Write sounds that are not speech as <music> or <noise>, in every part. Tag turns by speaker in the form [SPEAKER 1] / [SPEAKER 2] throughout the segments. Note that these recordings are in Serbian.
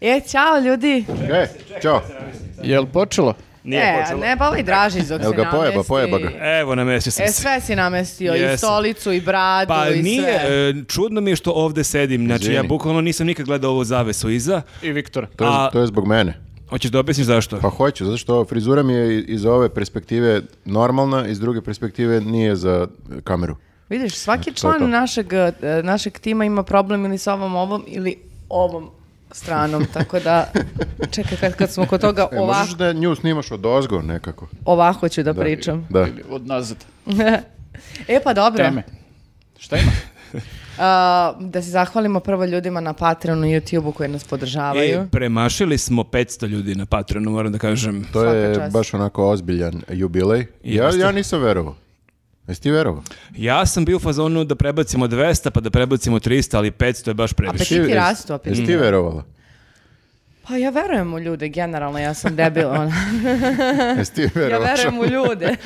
[SPEAKER 1] E, čao ljudi.
[SPEAKER 2] E, čao.
[SPEAKER 3] Jel počelo?
[SPEAKER 1] Nije e, ne, pa ovaj Dražić dok
[SPEAKER 2] Evo
[SPEAKER 1] se
[SPEAKER 2] ga,
[SPEAKER 1] namesti.
[SPEAKER 2] pojeba, pojeba ga.
[SPEAKER 4] Evo, namestio sam
[SPEAKER 1] E,
[SPEAKER 4] se.
[SPEAKER 1] sve si namestio, i
[SPEAKER 4] Jesam.
[SPEAKER 1] stolicu, i bradu,
[SPEAKER 4] Pa
[SPEAKER 1] i sve.
[SPEAKER 4] nije, e, čudno mi je što ovde sedim. Znači, ja
[SPEAKER 2] Izvini.
[SPEAKER 4] bukvalno nisam nikad gledao ovu zavesu iza.
[SPEAKER 3] I Viktora.
[SPEAKER 2] To je,
[SPEAKER 4] A-
[SPEAKER 2] to je zbog mene.
[SPEAKER 4] Hoćeš da objasniš zašto?
[SPEAKER 2] Pa hoću, zato što frizura mi je iz ove perspektive normalna, iz druge perspektive nije za e, kameru.
[SPEAKER 1] Vidiš, svaki
[SPEAKER 2] to je to.
[SPEAKER 1] član našeg, e, našeg tima ima problem ili sa ovom ovom ili ovom
[SPEAKER 2] <laughs>
[SPEAKER 1] stranom, tako da čekaj kad, kad smo kod toga
[SPEAKER 2] E,
[SPEAKER 1] ovako,
[SPEAKER 2] možeš da nju snimaš od ozgo nekako.
[SPEAKER 1] ovako ću da,
[SPEAKER 2] <laughs>
[SPEAKER 1] pričam.
[SPEAKER 2] Da.
[SPEAKER 3] Ili od nazad.
[SPEAKER 1] e pa dobro,
[SPEAKER 3] Teme. Šta ima?
[SPEAKER 1] a, da se zahvalimo prvo ljudima na Patreonu i YouTubeu koji nas podržavaju.
[SPEAKER 4] E, premašili smo 500 ljudi na Patreonu, moram da kažem.
[SPEAKER 2] To
[SPEAKER 1] Svaka
[SPEAKER 2] je
[SPEAKER 1] čast.
[SPEAKER 2] baš onako ozbiljan jubilej. Ja,
[SPEAKER 4] Jeste.
[SPEAKER 2] ja nisam verovao. Jesi ti verovao?
[SPEAKER 4] Ja sam bio u fazonu da prebacimo 200, pa da prebacimo 300, ali 500 je baš previše.
[SPEAKER 1] Apetiti
[SPEAKER 2] Jesi-
[SPEAKER 1] Pa rastu opet.
[SPEAKER 2] Jesi ti verovala?
[SPEAKER 1] Pa ja verujem u ljude, generalno ja sam debil.
[SPEAKER 2] <laughs>
[SPEAKER 1] ona.
[SPEAKER 2] Jesi ti
[SPEAKER 1] ja
[SPEAKER 2] verovala?
[SPEAKER 1] verujem u
[SPEAKER 2] <laughs>
[SPEAKER 1] ljude.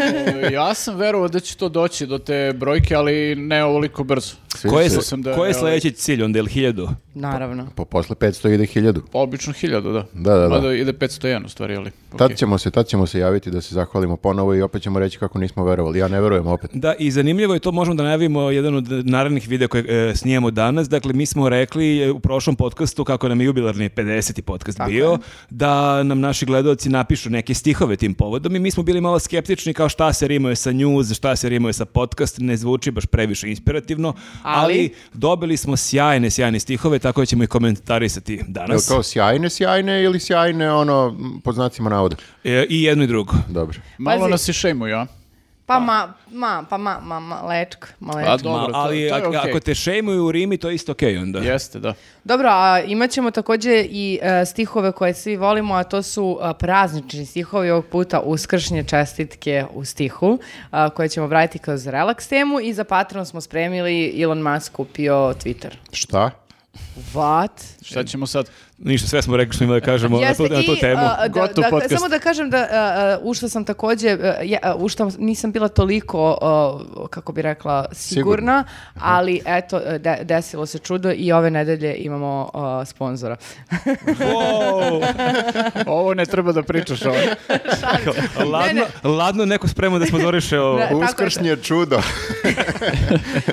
[SPEAKER 3] E, <laughs> ja sam verovao da će to doći do te brojke, ali ne ovoliko brzo.
[SPEAKER 2] Svi
[SPEAKER 4] Ko je,
[SPEAKER 2] se-
[SPEAKER 3] Mislim da
[SPEAKER 4] ko je
[SPEAKER 3] je,
[SPEAKER 4] sledeći cilj onda, ili 1000?
[SPEAKER 1] Naravno.
[SPEAKER 2] Po Pa posle 500 ide 1000.
[SPEAKER 3] Pa Obično hiljadu, da.
[SPEAKER 2] Da, da, da.
[SPEAKER 3] Mada ide 501 u stvari, ali...
[SPEAKER 2] Tad
[SPEAKER 3] okej.
[SPEAKER 2] ćemo se, tad ćemo se javiti da se zahvalimo ponovo i opet ćemo reći kako nismo verovali. Ja ne verujem opet.
[SPEAKER 4] Da, i zanimljivo je to, možemo da najavimo jedan od narednih videa koje e, snijemo danas. Dakle, mi smo rekli e, u prošlom podcastu, kako nam je jubilarni 50. podcast bio, da nam naši gledaoci napišu neke stihove tim povodom i mi smo bili malo skeptični kao šta se rimuje sa news, šta se rimuje sa podcast, ne zvuči baš previše inspirativno, ali,
[SPEAKER 1] Ali?
[SPEAKER 4] dobili smo sjajne, sjajne stihove, tako da ćemo i komentarisati
[SPEAKER 2] Jel
[SPEAKER 4] danas.
[SPEAKER 2] kao sjajne, sjajne ili sjajne ono m, pod znacima navoda?
[SPEAKER 4] E, I jedno i drugo.
[SPEAKER 2] Dobro.
[SPEAKER 3] Malo
[SPEAKER 1] Pazi.
[SPEAKER 3] nas i šejmuju, a?
[SPEAKER 1] Pa ma, ma, pa ma, ma, ma lečka, malečka.
[SPEAKER 3] A dobro,
[SPEAKER 4] Ma-
[SPEAKER 3] to-
[SPEAKER 4] ali
[SPEAKER 3] to, je
[SPEAKER 4] ak-
[SPEAKER 3] okej.
[SPEAKER 4] ako te šejmuju u Rimi, to je isto okej onda.
[SPEAKER 3] Jeste, da.
[SPEAKER 1] Dobro, a imat ćemo takođe i e, stihove koje svi volimo, a to su e, praznični stihovi ovog puta, uskršnje čestitke u stihu, a, koje ćemo vratiti kroz relaks temu i za Patreon smo spremili Elon Musk kupio Twitter.
[SPEAKER 2] Šta?
[SPEAKER 1] E, What?
[SPEAKER 3] Šta ćemo sad?
[SPEAKER 4] Ništa, sve smo rekli što smo imali da kažemo na tu, na tu
[SPEAKER 1] i,
[SPEAKER 4] temu.
[SPEAKER 1] a, da,
[SPEAKER 3] Gotov
[SPEAKER 1] dakle,
[SPEAKER 3] podcast.
[SPEAKER 1] samo da kažem da a, a, u što sam takođe, a, ja, a, u što nisam bila toliko, a, kako bi rekla, sigurna,
[SPEAKER 2] Sigurna.
[SPEAKER 1] ali eto, de- desilo se čudo i ove nedelje imamo a,
[SPEAKER 4] <laughs>
[SPEAKER 1] sponzora.
[SPEAKER 4] Wow.
[SPEAKER 3] Ovo ne treba da pričaš, ovo.
[SPEAKER 4] <laughs> ladno, ladno neko sprema da sponzoriše ovo.
[SPEAKER 1] Da. tako je to.
[SPEAKER 2] Uskršnje čudo.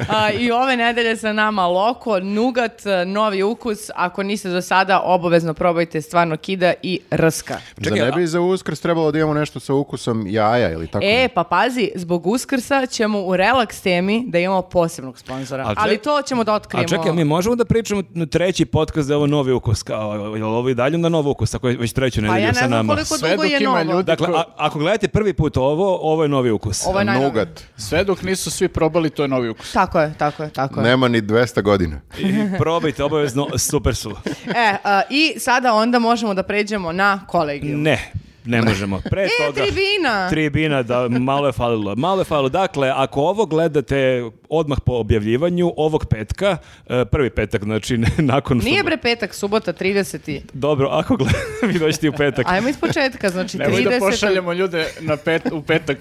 [SPEAKER 1] A, I ove nedelje sa nama Loko, Nugat, e, Novi ukus. Ako niste do sada, obavezno probajte stvarno kida i rska.
[SPEAKER 4] Čekaj,
[SPEAKER 2] Za ne
[SPEAKER 4] a-
[SPEAKER 2] bi za uskrs trebalo da imamo nešto sa ukusom jaja ili tako?
[SPEAKER 1] E, pa pazi, zbog uskrsa ćemo u relaks temi da imamo posebnog sponzora.
[SPEAKER 4] A ček-
[SPEAKER 1] Ali to ćemo da otkrijemo.
[SPEAKER 4] A čekaj, mi možemo da pričamo na treći podcast da je ovo novi ukus, kao, je ovo i dalje na novi ukus, ako je već treću
[SPEAKER 1] Pa
[SPEAKER 4] nedelju
[SPEAKER 1] ja ne
[SPEAKER 4] sa
[SPEAKER 1] znam
[SPEAKER 4] nama.
[SPEAKER 1] koliko
[SPEAKER 3] Sve
[SPEAKER 1] dugo
[SPEAKER 3] dok
[SPEAKER 1] je
[SPEAKER 3] ima
[SPEAKER 1] novo.
[SPEAKER 3] ljudi-
[SPEAKER 4] Dakle, a- ako gledate prvi put ovo, ovo je novi ukus.
[SPEAKER 1] Ovo je najnoviji.
[SPEAKER 2] Nugat.
[SPEAKER 3] Sve dok nisu svi probali, to je novi ukus.
[SPEAKER 1] Tako je, tako je, tako je.
[SPEAKER 2] Nema ni 200 godina.
[SPEAKER 4] I probajte, obavezno, super su.
[SPEAKER 1] E, a, i sada onda možemo da pređemo na kolegiju.
[SPEAKER 4] Ne, ne možemo. Pre
[SPEAKER 1] E,
[SPEAKER 4] toga...
[SPEAKER 1] tribina!
[SPEAKER 4] Tribina, da, malo je falilo. Malo je falilo. Dakle, ako ovo gledate odmah po objavljivanju ovog petka, e, prvi petak, znači <laughs> nakon što...
[SPEAKER 1] Nije bre petak, subota, 30.
[SPEAKER 4] Dobro, ako gledate, <laughs> vi dođete u petak.
[SPEAKER 1] Ajmo iz početka, znači
[SPEAKER 3] Nemoj
[SPEAKER 1] 30.
[SPEAKER 3] da pošaljemo ljude na pet, u petak.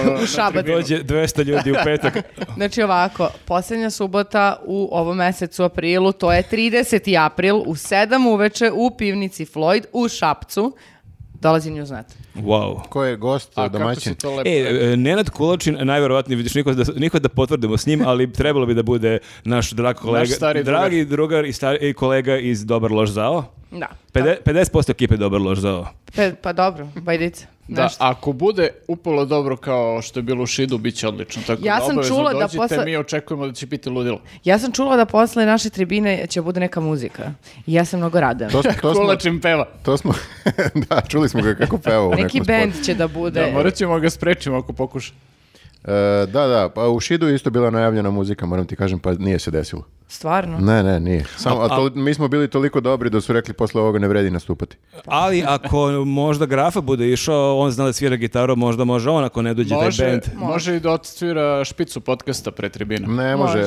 [SPEAKER 3] ono, na
[SPEAKER 1] šabat.
[SPEAKER 3] tribinu.
[SPEAKER 4] Pa Dođe 200 ljudi u petak.
[SPEAKER 1] Znači ovako, posljednja subota u ovom mesecu aprilu, to je 30. april u 7 uveče u pivnici Floyd u Šapcu. Dolazi Newsnet.
[SPEAKER 4] Wow.
[SPEAKER 2] Ko je gost,
[SPEAKER 3] A kako
[SPEAKER 2] domaćin?
[SPEAKER 3] si to lepo?
[SPEAKER 4] E, e, Nenad Kulačin, najverovatnije vidiš, niko da, niko da potvrdimo s njim, ali trebalo bi da bude naš drag kolega,
[SPEAKER 3] stari
[SPEAKER 4] dragi drugar i, star, i kolega iz Dobar loš zao.
[SPEAKER 1] Da.
[SPEAKER 3] Pa-
[SPEAKER 4] Pede- 50% ekipe Dobar loš zao.
[SPEAKER 1] Pe- pa dobro, bajdice.
[SPEAKER 3] Da, ako bude upalo dobro kao što je bilo u Šidu, bit će odlično. Tako
[SPEAKER 1] Ja
[SPEAKER 3] da
[SPEAKER 1] sam
[SPEAKER 3] obavezno
[SPEAKER 1] čula da
[SPEAKER 3] dođite,
[SPEAKER 1] posle-
[SPEAKER 3] mi očekujemo da će biti ludilo.
[SPEAKER 1] Ja sam čula da posle naše tribine će bude neka muzika. I ja sam mnogo radan.
[SPEAKER 2] To,
[SPEAKER 3] <laughs>
[SPEAKER 2] to smo,
[SPEAKER 3] Kolačim peva.
[SPEAKER 2] to smo <laughs> da, čuli smo ga kako peva u nekom
[SPEAKER 1] Neki
[SPEAKER 2] spotu.
[SPEAKER 1] bend će da bude.
[SPEAKER 3] Da, morat ćemo ga sprečimo ako pokuša.
[SPEAKER 2] E, da, da, pa u Šidu je isto bila najavljena muzika, moram ti kažem, pa nije se desilo.
[SPEAKER 1] Stvarno.
[SPEAKER 2] Ne, ne, nije. Samo, a to- mi smo bili toliko dobri da su rekli posle ovoga ne vredi nastupati.
[SPEAKER 4] Ali ako možda Grafa bude išao, on zna da svira gitaru, možda može on ako ne dođe taj
[SPEAKER 3] Može,
[SPEAKER 4] band.
[SPEAKER 3] može i da odsvira špicu podcasta pre tribina.
[SPEAKER 2] Ne može,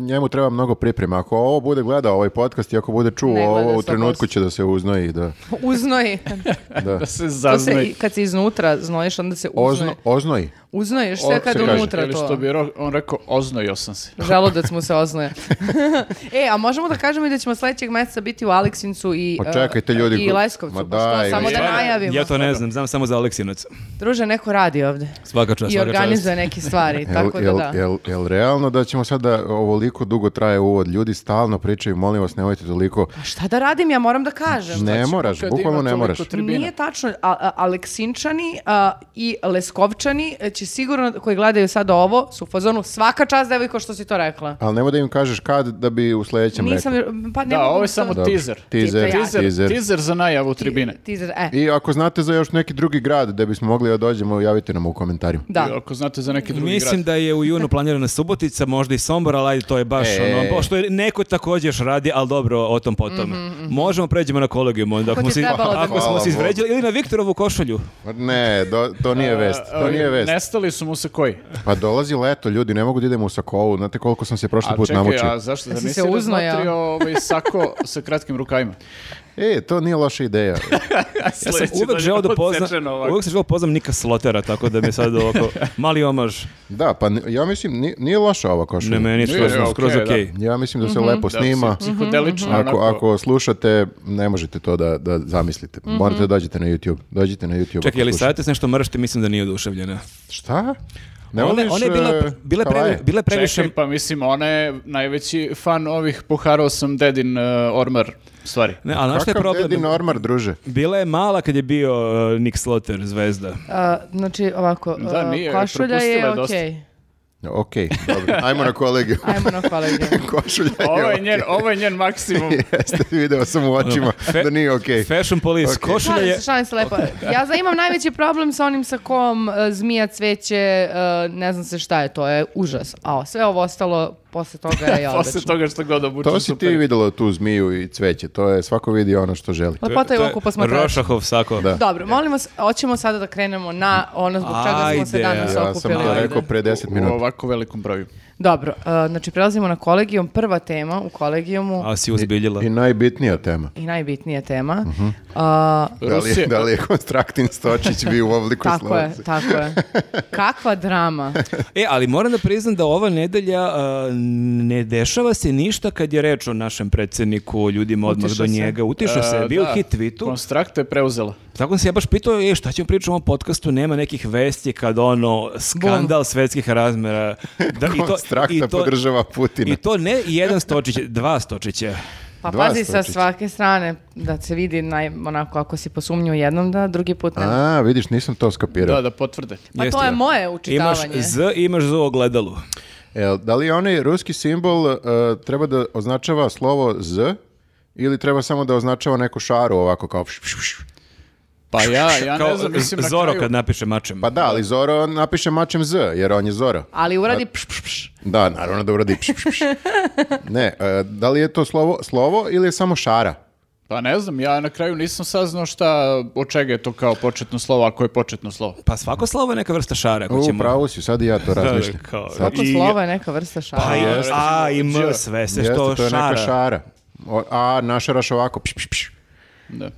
[SPEAKER 2] njemu treba mnogo priprema. Ako ovo bude gledao ovaj podcast i ako bude čuo
[SPEAKER 1] Ne gleda
[SPEAKER 2] ovo, u
[SPEAKER 1] 100%.
[SPEAKER 2] trenutku će da se uznoji. Da,
[SPEAKER 1] Uznoji.
[SPEAKER 2] da.
[SPEAKER 3] Da se
[SPEAKER 1] To se,
[SPEAKER 3] zaznaj.
[SPEAKER 1] i- kad se iznutra znojiš, onda se uznoji.
[SPEAKER 2] Ozno, oznoji.
[SPEAKER 1] Uznojiš se kad
[SPEAKER 2] se kaže.
[SPEAKER 1] unutra
[SPEAKER 3] Ili
[SPEAKER 1] to.
[SPEAKER 3] što bi ro- on rekao, oznojio sam se.
[SPEAKER 1] Želudac mu se oznoje. <laughs> E, a možemo da kažemo i da ćemo sledećeg meseca biti u Aleksincu i,
[SPEAKER 2] Pa čekajte,
[SPEAKER 1] e,
[SPEAKER 2] ljudi,
[SPEAKER 1] i Leskovcu.
[SPEAKER 2] ma
[SPEAKER 1] pošto
[SPEAKER 2] daj,
[SPEAKER 1] samo da
[SPEAKER 2] stvarno,
[SPEAKER 1] najavimo.
[SPEAKER 4] Ja to ne znam, znam samo za Aleksinac.
[SPEAKER 1] Druže, neko radi ovde.
[SPEAKER 4] Svaka čast,
[SPEAKER 1] I
[SPEAKER 4] svaka čast.
[SPEAKER 1] organizuje neke stvari, tako da
[SPEAKER 2] <laughs> jel,
[SPEAKER 1] da.
[SPEAKER 2] jel, jel realno da ćemo sada ovoliko dugo traje uvod? Ljudi stalno pričaju, molim vas, nemojte toliko.
[SPEAKER 1] A šta da radim, ja moram da kažem.
[SPEAKER 2] Ne moraš,
[SPEAKER 3] Kad ima
[SPEAKER 2] bukvalno ne
[SPEAKER 3] toliko
[SPEAKER 2] moraš.
[SPEAKER 3] tribina.
[SPEAKER 1] Nije tačno, a, a- Aleksinčani a, i Leskovčani e, će sigurno, koji gledaju sad ovo, su u fazonu svaka čast devojko što si to rekla.
[SPEAKER 2] Ali nemoj da im kažeš kad da bi u sledećem
[SPEAKER 1] Nisam,
[SPEAKER 2] rekao.
[SPEAKER 1] pa ne
[SPEAKER 3] Da,
[SPEAKER 1] mogu
[SPEAKER 3] ovo je
[SPEAKER 1] to-
[SPEAKER 3] samo
[SPEAKER 2] Dobro.
[SPEAKER 3] teaser.
[SPEAKER 2] Teaser,
[SPEAKER 1] Tipa ja.
[SPEAKER 2] teaser,
[SPEAKER 3] Teaser, teaser za najavu tribine.
[SPEAKER 1] Teaser, e.
[SPEAKER 2] I ako znate za još neki drugi grad gde bismo mogli da dođemo, javite nam u komentarima.
[SPEAKER 1] Da.
[SPEAKER 3] I Ako znate za neki drugi
[SPEAKER 4] Mislim
[SPEAKER 3] grad.
[SPEAKER 4] da je u junu planirana Subotica, možda i Sombor, ali ajde, to je baš ono, pošto je neko također još radi, ali dobro, o tom potom. Možemo pređemo na kolegijum, onda ako
[SPEAKER 1] ti
[SPEAKER 4] smo se,
[SPEAKER 1] trebalo da
[SPEAKER 4] ako
[SPEAKER 1] bude.
[SPEAKER 4] smo
[SPEAKER 2] Hvala
[SPEAKER 4] se
[SPEAKER 2] Bogu.
[SPEAKER 4] izvređali, ili na Viktorovu košulju.
[SPEAKER 2] Ne, do- to nije vest,
[SPEAKER 1] <laughs>
[SPEAKER 2] to nije vest.
[SPEAKER 3] Nestali su mu se koji?
[SPEAKER 2] Pa dolazi leto, ljudi, ne mogu da idemo u sakovu. Znate koliko sam se prošli
[SPEAKER 3] A
[SPEAKER 2] put
[SPEAKER 3] čekaj,
[SPEAKER 2] namučio.
[SPEAKER 3] a zašto? Zar
[SPEAKER 1] Jesi
[SPEAKER 3] nisi
[SPEAKER 1] se uznao, ja?
[SPEAKER 3] razmotrio ovaj sako sa kratkim rukavima?
[SPEAKER 2] E, to nije loša ideja.
[SPEAKER 4] Ja sam uvek želeo da poznam, uvek sam želeo da poznam Nika Slotera, tako da mi je sad ovako mali omaž.
[SPEAKER 2] Da, pa ni- ja mislim, ni- nije, loša ova košulja.
[SPEAKER 4] Ne, meni je
[SPEAKER 3] Nije,
[SPEAKER 4] skroz,
[SPEAKER 3] okej,
[SPEAKER 4] skroz
[SPEAKER 3] da.
[SPEAKER 4] okej.
[SPEAKER 2] Ja mislim da se lepo snima.
[SPEAKER 3] Psihodelično,
[SPEAKER 2] Ako,
[SPEAKER 3] onako.
[SPEAKER 2] ako slušate, ne možete to da, da zamislite. Morate da dođete na YouTube. Dođite na YouTube.
[SPEAKER 4] Čekaj,
[SPEAKER 2] ako
[SPEAKER 4] je li
[SPEAKER 2] slušate.
[SPEAKER 4] savjetec nešto mršte, mislim da nije oduševljena.
[SPEAKER 2] Šta? Ne
[SPEAKER 4] Ona,
[SPEAKER 2] voliš,
[SPEAKER 4] ona je bila,
[SPEAKER 2] e,
[SPEAKER 4] bila, previ-
[SPEAKER 2] Kavaje?
[SPEAKER 4] bila Dakle, previše...
[SPEAKER 3] Čekaj, pa mislim, ona je najveći fan ovih poharao sam dedin e, ormar stvari.
[SPEAKER 4] Ne, ali znaš šta je
[SPEAKER 2] Kakav
[SPEAKER 4] problem?
[SPEAKER 2] dedi normar, druže?
[SPEAKER 4] Bila je mala kad je bio uh, Nick Sloter, zvezda.
[SPEAKER 1] A, znači, ovako,
[SPEAKER 3] Da,
[SPEAKER 1] a,
[SPEAKER 3] nije,
[SPEAKER 1] košulja je
[SPEAKER 3] propustila je
[SPEAKER 1] okej.
[SPEAKER 3] dosta.
[SPEAKER 2] Ok, dobro. Ajmo na kolegiju.
[SPEAKER 1] Ajmo na
[SPEAKER 3] <laughs>
[SPEAKER 1] kolegiju.
[SPEAKER 2] Košulja je
[SPEAKER 3] Pa Ovo je
[SPEAKER 2] <laughs> ok.
[SPEAKER 3] njen, ovo je njen
[SPEAKER 2] <laughs>
[SPEAKER 3] maksimum.
[SPEAKER 2] Jeste, video sam u očima
[SPEAKER 4] Ono, Fe-
[SPEAKER 2] da nije ok.
[SPEAKER 4] Fashion police,
[SPEAKER 2] Okej.
[SPEAKER 4] košulja
[SPEAKER 1] Šalim
[SPEAKER 4] je...
[SPEAKER 1] se, šalim se
[SPEAKER 3] <laughs>
[SPEAKER 1] lepo. Ja za- imam najveći problem sa onim sa kom e, zmija cveće, e, ne znam se šta je, to je užas. A sve ovo ostalo posle toga je
[SPEAKER 3] <laughs> Posle
[SPEAKER 1] odlično.
[SPEAKER 3] toga što god obučem.
[SPEAKER 2] To si ti
[SPEAKER 3] super.
[SPEAKER 2] videla tu zmiju i cveće. To je svako vidi ono što želi.
[SPEAKER 1] Lepota je u oku posmatrača.
[SPEAKER 4] E, Rošahov sako.
[SPEAKER 2] Da.
[SPEAKER 1] Dobro, molim vas, hoćemo sada da krenemo na ono zbog čega smo se
[SPEAKER 4] Ajde,
[SPEAKER 1] danas
[SPEAKER 2] Ja sam
[SPEAKER 1] okupili.
[SPEAKER 2] to
[SPEAKER 1] ovde.
[SPEAKER 2] rekao pre 10
[SPEAKER 3] U
[SPEAKER 2] minuta.
[SPEAKER 3] ovako velikom broju.
[SPEAKER 1] Dobro, e, znači prelazimo na kolegijum. Prva tema u kolegijumu
[SPEAKER 4] A si uzbiljila.
[SPEAKER 2] I najbitnija tema.
[SPEAKER 1] i najbitnija tema.
[SPEAKER 2] Mhm.
[SPEAKER 1] E, A,
[SPEAKER 2] Da li, je-
[SPEAKER 3] Rusija-
[SPEAKER 2] da li je Konstraktin Stočić bio u obliku
[SPEAKER 1] tako je,
[SPEAKER 2] slovaca?
[SPEAKER 1] tako
[SPEAKER 2] <laughs>
[SPEAKER 1] je. Kakva drama.
[SPEAKER 4] E, ali moram da priznam da ova nedelja uh, ne dešava se ništa kad je reč o našem predsjedniku, ljudima odmah
[SPEAKER 1] Utišao
[SPEAKER 4] do
[SPEAKER 1] se.
[SPEAKER 4] njega. Utišao se,
[SPEAKER 3] E,
[SPEAKER 4] bio
[SPEAKER 3] da,
[SPEAKER 4] hit tweetu.
[SPEAKER 3] Konstrakta je preuzela.
[SPEAKER 4] Tako se ja baš pitao, e, šta ćemo pričati u ovom podcastu, nema nekih vesti kad ono, skandal svetskih razmera. Da,
[SPEAKER 2] Konstrakta podržava Putina.
[SPEAKER 4] I to ne jedan stočić, dva stočića.
[SPEAKER 1] Pa
[SPEAKER 2] Dva
[SPEAKER 1] pazi sa
[SPEAKER 2] stočića.
[SPEAKER 1] svake strane da se vidi naj, onako ako si posumnju jednom da, drugi put ne.
[SPEAKER 2] A, vidiš, nisam to skapirao.
[SPEAKER 3] Da,
[SPEAKER 2] Jel, Da,
[SPEAKER 3] da potvrde.
[SPEAKER 1] Pa
[SPEAKER 4] Jeste,
[SPEAKER 1] to je
[SPEAKER 4] da.
[SPEAKER 1] moje
[SPEAKER 4] Imaš
[SPEAKER 1] učitavanje.
[SPEAKER 4] Z, imaš Z u ogledalu.
[SPEAKER 2] E, li onaj ruski simbol e, treba da označava slovo Z ili treba samo da označava neku šaru ovako kao... pš, pš, pš?
[SPEAKER 3] Pa ja, ja
[SPEAKER 4] Kao
[SPEAKER 3] ne znam, mislim na
[SPEAKER 4] Zoro
[SPEAKER 3] kraju-
[SPEAKER 4] kad napiše mačem.
[SPEAKER 2] Pa da, ali Zoro napiše mačem Z, jer on je Zoro.
[SPEAKER 1] Ali uradi pš, pš, pš.
[SPEAKER 2] Da, naravno da uradi pš,
[SPEAKER 3] <laughs>
[SPEAKER 2] pš, pš. Ne, e, da li je to slovo, slovo ili je samo šara?
[SPEAKER 3] Pa ne znam, ja na kraju nisam saznao šta, od čega je to kao početno slovo, ako je početno slovo.
[SPEAKER 4] Pa svako slovo je neka vrsta šara. Ako
[SPEAKER 2] U,
[SPEAKER 4] ćemo...
[SPEAKER 2] pravu si, sad i ja to razmišljam.
[SPEAKER 4] kao-
[SPEAKER 2] Sad-
[SPEAKER 1] Kako
[SPEAKER 4] I-
[SPEAKER 1] slova je neka vrsta šala.
[SPEAKER 4] Pa i A i M, sve se
[SPEAKER 2] Jeste,
[SPEAKER 4] što
[SPEAKER 2] to je
[SPEAKER 4] šara.
[SPEAKER 2] neka šara. O, a, našaraš ovako, pš, pš, pš.
[SPEAKER 3] Da.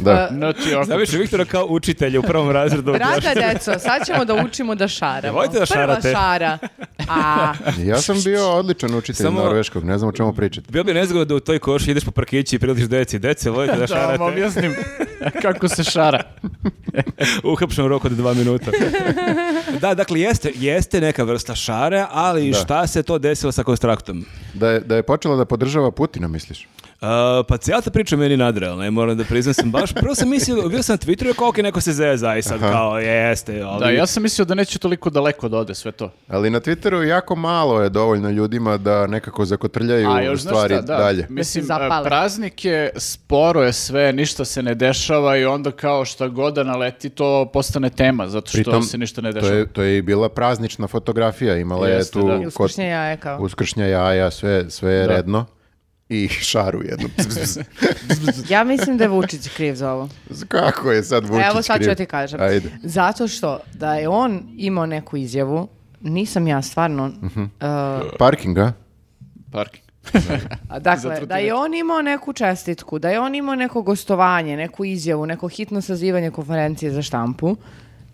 [SPEAKER 2] Da.
[SPEAKER 3] No, ti ako-
[SPEAKER 4] Zaviše Viktora kao učitelja u prvom razredu.
[SPEAKER 1] Draga deco, sad ćemo da učimo da šaramo.
[SPEAKER 4] Nemojte da šarate.
[SPEAKER 1] Prva šara.
[SPEAKER 2] <laughs>
[SPEAKER 1] A,
[SPEAKER 2] Ja sam
[SPEAKER 3] <laughs>
[SPEAKER 2] bio odličan učitelj
[SPEAKER 4] Samo-
[SPEAKER 2] norveškog, ne znam o čemu pričate.
[SPEAKER 4] Bilo bi nezgodno da u toj koši ideš po parkići i priliš deci. Deci, volite
[SPEAKER 3] <laughs>
[SPEAKER 4] da
[SPEAKER 3] Da vam
[SPEAKER 4] šarate. <laughs>
[SPEAKER 3] objasnim kako se šara.
[SPEAKER 4] Uhapšen u roku od dva minuta. da, dakle, jeste, jeste neka vrsta šare, ali šta se to desilo sa konstraktom?
[SPEAKER 2] Da je, da je počela da podržava Putina, misliš?
[SPEAKER 4] Uh, pa cijela ta priča meni nadrealna, ja moram da priznam sam baš, prvo sam mislio, bio sam na Twitteru i koliko neko se zeza i sad kao jeste, ali...
[SPEAKER 3] Da, ja sam mislio da neće toliko daleko da ode sve to.
[SPEAKER 2] Ali na Twitteru jako malo je dovoljno ljudima da nekako zakotrljaju
[SPEAKER 3] A još znaš
[SPEAKER 2] stvari
[SPEAKER 3] šta, da,
[SPEAKER 2] dalje.
[SPEAKER 3] mislim,
[SPEAKER 1] Da se zapale.
[SPEAKER 3] a, praznik je, sporo je sve, ništa se ne dešava i onda kao šta god da naleti, to postane tema, zato što
[SPEAKER 2] Pritom,
[SPEAKER 3] se ništa ne
[SPEAKER 2] To
[SPEAKER 3] dešava.
[SPEAKER 2] je, to je i bila praznična fotografija, imala je
[SPEAKER 3] Jeste,
[SPEAKER 2] tu
[SPEAKER 3] da.
[SPEAKER 2] kod-
[SPEAKER 1] uskršnje jaje kao.
[SPEAKER 2] uskršnja jaja, sve, sve je redno i šaru
[SPEAKER 4] <laughs>
[SPEAKER 2] jednu.
[SPEAKER 1] Ja mislim da je Vučić kriv za ovo.
[SPEAKER 2] Kako je sad Vučić
[SPEAKER 1] Evo sad ću
[SPEAKER 2] kriv?
[SPEAKER 1] ja ti kažem.
[SPEAKER 2] Ajde.
[SPEAKER 1] Zato što da je on imao neku izjavu, nisam ja stvarno...
[SPEAKER 2] Mhm.
[SPEAKER 1] uh,
[SPEAKER 2] Parkinga?
[SPEAKER 4] <laughs>
[SPEAKER 3] Parking.
[SPEAKER 1] A Dakle,
[SPEAKER 3] Zatrudnjeni.
[SPEAKER 1] da je on imao neku čestitku, da je on imao neko gostovanje, neku izjavu, neko hitno sazivanje konferencije za štampu,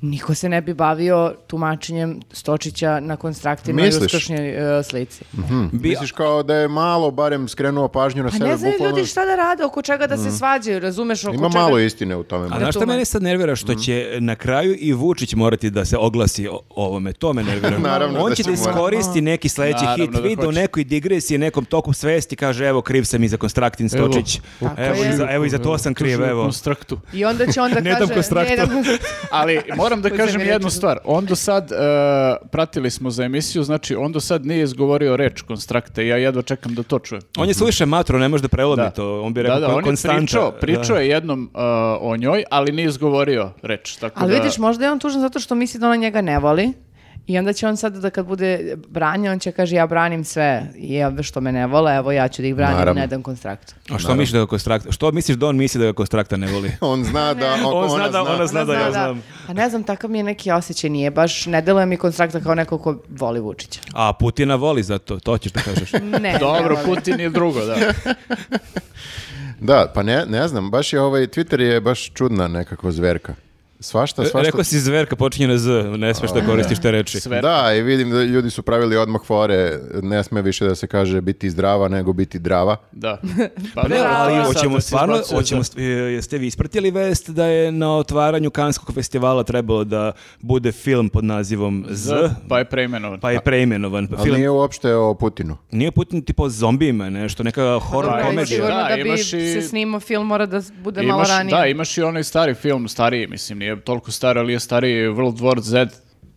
[SPEAKER 1] niko se ne bi bavio tumačenjem stočića na konstraktima i
[SPEAKER 2] Misliš? Mhm.
[SPEAKER 1] uskršnjoj e, slici.
[SPEAKER 4] Bi-
[SPEAKER 2] Misliš kao da je malo barem skrenuo pažnju na
[SPEAKER 1] Pa
[SPEAKER 2] sebe.
[SPEAKER 1] ne znaju
[SPEAKER 2] bukvalno-
[SPEAKER 1] ljudi šta da rade, oko čega da se svađaju, razumeš? Oko
[SPEAKER 2] Mhm. Ima
[SPEAKER 1] čega...
[SPEAKER 2] malo istine u tome.
[SPEAKER 4] A
[SPEAKER 2] možda.
[SPEAKER 4] znaš šta
[SPEAKER 1] tumač-
[SPEAKER 4] mene sad nervira? Što će na kraju i Vučić morati da se oglasi o ovome. To me nervira.
[SPEAKER 2] Naravno
[SPEAKER 4] On
[SPEAKER 2] da
[SPEAKER 4] će
[SPEAKER 2] će
[SPEAKER 4] da iskoristi neki sledeći
[SPEAKER 3] Naravno
[SPEAKER 4] hit
[SPEAKER 3] da
[SPEAKER 4] video u
[SPEAKER 3] hoće.
[SPEAKER 4] nekoj digresiji, nekom toku svesti, kaže evo kriv sam i za Konstraktin Stočić. Evo, i, za, evo i za to sam kriv, evo.
[SPEAKER 3] Konstraktu.
[SPEAKER 1] I onda će <laughs> onda
[SPEAKER 4] Ne dam
[SPEAKER 1] kaže...
[SPEAKER 4] konstraktor.
[SPEAKER 1] dam-
[SPEAKER 3] Ali
[SPEAKER 1] <laughs>
[SPEAKER 3] moram da
[SPEAKER 1] Koji
[SPEAKER 3] kažem
[SPEAKER 1] sam reći
[SPEAKER 3] jednu
[SPEAKER 1] za-
[SPEAKER 3] stvar. On do sad, e, pratili smo za emisiju, znači on do sad nije izgovorio reč konstrakte. Ja jedva čekam da to čujem.
[SPEAKER 4] On je suviše matro, ne može da prelomi
[SPEAKER 3] Da.
[SPEAKER 4] to. On bi
[SPEAKER 3] Da,
[SPEAKER 4] rekao
[SPEAKER 3] da, on je
[SPEAKER 4] Konstanta.
[SPEAKER 3] pričao,
[SPEAKER 4] Da.
[SPEAKER 3] pričao je jednom e, o njoj, ali nije izgovorio reč. Tako
[SPEAKER 1] Ali
[SPEAKER 3] da-
[SPEAKER 1] vidiš, možda je on tužan zato što misli da ona njega ne voli. I onda će on sad da kad bude branja, on će kaže ja branim sve i evo što me ne vole, evo ja ću da ih branim,
[SPEAKER 2] Naravno.
[SPEAKER 1] ne dam konstraktu.
[SPEAKER 4] A što misliš da ga Konstrakta? Što misliš da on misli da ga Konstrakta ne voli?
[SPEAKER 2] On zna da...
[SPEAKER 4] On
[SPEAKER 2] ona
[SPEAKER 4] zna da- ona zna
[SPEAKER 1] Ona
[SPEAKER 4] da ja znam.
[SPEAKER 1] A ne znam, takav mi je neki osjećaj, nije baš, ne deluje mi konstrakta kao neko ko voli
[SPEAKER 4] <laughs>
[SPEAKER 1] Vučića.
[SPEAKER 4] A Putina voli zato, to ćeš da kažeš.
[SPEAKER 1] Ne, ne
[SPEAKER 3] <laughs> Dobro,
[SPEAKER 1] voli.
[SPEAKER 3] Putin je drugo, da.
[SPEAKER 2] Da, pa ne, ne znam, baš je ovaj, Twitter je baš čudna nekako zverka. Svašta, svašta.
[SPEAKER 4] E, Rekao si zverka, počinje na Z, ne smeš da koristiš te reči.
[SPEAKER 3] Sve.
[SPEAKER 2] Da, i vidim da ljudi su pravili odmah fore, ne sme više da se kaže biti zdrava nego biti drava.
[SPEAKER 3] Da. Pa,
[SPEAKER 4] Pa ne,
[SPEAKER 3] da,
[SPEAKER 4] ali
[SPEAKER 3] sad
[SPEAKER 4] hoćemo
[SPEAKER 3] da se
[SPEAKER 4] stvarno,
[SPEAKER 3] izbacuješ,
[SPEAKER 4] hoćemo,
[SPEAKER 3] da.
[SPEAKER 4] st- e, jeste vi ispratili vest da je na otvaranju Kanskog festivala trebalo da bude film pod nazivom Z,
[SPEAKER 3] Pa je preimenovan.
[SPEAKER 4] pa je preimenovan. Pa
[SPEAKER 2] Ali
[SPEAKER 4] film
[SPEAKER 2] nije uopšte o Putinu.
[SPEAKER 4] nije Putin tipo o zombijima, nešto, neka horror
[SPEAKER 1] Dobro, ali
[SPEAKER 3] Da,
[SPEAKER 4] Pa, komedija.
[SPEAKER 1] sigurno
[SPEAKER 3] Da,
[SPEAKER 1] da, bi
[SPEAKER 3] imaš i-
[SPEAKER 1] se snimao film mora da bude malo
[SPEAKER 3] Imaš-
[SPEAKER 1] ranije.
[SPEAKER 3] Da, imaš i onaj stari film, stariji, mislim, nije toliko stari, ali je stariji World War Z.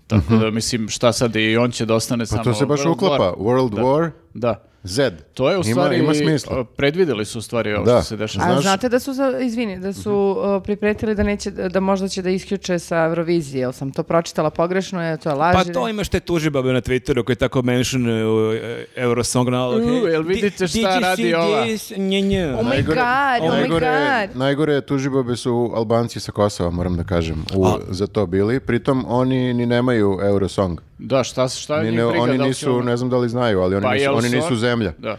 [SPEAKER 3] Tako da, mislim, šta sad i on će da ostane
[SPEAKER 2] Mhm. Pa
[SPEAKER 3] samo...
[SPEAKER 2] to se baš
[SPEAKER 3] World
[SPEAKER 2] uklapa.
[SPEAKER 3] War.
[SPEAKER 2] World
[SPEAKER 3] Da.
[SPEAKER 2] War
[SPEAKER 3] Da.
[SPEAKER 2] Z.
[SPEAKER 3] To je u
[SPEAKER 2] Ima-
[SPEAKER 3] stvari...
[SPEAKER 2] Ima, smisla.
[SPEAKER 3] a, Predvideli su u stvari ovo
[SPEAKER 2] Da.
[SPEAKER 3] što se dešava.
[SPEAKER 1] A
[SPEAKER 2] Znaš-
[SPEAKER 1] znate da su, za, izvini, da su
[SPEAKER 3] Mhm.
[SPEAKER 1] uh, pripretili da neće, da možda će da isključe sa Eurovizije, jel sam to pročitala pogrešno, je to je laž.
[SPEAKER 4] Pa
[SPEAKER 1] ili-
[SPEAKER 4] to imaš te tužibabe na Twitteru koji tako mention uh, Eurosong na
[SPEAKER 3] U, jel vidite šta radi ova?
[SPEAKER 4] Nje, nje.
[SPEAKER 1] Oh my god, oh my
[SPEAKER 2] najgore,
[SPEAKER 1] god.
[SPEAKER 2] najgore je tužibabe su Albanci sa Kosova, moram da kažem, u, za to bili. Pritom oni ni nemaju Eurosong.
[SPEAKER 3] Da, šta, šta
[SPEAKER 2] Ni
[SPEAKER 3] njih
[SPEAKER 2] ne-
[SPEAKER 3] Pa briga
[SPEAKER 2] oni
[SPEAKER 3] da li će
[SPEAKER 2] nisu,
[SPEAKER 3] ono-
[SPEAKER 2] ne znam da li znaju, ali oni,
[SPEAKER 3] Pa
[SPEAKER 2] nisu,
[SPEAKER 3] jel
[SPEAKER 2] oni
[SPEAKER 3] su
[SPEAKER 2] nisu
[SPEAKER 3] oni-
[SPEAKER 2] zemlja.
[SPEAKER 3] Da.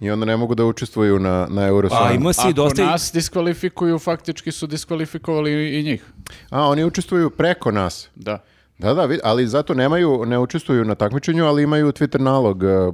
[SPEAKER 2] I onda ne mogu da učestvuju na, na Eurosongu.
[SPEAKER 4] Pa ima si
[SPEAKER 3] Ako
[SPEAKER 4] dosta... i-
[SPEAKER 3] nas diskvalifikuju, faktički su diskvalifikovali i- i njih.
[SPEAKER 2] A, oni učestvuju preko nas.
[SPEAKER 3] Da.
[SPEAKER 2] Da, da, vid- ali zato nemaju, ne učestvuju na takmičenju, ali imaju Twitter nalog e, e,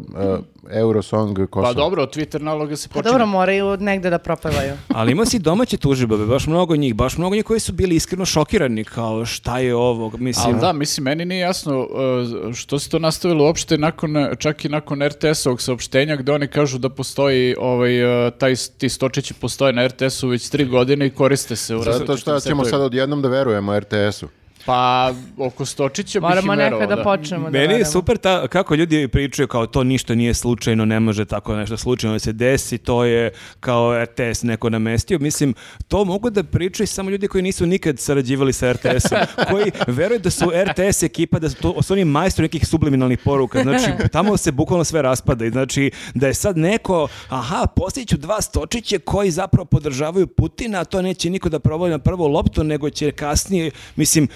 [SPEAKER 2] Eurosong Kosovo.
[SPEAKER 3] Pa dobro, od Twitter naloga se
[SPEAKER 1] Pa
[SPEAKER 3] počinje.
[SPEAKER 1] dobro, moraju od negde da propevaju.
[SPEAKER 4] Ali ima si domaće tužibabe, baš mnogo njih, baš mnogo njih koji su bili iskreno šokirani, kao šta je ovo, mislim...
[SPEAKER 3] Ali da, mislim, meni nije jasno uh, što se to nastavilo uopšte nakon, uh, čak i nakon RTS-ovog saopštenja gde oni kažu da postoji ovaj, uh, taj, ti stočići postoje na RTS-u već tri godine i koriste se u
[SPEAKER 2] Zato
[SPEAKER 3] različitim
[SPEAKER 2] što ćemo
[SPEAKER 3] setovima.
[SPEAKER 2] sad odjednom da verujemo RTS-u.
[SPEAKER 3] Pa, oko stočića bih
[SPEAKER 1] Moramo
[SPEAKER 3] im verovao,
[SPEAKER 1] nekada da
[SPEAKER 3] da.
[SPEAKER 1] počnemo da
[SPEAKER 4] Meni je
[SPEAKER 1] verujemo.
[SPEAKER 4] super ta, kako ljudi pričaju kao to ništa nije slučajno, ne može tako nešto slučajno da se desi, to je kao RTS neko namestio. Mislim, to mogu da pričaju samo ljudi koji nisu nikad sarađivali sa RTS-om, koji veruju da su RTS ekipa, da su, to, su oni majstori nekih subliminalnih poruka. Znači, tamo se bukvalno sve raspada i znači da je sad neko, aha, postiću dva stočiće koji zapravo podržavaju Putina, a to neće niko da provoli na prvu loptu, nego će kasnije, mislim,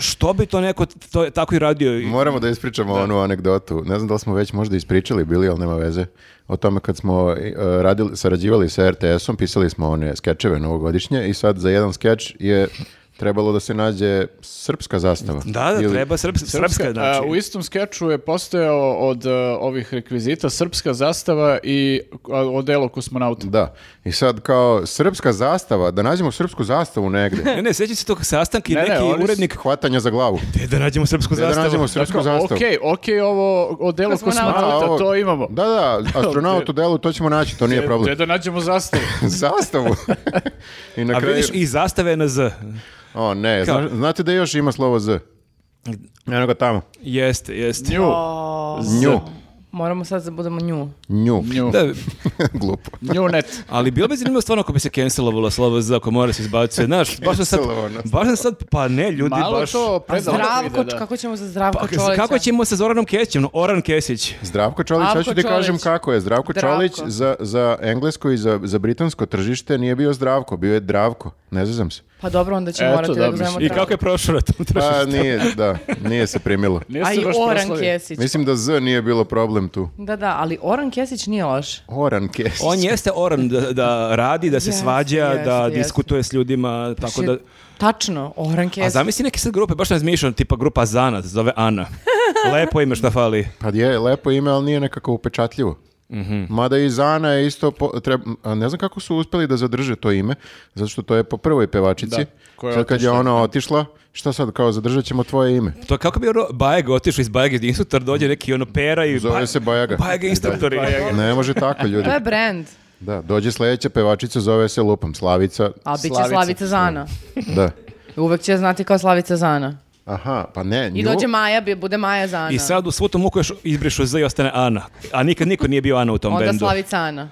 [SPEAKER 4] što bi to neko to, tako i radio? I-
[SPEAKER 2] Moramo da ispričamo onu anegdotu. Ne znam da li smo već možda ispričali bili, ali nema veze. O tome kad smo e, radili, sarađivali sa RTS-om, pisali smo one skečeve novogodišnje i sad za jedan skeč je trebalo da se nađe srpska zastava.
[SPEAKER 4] Da, da,
[SPEAKER 2] Ili-
[SPEAKER 4] treba srpska, srpska,
[SPEAKER 3] A,
[SPEAKER 4] znači.
[SPEAKER 3] e, u istom skeču je postojao od uh, ovih rekvizita srpska zastava i uh, odelo kosmonauta.
[SPEAKER 2] Da. I sad kao srpska zastava, da nađemo srpsku zastavu negde.
[SPEAKER 4] Ne, ne, sjećam se tog sastanka i
[SPEAKER 3] Ne, ne,
[SPEAKER 4] neki
[SPEAKER 3] oni su-
[SPEAKER 4] urednik...
[SPEAKER 2] Hvatanja za glavu.
[SPEAKER 4] Gde da nađemo srpsku
[SPEAKER 2] Gde da
[SPEAKER 4] zastavu?
[SPEAKER 2] nađemo srpsku
[SPEAKER 3] Dakle,
[SPEAKER 2] zastavu.
[SPEAKER 3] Okej, okej, ovo odelo
[SPEAKER 1] Kosmonauta.
[SPEAKER 3] kosmonauta,
[SPEAKER 2] A, ovo-
[SPEAKER 3] to imamo. E,
[SPEAKER 2] Da, da, astronaut u delu, to ćemo naći, to nije
[SPEAKER 3] Gde
[SPEAKER 2] problem.
[SPEAKER 3] da nađemo zastavu?
[SPEAKER 2] <laughs> Zastavu. I na
[SPEAKER 4] A
[SPEAKER 2] kraju...
[SPEAKER 4] vidiš, i zastave na Z.
[SPEAKER 2] O, ne,
[SPEAKER 4] Kao-
[SPEAKER 2] zna- znate da još ima slovo Z? Eno ga tamo.
[SPEAKER 4] Jeste, jeste.
[SPEAKER 3] Nju.
[SPEAKER 1] <laughs> O,
[SPEAKER 2] Nju.
[SPEAKER 1] moramo sad da budemo nju.
[SPEAKER 2] Nju.
[SPEAKER 3] Nju.
[SPEAKER 4] Da,
[SPEAKER 2] <laughs> Glupo.
[SPEAKER 3] Njunet.
[SPEAKER 4] ali bilo bi zanimljivo stvarno ako bi se cancelovalo slovo Z, ako mora se izbacuje. Znaš, baš sam sad,
[SPEAKER 2] Cancelovano.
[SPEAKER 4] baš sam sad, pa ne, ljudi,
[SPEAKER 3] Malo
[SPEAKER 4] baš...
[SPEAKER 3] to predalo.
[SPEAKER 1] Zdravko,
[SPEAKER 3] ide, da.
[SPEAKER 1] kako ćemo za Zdravko
[SPEAKER 4] Pa,
[SPEAKER 1] Čolića?
[SPEAKER 4] kako ćemo sa Zoranom Kesićem? No, Oran Kesić.
[SPEAKER 2] Zdravko Čolić, ja ću
[SPEAKER 1] Zdravko
[SPEAKER 2] ti kažem
[SPEAKER 1] Čolić.
[SPEAKER 2] kako je. Zdravko
[SPEAKER 1] Zdravko.
[SPEAKER 2] Čolić za, za englesko i za, za britansko tržište nije bio Zdravko, bio je Dravko. Ne zezam se.
[SPEAKER 1] Pa dobro, onda ćemo
[SPEAKER 3] Eto,
[SPEAKER 1] morati Pa da
[SPEAKER 3] da,
[SPEAKER 1] ga zovemo
[SPEAKER 4] I
[SPEAKER 1] Zdravko.
[SPEAKER 4] kako je prošao na tom tržištu?
[SPEAKER 2] Pa nije, da, nije se primilo.
[SPEAKER 3] Nije
[SPEAKER 1] A
[SPEAKER 3] se
[SPEAKER 1] i
[SPEAKER 3] baš
[SPEAKER 1] Oran
[SPEAKER 3] proslavio.
[SPEAKER 1] Kjesić.
[SPEAKER 2] Mislim da Z nije bilo problem problem tu.
[SPEAKER 1] Da, da, ali Oran Kesić nije loš.
[SPEAKER 2] Oran Kesić.
[SPEAKER 4] On jeste oran da, da radi, da se
[SPEAKER 1] Jeste,
[SPEAKER 4] svađa,
[SPEAKER 1] jeste,
[SPEAKER 4] da
[SPEAKER 1] jeste.
[SPEAKER 4] diskutuje s ljudima, tako da...
[SPEAKER 1] Tačno, Oran Kesić.
[SPEAKER 4] A zamisli neke sad grupe, baš razmišljam, tipa grupa Zana, se zove
[SPEAKER 1] <laughs>
[SPEAKER 4] Ana. Lepo ime šta fali.
[SPEAKER 2] Pa je, lepo ime, ali nije nekako upečatljivo.
[SPEAKER 3] Mhm.
[SPEAKER 2] Mada i Zana je isto, po, treb- a ne znam kako su uspeli da zadrže to ime, zato što to je po prvoj pevačici.
[SPEAKER 3] Da, koja je
[SPEAKER 2] sad kad je
[SPEAKER 3] otišla.
[SPEAKER 2] ona otišla, šta sad, kao zadržat ćemo tvoje ime.
[SPEAKER 4] To je kako bi ono Bajega otišao iz Bajega instruktor, dođe neki ono pera i...
[SPEAKER 2] Zove
[SPEAKER 4] Ba-
[SPEAKER 2] se Bajaga.
[SPEAKER 4] Bajega instruktori.
[SPEAKER 2] Ne može tako, ljudi.
[SPEAKER 1] To je brand,
[SPEAKER 2] Da, dođe sljedeća pevačica, zove se Lupam, Slavica.
[SPEAKER 1] ali bit će
[SPEAKER 3] Slavica.
[SPEAKER 1] Slavica Zana.
[SPEAKER 2] Da.
[SPEAKER 1] Uvek će je znati kao Slavica Zana.
[SPEAKER 2] Aha, pa ne, nju,
[SPEAKER 1] I dođe Maja, bi- bude Maja Zana.
[SPEAKER 4] I sad u svu tu muku još izbrišu Z i ostane Ana. A nikad niko nije bio Ana u tom
[SPEAKER 1] Onda
[SPEAKER 4] bendu.
[SPEAKER 1] Slavica Ana.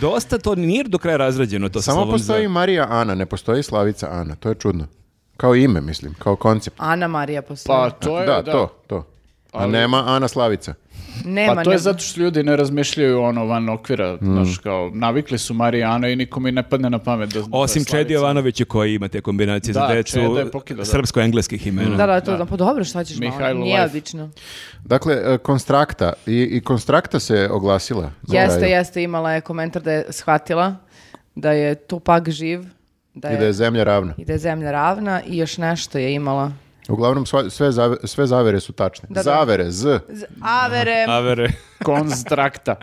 [SPEAKER 4] Dosta to nije do kraja razrađeno. To sa
[SPEAKER 2] samo
[SPEAKER 4] slovom
[SPEAKER 2] postoji
[SPEAKER 4] Z.
[SPEAKER 2] Marija Ana, ne postoji Slavica Ana, to je čudno. Kao ime, mislim, kao koncept.
[SPEAKER 1] Ana Marija postoji.
[SPEAKER 3] Pa to je,
[SPEAKER 2] da,
[SPEAKER 3] da.
[SPEAKER 2] to, to. A
[SPEAKER 3] Ali-
[SPEAKER 2] nema Ana Slavica.
[SPEAKER 1] Nema,
[SPEAKER 3] Pa to je
[SPEAKER 1] nema.
[SPEAKER 3] zato što ljudi ne razmišljaju ono van okvira, znaš, kao, navikli su Marijana i nikom i ne padne na pamet da...
[SPEAKER 4] Osim
[SPEAKER 3] da je
[SPEAKER 4] Čedi
[SPEAKER 3] Slavica.
[SPEAKER 4] Jovanovića koji ima te kombinacije za
[SPEAKER 3] Da,
[SPEAKER 4] decu
[SPEAKER 3] Čeda je pokidao, da.
[SPEAKER 4] srpsko-engleskih imena.
[SPEAKER 1] Da, da, to, pa dobro, šta ćeš malo,
[SPEAKER 3] Mihajlo
[SPEAKER 1] nije
[SPEAKER 3] Life.
[SPEAKER 1] odlično.
[SPEAKER 2] Dakle, e, Konstrakta, i, i Konstrakta se oglasila. na
[SPEAKER 1] Jeste,
[SPEAKER 2] kraju.
[SPEAKER 1] jeste, imala je komentar da je shvatila da je Tupak živ, da
[SPEAKER 2] I da je zemlja ravna.
[SPEAKER 1] i da je zemlja ravna i još nešto je imala.
[SPEAKER 2] Uglavnom, sva- sve, zave- sve zavere su tačne.
[SPEAKER 1] Da, da.
[SPEAKER 2] Zavere, z,
[SPEAKER 1] Z- Avere,
[SPEAKER 4] Avere.
[SPEAKER 3] Konstrakta.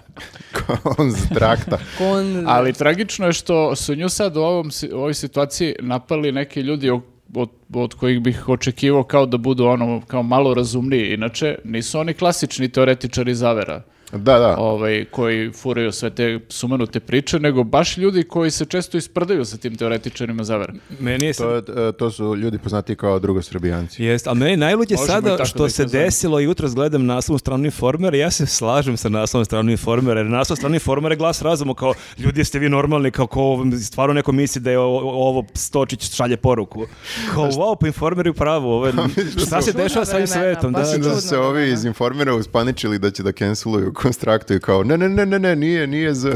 [SPEAKER 2] <laughs> konstrakta.
[SPEAKER 1] kon...
[SPEAKER 3] Ali tragično je što su nju sad u, ovom, si- u ovoj situaciji napali neki ljudi o- od, od kojih bih očekivao kao da budu ono kao malo razumniji. Inače, nisu oni klasični teoretičari zavera
[SPEAKER 2] Da, da.
[SPEAKER 3] ovaj, koji furaju sve te sumanute priče, nego baš ljudi koji se često isprdaju sa tim teoretičarima zavera.
[SPEAKER 4] Meni je sad-
[SPEAKER 2] To, je- e, to su ljudi poznati kao drugosrbijanci.
[SPEAKER 4] Jest, a meni najluđe
[SPEAKER 3] Možemo i
[SPEAKER 4] sada
[SPEAKER 3] tako da
[SPEAKER 4] što
[SPEAKER 3] ih
[SPEAKER 4] se
[SPEAKER 3] nazovemo.
[SPEAKER 4] desilo jutro gledam naslovnu stranu Informera, ja se slažem sa naslovnom stranom Informera, jer naslov stranu Informera je glas razuma kao ljudi jeste vi normalni, kao ko stvarno neko misli da je o- o- ovo stočić šalje poruku. Kao wow, po Informeru je pravo,
[SPEAKER 3] <laughs>
[SPEAKER 4] ovo
[SPEAKER 3] Pa
[SPEAKER 4] je, šta se
[SPEAKER 1] Čudna
[SPEAKER 4] dešava sa ovim
[SPEAKER 1] vremena,
[SPEAKER 4] svetom?
[SPEAKER 1] pa
[SPEAKER 4] Da,
[SPEAKER 1] su
[SPEAKER 2] Mislim da
[SPEAKER 4] da.
[SPEAKER 2] su
[SPEAKER 1] Čudno,
[SPEAKER 2] se
[SPEAKER 1] da,
[SPEAKER 2] ovi
[SPEAKER 1] da.
[SPEAKER 2] iz Informera uspaničili da će da canceluju konstraktu i kao ne, ne, ne, ne, ne, nije, nije
[SPEAKER 3] <laughs>
[SPEAKER 2] z.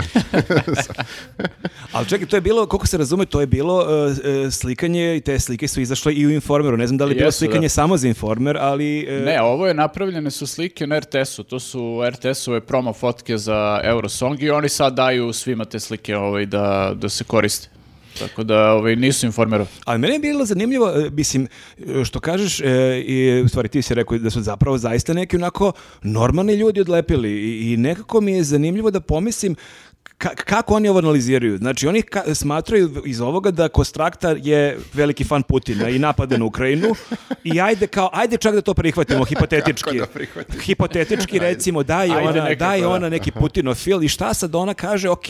[SPEAKER 4] Ali čekaj, to je bilo, koliko se razume, to je bilo e, e, slikanje i te slike su izašle i u Informeru. Ne znam da li je bilo
[SPEAKER 3] Jesu, da.
[SPEAKER 4] slikanje samo za Informer, ali... e,
[SPEAKER 3] Ne, ovo je napravljene su slike na RTS-u, to su RTS-ove promo fotke za Eurosong i oni sad daju svima te slike ovaj, da, da se koriste. Tako da ovaj, nisu informerali.
[SPEAKER 4] Ali meni je bilo zanimljivo, e, mislim, e, što kažeš, e, i, u stvari ti si rekao da su zapravo zaista neki onako normalni ljudi odlepili i, i nekako mi je zanimljivo da pomislim ka- kako oni ovo analiziraju. Znači, oni ka- smatraju iz ovoga da Kostrakta je veliki fan Putina i napada na Ukrajinu i ajde kao, ajde čak da to prihvatimo hipotetički.
[SPEAKER 2] da prihvatimo?
[SPEAKER 4] Hipotetički recimo, da je
[SPEAKER 3] Ajde
[SPEAKER 4] ona,
[SPEAKER 3] nekako,
[SPEAKER 4] da je
[SPEAKER 3] da.
[SPEAKER 4] ona neki putinofil i šta sad ona kaže, ok,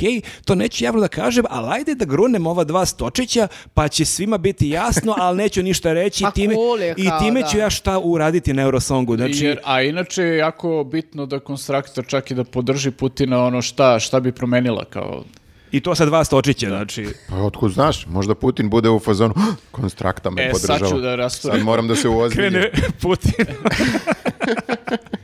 [SPEAKER 4] to neću javno da kažem, ali ajde da grunem ova dva stočića, pa će svima biti jasno, ali neću ništa reći
[SPEAKER 1] Pa
[SPEAKER 4] i time,
[SPEAKER 1] cool je
[SPEAKER 4] i
[SPEAKER 1] kao,
[SPEAKER 4] time
[SPEAKER 1] da.
[SPEAKER 4] ću ja šta uraditi na Eurosongu. Znači,
[SPEAKER 3] Jer, a inače je jako bitno da konstraktor čak i da podrži Putina ono šta, šta bi promenila kao...
[SPEAKER 4] I to sa dva stočića, znači.
[SPEAKER 2] Pa otkud znaš, možda Putin bude u fazonu "Ah, konstrakta me
[SPEAKER 3] E, sad
[SPEAKER 2] podržava.
[SPEAKER 3] ću da rasturim.
[SPEAKER 2] Sad moram da se uozbiljim.
[SPEAKER 3] E,
[SPEAKER 4] Krene Putin. <laughs>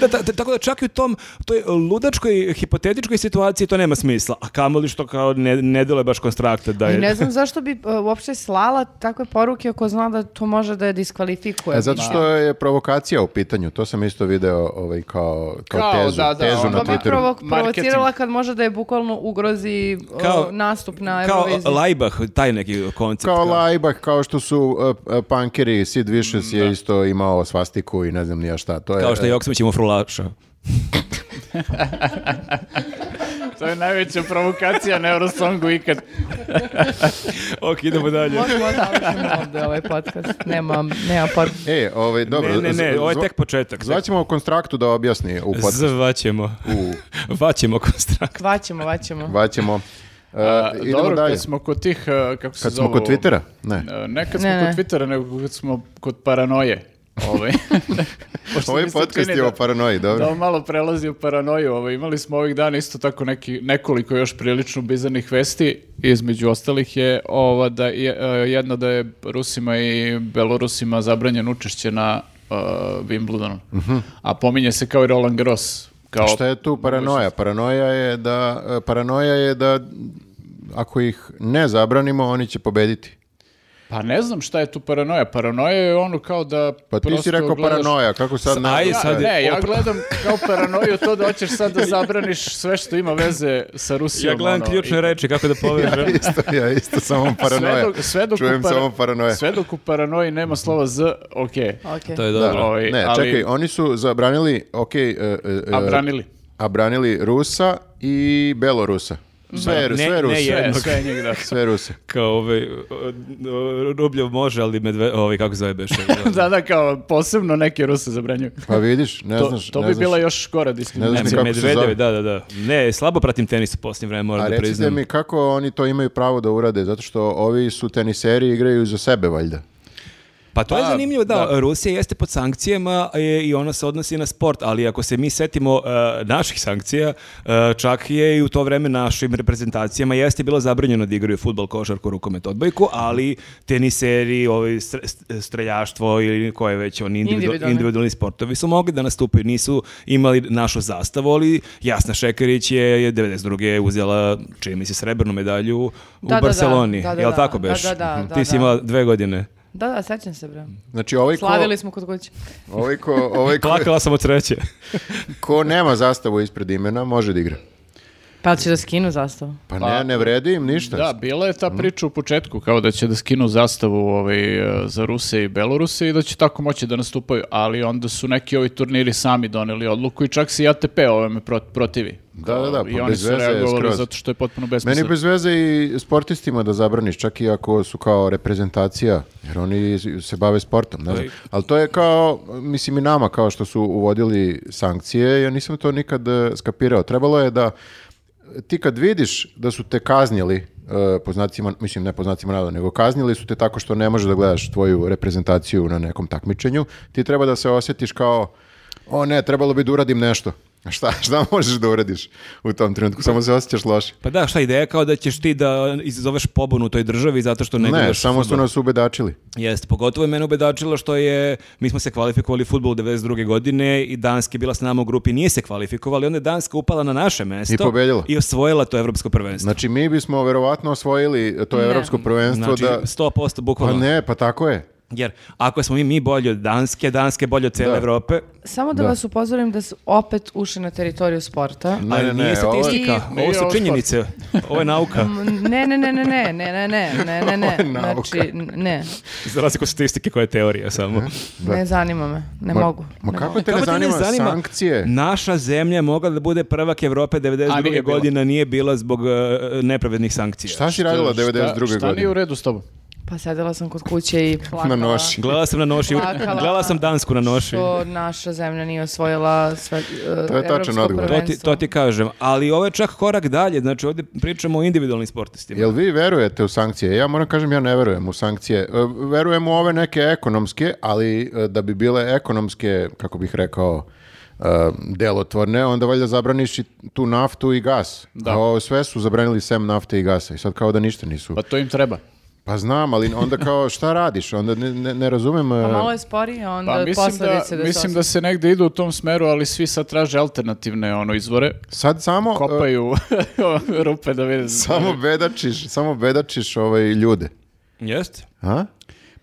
[SPEAKER 4] da, ta- ta- tako da čak i u tom toj ludačkoj, hipotetičkoj situaciji to nema smisla. A kamoli što kao ne, ne deluje baš konstrakta da
[SPEAKER 1] I
[SPEAKER 4] je...
[SPEAKER 1] ne znam zašto bi e, uopšte slala takve poruke ako zna da to može da je diskvalifikuje.
[SPEAKER 2] E, zato što je provokacija u pitanju, to sam isto video ovaj, kao, kao,
[SPEAKER 3] Kao,
[SPEAKER 2] tezu,
[SPEAKER 3] da, da,
[SPEAKER 2] tezu
[SPEAKER 3] ono-
[SPEAKER 1] Pa
[SPEAKER 2] na
[SPEAKER 1] bi
[SPEAKER 2] Twitteru.
[SPEAKER 1] provo provocirala
[SPEAKER 3] Marketing.
[SPEAKER 1] kad može da je bukvalno ugrozi e,
[SPEAKER 4] Kao-
[SPEAKER 1] nastup na
[SPEAKER 4] Kao
[SPEAKER 1] Euroviziji.
[SPEAKER 4] Laibach, taj neki koncept.
[SPEAKER 2] Kao Laibach, kao što su uh, uh, punkeri, Sid Vicious je isto imao svastiku i ne znam ni ja šta. To je,
[SPEAKER 4] Kao što je
[SPEAKER 2] uh,
[SPEAKER 4] Joksimić imao frulaša.
[SPEAKER 3] <laughs> To je najveća provokacija na Eurosongu ikad.
[SPEAKER 4] ok, idemo dalje.
[SPEAKER 1] Možemo da završimo ovde ovaj podcast. Nema, nema par...
[SPEAKER 2] E, ovaj, dobro.
[SPEAKER 4] Ne, ne, ne,
[SPEAKER 2] z-
[SPEAKER 4] ovo je
[SPEAKER 2] zva-
[SPEAKER 4] tek početak.
[SPEAKER 2] Zvaćemo konstraktu da objasni u podcastu.
[SPEAKER 4] Zvaćemo. <laughs> Vaćemo konstrakt.
[SPEAKER 1] Vaćemo, vaćemo.
[SPEAKER 2] Vaćemo. Uh,
[SPEAKER 3] A,
[SPEAKER 2] idemo
[SPEAKER 3] dobro,
[SPEAKER 2] dalje.
[SPEAKER 3] kad smo kod tih, uh, kako se
[SPEAKER 2] Kad smo
[SPEAKER 3] zovu-
[SPEAKER 2] kod Twittera? Ne.
[SPEAKER 3] Uh, Ne kad smo
[SPEAKER 1] Ne,
[SPEAKER 3] kod
[SPEAKER 1] ne.
[SPEAKER 3] Twittera, nego kad smo kod paranoje.
[SPEAKER 2] <laughs>
[SPEAKER 3] Ovaj.
[SPEAKER 2] <laughs>
[SPEAKER 3] Pošto
[SPEAKER 2] Ovaj
[SPEAKER 3] mi se
[SPEAKER 2] podcast
[SPEAKER 3] čini
[SPEAKER 2] je o
[SPEAKER 3] da-
[SPEAKER 2] paranoji, dobro.
[SPEAKER 3] Da on malo prelazi u paranoju. Ovaj, imali smo ovih dana isto tako neki, nekoliko još prilično bizarnih vesti. Između ostalih je ova da je, e, jedna da je Rusima i Belorusima zabranjen učešće na e, Wimbledonu. A pominje se kao i Roland Garros. Kao,
[SPEAKER 2] Mhm. Pa Šta je tu paranoja? Paranoja je da, e, paranoja je da ako ih ne zabranimo, oni će pobediti.
[SPEAKER 3] Pa ne znam šta je tu paranoja. Paranoja je ono kao da...
[SPEAKER 2] Pa ti si
[SPEAKER 3] prosto
[SPEAKER 2] rekao
[SPEAKER 3] gledaš-
[SPEAKER 2] paranoja, kako sad... ne-
[SPEAKER 4] Ajde,
[SPEAKER 3] Ja,
[SPEAKER 4] sad je-
[SPEAKER 3] ne, ja gledam kao paranoju to da hoćeš sad
[SPEAKER 4] <laughs>
[SPEAKER 3] da zabraniš sve što ima veze sa Rusijom.
[SPEAKER 4] Ja gledam
[SPEAKER 3] ono,
[SPEAKER 4] ključne
[SPEAKER 3] i-
[SPEAKER 4] reči, kako da
[SPEAKER 2] Ja
[SPEAKER 4] <laughs> povežem.
[SPEAKER 2] <laughs> isto, ja isto, samo
[SPEAKER 3] Sve
[SPEAKER 2] paranoja.
[SPEAKER 3] dok, sve dok u
[SPEAKER 2] Čujem
[SPEAKER 3] para-
[SPEAKER 2] samo paranoja.
[SPEAKER 3] Sve dok u paranoji nema slova Z, okej.
[SPEAKER 1] Ok.
[SPEAKER 4] to je
[SPEAKER 2] Da,
[SPEAKER 4] dobro.
[SPEAKER 3] Ovaj,
[SPEAKER 2] ne,
[SPEAKER 3] ali-
[SPEAKER 2] čekaj, oni su zabranili, ok, e,
[SPEAKER 3] A branili.
[SPEAKER 2] a branili Rusa i Belorusa. Sve,
[SPEAKER 4] Ne-
[SPEAKER 2] sve
[SPEAKER 4] ne
[SPEAKER 2] Ruse.
[SPEAKER 4] jednog.
[SPEAKER 3] Sve, sve njih, da. <laughs>
[SPEAKER 2] Sve Ruse.
[SPEAKER 4] Kao ovaj, o, o, Rubljev može, ali medve, ovaj, kako se
[SPEAKER 2] <laughs>
[SPEAKER 4] zove Beše.
[SPEAKER 3] da, da, kao posebno neke Ruse zabranjuju.
[SPEAKER 2] Pa vidiš, ne
[SPEAKER 3] To,
[SPEAKER 2] znaš.
[SPEAKER 3] to
[SPEAKER 2] ne
[SPEAKER 3] bi
[SPEAKER 2] znaš.
[SPEAKER 3] bila još gora diskriminacija.
[SPEAKER 2] Ne znam
[SPEAKER 4] Ne,
[SPEAKER 2] kako se zove.
[SPEAKER 4] Znači, Medvedev, da, da, da. Ne, slabo pratim tenis u posljednje vreme,
[SPEAKER 2] A
[SPEAKER 4] moram da
[SPEAKER 2] recite
[SPEAKER 4] priznam.
[SPEAKER 2] mi kako oni to imaju pravo da urade, zato što ovi su teniseri igraju za sebe valjda.
[SPEAKER 4] Pa to je
[SPEAKER 3] Pa,
[SPEAKER 4] zanimljivo, da,
[SPEAKER 3] da.
[SPEAKER 4] Rusija jeste pod sankcijama e, i ona se odnosi na sport, ali ako se mi setimo e, naših sankcija, e, čak je i u to vreme našim reprezentacijama jeste bilo zabranjeno da igraju futbol, košarku, rukomet, odbojku, ali teniseri, ovaj, str- st- streljaštvo ili koje već oni individu-
[SPEAKER 1] Individualni.
[SPEAKER 4] individualni sportovi su mogli da nastupaju, nisu imali našu zastavu, ali Jasna Šekerić je, je 92. uzela, čini mi se, srebrnu medalju u
[SPEAKER 1] Da, da, da.
[SPEAKER 4] Barceloni,
[SPEAKER 1] Da, da,
[SPEAKER 4] jel
[SPEAKER 1] da.
[SPEAKER 4] tako
[SPEAKER 1] Da,
[SPEAKER 4] Beš?
[SPEAKER 1] da, da,
[SPEAKER 4] Mhm.
[SPEAKER 1] da,
[SPEAKER 4] Ti si
[SPEAKER 1] da.
[SPEAKER 4] imala dve godine.
[SPEAKER 1] Da, da, sećam se, bre.
[SPEAKER 2] Znači ovaj ko,
[SPEAKER 1] Slavili smo kod kuće.
[SPEAKER 2] ovaj ko, ovaj ko,
[SPEAKER 4] <laughs> Plakala sam od sreće.
[SPEAKER 2] ko nema zastavu ispred imena može da igra.
[SPEAKER 1] Pa li će da skinu zastavu?
[SPEAKER 2] Pa ne, ne vredi im ništa.
[SPEAKER 3] Da, bila je ta
[SPEAKER 2] Mhm.
[SPEAKER 3] priča u početku, kao da će da skinu zastavu ovaj, e, za Ruse i Beloruse i da će tako moći da nastupaju, ali onda su neki ovi turniri sami doneli odluku i čak se i ATP ovome prot- protivi.
[SPEAKER 2] Da, da, da, pa
[SPEAKER 3] I oni
[SPEAKER 2] bez
[SPEAKER 3] su
[SPEAKER 2] veze je
[SPEAKER 3] reagovali
[SPEAKER 2] skroz.
[SPEAKER 3] zato što je potpuno
[SPEAKER 2] Meni
[SPEAKER 3] besmisleno.
[SPEAKER 2] bez veze i sportistima da zabraniš, čak i ako su kao reprezentacija, jer oni se bave sportom, ne znam. Ali to je kao, mislim i nama, kao što su uvodili sankcije, ja nisam to nikad eh, skapirao. Trebalo je da ti kad vidiš da su te kaznili, eh, po znacima, mislim ne po znacima navoda, nego kaznili su te tako što ne možeš da gledaš tvoju reprezentaciju na nekom takmičenju, ti treba da se osjetiš kao, o ne, trebalo bi da uradim nešto. <laughs> Šta, šta možeš da uradiš u tom trenutku? Samo se osjećaš loše.
[SPEAKER 4] Pa da, šta ideja kao da ćeš ti da izazoveš pobunu u toj državi zato što ne,
[SPEAKER 2] Ne,
[SPEAKER 4] gledaš
[SPEAKER 2] samo su
[SPEAKER 4] fudbal.
[SPEAKER 2] nas ubedačili.
[SPEAKER 4] Jeste, pogotovo je mene ubedačilo što je, mi smo se kvalifikovali u futbolu 92. godine i Danska je bila s nama u grupi, nije se kvalifikovala i onda je Danska upala na naše mesto.
[SPEAKER 2] I pobedila.
[SPEAKER 4] I osvojila to evropsko prvenstvo.
[SPEAKER 2] Znači, mi bismo verovatno osvojili to evropsko prvenstvo
[SPEAKER 4] Znači,
[SPEAKER 2] da...
[SPEAKER 4] 100%
[SPEAKER 2] Pa
[SPEAKER 4] bukvalno.
[SPEAKER 2] ne, pa tako je.
[SPEAKER 4] Jer ako smo mi, mi bolji od Danske, Danske je bolje od cele
[SPEAKER 2] Da.
[SPEAKER 4] Evrope,
[SPEAKER 1] Samo da, vas upozorim da su opet ušli na teritoriju sporta.
[SPEAKER 2] Ne,
[SPEAKER 4] ali
[SPEAKER 2] ne,
[SPEAKER 4] nije
[SPEAKER 2] ne, ovo je-
[SPEAKER 4] statistika, ovo,
[SPEAKER 3] Nije ovo
[SPEAKER 4] su
[SPEAKER 3] sport.
[SPEAKER 4] činjenice, ovo je nauka,
[SPEAKER 1] M, Ne, ne, ne, ne, ne, ne, ne, ne, ne, ne,
[SPEAKER 2] <laughs> Ovo je
[SPEAKER 1] ne.
[SPEAKER 2] nauka.
[SPEAKER 1] Znači, n- ne,
[SPEAKER 4] <laughs> za razliku od statistike koja je teorija samo.
[SPEAKER 1] ne zanima me, ne
[SPEAKER 2] Ma-
[SPEAKER 1] mogu.
[SPEAKER 2] Ma
[SPEAKER 1] ne
[SPEAKER 2] kako
[SPEAKER 1] mogu.
[SPEAKER 2] te ne
[SPEAKER 4] Kako
[SPEAKER 2] zanima, sankcije?
[SPEAKER 4] Naša zemlja je mogla da bude prvak Evrope
[SPEAKER 3] A nije
[SPEAKER 4] 92.
[SPEAKER 3] bila.
[SPEAKER 4] godine, nije bila zbog e, nepravednih sankcija.
[SPEAKER 2] Šta si radila
[SPEAKER 3] Šta-
[SPEAKER 2] 92.
[SPEAKER 3] Šta nije u
[SPEAKER 2] godine?
[SPEAKER 3] redu s tobom?
[SPEAKER 1] Pa sedela sam kod kuće i plakala.
[SPEAKER 2] Na noši.
[SPEAKER 4] Gledala sam na noši,
[SPEAKER 1] Plakala.
[SPEAKER 4] gledala sam Dansku na noši.
[SPEAKER 1] Što naša zemlja nije osvojila sve, e,
[SPEAKER 2] To je tačan odgovor.
[SPEAKER 4] To ti, to ti kažem, ali ovo je čak korak dalje, znači ovdje pričamo o individualnim sportistima.
[SPEAKER 2] Jel vi verujete u sankcije? Ja moram kažem, ja ne verujem u sankcije. E, Verujem u ove neke ekonomske, ali e, da bi bile ekonomske, kako bih rekao, e, delotvorne, onda valjda zabraniš i tu naftu i gas.
[SPEAKER 3] Da.
[SPEAKER 2] A ovo sve su zabranili sem nafte i gasa i sad kao da ništa nisu.
[SPEAKER 3] Pa to im treba.
[SPEAKER 2] Pa znam, ali onda kao šta radiš? Onda ne, ne, ne razumem... e,
[SPEAKER 1] Pa malo je sporije, onda
[SPEAKER 3] Pa mislim, da,
[SPEAKER 1] posledice da, se
[SPEAKER 3] mislim da se negde idu u tom smeru, ali svi sad traže alternativne ono, izvore.
[SPEAKER 2] Sad samo... e,
[SPEAKER 3] Kopaju <laughs> rupe da vide.
[SPEAKER 2] Samo bedačiš, samo bedačiš ovaj ljude.
[SPEAKER 4] Jeste?
[SPEAKER 2] A?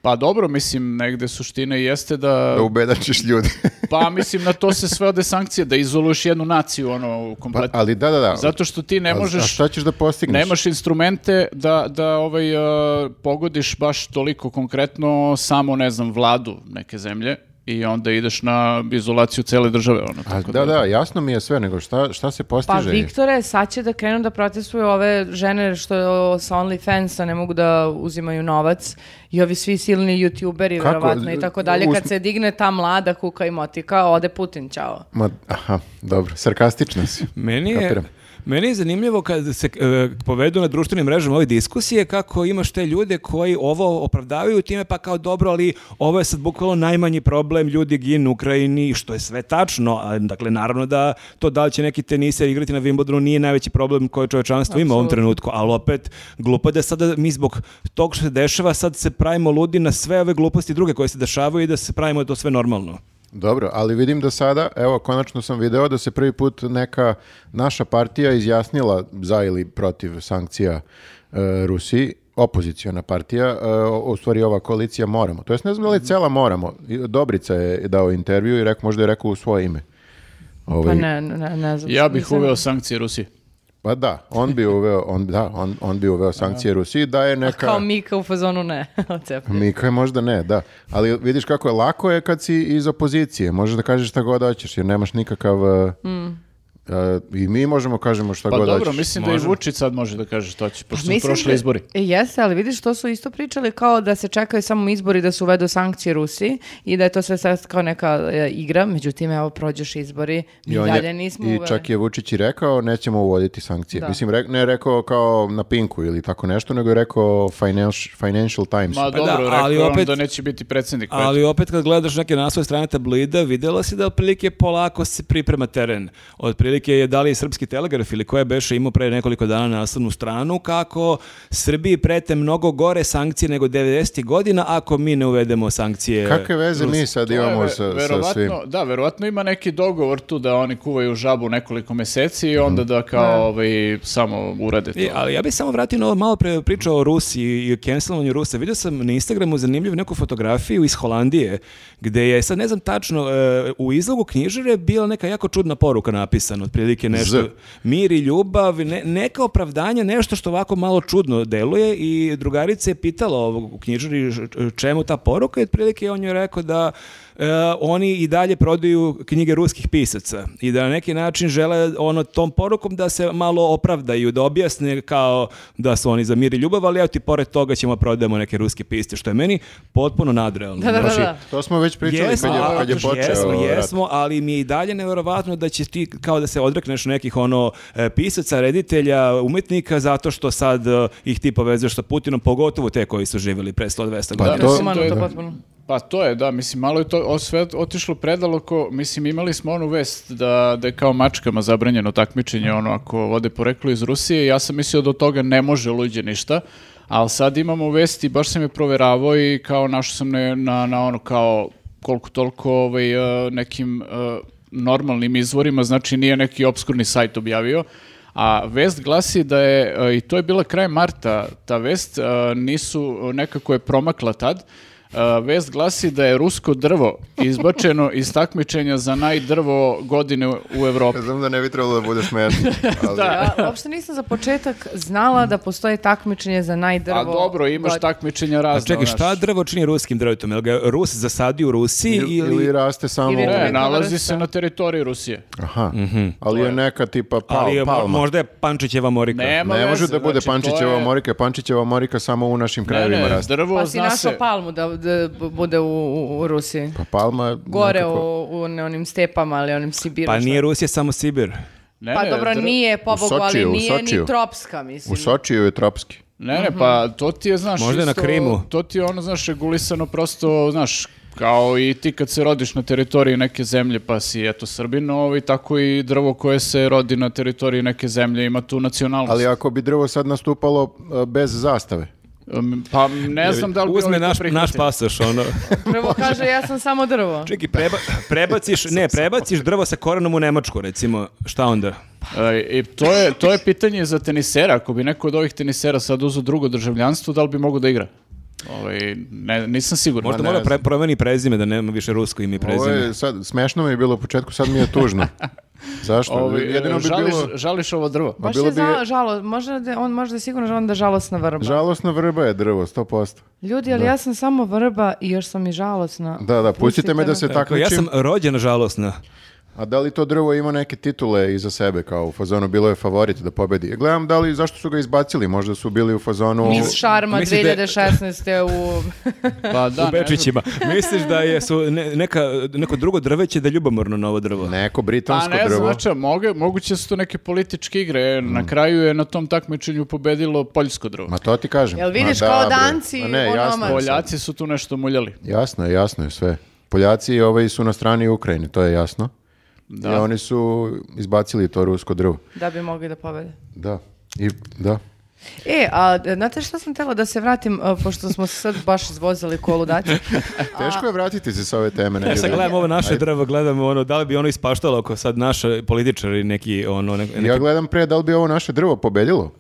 [SPEAKER 3] Pa dobro, mislim, negde suština i jeste da...
[SPEAKER 2] Da ubedačiš
[SPEAKER 3] <laughs>
[SPEAKER 2] ljude.
[SPEAKER 3] Pa mislim, na to se sve ode sankcije, da izoluješ jednu naciju, ono, u
[SPEAKER 2] Pa,
[SPEAKER 3] kompletu.
[SPEAKER 2] ali da, da, da.
[SPEAKER 3] Zato što ti ne
[SPEAKER 2] A- A
[SPEAKER 3] možeš...
[SPEAKER 2] šta ćeš da postigneš?
[SPEAKER 3] Nemaš instrumente da, da ovaj, uh, pogodiš baš toliko konkretno samo, ne znam, vladu neke zemlje i onda ideš na izolaciju cele države. Ono,
[SPEAKER 2] A,
[SPEAKER 3] tako
[SPEAKER 2] da, da, jasno mi je sve, nego šta, šta se
[SPEAKER 1] Pa
[SPEAKER 2] postiže?
[SPEAKER 1] Viktore, sad će da krenu da protestuju ove žene što sa OnlyFansa ne mogu da uzimaju novac i ovi svi silni youtuberi
[SPEAKER 2] Kako?
[SPEAKER 1] verovatno i tako dalje. Kad
[SPEAKER 2] Usm-
[SPEAKER 1] se digne ta mlada kuka i motika, ode Putin, čao.
[SPEAKER 2] Ma, aha, dobro, sarkastična si.
[SPEAKER 3] <laughs>
[SPEAKER 4] Meni je,
[SPEAKER 2] Kapiram.
[SPEAKER 4] meni je zanimljivo kad se e, povedu na društvenim mrežama ove diskusije kako imaš te ljude koji ovo opravdavaju time pa kao dobro, ali ovo je sad bukvalno najmanji problem, ljudi ginu u Ukrajini, što je sve tačno. a, Dakle, naravno da to da li će neki teniser igrati na Wimbledonu nije najveći problem koje čovečanstvo ima u ovom trenutku, ali opet glupo je da sada mi zbog tog što se dešava sad se pravimo ludi na sve ove gluposti druge koje se dešavaju i da se pravimo da je to sve normalno.
[SPEAKER 2] Dobro, ali vidim da sada, evo, konačno sam video da se prvi put neka naša partija izjasnila za ili protiv sankcija e, Rusiji opoziciona partija, uh, u stvari ova koalicija Moramo. To jest ne znam da
[SPEAKER 1] Mhm.
[SPEAKER 2] li je cela Moramo. I Dobrica je dao intervju i rekao, možda je rekao u svoje ime.
[SPEAKER 1] Pa
[SPEAKER 2] Ovaj,
[SPEAKER 1] ne, ne, ne znam.
[SPEAKER 3] Ja bih
[SPEAKER 1] Nisam-
[SPEAKER 3] uveo sankcije Rusiji.
[SPEAKER 2] pa da, on bi uveo, on, da, on, on bi
[SPEAKER 1] <laughs>
[SPEAKER 2] uveo sankcije Rusiji, da je neka...
[SPEAKER 1] Kao Mika u fazonu ne. <laughs> Ocepa.
[SPEAKER 2] Mika je Pa možda ne, da. Ali vidiš kako je lako je kad si iz opozicije. Možeš da kažeš šta god hoćeš, jer nemaš nikakav... uh, uh, I mi možemo kažemo šta
[SPEAKER 3] Pa
[SPEAKER 2] god
[SPEAKER 3] dobro,
[SPEAKER 2] hoćeš.
[SPEAKER 3] mislim da i Vučić sad može da kaže što će,
[SPEAKER 4] Pa
[SPEAKER 3] pošto su
[SPEAKER 1] Mislim
[SPEAKER 3] prošli
[SPEAKER 1] da-
[SPEAKER 3] izbori.
[SPEAKER 1] E, Jeste, ali vidiš, to su isto pričali kao da se čekaju samo izbori da se uvedu sankcije Rusiji i da je to sve sad kao neka e, igra, međutim, evo, prođeš izbori, mi
[SPEAKER 2] on
[SPEAKER 1] dalje
[SPEAKER 2] je-
[SPEAKER 1] nismo
[SPEAKER 2] I
[SPEAKER 1] uveli.
[SPEAKER 2] čak je Vučić i rekao, nećemo uvoditi sankcije.
[SPEAKER 1] Da.
[SPEAKER 2] Mislim, re- ne rekao kao na Pinku ili tako nešto, nego je rekao Financial, financial Times.
[SPEAKER 3] Ma dobro,
[SPEAKER 4] Pa da,
[SPEAKER 3] rekao
[SPEAKER 4] ali
[SPEAKER 3] je on
[SPEAKER 4] opet-
[SPEAKER 3] da neće biti predsjednik. pa
[SPEAKER 4] Ali opet kad gledaš neke naslove strane tablida, videla si da otprilike polako se priprema teren. Otprilike je da li je srpski telegraf ili koja beše imao pre nekoliko dana na naslovnu stranu kako Srbiji prete mnogo gore sankcije nego 90. godina ako mi ne uvedemo sankcije.
[SPEAKER 2] Kakve veze mi sad
[SPEAKER 3] To je
[SPEAKER 2] imamo
[SPEAKER 3] ve-
[SPEAKER 2] sa, sa
[SPEAKER 3] verovatno-
[SPEAKER 2] svim?
[SPEAKER 3] Da, verovatno ima neki dogovor tu da oni kuvaju žabu nekoliko meseci i onda
[SPEAKER 2] Mhm.
[SPEAKER 3] da kao ovaj, samo urade to.
[SPEAKER 4] E, ali ja bih samo vratio na ovo malo pre pričao o Rusiji i o cancelovanju Rusa. Vidio sam na Instagramu zanimljivu neku fotografiju iz Holandije, gde je, sad ne znam tačno, e, u izlogu knjižare bila neka jako čudna poruka napisana, otprilike nešto.
[SPEAKER 2] Z.
[SPEAKER 4] Mir i ljubav, ne, neka opravdanja, nešto što ovako malo čudno deluje i drugarica je pitala ovog u knjižari ž- čemu ta poruka i otprilike on je rekao da e, oni i dalje prodaju knjige ruskih pisaca i da na neki način žele ono tom porukom da se malo opravdaju, da objasne kao da su oni za mir i ljubav, ali evo ti pored toga ćemo prodajemo neke ruske pisce, što je meni potpuno nadrealno.
[SPEAKER 1] Da, da, da,
[SPEAKER 4] Znači,
[SPEAKER 1] da.
[SPEAKER 2] To smo već pričali kad, je,
[SPEAKER 4] a-
[SPEAKER 2] kad je
[SPEAKER 4] jesmo,
[SPEAKER 2] počeo rat.
[SPEAKER 4] jesmo, ali mi je i dalje nevjerovatno da će ti kao da se odrekneš nekih ono e, pisaca, reditelja, umetnika zato što sad e, ih ti povezuješ sa Putinom, pogotovo te koji su živjeli pre 100-200
[SPEAKER 2] Pa
[SPEAKER 4] godina.
[SPEAKER 2] to-
[SPEAKER 1] Mislim, ono,
[SPEAKER 3] to je-
[SPEAKER 1] to potpuno.
[SPEAKER 3] Pa to je, da, mislim, malo je to o, sve otišlo predaleko, mislim, imali smo onu vest da, da je kao mačkama zabranjeno takmičenje, ono, ako vode poreklo iz Rusije, ja sam mislio da od toga ne može luđe ništa, ali sad imamo vest i baš sam je proveravao i kao našao sam ne- na, na ono, kao koliko toliko ovaj, e, nekim e, normalnim izvorima, znači nije neki obskurni sajt objavio, a vest glasi da je, e, i to je bila kraj marta, ta vest, e, nisu, nekako je promakla tad, a, vest glasi da je rusko drvo izbačeno iz takmičenja za najdrvo godine u Evropi.
[SPEAKER 2] Znam da ne bi trebalo da bude
[SPEAKER 3] <laughs>
[SPEAKER 2] smešno. Ali... da.
[SPEAKER 1] Ja uopšte nisam za početak znala da postoje takmičenje za najdrvo. Pa
[SPEAKER 3] A dobro, imaš
[SPEAKER 1] god-
[SPEAKER 3] takmičenja razno.
[SPEAKER 4] Čekaj,
[SPEAKER 3] znaš.
[SPEAKER 4] šta drvo čini ruskim drvetom? Jel ga Rus zasadi u Rusiji
[SPEAKER 2] Ili,
[SPEAKER 4] ili...
[SPEAKER 2] ili raste samo...
[SPEAKER 1] Ili
[SPEAKER 3] Ne,
[SPEAKER 1] Neka
[SPEAKER 3] nalazi
[SPEAKER 1] vrsta.
[SPEAKER 3] se na teritoriji Rusije.
[SPEAKER 2] Aha, ali je neka tipa pal,
[SPEAKER 4] ali je mo-
[SPEAKER 2] palma.
[SPEAKER 4] možda je Pančićeva morika.
[SPEAKER 3] Nema
[SPEAKER 2] ne može
[SPEAKER 3] veze,
[SPEAKER 2] da bude
[SPEAKER 3] znači, to
[SPEAKER 2] Pančićeva
[SPEAKER 3] je-
[SPEAKER 2] morika. Pančićeva morika samo u našim
[SPEAKER 3] Ne,
[SPEAKER 2] krajevima
[SPEAKER 3] ne,
[SPEAKER 2] raste.
[SPEAKER 3] drvo
[SPEAKER 1] Pa si
[SPEAKER 3] zna
[SPEAKER 1] našao
[SPEAKER 3] se.
[SPEAKER 1] palmu da, da b- bude u, u, u Rusiji.
[SPEAKER 2] Pa palma... je
[SPEAKER 1] Gore
[SPEAKER 2] nekako-
[SPEAKER 1] u, u ne- onim stepama, ali onim Sibiru.
[SPEAKER 4] Pa
[SPEAKER 1] šta-
[SPEAKER 4] nije Rusija samo Sibir.
[SPEAKER 3] Ne,
[SPEAKER 1] Pa
[SPEAKER 3] ne,
[SPEAKER 1] dobro,
[SPEAKER 3] drvo-
[SPEAKER 1] nije, pobogu, ali
[SPEAKER 2] Sočiju, u
[SPEAKER 1] nije ni
[SPEAKER 2] Sočiju.
[SPEAKER 1] tropska, mislim.
[SPEAKER 2] U Sočiju je tropski.
[SPEAKER 3] Ne, ne, pa
[SPEAKER 1] Mhm.
[SPEAKER 3] to ti je, znaš,
[SPEAKER 4] Možda je na
[SPEAKER 3] isto-
[SPEAKER 4] Krimu.
[SPEAKER 3] To ti je ono, znaš, regulisano prosto, znaš, kao i ti kad se rodiš na teritoriji neke zemlje, pa si, eto, Srbin, ovaj, tako i drvo koje se rodi na teritoriji neke zemlje ima tu nacionalnost.
[SPEAKER 2] Ali ako bi drvo sad nastupalo e, bez zastave,
[SPEAKER 3] Um, Pa ne znam da li bi
[SPEAKER 4] Uzme
[SPEAKER 3] oni to
[SPEAKER 4] naš,
[SPEAKER 3] prihvatili.
[SPEAKER 4] naš pasoš, ono.
[SPEAKER 2] <laughs>
[SPEAKER 1] Prvo kaže, ja sam samo drvo.
[SPEAKER 4] Čekaj, preba- prebaciš, ne, prebaciš drvo sa korenom u Nemačku, recimo. Šta onda?
[SPEAKER 3] E, I to je, to je pitanje za tenisera. Ako bi neko od ovih tenisera sad uzeo drugo državljanstvo, da li bi mogu da igra? Ovaj, ne, nisam siguran.
[SPEAKER 4] Možda
[SPEAKER 2] ne
[SPEAKER 4] mora pre,
[SPEAKER 2] znam.
[SPEAKER 4] promeni prezime da nema više rusko ime i
[SPEAKER 2] ovo
[SPEAKER 4] prezime.
[SPEAKER 2] je sad, smešno mi je bilo u početku, sad mi je tužno. Zašto?
[SPEAKER 3] Ovaj,
[SPEAKER 2] Jedino bi
[SPEAKER 3] žališ,
[SPEAKER 2] bilo...
[SPEAKER 3] žališ ovo drvo.
[SPEAKER 2] Ma
[SPEAKER 1] Baš
[SPEAKER 2] Pa bilo
[SPEAKER 1] je
[SPEAKER 2] bi-
[SPEAKER 1] za- žalo, možda da, on možda je sigurno žalan da je žalosna vrba.
[SPEAKER 2] Žalosna vrba je drvo, 100%.
[SPEAKER 1] Ljudi, ali ja sam samo vrba i još sam i žalosna.
[SPEAKER 2] Da, da, pustite me da se
[SPEAKER 4] Dakle, ja
[SPEAKER 2] takmičim.
[SPEAKER 4] sam rođena žalosna.
[SPEAKER 2] A da li to drvo ima neke titule iza sebe, kao u fazonu bilo je favorit da pobedi? Gledam da li, zašto su ga izbacili, možda su bili u fazonu...
[SPEAKER 1] Miss Šarma
[SPEAKER 4] Mislim da je-
[SPEAKER 1] 2016. u... <laughs>
[SPEAKER 3] Pa da, ne
[SPEAKER 4] u
[SPEAKER 3] znam.
[SPEAKER 4] Bečićima. Misliš da je su ne- neka, neko drugo drveće da je ljubomorno na ovo drvo?
[SPEAKER 2] Neko
[SPEAKER 3] Pa
[SPEAKER 2] britansko
[SPEAKER 3] ne znam,
[SPEAKER 2] drvo.
[SPEAKER 3] znači, moge- moguće su to neke političke igre. E,
[SPEAKER 4] Mm.
[SPEAKER 3] Na kraju je na tom takmičenju pobedilo poljsko drvo.
[SPEAKER 2] Ma to ti kažem.
[SPEAKER 1] Jel
[SPEAKER 2] Ma
[SPEAKER 1] vidiš
[SPEAKER 2] da,
[SPEAKER 1] kao
[SPEAKER 2] bre.
[SPEAKER 1] Danci,
[SPEAKER 2] Ma ne,
[SPEAKER 1] ono,
[SPEAKER 2] jasno,
[SPEAKER 1] ma-
[SPEAKER 2] je sad.
[SPEAKER 3] Poljaci su tu nešto muljali.
[SPEAKER 2] jasno je, jasno je sve. Poljaci ovaj, su na strani Ukrajine, to je jasno.
[SPEAKER 3] Da.
[SPEAKER 2] I oni su izbacili to rusko drvo.
[SPEAKER 1] da bi mogli da pobede.
[SPEAKER 2] Da. I, da.
[SPEAKER 1] E, a e, znate što sam htjela da se vratim, e, pošto smo se sad baš izvozili kolu daci.
[SPEAKER 2] Teško je vratiti se sa ove teme.
[SPEAKER 4] Ja
[SPEAKER 2] negdje
[SPEAKER 4] sad
[SPEAKER 2] da-
[SPEAKER 4] gledam ovo naše drvo, gledam ono, da li bi ono ispaštalo ako sad naši političari neki, ono, ne- neki,
[SPEAKER 2] Ja gledam pre da li bi ovo naše drvo pobedilo.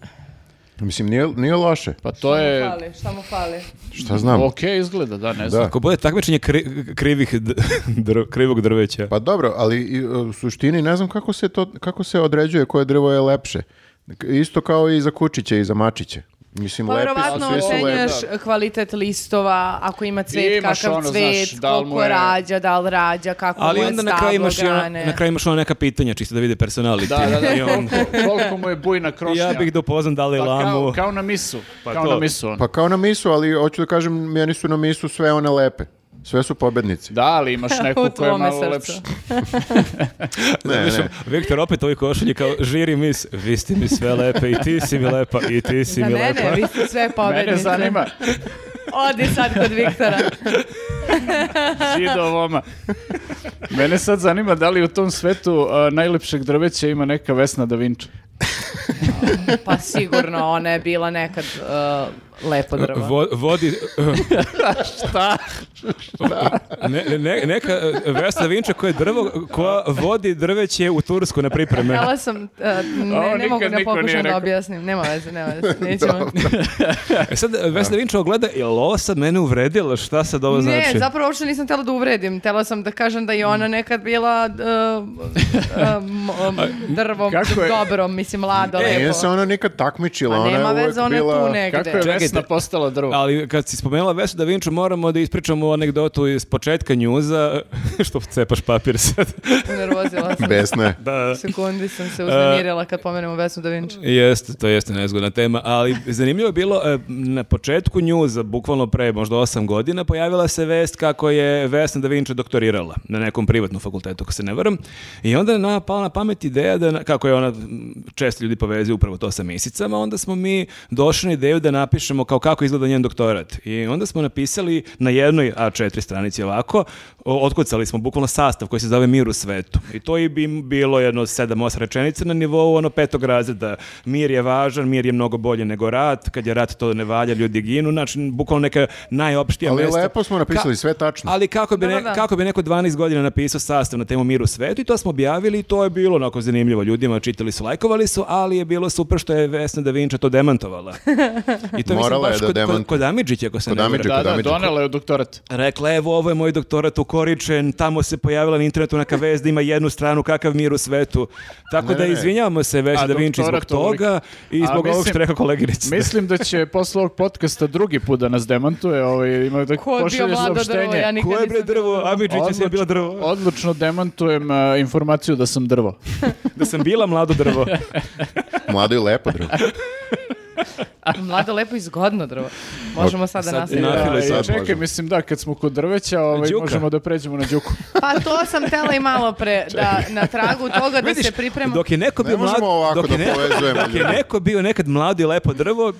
[SPEAKER 2] Mislim, nije, nije loše.
[SPEAKER 3] Pa <laughs> to je...
[SPEAKER 1] Fali, šta mu fali?
[SPEAKER 2] Šta znam?
[SPEAKER 3] Ok, izgleda, da, ne znam.
[SPEAKER 2] Da.
[SPEAKER 4] Ako bude takmičenje kri- krivih d- <laughs> dr- krivog drveća.
[SPEAKER 2] Pa dobro, ali i, u suštini ne znam kako se, to, kako se određuje koje drvo je lepše. Isto kao i za kučiće i za mačiće. Mislim,
[SPEAKER 1] Pa
[SPEAKER 2] lepi
[SPEAKER 1] verovatno
[SPEAKER 2] su, svi su lepi.
[SPEAKER 1] ocenjuješ kvalitet listova, ako ima cvet,
[SPEAKER 3] Imaš
[SPEAKER 1] kakav
[SPEAKER 3] ono,
[SPEAKER 1] cvet,
[SPEAKER 3] znaš, da li mu
[SPEAKER 1] koliko
[SPEAKER 3] je-
[SPEAKER 1] rađa, da li rađa, kako
[SPEAKER 4] Ali
[SPEAKER 1] mu je
[SPEAKER 4] onda
[SPEAKER 1] stablo,
[SPEAKER 4] na kraju imaš i ona,
[SPEAKER 1] grane.
[SPEAKER 4] na kraju imaš ona neka pitanja čisto da vide personality.
[SPEAKER 3] Da, da,
[SPEAKER 4] I
[SPEAKER 3] da,
[SPEAKER 4] on-
[SPEAKER 3] koliko, koliko mu je bujna krošnja.
[SPEAKER 4] ja bih dopoznan Dalaj
[SPEAKER 3] Pa
[SPEAKER 4] Lamu.
[SPEAKER 3] kao, kao na misu.
[SPEAKER 4] Pa
[SPEAKER 3] kao
[SPEAKER 4] to.
[SPEAKER 3] na misu. ono.
[SPEAKER 2] Pa kao na misu, ali hoću da kažem, meni su na misu sve one lepe. Sve su pobednici.
[SPEAKER 3] Da,
[SPEAKER 1] <laughs>
[SPEAKER 3] ali imaš
[SPEAKER 1] U
[SPEAKER 3] neku koja je
[SPEAKER 1] tvome
[SPEAKER 3] malo
[SPEAKER 1] srcu.
[SPEAKER 3] lepša.
[SPEAKER 2] Ne,
[SPEAKER 4] Više,
[SPEAKER 2] ne.
[SPEAKER 4] Viktor opet ovi košulji kao žiri mis, vi ste mi sve lepe i ti si mi lepa i ti si
[SPEAKER 1] Da,
[SPEAKER 4] mi
[SPEAKER 1] ne,
[SPEAKER 4] lepa.
[SPEAKER 1] ne, vi ste sve
[SPEAKER 3] <laughs> Mene
[SPEAKER 1] pobednice. <laughs>
[SPEAKER 3] zanima
[SPEAKER 1] Odi sad kod
[SPEAKER 3] <laughs>
[SPEAKER 1] Viktora.
[SPEAKER 3] zidovoma. Mene sad zanima da li u tom svetu a, najlepšeg drveća ima neka Vesna da Vinča.
[SPEAKER 1] Pa sigurno, ona je bila nekad uh, lepo drvo.
[SPEAKER 4] Vo- vodi,
[SPEAKER 3] Šta?
[SPEAKER 4] ne, ne- neka eh, Vesna Vinča koja je drvo, koja vodi drveće u Tursku na pripreme.
[SPEAKER 1] Htjela sam, uh, ne,
[SPEAKER 3] Ovo
[SPEAKER 1] ne mogu
[SPEAKER 3] nikad
[SPEAKER 1] ne
[SPEAKER 3] niko nije
[SPEAKER 1] pokušam da
[SPEAKER 3] rekao.
[SPEAKER 1] objasnim. Nema veze, nema veze.
[SPEAKER 3] <laughs>
[SPEAKER 1] Nećemo.
[SPEAKER 4] E sad eh, Vesna Vinča ogleda, je li ovo sad mene uvredila? Šta sad ovo znači?
[SPEAKER 1] Ne, zapravo uopšte nisam htjela da uvredim. Htjela sam da kažem da je ona nekad bila
[SPEAKER 4] <laughs>
[SPEAKER 1] uh, uh, m- m- drvom
[SPEAKER 3] Kako je-
[SPEAKER 1] dobrom, mislim, mlada,
[SPEAKER 2] Nije
[SPEAKER 1] lepo.
[SPEAKER 2] se ona nikad takmičila.
[SPEAKER 1] Pa
[SPEAKER 2] ona je
[SPEAKER 1] nema
[SPEAKER 2] uvek
[SPEAKER 1] veze, ona je
[SPEAKER 2] bila-
[SPEAKER 1] tu negde.
[SPEAKER 3] Kako je
[SPEAKER 4] Čekajte.
[SPEAKER 3] Vesna postala drvo?
[SPEAKER 4] Ali kad si spomenula Vesnu da Vinču, moramo da ispričamo anegdotu iz početka njuza, <laughs> što cepaš papir sad.
[SPEAKER 1] Unervozila sam.
[SPEAKER 2] Besna je.
[SPEAKER 4] da.
[SPEAKER 1] Sekundi sam se uznemirila kad pomenemo Vesnu Da Vinci.
[SPEAKER 4] Jeste, to jeste nezgodna tema, ali zanimljivo je bilo, e, na početku njuza, bukvalno pre možda osam godina, pojavila se vest kako je Vesna da Vinča doktorirala na nekom privatnom fakultetu, ako se ne varam, i onda je nama pala na pamet ideja da, na- kako je ona, m, često ljudi povezuje upravo to sa misicama, onda smo mi došli na ideju da napišemo kao kako izgleda njen doktorat. I onda smo napisali na jednoj A4 stranici ovako, o- otkucali smo bukvalno sastav koji se zove Mir u svetu. I to je bi bilo jedno 7-8 rečenica na nivou ono petog razreda. Mir je važan, mir je mnogo bolje nego rat, kad je rat to ne valja, ljudi ginu, znači bukvalno neka najopštija
[SPEAKER 2] Ali
[SPEAKER 4] mesta.
[SPEAKER 2] lepo smo napisali,
[SPEAKER 4] Ka-
[SPEAKER 2] sve tačno.
[SPEAKER 4] ali kako bi,
[SPEAKER 1] Da,
[SPEAKER 4] ne-
[SPEAKER 1] da, da.
[SPEAKER 4] kako bi neko 12 godina napisao sastav na temu miru svetu i to smo objavili i to je bilo onako zanimljivo ljudima, čitali su, lajkovali su, ali je bilo super što je Vesna da Vinča to demantovala. I to je, mislim
[SPEAKER 2] Morala je
[SPEAKER 4] baš
[SPEAKER 2] da
[SPEAKER 4] kod, kod,
[SPEAKER 2] demantuje.
[SPEAKER 4] kod Amidžića, ako se
[SPEAKER 2] Kod
[SPEAKER 4] ne varam.
[SPEAKER 2] Amidžića.
[SPEAKER 3] Da, da,
[SPEAKER 2] Damidžu.
[SPEAKER 3] donela je doktorat. <laughs>
[SPEAKER 4] Rekla, evo, ovo je moj doktorat ukoričen, tamo se pojavila na internetu neka vez da ima jednu stranu, kakav mir u svetu. Tako
[SPEAKER 2] Ne,
[SPEAKER 4] da
[SPEAKER 2] ne, ne.
[SPEAKER 4] izvinjavamo se Vesna
[SPEAKER 3] A,
[SPEAKER 4] da Vinči zbog
[SPEAKER 3] doktorat
[SPEAKER 4] toga
[SPEAKER 3] ovoliko.
[SPEAKER 4] i
[SPEAKER 3] A,
[SPEAKER 4] zbog ovog
[SPEAKER 3] mislim-
[SPEAKER 4] što je rekao koleginica.
[SPEAKER 3] Mislim da će posle ovog podcasta drugi put da nas demantuje, ovaj, ima da
[SPEAKER 1] Ko je bio
[SPEAKER 3] pošalje
[SPEAKER 1] mlado
[SPEAKER 3] saopštenje.
[SPEAKER 1] drvo, ja nikad
[SPEAKER 4] Ko je bre
[SPEAKER 1] nisam bila
[SPEAKER 4] drvo?
[SPEAKER 1] drvo.
[SPEAKER 4] Amidžića se je bila drvo.
[SPEAKER 3] Odlučno demantujem a, informaciju da sam drvo.
[SPEAKER 4] Da sam bila mlado
[SPEAKER 3] <laughs>
[SPEAKER 4] drvo.
[SPEAKER 2] Mlado i lepo drugo.
[SPEAKER 1] Mlado, lepo i zgodno drvo. Možemo sad da
[SPEAKER 4] Sad
[SPEAKER 1] nastavimo.
[SPEAKER 4] na- Nahilo
[SPEAKER 3] Da,
[SPEAKER 4] i
[SPEAKER 3] i
[SPEAKER 2] sad
[SPEAKER 3] E, čekaj,
[SPEAKER 2] možemo.
[SPEAKER 3] mislim da, kad smo kod drveća, ovaj,
[SPEAKER 4] Đuka.
[SPEAKER 3] možemo da pređemo na Đuku.
[SPEAKER 1] Pa to sam tela i malo pre, da na tragu toga da se pripremamo.
[SPEAKER 4] dok je neko
[SPEAKER 2] Ne
[SPEAKER 4] bio mlad,
[SPEAKER 2] možemo ovako
[SPEAKER 4] dok
[SPEAKER 2] da
[SPEAKER 4] je neko-
[SPEAKER 2] povezujemo
[SPEAKER 4] dok je
[SPEAKER 2] ljude.
[SPEAKER 4] neko bio nekad mlado i lepo drvo,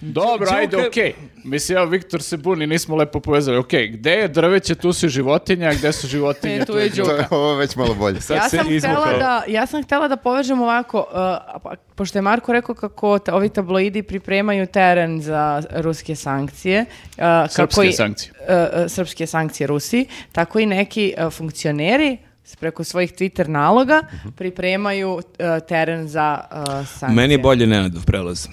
[SPEAKER 3] Dobro,
[SPEAKER 1] Znači,
[SPEAKER 4] Đuka-
[SPEAKER 3] ajde, okej. Mislim, evo, Viktor se buni, nismo lepo povezali. Okej, gde je drveće, tu su životinje, a gde su životinje,
[SPEAKER 1] E, tu je
[SPEAKER 2] To je
[SPEAKER 1] <laughs> Đuka.
[SPEAKER 2] ovo već malo bolje.
[SPEAKER 4] Sad
[SPEAKER 1] ja
[SPEAKER 4] se
[SPEAKER 1] sam
[SPEAKER 4] izvukao.
[SPEAKER 1] htjela da ja sam htjela da povežem ovako uh, a pa- pošto je Marko rekao kako ta- ovi tabloidi pripremaju teren za ruske sankcije uh, kako
[SPEAKER 3] Srpske
[SPEAKER 1] i,
[SPEAKER 3] sankcije.
[SPEAKER 1] uh, uh, srpske sankcije Rusiji tako i neki uh, funkcioneri s- preko svojih Twitter naloga
[SPEAKER 3] Mhm.
[SPEAKER 1] pripremaju uh, teren za uh, sankcije.
[SPEAKER 4] meni je bolje Nenadov prelaz.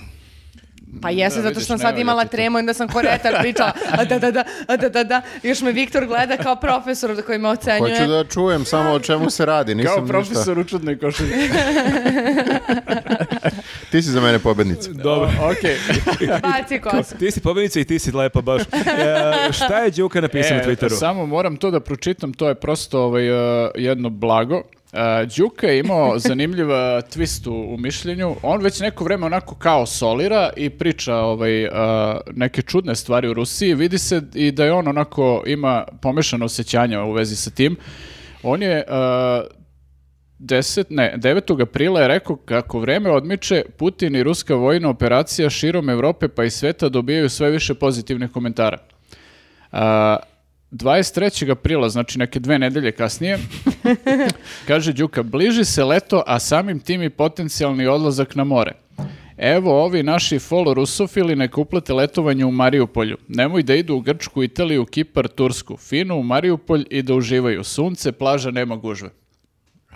[SPEAKER 1] Pa jeste,
[SPEAKER 3] Da,
[SPEAKER 1] zato
[SPEAKER 3] vidiš,
[SPEAKER 1] što sam
[SPEAKER 3] ne
[SPEAKER 1] sad
[SPEAKER 3] valja
[SPEAKER 1] imala
[SPEAKER 3] ti to.
[SPEAKER 1] tremu i onda sam
[SPEAKER 3] <laughs>
[SPEAKER 1] koretar pričala, a da, da, da, a da, da, da. Još me Viktor gleda kao profesor da koji me ocenjuje.
[SPEAKER 2] Hoću da čujem samo o čemu se radi, nisam
[SPEAKER 3] Kao
[SPEAKER 2] ništa.
[SPEAKER 3] profesor u čudnoj košulji.
[SPEAKER 2] Ti si za mene pobednica.
[SPEAKER 4] Dobro.
[SPEAKER 2] <laughs>
[SPEAKER 3] Okej.
[SPEAKER 1] Baci kosu.
[SPEAKER 4] Ti si pobjednica i ti si lepa
[SPEAKER 3] <laughs>
[SPEAKER 4] baš. E, šta je Đuka napisao
[SPEAKER 3] E,
[SPEAKER 4] na Twitteru?
[SPEAKER 3] Samo moram to da pročitam, to je prosto ovaj, uh, jedno blago. Uh, Đuka je
[SPEAKER 4] <laughs>
[SPEAKER 3] imao zanimljiv uh, twist u, u mišljenju. On već neko vreme onako kao solira i priča ovaj, uh, neke čudne stvari u Rusiji. Vidi se i da je on onako ima pomešano osjećanja u vezi sa tim. On je uh, 10, ne, 9. aprila je rekao kako vreme odmiče, Putin i ruska vojna operacija širom Evrope pa i sveta dobijaju sve više pozitivnih komentara. A, 23. aprila, znači neke dve nedelje kasnije, kaže Đuka, bliži se leto, a samim tim i potencijalni odlazak na more. Evo ovi naši folo rusofili neka uplate letovanje u Marijupolju. Nemoj da idu u Grčku, Italiju, Kipar, Tursku. Fino u Marijupolj i da uživaju. Sunce, plaža, nema gužve.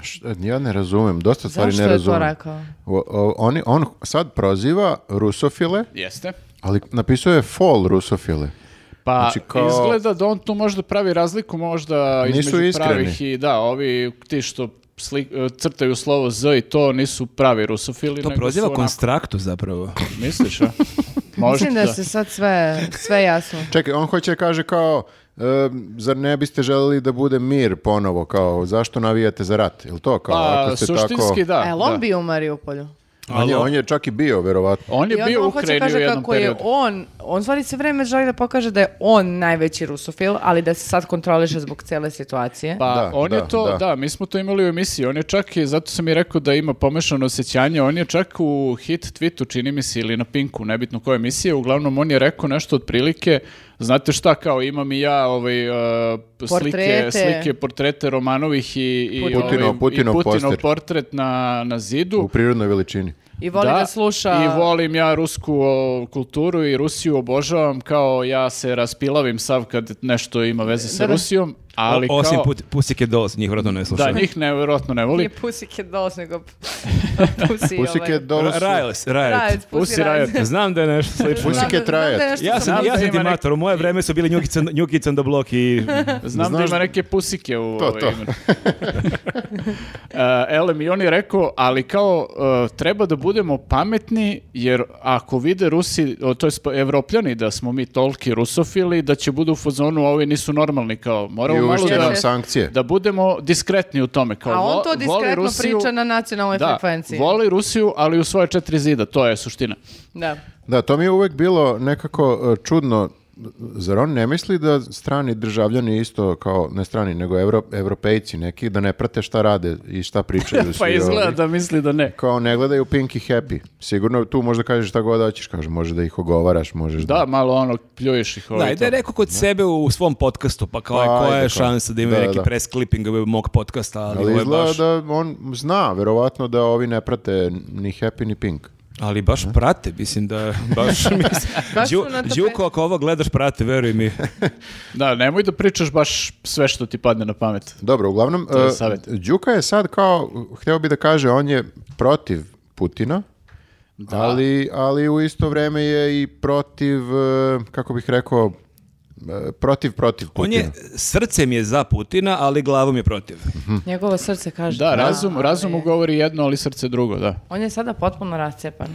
[SPEAKER 2] Š- Ja ne razumem, dosta stvari
[SPEAKER 1] Zašto
[SPEAKER 2] ne
[SPEAKER 1] je to
[SPEAKER 2] razumem.
[SPEAKER 1] rekao?
[SPEAKER 2] O- o- oni, on sad proziva rusofile,
[SPEAKER 3] Jeste.
[SPEAKER 2] ali napisao je fall rusofile.
[SPEAKER 3] Pa
[SPEAKER 2] Znači, kao-
[SPEAKER 3] izgleda da on tu možda pravi razliku možda
[SPEAKER 2] Nisu
[SPEAKER 3] između
[SPEAKER 2] iskreni.
[SPEAKER 3] pravih i da, ovi ti što sli- e, crtaju slovo Z i to nisu pravi rusofili.
[SPEAKER 4] To
[SPEAKER 3] nego
[SPEAKER 4] proziva
[SPEAKER 3] su onako-
[SPEAKER 4] konstraktu zapravo.
[SPEAKER 3] Misliš, a?
[SPEAKER 4] <laughs>
[SPEAKER 3] Možda.
[SPEAKER 1] Mislim da se sad sve, sve jasno.
[SPEAKER 2] Čekaj, on hoće da kaže kao, e, zar ne biste želeli da bude mir ponovo, kao, zašto navijate za rat? Jel to kao,
[SPEAKER 3] Pa,
[SPEAKER 2] ako ste
[SPEAKER 3] suštinski
[SPEAKER 2] tako...
[SPEAKER 3] da.
[SPEAKER 1] A jel
[SPEAKER 3] da.
[SPEAKER 1] E, on bio u Mariupolju?
[SPEAKER 2] On je, on je čak i bio, verovatno.
[SPEAKER 3] On je
[SPEAKER 1] I onda
[SPEAKER 3] bio u
[SPEAKER 1] on hoće
[SPEAKER 3] Ukrajini u
[SPEAKER 1] kaže
[SPEAKER 3] jednom
[SPEAKER 1] kako je
[SPEAKER 3] periodu.
[SPEAKER 1] on, on stvari sve vreme želi da pokaže da je on najveći rusofil, ali da se sad kontroliše zbog cele situacije.
[SPEAKER 3] Pa
[SPEAKER 2] Da,
[SPEAKER 3] on
[SPEAKER 2] da,
[SPEAKER 3] je to,
[SPEAKER 2] da.
[SPEAKER 3] da. mi smo to imali u emisiji, on je čak i, zato sam i rekao da ima pomešano osjećanje, on je čak u hit tweetu, čini mi se, ili na Pinku, nebitno koja emisija, uglavnom on je rekao nešto otprilike, znate šta, kao imam i ja ovaj, uh, slike,
[SPEAKER 1] Portrete.
[SPEAKER 3] slike, portrete Romanovih i, i,
[SPEAKER 1] Putinov-
[SPEAKER 3] ovaj, i
[SPEAKER 2] Putinov
[SPEAKER 3] Putinov
[SPEAKER 2] poster.
[SPEAKER 3] portret na, na zidu.
[SPEAKER 2] U prirodnoj veličini.
[SPEAKER 1] I voli da, sluša...
[SPEAKER 3] I volim ja rusku o, kulturu i Rusiju obožavam kao ja se raspilavim sav kad nešto ima veze sa
[SPEAKER 1] Da, da.
[SPEAKER 3] Rusijom, ali
[SPEAKER 4] O- Osim
[SPEAKER 3] kao...
[SPEAKER 4] put, Pusike Dolls, njih vjerojatno ne
[SPEAKER 3] Da,
[SPEAKER 4] slušaju.
[SPEAKER 3] njih nevjerojatno ne volim.
[SPEAKER 1] Nije Pusike Dolls, nego <laughs> Pusi...
[SPEAKER 2] Pusike
[SPEAKER 1] ovaj,
[SPEAKER 2] Dolls...
[SPEAKER 4] Riles, Riot.
[SPEAKER 1] Riot, Pussy
[SPEAKER 3] Pussy
[SPEAKER 1] Riot. <laughs>
[SPEAKER 3] Riot.
[SPEAKER 4] Znam da je nešto
[SPEAKER 1] Znam
[SPEAKER 4] slično.
[SPEAKER 1] da-
[SPEAKER 2] Pussycat
[SPEAKER 1] znam da je
[SPEAKER 2] Riot.
[SPEAKER 1] nešto
[SPEAKER 4] Ja
[SPEAKER 1] sa-
[SPEAKER 4] sam, ja
[SPEAKER 3] da
[SPEAKER 4] sam
[SPEAKER 3] ima
[SPEAKER 4] ti
[SPEAKER 3] nek-
[SPEAKER 4] mator, u moje vreme su bili Njukica, Njukica on the Block i...
[SPEAKER 3] Znam da
[SPEAKER 2] Znaš-
[SPEAKER 3] ima neke pusike u
[SPEAKER 2] To,
[SPEAKER 3] ovaj
[SPEAKER 2] to.
[SPEAKER 3] imenu. <laughs> E, Elem, i on je rekao, ali kao e, treba da budemo pametni, jer ako vide Rusi, o, to je evropljani, da smo mi toliki rusofili, da će budu u fazonu, ovi nisu normalni, kao
[SPEAKER 2] I
[SPEAKER 3] moramo malo
[SPEAKER 2] ušte
[SPEAKER 3] da,
[SPEAKER 2] nam sankcije.
[SPEAKER 3] da budemo diskretni u tome. Kao,
[SPEAKER 1] A on
[SPEAKER 3] vo-
[SPEAKER 1] to
[SPEAKER 3] voli
[SPEAKER 1] diskretno
[SPEAKER 3] Rusiju-
[SPEAKER 1] priča na nacionalnoj
[SPEAKER 3] da,
[SPEAKER 1] frekvenciji.
[SPEAKER 3] voli Rusiju, ali u svoje četiri zida, to je suština.
[SPEAKER 1] Da.
[SPEAKER 2] Da, to mi je uvek bilo nekako e, čudno. Zar on ne misli da strani državljani isto kao, ne strani, nego evro, evropejci neki, da ne prate šta rade i šta
[SPEAKER 4] <laughs>
[SPEAKER 2] pričaju
[SPEAKER 3] Pa
[SPEAKER 2] svi
[SPEAKER 3] izgleda
[SPEAKER 2] ovi?
[SPEAKER 3] da misli da ne.
[SPEAKER 2] Kao ne gledaju Pink i Happy. Sigurno tu možda kažeš šta god hoćeš, kaže, može da ih ogovaraš, možeš da...
[SPEAKER 3] Da, malo ono, pljuješ ih ovaj
[SPEAKER 4] Da, i da je rekao kod sebe u svom podcastu, pa kao je,
[SPEAKER 2] Pa,
[SPEAKER 4] koja
[SPEAKER 2] ajde,
[SPEAKER 4] je
[SPEAKER 2] kao.
[SPEAKER 4] šansa da ima
[SPEAKER 2] Da,
[SPEAKER 4] neki
[SPEAKER 2] da.
[SPEAKER 4] press clipping mog podcasta, ali,
[SPEAKER 2] Ali
[SPEAKER 4] ovo je
[SPEAKER 2] izgleda
[SPEAKER 4] baš...
[SPEAKER 2] da on zna, verovatno, da ovi ne prate ni Happy ni Pink.
[SPEAKER 4] Ali baš prate,
[SPEAKER 2] <laughs>
[SPEAKER 4] mislim da... Baš, mislim,
[SPEAKER 1] Baš su
[SPEAKER 4] Đu-
[SPEAKER 1] na tapeti.
[SPEAKER 4] Đuko, ako ovo gledaš, prate, veruj <laughs> mi.
[SPEAKER 3] Da, nemoj da pričaš baš sve što ti padne na pamet.
[SPEAKER 2] Dobro, uglavnom,
[SPEAKER 3] je
[SPEAKER 2] e,
[SPEAKER 3] savjet.
[SPEAKER 2] Đuka je sad kao, hteo bi da kaže, on je protiv Putina, ali, ali u isto vreme je i protiv, e, kako bih rekao, e, protiv protiv
[SPEAKER 4] On
[SPEAKER 2] Putina.
[SPEAKER 4] je, srcem je za Putina, ali glavom je protiv.
[SPEAKER 1] Njegovo srce kaže.
[SPEAKER 3] Hm. Da, razum,
[SPEAKER 1] ali-
[SPEAKER 3] razum mu govori jedno, ali srce drugo, da.
[SPEAKER 1] On je sada potpuno rascepan.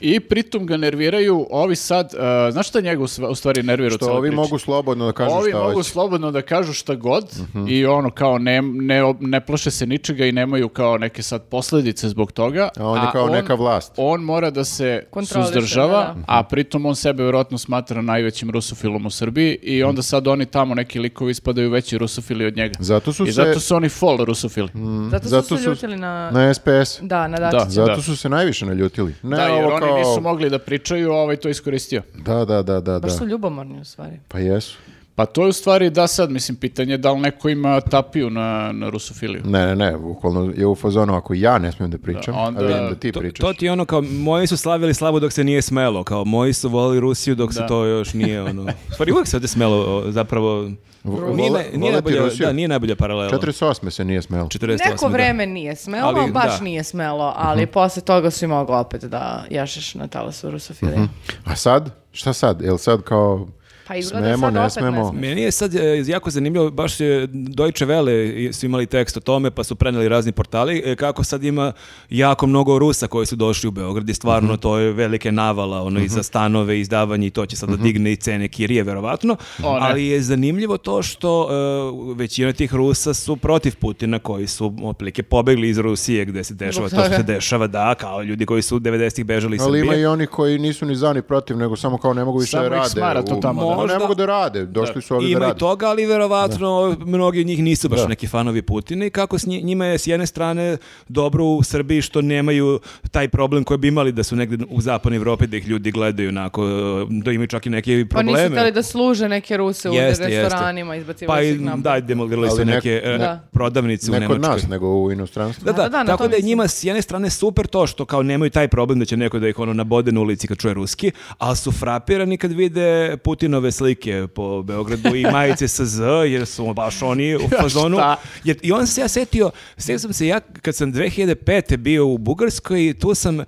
[SPEAKER 3] I pritom ga nerviraju ovi sad, e, znaš šta njega u sva- u stvari nervira u
[SPEAKER 2] Što
[SPEAKER 3] celoj
[SPEAKER 2] ovi
[SPEAKER 3] priči?
[SPEAKER 2] mogu slobodno da kažu
[SPEAKER 3] Ovi
[SPEAKER 2] šta
[SPEAKER 3] mogu
[SPEAKER 2] hoće. Mhm.
[SPEAKER 3] slobodno da kažu šta god i ono kao ne, ne, ob- ne plaše se ničega i nemaju kao neke sad posledice zbog toga.
[SPEAKER 2] A on je kao neka vlast.
[SPEAKER 3] On mora da se
[SPEAKER 1] Kontroliše,
[SPEAKER 3] suzdržava,
[SPEAKER 1] da, da.
[SPEAKER 3] a pritom on sebe vjerojatno smatra najvećim rusofilom u Srbiji i onda sad oni tamo neki likovi ispadaju veći rusofili od njega.
[SPEAKER 2] Zato su
[SPEAKER 3] I
[SPEAKER 2] se- Mm.
[SPEAKER 3] zato su oni fall rusofili.
[SPEAKER 1] Zato,
[SPEAKER 2] Zato
[SPEAKER 1] su se
[SPEAKER 2] su-
[SPEAKER 1] ljutili na...
[SPEAKER 2] Na SPS.
[SPEAKER 1] Da, na
[SPEAKER 3] Da.
[SPEAKER 1] Dačića.
[SPEAKER 2] Zato
[SPEAKER 3] Da.
[SPEAKER 2] su se najviše naljutili. Ne,
[SPEAKER 3] da, jer
[SPEAKER 2] ovo
[SPEAKER 3] oni
[SPEAKER 2] ono kao...
[SPEAKER 3] nisu mogli da pričaju, a ovaj to iskoristio.
[SPEAKER 2] Da, da, da, da, da.
[SPEAKER 1] Baš su ljubomorni u stvari.
[SPEAKER 2] Pa jesu.
[SPEAKER 3] Pa to je u stvari da sad, mislim, pitanje je da li neko ima tapiju na, na rusofiliju.
[SPEAKER 2] Ne, ne, ne, bukvalno je u fazonu ako ja ne smijem da pričam,
[SPEAKER 3] Da, onda-
[SPEAKER 2] a vidim da ti
[SPEAKER 4] To,
[SPEAKER 2] pričaš.
[SPEAKER 4] to ti je ono kao, moji su slavili slavu dok se nije smelo, kao moji su volili Rusiju dok se
[SPEAKER 3] Da.
[SPEAKER 4] to
[SPEAKER 2] <laughs>
[SPEAKER 4] još nije, ono... U Stvari uvijek se ovdje smelo, o, zapravo...
[SPEAKER 2] Vo- vola-
[SPEAKER 4] Nije, ne- nije,
[SPEAKER 2] voleti
[SPEAKER 4] najbolja,
[SPEAKER 2] Rusiju.
[SPEAKER 4] da, nije najbolja paralela.
[SPEAKER 2] 48. se nije smelo.
[SPEAKER 4] 48,
[SPEAKER 1] Neko
[SPEAKER 4] da.
[SPEAKER 1] vreme nije smelo,
[SPEAKER 4] Ali,
[SPEAKER 1] baš
[SPEAKER 4] da.
[SPEAKER 1] nije smelo, ali posle toga si mogao opet da jašeš na talasu rusofilije.
[SPEAKER 2] A sad? Šta sad? Jel sad kao
[SPEAKER 1] Pa izgleda
[SPEAKER 2] smemo,
[SPEAKER 1] sad
[SPEAKER 2] ne
[SPEAKER 1] opet ne
[SPEAKER 2] smemo?
[SPEAKER 1] smemo.
[SPEAKER 4] Meni je sad e, jako zanimljivo, baš je Deutsche Welle i- su imali tekst o tome, pa su preneli razni portali, e, kako sad ima jako mnogo Rusa koji su došli u Beograd i stvarno to je velike navala, ono, i za stanove, izdavanje i to će sad da digne i cene kirije, verovatno,
[SPEAKER 3] O, ne.
[SPEAKER 4] ali je zanimljivo to što e, većina tih Rusa su protiv Putina, koji su otprilike pobegli iz Rusije gde se dešava
[SPEAKER 1] Zbog
[SPEAKER 4] to što se
[SPEAKER 1] toga.
[SPEAKER 4] dešava, da, kao ljudi koji su u 90-ih bežali iz
[SPEAKER 2] Ali
[SPEAKER 4] Srbije.
[SPEAKER 2] ima i oni koji nisu ni za ni protiv, nego samo kao ne mogu više
[SPEAKER 3] Samo
[SPEAKER 2] da
[SPEAKER 3] ih
[SPEAKER 2] rade.
[SPEAKER 3] smara to tamo,
[SPEAKER 4] da.
[SPEAKER 2] Ma, Ne
[SPEAKER 4] Možda-
[SPEAKER 2] mogu da rade, došli su ovdje da
[SPEAKER 4] Ima i
[SPEAKER 2] rade.
[SPEAKER 4] toga, ali verovatno mnogi od njih nisu baš neki fanovi Putina i kako s nji- njima je s jedne strane dobro u Srbiji što nemaju taj problem koji bi imali da su negdje u zapadnoj Evropi da ih ljudi gledaju onako, e, da imaju čak i neke
[SPEAKER 1] Pa
[SPEAKER 4] probleme.
[SPEAKER 1] nisu hteli da služe neke ruse u
[SPEAKER 4] Jeste, jeste.
[SPEAKER 1] restoranima, izbacivali
[SPEAKER 4] Pa
[SPEAKER 1] su
[SPEAKER 4] i,
[SPEAKER 1] ih napolje.
[SPEAKER 4] da, demolirali su
[SPEAKER 2] Ali nek-
[SPEAKER 4] neke e,
[SPEAKER 1] Da.
[SPEAKER 4] prodavnice u
[SPEAKER 2] Ne kod
[SPEAKER 4] Nemačkoj.
[SPEAKER 2] nas, nego u inostranstvu.
[SPEAKER 4] Da,
[SPEAKER 1] Da,
[SPEAKER 4] da,
[SPEAKER 1] da, na
[SPEAKER 4] tako
[SPEAKER 1] to
[SPEAKER 4] da je
[SPEAKER 1] mislim.
[SPEAKER 4] njima s jedne strane super to što kao nemaju taj problem da će neko da ih ono nabode na ulici kad čuje ruski, ali su frapirani kad vide Putinove Lenove slike po Beogradu i majice SZ, jer su
[SPEAKER 1] <laughs>
[SPEAKER 4] baš oni u fazonu.
[SPEAKER 3] Šta?
[SPEAKER 4] Jer, I on se ja setio, setio sam se ja kad sam 2005. bio u Bugarskoj, tu sam e,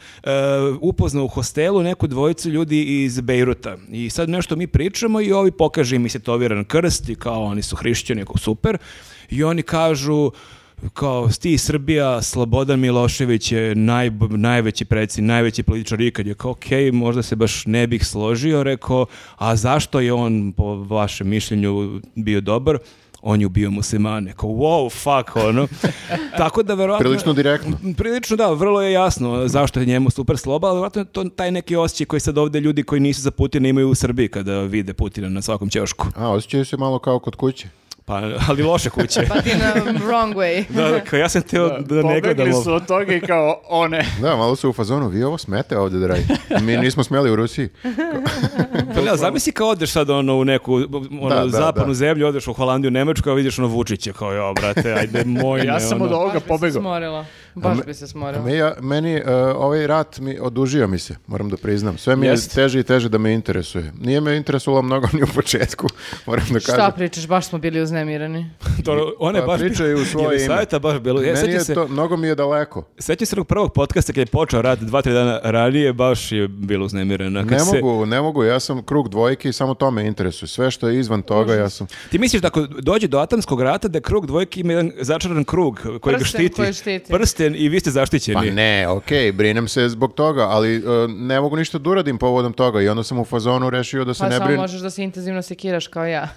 [SPEAKER 4] upoznao u hostelu neku dvojicu ljudi iz Bejruta. I sad nešto mi pričamo i ovi pokaže im i setoviran krst i kao oni su hrišćani, kao super. I oni kažu, kao sti iz Srbija, Slobodan Milošević je naj, najveći preci, najveći političar ikad. Je kao, okej, možda se baš ne bih složio, rekao, a zašto je on, po vašem mišljenju, bio dobar? On je ubio muslimane. Kao, wow, fuck,
[SPEAKER 3] <laughs>
[SPEAKER 4] ono. Tako da, verovatno...
[SPEAKER 2] Prilično direktno.
[SPEAKER 4] Prilično da, vrlo je jasno zašto je njemu super sloba, ali vjerojatno je to taj neki osjećaj koji sad ovdje ljudi koji nisu za Putina imaju u Srbiji kada vide Putina na svakom ćošku.
[SPEAKER 2] A, osjećaju se malo kao kod kuće.
[SPEAKER 4] Pa, ali loše kuće.
[SPEAKER 3] <laughs>
[SPEAKER 1] But in a Pa wrong way.
[SPEAKER 4] Da, da, kao ja sam teo da, ne gledam
[SPEAKER 3] Pa, Pobegli
[SPEAKER 4] ovo.
[SPEAKER 3] su od toga i kao, o
[SPEAKER 4] <laughs>
[SPEAKER 3] ne.
[SPEAKER 2] Da, malo su u fazonu, vi ovo smete ovdje da radite. Mi nismo smeli u
[SPEAKER 1] <laughs>
[SPEAKER 2] Rusiji.
[SPEAKER 4] Pa ne, zamisli kao odeš sad ono u neku ono,
[SPEAKER 2] Da, da,
[SPEAKER 4] zapadnu
[SPEAKER 2] da.
[SPEAKER 4] zemlju, odeš u Holandiju, Nemačku, a vidiš ono Vučića, kao jo, brate, ajde, moj
[SPEAKER 3] Ja sam od
[SPEAKER 4] ono.
[SPEAKER 3] ovoga
[SPEAKER 1] Baš bi se
[SPEAKER 3] pobegao.
[SPEAKER 1] smorila. Baš bi se smorila.
[SPEAKER 2] Me, ja, meni e, ovaj rat mi odužio mi se, moram da priznam. Sve mi je
[SPEAKER 3] Jeste.
[SPEAKER 2] teže i teže da me interesuje. Nije me interesovalo mnogo ni u početku, <laughs> moram da kažem.
[SPEAKER 1] Šta pričaš, baš smo bili uznemirani.
[SPEAKER 4] To, one
[SPEAKER 2] Pa
[SPEAKER 4] baš,
[SPEAKER 2] pričaju u svoje ime.
[SPEAKER 4] Jelisaveta baš bilo.
[SPEAKER 2] Meni
[SPEAKER 4] Ja, E, sećam
[SPEAKER 2] je
[SPEAKER 4] se,
[SPEAKER 2] to, mnogo mi je daleko.
[SPEAKER 4] sećam se onog prvog podcasta kad je počeo rad dva, tri dana ranije, baš je bilo uznemireno. Kad
[SPEAKER 2] Ne
[SPEAKER 4] se-
[SPEAKER 2] mogu, ne mogu, ja sam krug dvojke i samo to me interesuje. Sve što je izvan toga, ja sam...
[SPEAKER 4] Ti misliš da ako dođe do atomskog rata, da krug dvojke ima jedan začaran krug koji ga
[SPEAKER 1] Prsten
[SPEAKER 4] štiti.
[SPEAKER 1] koji štiti.
[SPEAKER 4] Prsten i vi ste
[SPEAKER 2] Pa
[SPEAKER 4] zaštićeni.
[SPEAKER 2] ne, okej, brinem se zbog toga, ali e, ne mogu ništa da uradim povodom toga i onda sam u fazonu rešio da se
[SPEAKER 1] Pa
[SPEAKER 2] ne
[SPEAKER 1] samo
[SPEAKER 2] brinem.
[SPEAKER 1] možeš da se intenzivno sekiraš kao ja.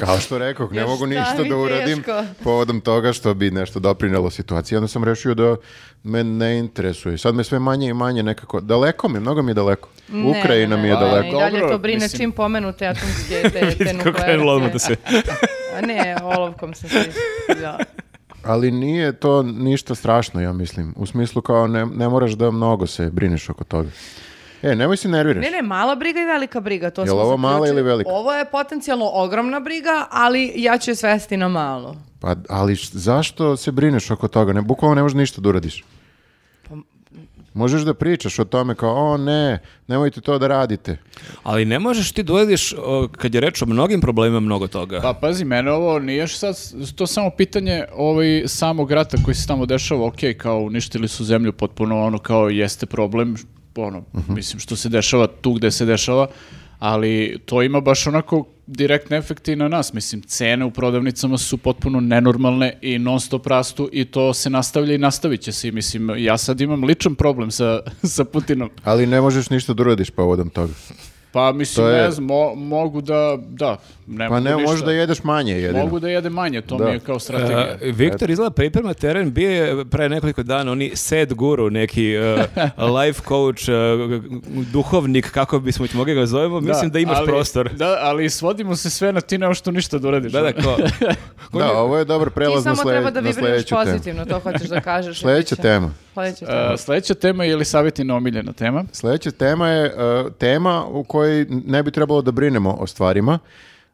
[SPEAKER 2] Kao što rekoh, ne
[SPEAKER 1] Još šta
[SPEAKER 2] mogu ništa
[SPEAKER 1] mi
[SPEAKER 2] da uradim
[SPEAKER 1] teško.
[SPEAKER 2] povodom toga što bi nešto doprinelo situaciji. Onda sam rešio da me ne interesuje. Sad me sve manje i manje nekako... Daleko mi, je, mnogo mi je daleko.
[SPEAKER 1] Ne,
[SPEAKER 2] Ukrajina
[SPEAKER 1] ne,
[SPEAKER 2] mi je
[SPEAKER 1] ne, Ne,
[SPEAKER 2] daleko.
[SPEAKER 1] I dalje
[SPEAKER 3] Dobro,
[SPEAKER 1] to brine
[SPEAKER 3] mislim.
[SPEAKER 1] čim pomenute atomske te, te
[SPEAKER 4] Vidi <laughs> kako krenulo odmah da
[SPEAKER 1] <laughs> nuklearke.
[SPEAKER 4] se...
[SPEAKER 1] A ne, olovkom sam se ispila.
[SPEAKER 2] Ali nije to ništa strašno, ja mislim. U smislu kao ne, ne moraš da mnogo se brineš oko toga. E, nemoj se nerviraš.
[SPEAKER 1] Ne, ne, mala briga i velika briga. To
[SPEAKER 2] Jel
[SPEAKER 1] smo
[SPEAKER 2] ovo mala
[SPEAKER 1] zaključili.
[SPEAKER 2] ili velika?
[SPEAKER 1] Ovo je potencijalno ogromna briga, ali ja ću je svesti na malu.
[SPEAKER 2] Pa, ali š- zašto se brineš oko toga? Ne, bukvalno ne možeš ništa da uradiš.
[SPEAKER 1] Pa
[SPEAKER 2] Možeš da pričaš o tome kao, o ne, nemojte to da radite.
[SPEAKER 4] Ali ne možeš ti dojediš, kad je reč o mnogim problemima, mnogo toga.
[SPEAKER 3] Pa pazi, mene ovo nije sad, to samo pitanje ovaj, samog rata koji se tamo dešava, ok, kao uništili su zemlju potpuno, ono kao jeste problem, ono,
[SPEAKER 2] Mhm.
[SPEAKER 3] mislim što se dešava tu gde se dešava, ali to ima baš onako direktne efekte i na nas, mislim, cene u prodavnicama su potpuno nenormalne i non stop rastu i to se nastavlja i nastavit će se i mislim, ja sad imam ličan problem sa, <laughs> sa Putinom.
[SPEAKER 2] Ali ne možeš ništa da uradiš povodom toga.
[SPEAKER 3] Pa mislim,
[SPEAKER 2] To je-
[SPEAKER 3] ne znam, mo- mogu da, da, ne
[SPEAKER 2] Pa
[SPEAKER 3] mogu
[SPEAKER 2] ne,
[SPEAKER 3] ništa.
[SPEAKER 2] možeš da jedeš manje jedino.
[SPEAKER 3] Mogu da jede manje, to
[SPEAKER 2] Da.
[SPEAKER 3] mi je kao strategija.
[SPEAKER 4] E, Viktor izgleda priprema teren, bio je pre nekoliko dana oni sad guru, neki e, life coach, e, duhovnik, kako bismo ih mogli ga zovemo, mislim da imaš
[SPEAKER 3] ali- <laughs>
[SPEAKER 4] prostor.
[SPEAKER 3] Da, ali svodimo se sve na ti nemaš tu ništa da uradiš. ono.
[SPEAKER 4] Da, da, ko, ko
[SPEAKER 2] Da,
[SPEAKER 4] ne-
[SPEAKER 2] ovo je dobar
[SPEAKER 1] Ti
[SPEAKER 2] prelaz na,
[SPEAKER 1] samo
[SPEAKER 2] slje,
[SPEAKER 1] treba da
[SPEAKER 2] na
[SPEAKER 1] vibriraš
[SPEAKER 2] sledeću temu.
[SPEAKER 1] pozitivno, to hoćeš
[SPEAKER 2] <laughs>
[SPEAKER 1] da kažeš.
[SPEAKER 2] Sledeća
[SPEAKER 1] Biće-
[SPEAKER 2] tema.
[SPEAKER 1] Sledeća tema.
[SPEAKER 3] E, sledeća tema je ili savjetina omiljena tema.
[SPEAKER 2] Sledeća tema je uh, tema u kojoj ne bi trebalo da brinemo o stvarima.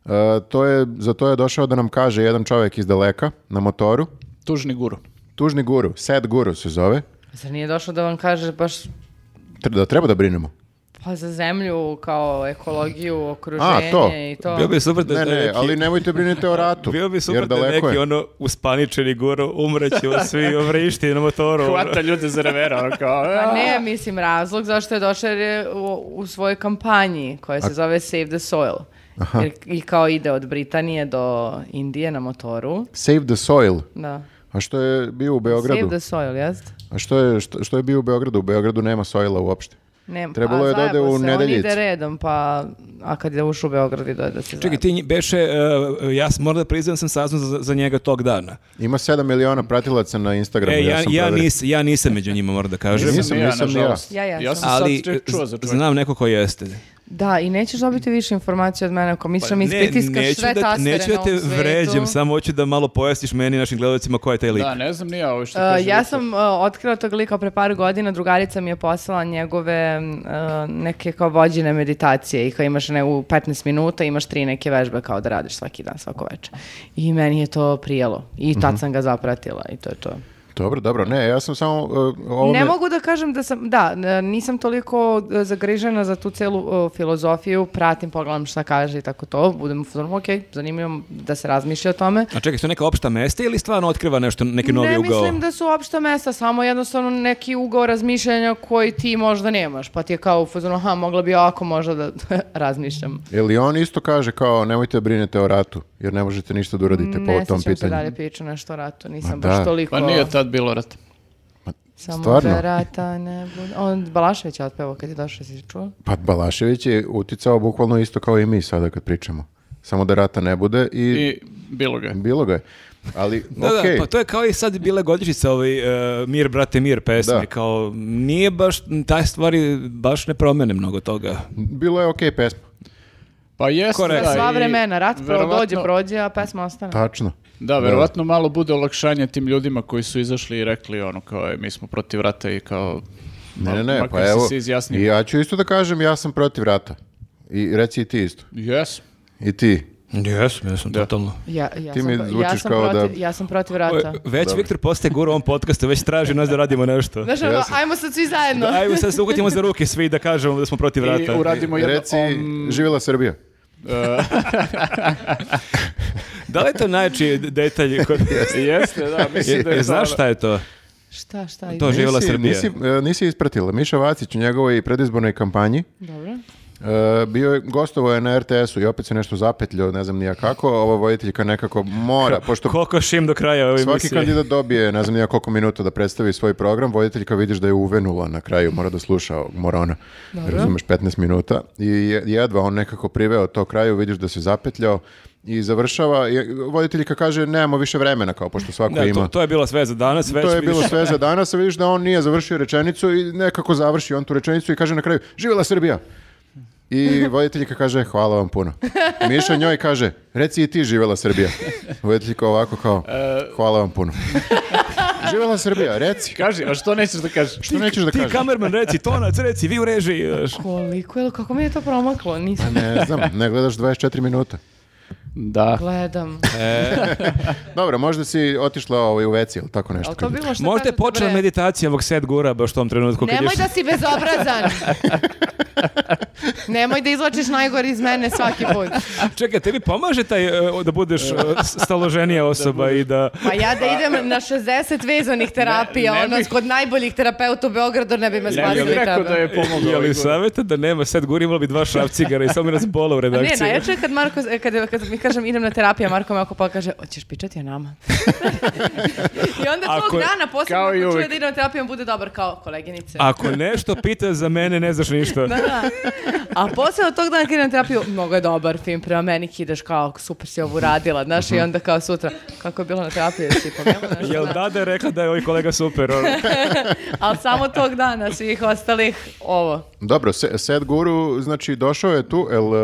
[SPEAKER 2] Uh, to je, za to je došao da nam kaže jedan čovjek iz daleka na motoru.
[SPEAKER 3] Tužni guru.
[SPEAKER 2] Tužni guru, sad guru se zove.
[SPEAKER 1] Zar nije došlo da vam kaže baš
[SPEAKER 2] Tre- Da treba da brinemo.
[SPEAKER 1] pa za zemlju, kao ekologiju, okruženje
[SPEAKER 2] A, to.
[SPEAKER 1] i to?
[SPEAKER 4] Bio bi super da
[SPEAKER 2] Ne,
[SPEAKER 4] da
[SPEAKER 2] ne,
[SPEAKER 4] neki-
[SPEAKER 2] ali nemojte brinite o ratu.
[SPEAKER 4] <laughs> Bio bi super
[SPEAKER 2] jer
[SPEAKER 4] da
[SPEAKER 2] daleko
[SPEAKER 4] neki
[SPEAKER 2] je.
[SPEAKER 4] ono uspaničeni guru umreće od
[SPEAKER 2] <laughs>
[SPEAKER 4] svi vrišti na motoru. ono.
[SPEAKER 3] Hvata ljude za revera, ono kao...
[SPEAKER 1] Pa
[SPEAKER 3] "A,
[SPEAKER 1] ne, mislim, razlog zašto je došao jer je u, u svojoj kampanji koja se zove Save the Soil. Jer, I kao ide od Britanije do Indije na motoru.
[SPEAKER 2] Save the soil.
[SPEAKER 1] Da.
[SPEAKER 2] A što je bio u Beogradu?
[SPEAKER 1] Save the Soil, jest?
[SPEAKER 2] A što je, što, što je bio u Beogradu? U Beogradu nema sojla uopšte.
[SPEAKER 1] Ne,
[SPEAKER 2] Trebalo je da ode
[SPEAKER 1] zajebo
[SPEAKER 2] u
[SPEAKER 1] se,
[SPEAKER 2] Nedeljicu.
[SPEAKER 1] On ide redom, pa a kad je ušao u Beograd i dođe da se
[SPEAKER 4] Čekaj,
[SPEAKER 1] zajebo.
[SPEAKER 4] ti nji- beše, e, ja s- moram da priznam sam saznao za, za njega tog dana.
[SPEAKER 2] Ima 7 miliona pratilaca na Instagramu.
[SPEAKER 4] E,
[SPEAKER 2] ja,
[SPEAKER 4] ja,
[SPEAKER 2] sam
[SPEAKER 4] ja,
[SPEAKER 2] proverio.
[SPEAKER 4] nis- ja nisam među njima, moram da kažem.
[SPEAKER 2] Nisam. nisam ni ja.
[SPEAKER 3] nažalost.
[SPEAKER 1] Ja jesam.
[SPEAKER 3] Ja sam
[SPEAKER 4] ali
[SPEAKER 3] sad čuo za
[SPEAKER 4] z-
[SPEAKER 3] čovjeka.
[SPEAKER 4] znam neko ko jeste.
[SPEAKER 1] Da, i nećeš dobiti više informacije od mene ako mi sam
[SPEAKER 4] Pa Ne,
[SPEAKER 1] ispitiskaš
[SPEAKER 4] neću
[SPEAKER 1] sve
[SPEAKER 4] da,
[SPEAKER 1] tastere
[SPEAKER 4] neću da
[SPEAKER 1] na
[SPEAKER 4] te
[SPEAKER 1] ovom svetu.
[SPEAKER 4] vređam, samo hoću da malo pojasniš meni i našim gledalcima ko je taj lik.
[SPEAKER 3] Da, ne znam ni ja ovo što
[SPEAKER 1] Uh,
[SPEAKER 3] kaže.
[SPEAKER 1] ja
[SPEAKER 3] Viktor.
[SPEAKER 1] sam uh, otkrila tog lika pre par godina, drugarica mi je poslala njegove uh, neke kao vođene meditacije i kao imaš ne, u 15 minuta, imaš tri neke vežbe kao da
[SPEAKER 4] Mhm.
[SPEAKER 1] radiš svaki dan, svako večer. I meni je to prijelo. I tad sam ga zapratila i to je to.
[SPEAKER 2] Dobro, dobro, ne, ja sam samo... uh, ovo
[SPEAKER 1] Ne
[SPEAKER 2] me-
[SPEAKER 1] mogu da kažem da sam, da, n- nisam toliko e, zagrižena za tu celu e, filozofiju, pratim, pogledam šta kaže i tako to, budem u fazonu, ok, zanimljivo da se razmišlja o tome.
[SPEAKER 4] A čekaj, su neka opšta mesta ili stvarno otkriva nešto, neki novi
[SPEAKER 1] ne
[SPEAKER 4] ugao?
[SPEAKER 1] mislim da su opšta mesta, samo jednostavno neki ugao razmišljanja koji ti možda nemaš, pa ti je kao u fazonu, aha, mogla bi ovako možda da <laughs> razmišljam.
[SPEAKER 2] Je li on isto kaže kao nemojte da brinete o ratu, jer ne možete ništa da uradite po
[SPEAKER 1] Ne sjećam
[SPEAKER 2] tom pitanju.
[SPEAKER 1] se dalje priču nešto o ratu, nisam
[SPEAKER 2] Ma
[SPEAKER 1] baš
[SPEAKER 2] da.
[SPEAKER 1] toliko...
[SPEAKER 3] Pa nije tad bilo rata.
[SPEAKER 1] Samo
[SPEAKER 2] Stvarno?
[SPEAKER 1] da rata ne bude. On Balašević je otpevao kad je došao, si čuo?
[SPEAKER 2] Pa Balašević je uticao bukvalno isto kao i mi sada kad pričamo. Samo da rata ne bude i,
[SPEAKER 3] I bilo ga je.
[SPEAKER 2] bilo ga je. Ali,
[SPEAKER 4] Da, da,
[SPEAKER 2] okej.
[SPEAKER 4] pa to je kao i sad bila godišnjica ovaj, e, Mir, brate, mir pesme,
[SPEAKER 2] Da.
[SPEAKER 4] kao nije baš, taj stvari baš ne promene mnogo toga.
[SPEAKER 2] Bilo je okej pesma.
[SPEAKER 3] Pa jeste,
[SPEAKER 4] Korekt.
[SPEAKER 3] da.
[SPEAKER 1] Sva
[SPEAKER 3] i
[SPEAKER 1] vremena, rat pro-
[SPEAKER 3] verovatno-
[SPEAKER 1] dođe, prođe, a pesma ostane.
[SPEAKER 2] Tačno.
[SPEAKER 3] Da, verovatno malo bude olakšanje tim ljudima koji su izašli i rekli ono kao e, mi smo protiv rata i kao...
[SPEAKER 2] Ne,
[SPEAKER 3] ma-
[SPEAKER 2] ne, ne,
[SPEAKER 3] makar
[SPEAKER 2] pa
[SPEAKER 3] si
[SPEAKER 2] evo,
[SPEAKER 3] se izjasnio.
[SPEAKER 2] i ja ću isto da kažem, ja sam protiv rata. I reci i ti isto.
[SPEAKER 3] Yes.
[SPEAKER 2] I ti.
[SPEAKER 4] Jesam, jesam, totalno.
[SPEAKER 1] Ja, ja
[SPEAKER 2] Ti
[SPEAKER 1] sam,
[SPEAKER 2] mi
[SPEAKER 1] pro- ja
[SPEAKER 2] zvučiš
[SPEAKER 1] sam
[SPEAKER 2] kao da-
[SPEAKER 1] protiv, Ja sam protiv rata.
[SPEAKER 4] Već Viktor postaje guru u ovom podcastu, već traži nas da radimo nešto.
[SPEAKER 1] Znaš, ono, ajmo sad svi zajedno.
[SPEAKER 4] Ajmo sad se uhvatimo za ruke svi da kažemo da smo protiv
[SPEAKER 3] I
[SPEAKER 4] rata.
[SPEAKER 3] uradimo jedno... um,
[SPEAKER 2] Reci,
[SPEAKER 3] om, <laughs> E,
[SPEAKER 2] živjela Srbija.
[SPEAKER 4] Da li je to najjači detalj? Kod...
[SPEAKER 3] Jeste, da, mislim da je
[SPEAKER 4] E,
[SPEAKER 3] to
[SPEAKER 4] znaš
[SPEAKER 3] ono-
[SPEAKER 4] šta je to?
[SPEAKER 1] Šta, šta?
[SPEAKER 4] To
[SPEAKER 1] ide?
[SPEAKER 4] je- Živela
[SPEAKER 2] Nisi-
[SPEAKER 4] Srbija.
[SPEAKER 2] Nisi, e, nisi ispratila. Miša Vacić u njegovoj predizbornoj kampanji
[SPEAKER 1] Dobro.
[SPEAKER 2] e, bio je, gostovo je na RTS-u i opet se nešto zapetljao, ne znam nija kako, ova voditeljka nekako mora, pošto
[SPEAKER 4] Koliko šim do kraja ove
[SPEAKER 2] Svaki
[SPEAKER 4] emisije?
[SPEAKER 2] kandidat dobije, ne znam ja koliko minuta da predstavi svoj program, voditeljka vidiš da je uvenula na kraju, mora da sluša, mora ona, razumeš, 15 minuta i je- jedva on nekako priveo to kraju, vidiš da se zapetljao i završava, i voditeljka kaže nemamo više vremena, kao pošto svako
[SPEAKER 4] Da, to,
[SPEAKER 2] ima.
[SPEAKER 4] to je bilo sve za danas. Već
[SPEAKER 2] To je bilo
[SPEAKER 4] vidiš-
[SPEAKER 2] sve za danas, a vidiš da on nije završio rečenicu i nekako završi on tu rečenicu i kaže na kraju, živjela Srbija! I voditeljka kaže, hvala vam puno. Miša njoj kaže, reci i ti živjela Srbija. Voditeljka ovako kao,
[SPEAKER 4] E,
[SPEAKER 2] hvala vam puno. živjela Srbija, reci.
[SPEAKER 3] Kaži, a što nećeš da kažeš?
[SPEAKER 2] Što nećeš da
[SPEAKER 4] Ti
[SPEAKER 2] kažeš?
[SPEAKER 4] kamerman reci, tonac reci, vi u režiji. znaš.
[SPEAKER 1] Koliko, ili kako mi je to promaklo? Nisam
[SPEAKER 2] Ne znam, ne gledaš 24 minuta.
[SPEAKER 3] Da.
[SPEAKER 1] gledam.
[SPEAKER 2] Dobro, možda si otišla ovaj, u veci ili tako nešto.
[SPEAKER 1] Ali to bilo što
[SPEAKER 4] Možda je
[SPEAKER 1] kažete,
[SPEAKER 4] počela
[SPEAKER 1] bre.
[SPEAKER 4] meditacija ovog set gura baš u tom trenutku. kad
[SPEAKER 1] Nemoj
[SPEAKER 4] ješ-
[SPEAKER 1] da si
[SPEAKER 3] <laughs>
[SPEAKER 1] bezobrazan. Nemoj da izvlačiš najgore iz mene svaki put.
[SPEAKER 4] Čekaj, tebi pomaže taj, e, o, da budeš e, s- staloženija osoba i da...
[SPEAKER 1] Pa ja da idem na 60 vezanih terapija,
[SPEAKER 3] Ne- ne
[SPEAKER 1] ono,
[SPEAKER 3] bih-
[SPEAKER 1] kod najboljih terapeuta u Beogradu ne bi me
[SPEAKER 3] Ja bih
[SPEAKER 1] spasili
[SPEAKER 3] rekao
[SPEAKER 1] tebe.
[SPEAKER 3] da je pomogao.
[SPEAKER 4] Je
[SPEAKER 3] ovaj
[SPEAKER 4] li
[SPEAKER 3] guru.
[SPEAKER 4] savjeta da nema set gura, imala bi dva šrapcigara i samo bi nas bola
[SPEAKER 1] Ne,
[SPEAKER 4] u redakciji.
[SPEAKER 1] najjače je kad Marko, e, kad, kad mi kažem idem na terapiju, a Marko me oko pa kaže, hoćeš pričati o nama? <laughs> I onda tog
[SPEAKER 4] Ako-
[SPEAKER 1] dana posebno
[SPEAKER 3] kao i
[SPEAKER 1] ako čuje
[SPEAKER 3] uvek.
[SPEAKER 1] da idem na terapiju, on bude dobar kao koleginice.
[SPEAKER 4] Ako nešto pita za mene, ne znaš ništa.
[SPEAKER 1] Da, da. A posle od tog dana kad idem na terapiju, mnogo je dobar film prema meni, ideš kao, super si ovo radila, znaš, i onda kao sutra, kako je bilo na terapiji, jesi pomenula nešto,
[SPEAKER 4] Jel
[SPEAKER 1] znaš?
[SPEAKER 4] Dada je rekla da je ovaj kolega super?
[SPEAKER 1] <laughs>
[SPEAKER 4] ono?
[SPEAKER 1] ali samo tog dana svih ostalih ovo.
[SPEAKER 2] Dobro, se, Seth Guru, znači, došao je tu, el,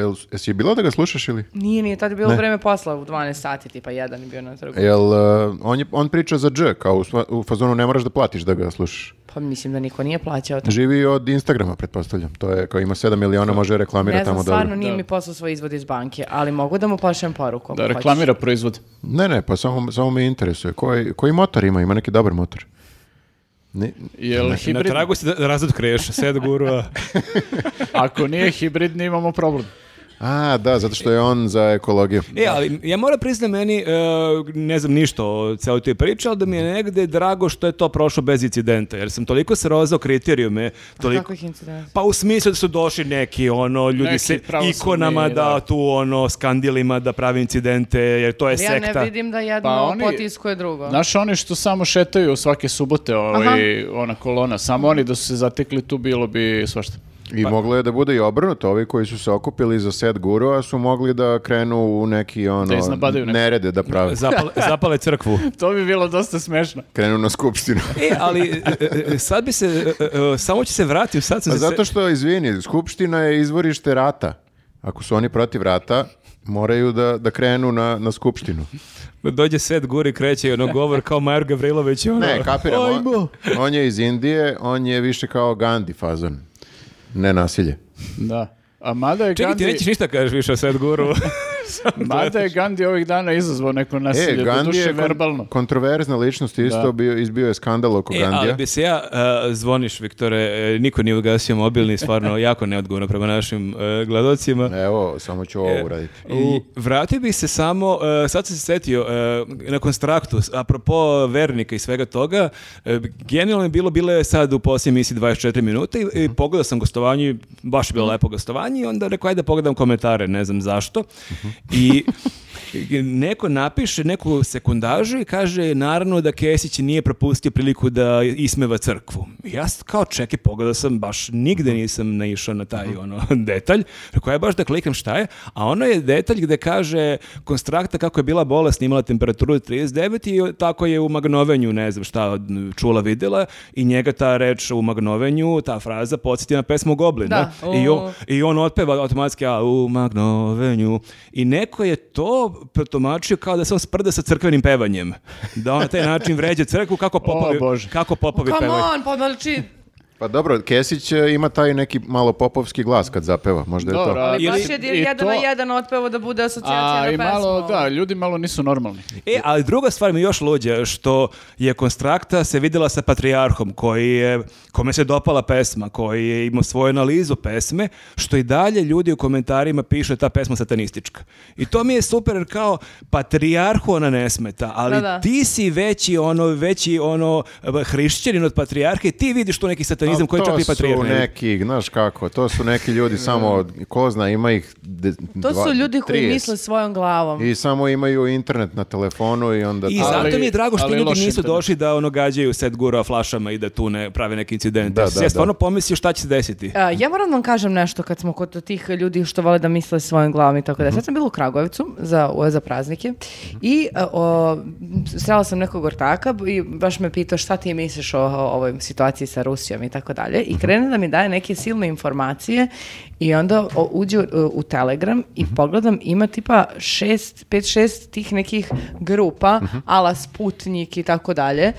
[SPEAKER 2] el, jesi bila da ga slušaš ili?
[SPEAKER 1] Nije, nije, tad je bilo vreme posla u 12 sati, tipa jedan je bio na trgu.
[SPEAKER 2] Jel, uh, on, je, on priča za dž, kao u, sva- u fazonu ne moraš da platiš da ga slušaš.
[SPEAKER 1] Pa mislim da niko nije plaćao to.
[SPEAKER 2] Živi od Instagrama, pretpostavljam. To je, kao ima 7 miliona, može reklamira
[SPEAKER 1] Ne
[SPEAKER 2] tamo
[SPEAKER 1] znam,
[SPEAKER 2] dobro.
[SPEAKER 1] stvarno nije mi poslao svoj izvod iz banke, ali mogu da mu pošaljem poruku. ako
[SPEAKER 3] Da
[SPEAKER 1] hoćeš.
[SPEAKER 3] reklamira proizvod.
[SPEAKER 2] Ne, ne, pa samo, samo me interesuje. Koji, koji motor ima? Ima neki dobar motor. Ni,
[SPEAKER 3] Jel
[SPEAKER 4] Na
[SPEAKER 3] hibrid?
[SPEAKER 4] tragu se da razotkriješ, set gurua.
[SPEAKER 3] <laughs> Ako nije hibridni imamo problem.
[SPEAKER 2] a, da, zato što je on za ekologiju.
[SPEAKER 4] <laughs> E, ali ja moram priznati meni, e, ne znam ništa o cijeloj toj priči, ali da mi je negde drago što je to prošlo bez incidenta, jer sam toliko srozao kriterijume, toliko...
[SPEAKER 1] Kakvih incidenata?
[SPEAKER 4] Pa u smislu da su došli neki ono ljudi
[SPEAKER 3] Neki
[SPEAKER 4] se
[SPEAKER 3] pravosudni,
[SPEAKER 4] ikonama da,
[SPEAKER 3] da.
[SPEAKER 4] tu ono skandilima da pravi incidente jer to je
[SPEAKER 1] Ja
[SPEAKER 4] sekta.
[SPEAKER 1] ne vidim da jedno
[SPEAKER 3] Pa oni-
[SPEAKER 1] potiskuje drugo.
[SPEAKER 3] Znaš oni što samo šetaju svake subote ovaj, ona kolona, samo oni da su se zatekli tu bilo bi svašta.
[SPEAKER 2] I moglo je da bude i obrnuto. Ovi koji su se okupili za set gurua su mogli da krenu u neki ono,
[SPEAKER 3] iznapadaju neko.
[SPEAKER 2] nerede da prave.
[SPEAKER 1] <laughs>
[SPEAKER 4] Zapale, zapale crkvu.
[SPEAKER 3] To bi bilo dosta smešno.
[SPEAKER 2] Krenu na skupštinu.
[SPEAKER 4] E, ali e, e, sad bi se, e, e, samo će se vratiti, sad sam
[SPEAKER 2] Pa
[SPEAKER 4] se...
[SPEAKER 2] zato što, izvini, skupština je izvorište rata. Ako su oni protiv rata, moraju da, da krenu na, na skupštinu.
[SPEAKER 4] Dođe Svet Guri, kreće i ono govor kao Major Gavrilović. i Ono,
[SPEAKER 2] Ne, kapiram.
[SPEAKER 4] "Ajmo."
[SPEAKER 2] On, on je iz Indije, on je više kao Gandhi fazon. Ne nasilje. E,
[SPEAKER 3] Da. A mada je
[SPEAKER 4] Čekaj, ti
[SPEAKER 3] Gandhi-
[SPEAKER 4] nećeš ništa kažeš više o Svet Guru.
[SPEAKER 3] Mada je Gandhi ovih dana izazvao neko nasilje,
[SPEAKER 2] Gandhi
[SPEAKER 3] doduše
[SPEAKER 2] je kon-
[SPEAKER 3] verbalno.
[SPEAKER 2] kontroverzna ličnost, isto bio, izbio je skandal oko
[SPEAKER 4] <laughs> E, ali
[SPEAKER 2] Gandija.
[SPEAKER 4] bi se ja, e, zvoniš, Viktore, e, niko nije ugasio mobilni, stvarno jako neodgovorno prema našim e, gledocima.
[SPEAKER 2] Evo, samo ću
[SPEAKER 4] E.
[SPEAKER 2] ovo uraditi.
[SPEAKER 4] I vratio bih se samo, e, sad sam se setio, e, na konstraktu, s- apropo vernika i svega toga, e, genijalno je bilo, bile je sad u posljednjoj emisiji 24 minuta i, i pogledao sam gostovanje, i baš je bilo lepo gostovanje i onda rekao, ajde da pogledam komentare, ne znam zašto. I neko napiše neku sekundažu i kaže naravno da Kesić nije propustio priliku da ismeva crkvu. Ja s- kao čekaj pogledao sam baš nigde nisam naišao na taj ono <laughs> detalj. Rekao ja baš da kliknem šta je, a ono je detalj gde kaže konstrakta kako je bila bolesna, imala temperaturu 39 i tako je u magnovenju, ne znam šta čula videla i njega ta reč u magnovenju, ta fraza podsjeti na pesmu Goblin.
[SPEAKER 1] Da.
[SPEAKER 4] da? I on,
[SPEAKER 1] O.
[SPEAKER 4] i on otpeva automatski a u magnovenju i neko je to protumačio kao da se on sprda sa crkvenim pevanjem. Da on na taj način vređa crkvu kako popovi,
[SPEAKER 3] Bože.
[SPEAKER 4] kako popovi
[SPEAKER 1] Come
[SPEAKER 4] pevaju.
[SPEAKER 1] on, pa znači,
[SPEAKER 2] Pa dobro, Kesić e, ima taj neki malo popovski glas kad zapeva, možda je
[SPEAKER 3] Dobro,
[SPEAKER 2] to.
[SPEAKER 3] ali
[SPEAKER 1] ali baš
[SPEAKER 3] mislim,
[SPEAKER 1] je
[SPEAKER 3] i
[SPEAKER 1] jedan na
[SPEAKER 3] to-
[SPEAKER 1] jedan otpevo da bude asocijacija
[SPEAKER 3] A
[SPEAKER 1] na
[SPEAKER 3] i
[SPEAKER 1] pesmu. ono?
[SPEAKER 3] malo, da, ljudi malo nisu normalni.
[SPEAKER 4] E, ali druga stvar mi još luđa, što je Konstrakta se vidjela sa Patrijarhom, koji je, kome se dopala pesma, koji je imao svoju analizu pesme, što i dalje ljudi u komentarima pišu da je ta pesma satanistička. I to mi je super, jer kao Patrijarhu ona ne smeta, ali
[SPEAKER 1] Da, da.
[SPEAKER 4] ti si veći ono, veći ono hrišćanin od Patrijarha i ti vidiš tu neki satanizam
[SPEAKER 2] Al
[SPEAKER 4] koji čak i
[SPEAKER 2] to
[SPEAKER 4] Patrijarh
[SPEAKER 2] su
[SPEAKER 4] ne vidi.
[SPEAKER 2] neki, znaš kako, to su neki ljudi samo, od- ko zna, ima ih de-
[SPEAKER 1] To
[SPEAKER 2] dva-
[SPEAKER 1] su ljudi koji
[SPEAKER 2] 30.
[SPEAKER 1] misle svojom glavom.
[SPEAKER 2] I samo imaju internet na telefonu i onda...
[SPEAKER 4] I
[SPEAKER 2] to-
[SPEAKER 3] Ali-
[SPEAKER 4] zato mi je drago što
[SPEAKER 3] ali
[SPEAKER 4] ljudi
[SPEAKER 3] loš
[SPEAKER 4] nisu
[SPEAKER 3] internet.
[SPEAKER 4] došli da ono gađaju set gura flašama i da tu ne prave neki incident.
[SPEAKER 2] Da,
[SPEAKER 4] Da, da,
[SPEAKER 2] da,
[SPEAKER 4] ja stvarno pomislio šta će se desiti.
[SPEAKER 1] E, ja moram da vam kažem nešto kad smo kod tih ljudi što vole da misle svojim glavom i tako da. Sad sam bila u Kragujevcu za, u- za praznike i e, o, srela sam nekog ortaka i baš me pitao šta ti misliš o, o ovoj situaciji sa Rusijom i tako dalje. I krene da mi daje neke silne informacije i onda o, uđe u, u Telegram i pogledam ima tipa šest, pet, šest tih nekih grupa ala Sputnik i tako dalje e,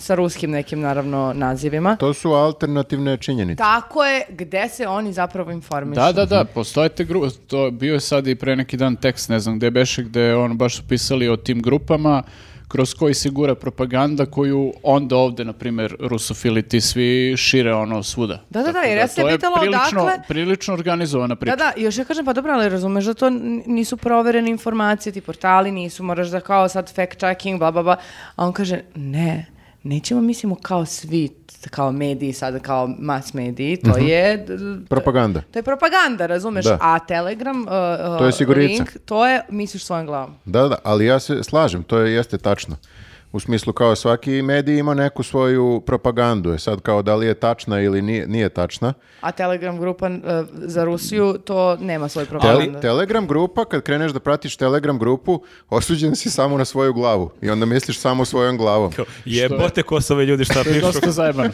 [SPEAKER 1] sa ruskim nekim naravno nazivima.
[SPEAKER 2] To su alternativne činjenice.
[SPEAKER 1] Tako je, gde se oni zapravo informišu.
[SPEAKER 3] Da, da, da, postoje te grupe. To bio je sad i pre neki dan tekst, ne znam gde beše, gde je on baš su pisali o tim grupama kroz koji se gura propaganda koju onda ovde, na primjer, rusofili ti svi šire ono svuda.
[SPEAKER 1] Da, da, da,
[SPEAKER 3] Tako
[SPEAKER 1] jer ja sam
[SPEAKER 3] to je
[SPEAKER 1] pitala
[SPEAKER 3] prilično,
[SPEAKER 1] odakle-
[SPEAKER 3] Prilično organizovana priča.
[SPEAKER 1] Da, da, i još ja kažem, pa dobro, ali razumeš da to n- nisu proverene informacije, ti portali nisu, moraš da kao sad fact checking, bla, bla, bla. A on kaže, ne, nećemo, mislimo kao svi, t- kao mediji sada, kao mass mediji, to je... d- d-
[SPEAKER 2] Propaganda.
[SPEAKER 1] To je propaganda, razumeš?
[SPEAKER 2] Da.
[SPEAKER 1] A Telegram, uh, uh,
[SPEAKER 2] To je sigurica.
[SPEAKER 1] link, to je, misliš svojom glavom.
[SPEAKER 2] Da, da, ali ja se slažem, to je, jeste tačno. U smislu kao svaki medij ima neku svoju propagandu, e sad kao da li je tačna ili nije, nije tačna.
[SPEAKER 1] A Telegram grupa uh, za Rusiju, to nema svoju
[SPEAKER 2] Tel-
[SPEAKER 1] propagandu.
[SPEAKER 2] Telegram grupa, kad kreneš da pratiš Telegram grupu, osuđen si samo na svoju glavu i onda misliš samo svojom glavom.
[SPEAKER 4] Jebote ko su ovi ljudi šta
[SPEAKER 3] To je
[SPEAKER 4] pišu.
[SPEAKER 3] dosta zajebano.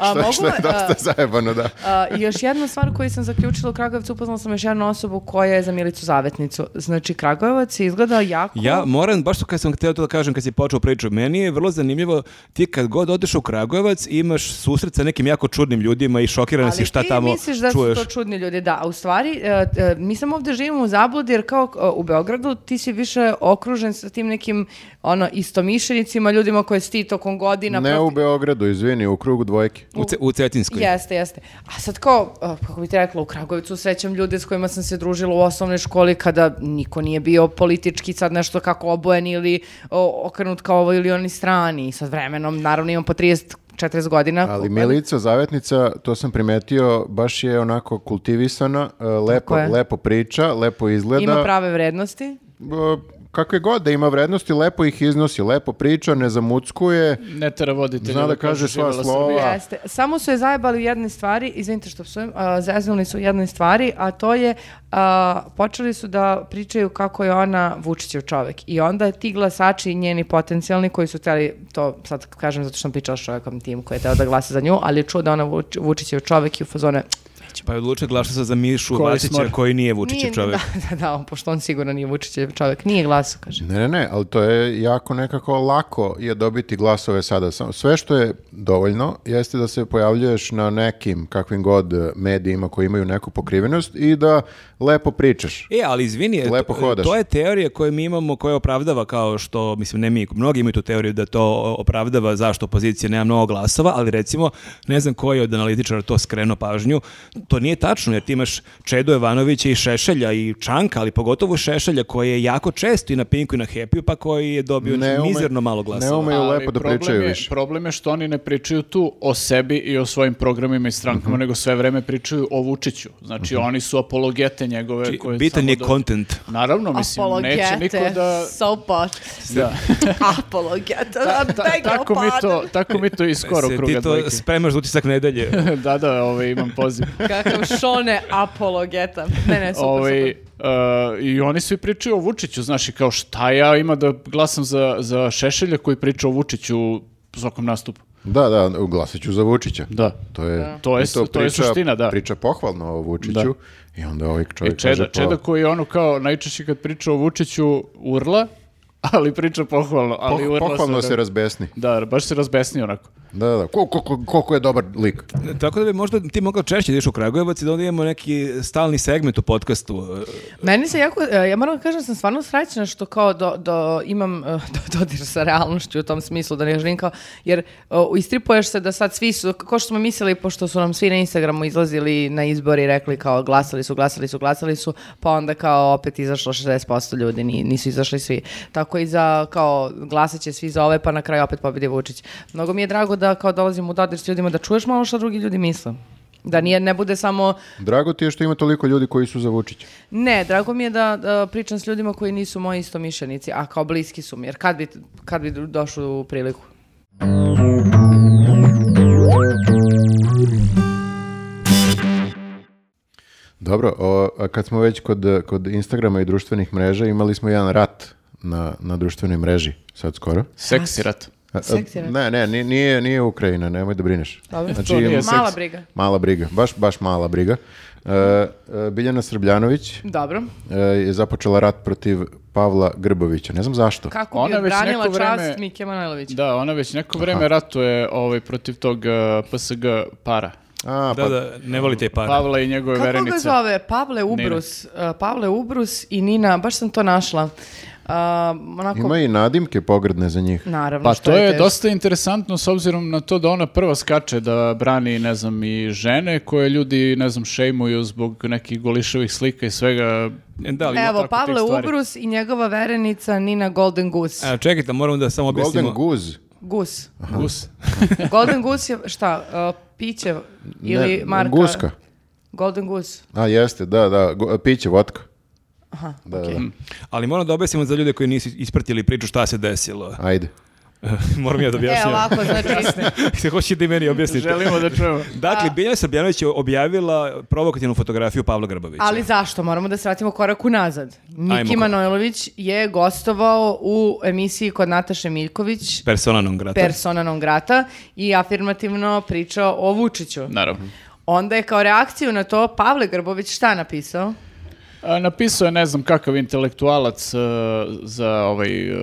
[SPEAKER 1] A,
[SPEAKER 2] <laughs> Što,
[SPEAKER 1] mogu uh,
[SPEAKER 2] što je
[SPEAKER 1] li- a,
[SPEAKER 2] dosta zajebano, da.
[SPEAKER 1] A, i još jedna stvar koju sam zaključila u Kragujevcu, upoznala sam još jednu osobu koja je za Milicu Zavetnicu. Znači, Kragujevac izgleda jako...
[SPEAKER 4] Ja moram, baš kad sam htio to da kažem kad si počeo priču, meni je vrlo zanimljivo ti kad god odeš u Kragujevac imaš susret sa nekim jako čudnim ljudima i šokiran si
[SPEAKER 1] Ali
[SPEAKER 4] šta
[SPEAKER 1] ti
[SPEAKER 4] tamo
[SPEAKER 1] misliš da
[SPEAKER 4] čuješ.
[SPEAKER 1] su to čudni ljudi, da. A u stvari, e, e, mi samo ovdje živimo u zabludi, jer kao e, u Beogradu ti si više okružen sa tim nekim ono, istomišljenicima, ljudima koje si ti tokom godina...
[SPEAKER 2] Ne
[SPEAKER 1] protiv-
[SPEAKER 2] u Beogradu, izvini, u krugu dvojke.
[SPEAKER 4] U, Ce- u Cetinskoj.
[SPEAKER 1] Jeste, jeste. A sad kao, a, kako bi ti rekla, u Kragovicu srećem ljude s kojima sam se družila u osnovnoj školi kada niko nije bio politički sad nešto kako obojen ili o, okrenut kao ovoj ili onoj strani. I sad vremenom, naravno imam po 30 40 godina.
[SPEAKER 2] Ali Milica Zavetnica, to sam primetio, baš je onako kultivisana, e, lepo,
[SPEAKER 1] je.
[SPEAKER 2] lepo priča, lepo izgleda.
[SPEAKER 1] Ima prave vrednosti.
[SPEAKER 2] E, kakve god da ima vrednosti, lepo ih iznosi, lepo priča, ne zamuckuje.
[SPEAKER 3] Ne tera voditelja.
[SPEAKER 2] Zna da kaže svoja
[SPEAKER 3] "Živela
[SPEAKER 2] slova."
[SPEAKER 3] Srbija.
[SPEAKER 2] Pa.
[SPEAKER 1] Jeste. Samo su je zajebali u jednoj stvari, izvinite što psujem, a, zeznuli su u jednoj stvari, a to je a, počeli su da pričaju kako je ona Vučićev čovek. I onda ti glasači i njeni potencijalni koji su hteli, to sad kažem zato što sam pričala s čovekom tim koji je teo da glasa za nju, ali je čuo da ona Vuč, Vučićev čovek i u fazone Vučićem.
[SPEAKER 4] Pa je odlučio glašao se za Mišu
[SPEAKER 3] Koji
[SPEAKER 4] Vacića
[SPEAKER 3] smor.
[SPEAKER 4] koji nije Vučićev
[SPEAKER 1] Nije-
[SPEAKER 4] čovjek.
[SPEAKER 1] Da, da, da, pošto on sigurno nije Vučićev čovjek. Nije glasu, kaže.
[SPEAKER 2] Ne, ne, ne, ali to je jako nekako lako je dobiti glasove sada. Samo- Sve što je dovoljno jeste da se pojavljuješ na nekim kakvim god eh, medijima koji imaju neku pokrivenost i da lepo pričaš.
[SPEAKER 4] E, ali izvini,
[SPEAKER 2] Lepo
[SPEAKER 4] to-
[SPEAKER 2] hodaš.
[SPEAKER 4] to je teorija koju mi imamo, koja opravdava kao što, mislim, ne mi, mnogi imaju tu teoriju da to opravdava zašto opozicija nema mnogo glasova, ali recimo, ne znam koji od analitičara to skrenuo pažnju, to nije tačno, jer ti imaš Čedo Jovanovića i Šešelja i Čanka, ali pogotovo Šešelja koji je jako često i na Pinku i na Hepiju, pa koji je dobio
[SPEAKER 2] ume-
[SPEAKER 4] mizerno malo glasova.
[SPEAKER 2] Ne umeju
[SPEAKER 3] Ali
[SPEAKER 2] lepo da
[SPEAKER 3] problem
[SPEAKER 2] pričaju
[SPEAKER 3] je-
[SPEAKER 2] više.
[SPEAKER 3] Problem je što oni ne pričaju tu o sebi i o svojim programima
[SPEAKER 2] Mhm.
[SPEAKER 3] i strankama, nego sve vreme pričaju o Vučiću. Znači, oni su apologete njegove.
[SPEAKER 4] Znači,
[SPEAKER 3] koje
[SPEAKER 4] Bitan
[SPEAKER 3] samo
[SPEAKER 4] je
[SPEAKER 3] da-
[SPEAKER 4] content.
[SPEAKER 3] Naravno, mislim, neće niko da...
[SPEAKER 5] Sopot.
[SPEAKER 3] <laughs> da.
[SPEAKER 5] Apologeta.
[SPEAKER 3] <laughs> Ta- ta-
[SPEAKER 5] beg your
[SPEAKER 3] tako, mi to,
[SPEAKER 5] pardon.
[SPEAKER 3] tako mi to iz skoro
[SPEAKER 4] E, Se
[SPEAKER 3] kruga
[SPEAKER 4] ti to
[SPEAKER 3] dvojke.
[SPEAKER 4] spremaš za utisak
[SPEAKER 2] <laughs>
[SPEAKER 4] nedelje.
[SPEAKER 3] <laughs> da, da, ovaj, imam poziv.
[SPEAKER 1] Kakav šone
[SPEAKER 5] Apologeta.
[SPEAKER 1] Ne, ne, super,
[SPEAKER 3] Ovaj,
[SPEAKER 1] super.
[SPEAKER 3] e, I oni svi pričaju o Vučiću, znaš, i kao šta ja ima da glasam za, za Šešelja koji priča o Vučiću u svakom nastupu.
[SPEAKER 2] Da, da, glasit ću za Vučića.
[SPEAKER 3] Da.
[SPEAKER 2] To je,
[SPEAKER 3] To je
[SPEAKER 2] i
[SPEAKER 3] su- to je suština, da.
[SPEAKER 2] Priča pohvalno o Vučiću i onda ovaj čovjek
[SPEAKER 3] I Čeda,
[SPEAKER 2] kaže pa-
[SPEAKER 3] Čeda koji je ono kao najčešće kad priča o Vučiću urla, <laughs> ali priča pohvalno.
[SPEAKER 2] poh-
[SPEAKER 3] Ali urla
[SPEAKER 2] pohvalno
[SPEAKER 3] sve
[SPEAKER 2] se
[SPEAKER 3] vreme.
[SPEAKER 2] razbesni.
[SPEAKER 3] Da, baš se razbesni onako.
[SPEAKER 2] Da, da, da. Ko- ko- ko- koliko je dobar lik.
[SPEAKER 4] Tako da bi možda ti mogao češće da ideš u Kragujevac i da onda imamo neki stalni segment u podcastu.
[SPEAKER 1] Meni se jako, e, ja moram da kažem da sam stvarno srećna što kao do, do, imam e, <laughs> do, dodir sa realnošću u tom smislu, da ne želim kao, jer o, istripuješ se da sad svi su, kao što smo mislili, pošto su nam svi na Instagramu izlazili na izbor i rekli kao glasali su, glasali su, glasali su, pa onda kao opet izašlo 60% ljudi, ni- nisu izašli svi. Tako i za kao glasat će svi za ove, pa na kraju opet pobedi Vučić. Mnogo mi je drago da kao dolazim u dodir s ljudima, da čuješ malo što drugi ljudi misle. Da nije, ne bude samo
[SPEAKER 2] Drago ti je što ima toliko ljudi koji su za Vučića.
[SPEAKER 1] ne, drago mi je da, da pričam s ljudima koji nisu moji istomišljenici, a kao bliski su mi, jer kad bi, kad bi došli u priliku.
[SPEAKER 2] Dobro, o, a kad smo već kod, eh, kod Instagrama i društvenih mreža, imali smo jedan rat na, na društvenoj mreži, sad skoro.
[SPEAKER 3] Seksi rat.
[SPEAKER 2] A- a-
[SPEAKER 1] Seksi rat.
[SPEAKER 2] Ne, ne, ni- nije, nije Ukrajina, nemoj da brineš.
[SPEAKER 1] Dobro.
[SPEAKER 2] Znači,
[SPEAKER 3] To nije
[SPEAKER 2] imamo-
[SPEAKER 3] seks.
[SPEAKER 1] Mala briga.
[SPEAKER 2] Mala briga, baš, baš mala briga. E, e, Biljana Srbljanović
[SPEAKER 1] Dobro.
[SPEAKER 2] e, je započela rat protiv Pavla Grbovića. Ne znam zašto.
[SPEAKER 1] Kako
[SPEAKER 3] Ona
[SPEAKER 1] bi
[SPEAKER 3] već
[SPEAKER 1] odbranila
[SPEAKER 3] neko
[SPEAKER 1] čast
[SPEAKER 3] vreme-
[SPEAKER 1] Mike Manojlovića?
[SPEAKER 3] Da, ona već neko vreme ratuje ovaj, protiv tog eh, PSG para.
[SPEAKER 2] A,
[SPEAKER 4] Da,
[SPEAKER 2] pa,
[SPEAKER 4] da, ne voli te pare.
[SPEAKER 3] Pavla i njegove
[SPEAKER 1] Kako
[SPEAKER 3] verenice.
[SPEAKER 1] ga zove? Pavle Ubrus. Uh, Pavle Ubrus i Nina, baš sam to našla. Uh, onako,
[SPEAKER 2] Ima i nadimke pogrdne za njih.
[SPEAKER 1] naravno,
[SPEAKER 3] Pa
[SPEAKER 1] što
[SPEAKER 3] to je,
[SPEAKER 1] teško.
[SPEAKER 3] dosta interesantno s obzirom na to da ona prva skače da brani, ne znam, i žene koje ljudi, ne znam, šejmuju zbog nekih goliševih slika i svega.
[SPEAKER 4] E, Da, ali-
[SPEAKER 1] Evo,
[SPEAKER 3] tako
[SPEAKER 1] Pavle
[SPEAKER 3] tih stvari.
[SPEAKER 1] Ubrus i njegova verenica Nina Golden Goose.
[SPEAKER 4] A, čekajte, moram da samo objasnimo.
[SPEAKER 2] Golden Goose.
[SPEAKER 1] Gus.
[SPEAKER 3] Gus.
[SPEAKER 1] Golden Goose je šta? Uh, piće ili
[SPEAKER 2] Ne,
[SPEAKER 1] marka?
[SPEAKER 2] Guska.
[SPEAKER 1] Golden Goose.
[SPEAKER 2] A, jeste, da, da, go- piće, E, votka.
[SPEAKER 1] Aha,
[SPEAKER 2] Da,
[SPEAKER 1] okej.
[SPEAKER 2] da, da.
[SPEAKER 4] Ali moram da objasnimo za ljude koji nisu ispratili priču šta se desilo. <laughs>
[SPEAKER 2] Ajde.
[SPEAKER 4] moram ja da
[SPEAKER 1] E,
[SPEAKER 4] objasnim.
[SPEAKER 1] ovako, znači,
[SPEAKER 4] <laughs> Se hoće da i meni objasnite.
[SPEAKER 3] Želimo da čujemo.
[SPEAKER 4] Dakle, Biljana Srbljanović je objavila provokativnu fotografiju Pavla Grbovića.
[SPEAKER 1] Ali zašto? Moramo da svratimo korak unazad.
[SPEAKER 4] Ajmo,
[SPEAKER 1] Miki
[SPEAKER 4] ko-
[SPEAKER 1] Manojlović je gostovao u emisiji kod Nataše Miljković,
[SPEAKER 4] Persona non grata.
[SPEAKER 1] persona non grata, i afirmativno pričao o Vučiću.
[SPEAKER 3] Naravno.
[SPEAKER 1] Onda je kao reakciju na to Pavle Grbović šta napisao?
[SPEAKER 3] A, Napisao je ne znam kakav intelektualac e, za ovaj e,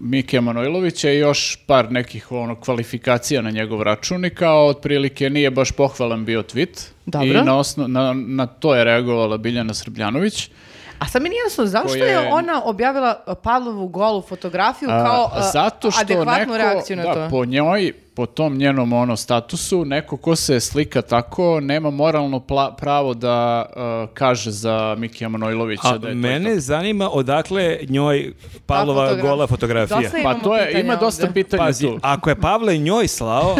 [SPEAKER 3] Mike Manojlovića i još par nekih ono kvalifikacija na njegov račun i kao otprilike nije baš pohvalan bio tweet.
[SPEAKER 1] Dobro.
[SPEAKER 3] I na, osno- na, na to je reagovala Biljana Srbljanović.
[SPEAKER 1] A sad mi nije jasno zašto
[SPEAKER 3] Koje-
[SPEAKER 1] je ona objavila uh, Pavlovu golu fotografiju
[SPEAKER 3] A,
[SPEAKER 1] kao uh,
[SPEAKER 3] zato što
[SPEAKER 1] adekvatnu
[SPEAKER 3] neko,
[SPEAKER 1] reakciju na
[SPEAKER 3] da,
[SPEAKER 1] to.
[SPEAKER 3] po njoj, po tom njenom ono statusu, neko ko se slika tako nema moralno pla- pravo da uh, kaže za Mikija Manojlovića
[SPEAKER 4] A
[SPEAKER 3] da je to
[SPEAKER 4] mene zanima odakle njoj Pavlova
[SPEAKER 1] fotograf-
[SPEAKER 4] gola fotografija.
[SPEAKER 1] Dosta
[SPEAKER 3] to. Pa
[SPEAKER 1] Imamo
[SPEAKER 3] to je,
[SPEAKER 1] pitanja
[SPEAKER 3] ima dosta
[SPEAKER 1] ovde.
[SPEAKER 3] pitanja
[SPEAKER 4] Pazi,
[SPEAKER 3] tu.
[SPEAKER 4] ako je Pavle njoj slao,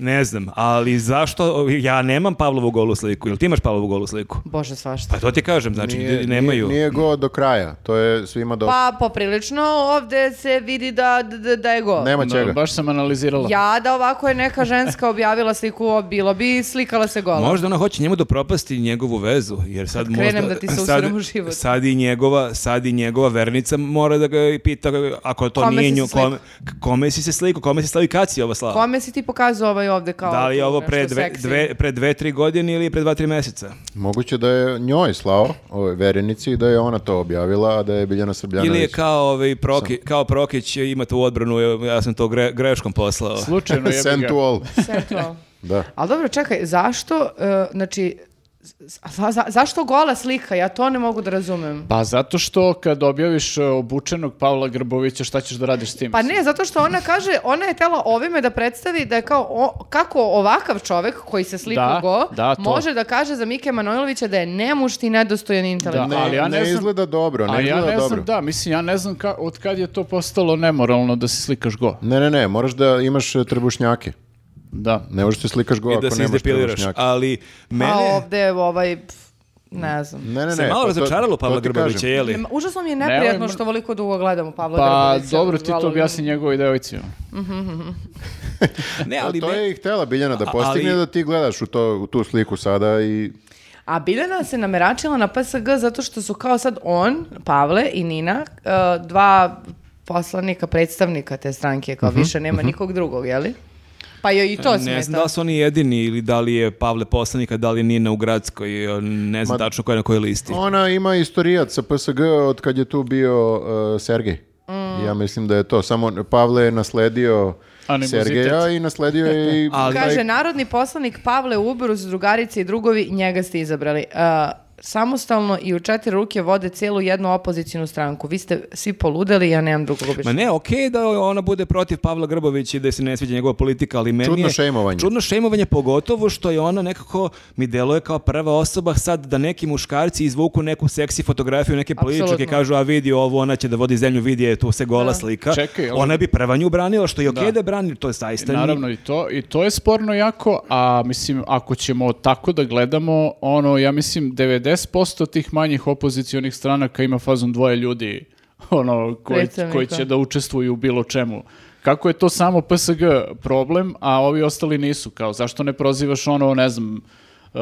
[SPEAKER 4] ne znam, ali zašto, ja nemam Pavlovu golu sliku, ili ti imaš Pavlovu golu sliku?
[SPEAKER 1] Bože, svašta.
[SPEAKER 4] Pa to ti kažem, znači ljudi nemaju.
[SPEAKER 2] Nije, nije go do kraja, to je svima do...
[SPEAKER 1] Pa poprilično ovde se vidi da, da, da je gol.
[SPEAKER 2] Nema
[SPEAKER 3] Da,
[SPEAKER 2] Pa čega.
[SPEAKER 3] Baš sam analizirala.
[SPEAKER 1] Ja da ovako je neka ženska objavila sliku, bilo bi slikala se gola.
[SPEAKER 4] Možda ona hoće njemu da propasti njegovu vezu, jer sad
[SPEAKER 1] Kad krenem
[SPEAKER 4] možda-
[SPEAKER 1] da ti se
[SPEAKER 4] sad,
[SPEAKER 1] usiram u život.
[SPEAKER 4] sad i njegova, sad i njegova vernica mora da ga i pita ako to
[SPEAKER 1] Kome
[SPEAKER 4] nije
[SPEAKER 1] si se
[SPEAKER 4] nju,
[SPEAKER 1] slikao?
[SPEAKER 4] kome, kome si se sliku, kome si slao i kad si ovo slao?
[SPEAKER 1] Kome si ti pokazao ovaj i ovde kao...
[SPEAKER 4] Da li je ovo
[SPEAKER 1] nešto
[SPEAKER 4] pre dve,
[SPEAKER 1] seksi.
[SPEAKER 4] dve, pre dve, tri godine ili pre dva, tri meseca?
[SPEAKER 2] Moguće da je njoj slao, ovoj verenici, i da je ona to objavila, a da je Biljana Srbljanović.
[SPEAKER 4] Ili je kao, ovaj, proki, kao Prokić imate u odbranu, ja sam to gre, greškom poslao.
[SPEAKER 2] <laughs>
[SPEAKER 3] Slučajno je
[SPEAKER 2] Send to all.
[SPEAKER 1] Sensual.
[SPEAKER 2] Da.
[SPEAKER 1] Ali dobro, čekaj, zašto, e, znači, za- za- zašto gola slika? Ja to ne mogu da razumem.
[SPEAKER 3] Pa zato što kad objaviš e, obučenog Pavla Grbovića, šta ćeš da radiš s tim?
[SPEAKER 1] Pa ne, zato što ona kaže, ona je tela ovime da predstavi da je kao, o- kako ovakav čovek koji se slika
[SPEAKER 3] Da,
[SPEAKER 1] u go,
[SPEAKER 3] da, to.
[SPEAKER 1] može da kaže za Mike Manojlovića da je nemušt i nedostojan intelekt.
[SPEAKER 3] Da.
[SPEAKER 2] Ne,
[SPEAKER 3] Ali ja ne
[SPEAKER 2] ne
[SPEAKER 3] znam-
[SPEAKER 2] izgleda dobro, ne
[SPEAKER 3] A ja
[SPEAKER 2] izgleda
[SPEAKER 3] ne
[SPEAKER 2] dobro.
[SPEAKER 3] znam, da, mislim, ja ne znam ka, od kad je to postalo nemoralno da se slikaš go.
[SPEAKER 2] Ne, ne, ne, moraš da imaš e, trebušnjake.
[SPEAKER 3] Da.
[SPEAKER 2] Ne možeš da se slikaš go
[SPEAKER 4] I
[SPEAKER 2] ako
[SPEAKER 4] da se
[SPEAKER 2] nemaš
[SPEAKER 4] izdepiliraš.
[SPEAKER 2] trebušnjake.
[SPEAKER 4] Ali mene...
[SPEAKER 1] A ovde ovaj, pf, ne znam.
[SPEAKER 2] Ne, ne, ne.
[SPEAKER 4] se malo
[SPEAKER 2] pa to-
[SPEAKER 4] razočaralo Pavla
[SPEAKER 2] to ti
[SPEAKER 4] Grbovića,
[SPEAKER 2] kažem.
[SPEAKER 4] je li?
[SPEAKER 1] Ne, Užasno mi je neprijatno
[SPEAKER 3] Nemoj-
[SPEAKER 1] što voliko dugo gledamo Pavla
[SPEAKER 3] Pa
[SPEAKER 1] Grbovića,
[SPEAKER 3] dobro, ti to
[SPEAKER 1] volim-
[SPEAKER 3] objasni njegovoj devojci.
[SPEAKER 4] Ne,
[SPEAKER 2] A
[SPEAKER 4] ali
[SPEAKER 2] to
[SPEAKER 4] me-
[SPEAKER 2] je i htela Biljana da
[SPEAKER 4] A-
[SPEAKER 2] postigne
[SPEAKER 4] ali-
[SPEAKER 2] da ti gledaš u, to, u tu sliku sada i
[SPEAKER 1] A Biljana se nameračila na PSG zato što su kao sad on, Pavle i Nina, e, dva poslanika, predstavnika te stranke, kao
[SPEAKER 3] Mhm,
[SPEAKER 1] više nema nikog drugog, jeli? Pa joj i to smeta.
[SPEAKER 4] Ne znam da li su oni jedini ili da li je Pavle poslanika, da li je Nina u gradskoj, e, ne znam
[SPEAKER 2] Ma-
[SPEAKER 4] tačno koja je na kojoj listi.
[SPEAKER 2] Ona ima istorijat sa PSG od kad je tu bio uh, Sergej.
[SPEAKER 4] Mm.
[SPEAKER 2] Ja mislim da je to. Samo Pavle je nasledio
[SPEAKER 3] Animozitet.
[SPEAKER 2] Sergeja i nasledio je i...
[SPEAKER 4] <laughs> Ali-
[SPEAKER 2] taj-
[SPEAKER 1] Kaže, narodni poslanik Pavle Ubrus, drugarice i drugovi, njega ste izabrali. E, samostalno i u četiri ruke vode cijelu jednu opozicijnu stranku. Vi ste svi poludeli, ja nemam drugog
[SPEAKER 4] Ma
[SPEAKER 1] objašnjenja.
[SPEAKER 4] ne, okej da ona bude protiv Pavla Grbovića i da se ne sviđa njegova politika, ali meni
[SPEAKER 2] Čudno
[SPEAKER 4] je...
[SPEAKER 2] šejmovanje.
[SPEAKER 4] Čudno šejmovanje, pogotovo što je ona nekako, mi deluje kao prva osoba sad da neki muškarci izvuku neku seksi fotografiju, neke političke,
[SPEAKER 1] Apsolutno.
[SPEAKER 4] kažu, a vidi ovo, ona će da vodi zemlju, vidi je, tu se gola
[SPEAKER 1] Da.
[SPEAKER 4] slika.
[SPEAKER 3] Čekaj, ali-
[SPEAKER 4] ona bi prva nju branila, što je okej
[SPEAKER 3] Da.
[SPEAKER 4] da. brani, to je zaista... ni-
[SPEAKER 3] Naravno i to, i to je sporno jako, a mislim, ako ćemo tako da gledamo, ono, ja mislim, 90% tih manjih opozicionih stranaka ima fazom dvoje ljudi, <laughs> ono, koji,
[SPEAKER 1] Predstavnika.
[SPEAKER 3] koji će da učestvuju u bilo čemu. Kako je to samo PSG problem, a ovi ostali nisu, kao, zašto ne prozivaš ono, ne znam, e,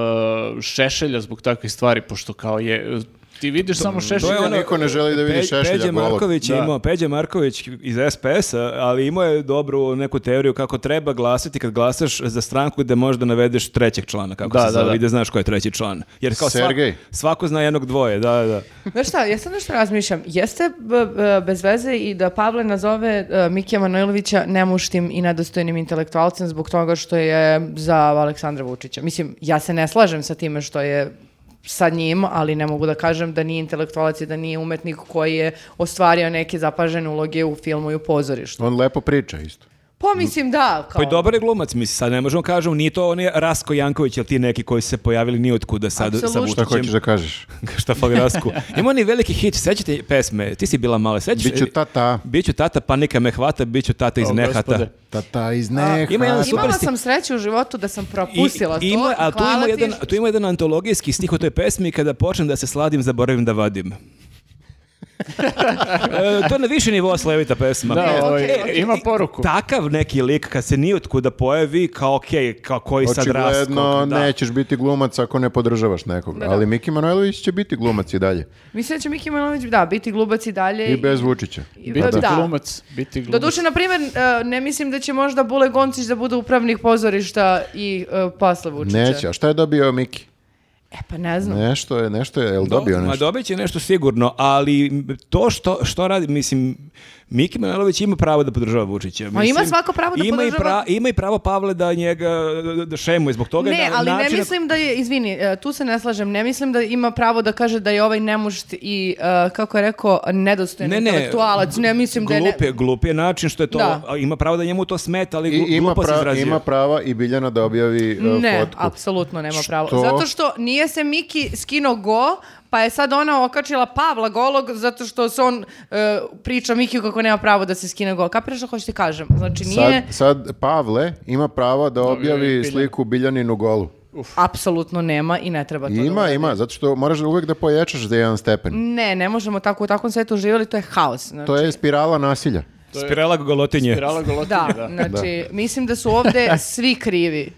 [SPEAKER 3] šešelja zbog takvih stvari, pošto kao je, ti vidiš samo šešelja,
[SPEAKER 4] je ono-
[SPEAKER 2] Niko ne želi da vidi
[SPEAKER 4] Pe-
[SPEAKER 2] Šešelja
[SPEAKER 4] Peđa
[SPEAKER 2] golog.
[SPEAKER 4] Marković je
[SPEAKER 3] Da.
[SPEAKER 4] imao, Peđa Marković iz SPS-a, ali imao je dobru neku teoriju kako treba glasati kad glasaš za stranku gde možda navedeš trećeg člana, kako
[SPEAKER 3] Da,
[SPEAKER 4] se
[SPEAKER 3] da,
[SPEAKER 4] zove,
[SPEAKER 3] da.
[SPEAKER 4] i da znaš ko je treći član. Jer kao sva-
[SPEAKER 2] Sergej.
[SPEAKER 4] svako zna jednog dvoje, da, da.
[SPEAKER 1] Znaš šta, ja sad nešto razmišljam. Jeste b- b- bez veze i da Pavle nazove e, Mikija Manojlovića nemuštim i nedostojnim intelektualcem zbog toga što je za Aleksandra Vučića. Mislim, ja se ne slažem sa time što je sa njim, ali ne mogu da kažem da nije intelektualac i da nije umetnik koji je ostvario neke zapažene uloge u filmu i u pozorištu.
[SPEAKER 2] On lepo priča isto.
[SPEAKER 1] Pa mislim da,
[SPEAKER 4] Pa
[SPEAKER 1] kao...
[SPEAKER 4] i dobar je glumac, mislim, sad ne možemo kažemo, nije to on je Rasko Janković, ili ti neki koji su se pojavili ni otkuda sad sa
[SPEAKER 1] Apsolutno.
[SPEAKER 2] Šta
[SPEAKER 4] Vučićem.
[SPEAKER 2] hoćeš da kažeš?
[SPEAKER 4] <laughs> Šta fali Rasku? Ima oni veliki hit, sećate pesme, ti si bila mala, sećaš?
[SPEAKER 2] Biću tata.
[SPEAKER 4] Biću tata, panika me hvata, biću tata iz
[SPEAKER 3] O,
[SPEAKER 4] nehata.
[SPEAKER 3] gospode.
[SPEAKER 2] Tata iz neha.
[SPEAKER 4] ima jedan super
[SPEAKER 1] Imala
[SPEAKER 4] sti-
[SPEAKER 1] sam sreću u životu da sam
[SPEAKER 4] I-
[SPEAKER 1] propustila to.
[SPEAKER 4] ima, a tu
[SPEAKER 1] hvala
[SPEAKER 4] ima,
[SPEAKER 1] ti
[SPEAKER 4] jedan, tu ima jedan antologijski stih u toj pesmi kada počnem da se sladim, zaboravim da
[SPEAKER 1] <laughs>
[SPEAKER 4] vadim. E, to je na više nivoa slevita pesma.
[SPEAKER 3] Da,
[SPEAKER 1] E,
[SPEAKER 3] ovaj,
[SPEAKER 1] okej, okej.
[SPEAKER 3] ima poruku.
[SPEAKER 4] Takav neki lik kad se ni otkuda pojavi, kao okej, kao koji sad raskog.
[SPEAKER 2] Očigledno
[SPEAKER 4] da.
[SPEAKER 2] nećeš biti glumac ako ne podržavaš nekog. Ali Miki Manojlović će biti glumac i dalje.
[SPEAKER 1] Mislim da će Miki Manojlović, da, biti glubac i dalje.
[SPEAKER 2] I bez Vučića.
[SPEAKER 1] i-
[SPEAKER 3] biti
[SPEAKER 1] da.
[SPEAKER 3] glumac, biti glumac.
[SPEAKER 1] Doduše, na primjer, e, ne mislim da će možda Bule Goncić da bude upravnik pozorišta i e, posle Vučića.
[SPEAKER 2] Neće. A šta je dobio Miki?
[SPEAKER 1] E pa ne znam.
[SPEAKER 2] Nešto je, nešto je. Jel dobio
[SPEAKER 4] Ma
[SPEAKER 2] nešto?
[SPEAKER 4] dobit će nešto sigurno, ali to što, što radi, mislim, Miki Manojlović ima pravo da podržava Vučića.
[SPEAKER 1] Ma
[SPEAKER 4] mislim,
[SPEAKER 1] ima svako pravo da
[SPEAKER 4] ima I
[SPEAKER 1] podržava-
[SPEAKER 4] ima i pravo Pavle da njega da- da šemuje zbog toga.
[SPEAKER 1] Ne,
[SPEAKER 4] da,
[SPEAKER 1] ali
[SPEAKER 4] način
[SPEAKER 1] ne
[SPEAKER 4] na-
[SPEAKER 1] mislim da je, izvini, e, tu se ne slažem, ne mislim da ima pravo da kaže da je ovaj nemušt i, e, kako je rekao, nedostojan
[SPEAKER 4] Ne, ne,
[SPEAKER 1] intelektualac, ne mislim da je... ne-
[SPEAKER 4] Glup je, glup je način što je to,
[SPEAKER 1] Da.
[SPEAKER 4] a ima pravo da njemu to smeta, ali
[SPEAKER 2] I,
[SPEAKER 4] glu-
[SPEAKER 2] ima,
[SPEAKER 4] glupo se
[SPEAKER 2] pra-
[SPEAKER 4] izrazio.
[SPEAKER 2] ima prava i Biljana da objavi uh,
[SPEAKER 1] Ne,
[SPEAKER 2] fotku.
[SPEAKER 1] apsolutno nema pravo.
[SPEAKER 2] Što?
[SPEAKER 1] Zato što nije se Miki skino go, pa je sad ona okačila Pavla golog zato što se on e, priča Mikiju kako nema pravo da se skine go. Kapiraš što hoću ti kažem? Znači nije...
[SPEAKER 2] Sad, sad Pavle ima pravo da objavi
[SPEAKER 3] Biljan. Pa
[SPEAKER 2] sliku Biljaninu golu.
[SPEAKER 1] Apsolutno nema i ne treba to da
[SPEAKER 2] Ima,
[SPEAKER 1] uradi.
[SPEAKER 2] ima, zato što moraš uvek da pojačaš za jedan stepen.
[SPEAKER 1] Ne, ne možemo tako u takvom svetu živjeli, to je haos. Mm, Znači,
[SPEAKER 2] To je spirala nasilja.
[SPEAKER 4] Spirala golotinje.
[SPEAKER 3] Spirala golotinje,
[SPEAKER 1] Da,
[SPEAKER 3] da.
[SPEAKER 1] znači, mislim da su ovde svi krivi.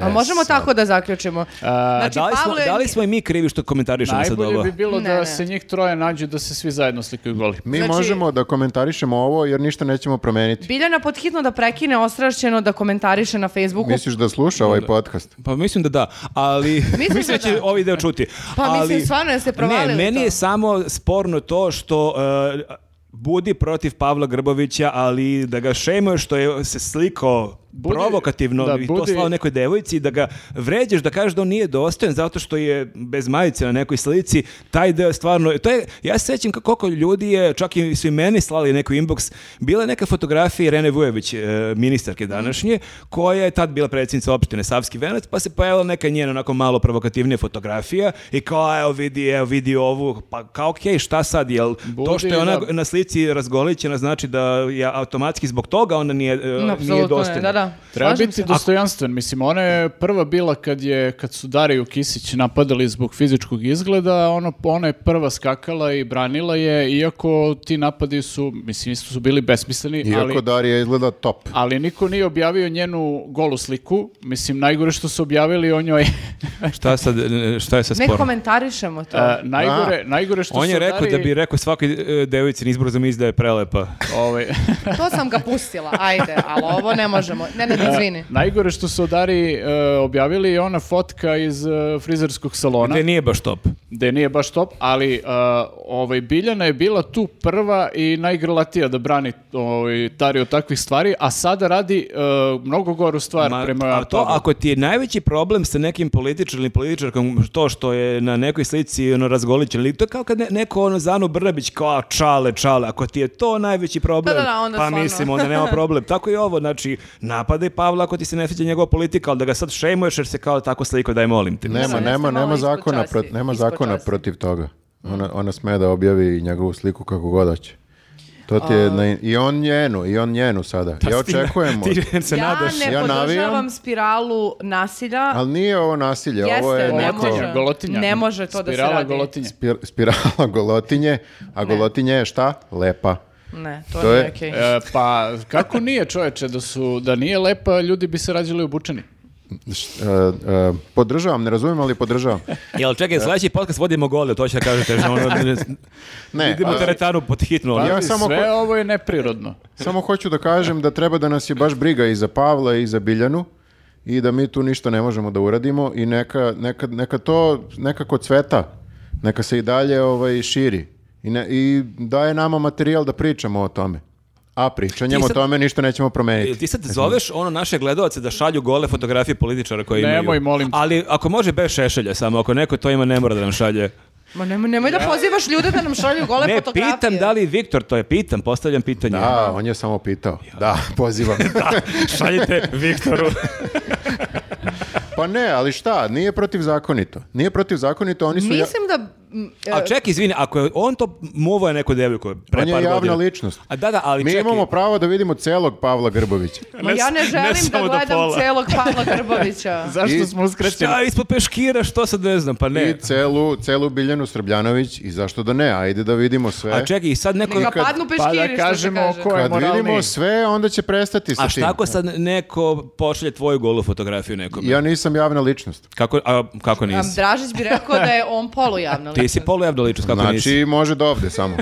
[SPEAKER 1] A možemo tako da zaključimo. Znači,
[SPEAKER 4] A da, li smo,
[SPEAKER 1] Pavle-
[SPEAKER 4] da li smo i mi krivi što komentarišemo sad
[SPEAKER 3] Najbolje
[SPEAKER 4] ovo?
[SPEAKER 3] bi bilo
[SPEAKER 1] Ne,
[SPEAKER 3] da
[SPEAKER 1] ne.
[SPEAKER 3] se njih troje nađu da se svi zajedno slikaju goli.
[SPEAKER 2] Mi
[SPEAKER 1] Znači-
[SPEAKER 2] možemo da komentarišemo ovo jer ništa nećemo promeniti.
[SPEAKER 1] Biljana podhitno da prekine ostrašćeno da komentariše na Facebooku.
[SPEAKER 2] Misliš da sluša ovaj podcast?
[SPEAKER 4] Pa mislim da da, ali
[SPEAKER 1] <laughs> Mislim
[SPEAKER 4] mislim da
[SPEAKER 1] da
[SPEAKER 4] će
[SPEAKER 1] da.
[SPEAKER 4] ovaj deo čuti.
[SPEAKER 1] Pa mislim,
[SPEAKER 4] Ali-
[SPEAKER 1] stvarno, jeste
[SPEAKER 4] Ne,
[SPEAKER 1] provalili
[SPEAKER 4] meni
[SPEAKER 1] to?
[SPEAKER 4] je samo sporno to što e, budi protiv Pavla Grbovića, ali da ga šemuješ što je se slikao
[SPEAKER 3] Budi-
[SPEAKER 4] provokativno
[SPEAKER 3] da,
[SPEAKER 4] i to
[SPEAKER 3] budi-
[SPEAKER 4] slao nekoj devojci, da ga vređaš, da kažeš da on nije dostojan zato što je bez majice na nekoj slici, taj deo je stvarno, to je, ja se sećam ka- koliko ljudi je, čak i su i meni slali neku inbox, bila je neka fotografija Irene Vujović, e, ministarke današnje, koja je tad bila predsjednica opštine Savski Venac, pa se pojavila neka njena onako malo provokativnija fotografija i kao, "A, evo vidi, evo vidi ovu, pa kao, okej, šta sad, jel to
[SPEAKER 3] Budi,
[SPEAKER 4] što je ona
[SPEAKER 3] da.
[SPEAKER 4] na slici razgolićena znači da je automatski zbog toga ona nije, e,
[SPEAKER 1] No,
[SPEAKER 4] nije
[SPEAKER 1] apsolutno ne,
[SPEAKER 4] dostojna.
[SPEAKER 1] Da, da.
[SPEAKER 3] Treba
[SPEAKER 1] Slažem
[SPEAKER 3] biti
[SPEAKER 1] se.
[SPEAKER 3] dostojanstven, mislim, ona je prva bila kad, je, kad su Dariju Kisić napadali zbog fizičkog izgleda, ono, ona je prva skakala i branila je, iako ti napadi su, mislim, isto su bili besmisleni,
[SPEAKER 2] Iako
[SPEAKER 3] ali...
[SPEAKER 2] Darija izgleda top.
[SPEAKER 3] Ali niko nije objavio njenu golu sliku. Mislim, najgore što su objavili o
[SPEAKER 4] <laughs>
[SPEAKER 3] njoj...
[SPEAKER 4] Šta, sad, e, šta je sa
[SPEAKER 1] Ne
[SPEAKER 4] sporno?
[SPEAKER 1] komentarišemo to.
[SPEAKER 3] A, Eh, najgore, najgore što
[SPEAKER 4] On
[SPEAKER 3] su
[SPEAKER 4] je rekao
[SPEAKER 3] Dari-
[SPEAKER 4] da bi rekao svakoj e, devojci na izboru za mis da je prelepa.
[SPEAKER 3] <laughs> Ovaj,
[SPEAKER 1] To sam ga pustila, ajde, ali ovo ne možemo. Ne, ne, izvini.
[SPEAKER 3] najgore što su Dari e, objavili je ona fotka iz e, frizerskog salona.
[SPEAKER 4] Gde Dakle, nije baš top.
[SPEAKER 3] gde nije baš top, ali uh, ovaj, Biljana je bila tu prva i najgrlatija da brani ovaj, Tari od takvih stvari, a sada radi uh, mnogo goru stvar
[SPEAKER 4] Ma,
[SPEAKER 3] prema
[SPEAKER 4] a to,
[SPEAKER 3] Pavlu.
[SPEAKER 4] ako ti je najveći problem sa nekim političarom ili političarkom to što je na nekoj slici ono, razgolićen, ili to je kao kad ne- neko ono, Zanu Brnabić kao "A, čale, čale, ako ti je to najveći problem,
[SPEAKER 1] Da, da, da, onda
[SPEAKER 4] pa
[SPEAKER 1] stvarno.
[SPEAKER 4] mislim, onda nema
[SPEAKER 1] <laughs>
[SPEAKER 4] problem. Tako i ovo, znači, napadaj Pavla ako ti se ne sviđa njegova politika, ali da ga sad šejmuješ jer se kao tako sliko, daj molim te.
[SPEAKER 1] Mislim,
[SPEAKER 2] Nema,
[SPEAKER 1] jeste
[SPEAKER 2] nema,
[SPEAKER 1] malo
[SPEAKER 2] nema
[SPEAKER 1] ispod
[SPEAKER 2] zakona,
[SPEAKER 1] časti,
[SPEAKER 2] prot- nema
[SPEAKER 1] ispod
[SPEAKER 2] zakona
[SPEAKER 1] časti.
[SPEAKER 2] protiv toga. Ona, ona sme da objavi njegovu sliku kako god hoće. To ti je, na- i on njenu, i on njenu sada.
[SPEAKER 4] <laughs>
[SPEAKER 2] ja
[SPEAKER 4] Ti na-
[SPEAKER 1] <laughs>
[SPEAKER 2] očekujem,
[SPEAKER 4] Ti se
[SPEAKER 1] ja
[SPEAKER 4] nadaš.
[SPEAKER 1] ne
[SPEAKER 2] ja navijam.
[SPEAKER 1] podržavam spiralu nasilja.
[SPEAKER 2] ali nije ovo nasilje, ovo je
[SPEAKER 1] Jeste, ne
[SPEAKER 2] neko...
[SPEAKER 1] može.
[SPEAKER 3] Golotinja.
[SPEAKER 1] Ne može to da se
[SPEAKER 3] Spirala
[SPEAKER 1] radi.
[SPEAKER 3] golotinje.
[SPEAKER 2] spir- spirala golotinje, a golotinje je šta? Lepa.
[SPEAKER 1] Ne, to,
[SPEAKER 2] To
[SPEAKER 1] nije
[SPEAKER 2] je-
[SPEAKER 1] okej.
[SPEAKER 3] E, pa kako nije čoveče da su da nije lepa ljudi bi se rađali obučeni.
[SPEAKER 2] Š- e, e, podržavam, ne razumijem, ali podržavam.
[SPEAKER 4] Jel, čekaj, sledeći podcast vodimo gole, to će da kažete.
[SPEAKER 2] <laughs>
[SPEAKER 4] Že ono, ne,
[SPEAKER 2] Ne,
[SPEAKER 4] <laughs> idemo
[SPEAKER 2] ali-
[SPEAKER 4] teretanu pod hitno.
[SPEAKER 3] Pa
[SPEAKER 4] ono.
[SPEAKER 2] Ja samo
[SPEAKER 3] sve
[SPEAKER 2] ho-
[SPEAKER 3] ovo je neprirodno.
[SPEAKER 2] Samo hoću da kažem da treba da nas je baš briga i za Pavla i za Biljanu i da mi tu ništa ne možemo da uradimo i neka, neka, neka to nekako cveta, neka se i dalje ovaj, širi I, ne, i daje nama materijal da pričamo o tome. A pričanjem
[SPEAKER 4] Ti sad-
[SPEAKER 2] o tome ništa nećemo
[SPEAKER 4] Jel
[SPEAKER 2] promeniti.
[SPEAKER 4] ti sad zoveš ono naše gledaoce da šalju gole fotografije političara koje imaju?
[SPEAKER 3] Nemoj, molim te.
[SPEAKER 4] Ali ako može bez šešelja samo, ako neko to ima ne mora da nam šalje.
[SPEAKER 1] Ma nemoj, nemoj da pozivaš ljude da nam šalju gole
[SPEAKER 4] ne,
[SPEAKER 1] fotografije.
[SPEAKER 4] pitam da li Viktor to je, pitam, postavljam pitanje. <laughs>
[SPEAKER 2] Da, on je samo pitao. Da, pozivam.
[SPEAKER 4] Šaljite <laughs> Viktoru.
[SPEAKER 2] Pa ne, ali šta, nije protivzakonito. Nije protivzakonito, oni su... ja-
[SPEAKER 1] Mislim da... m, e,
[SPEAKER 4] A ček, izvini, ako je on to muvao je neku devojku pre
[SPEAKER 2] on je
[SPEAKER 4] par
[SPEAKER 2] javna
[SPEAKER 4] godina.
[SPEAKER 2] ličnost.
[SPEAKER 4] A da, da, ali
[SPEAKER 2] Mi
[SPEAKER 4] čekaj.
[SPEAKER 2] imamo pravo da vidimo celog Pavla Grbovića.
[SPEAKER 1] ma ja ne
[SPEAKER 4] ne
[SPEAKER 1] želim da
[SPEAKER 4] samo do
[SPEAKER 1] gledam
[SPEAKER 4] pola.
[SPEAKER 1] celog Pavla Grbovića.
[SPEAKER 3] Zašto
[SPEAKER 2] I-
[SPEAKER 3] smo uskraćeni?
[SPEAKER 4] Šta, ispod peškira, što sad ne znam, pa ne.
[SPEAKER 2] I celu, celu Biljanu Srbljanović i zašto da ne, ajde da vidimo sve.
[SPEAKER 4] A čekaj, i sad neko...
[SPEAKER 1] Neka
[SPEAKER 2] kad-
[SPEAKER 1] padnu
[SPEAKER 3] Pa
[SPEAKER 1] peškiri,
[SPEAKER 3] da kažemo
[SPEAKER 1] što se
[SPEAKER 3] ko
[SPEAKER 1] kaže.
[SPEAKER 3] je
[SPEAKER 2] Kad vidimo
[SPEAKER 3] moralniji.
[SPEAKER 2] sve, onda će prestati sa
[SPEAKER 4] A
[SPEAKER 2] tim.
[SPEAKER 4] šta ako sad neko pošalje tvoju golu fotografiju nekome?
[SPEAKER 2] Ja nisam javna ličnost.
[SPEAKER 4] Kako, a, kako
[SPEAKER 1] Am,
[SPEAKER 4] nisi?
[SPEAKER 1] Dražić bi rekao da je on polujavna
[SPEAKER 4] Ti si
[SPEAKER 1] ličnost.
[SPEAKER 4] polujavna ličnost, kako
[SPEAKER 2] znači,
[SPEAKER 4] nisi?
[SPEAKER 2] može do ovde samo.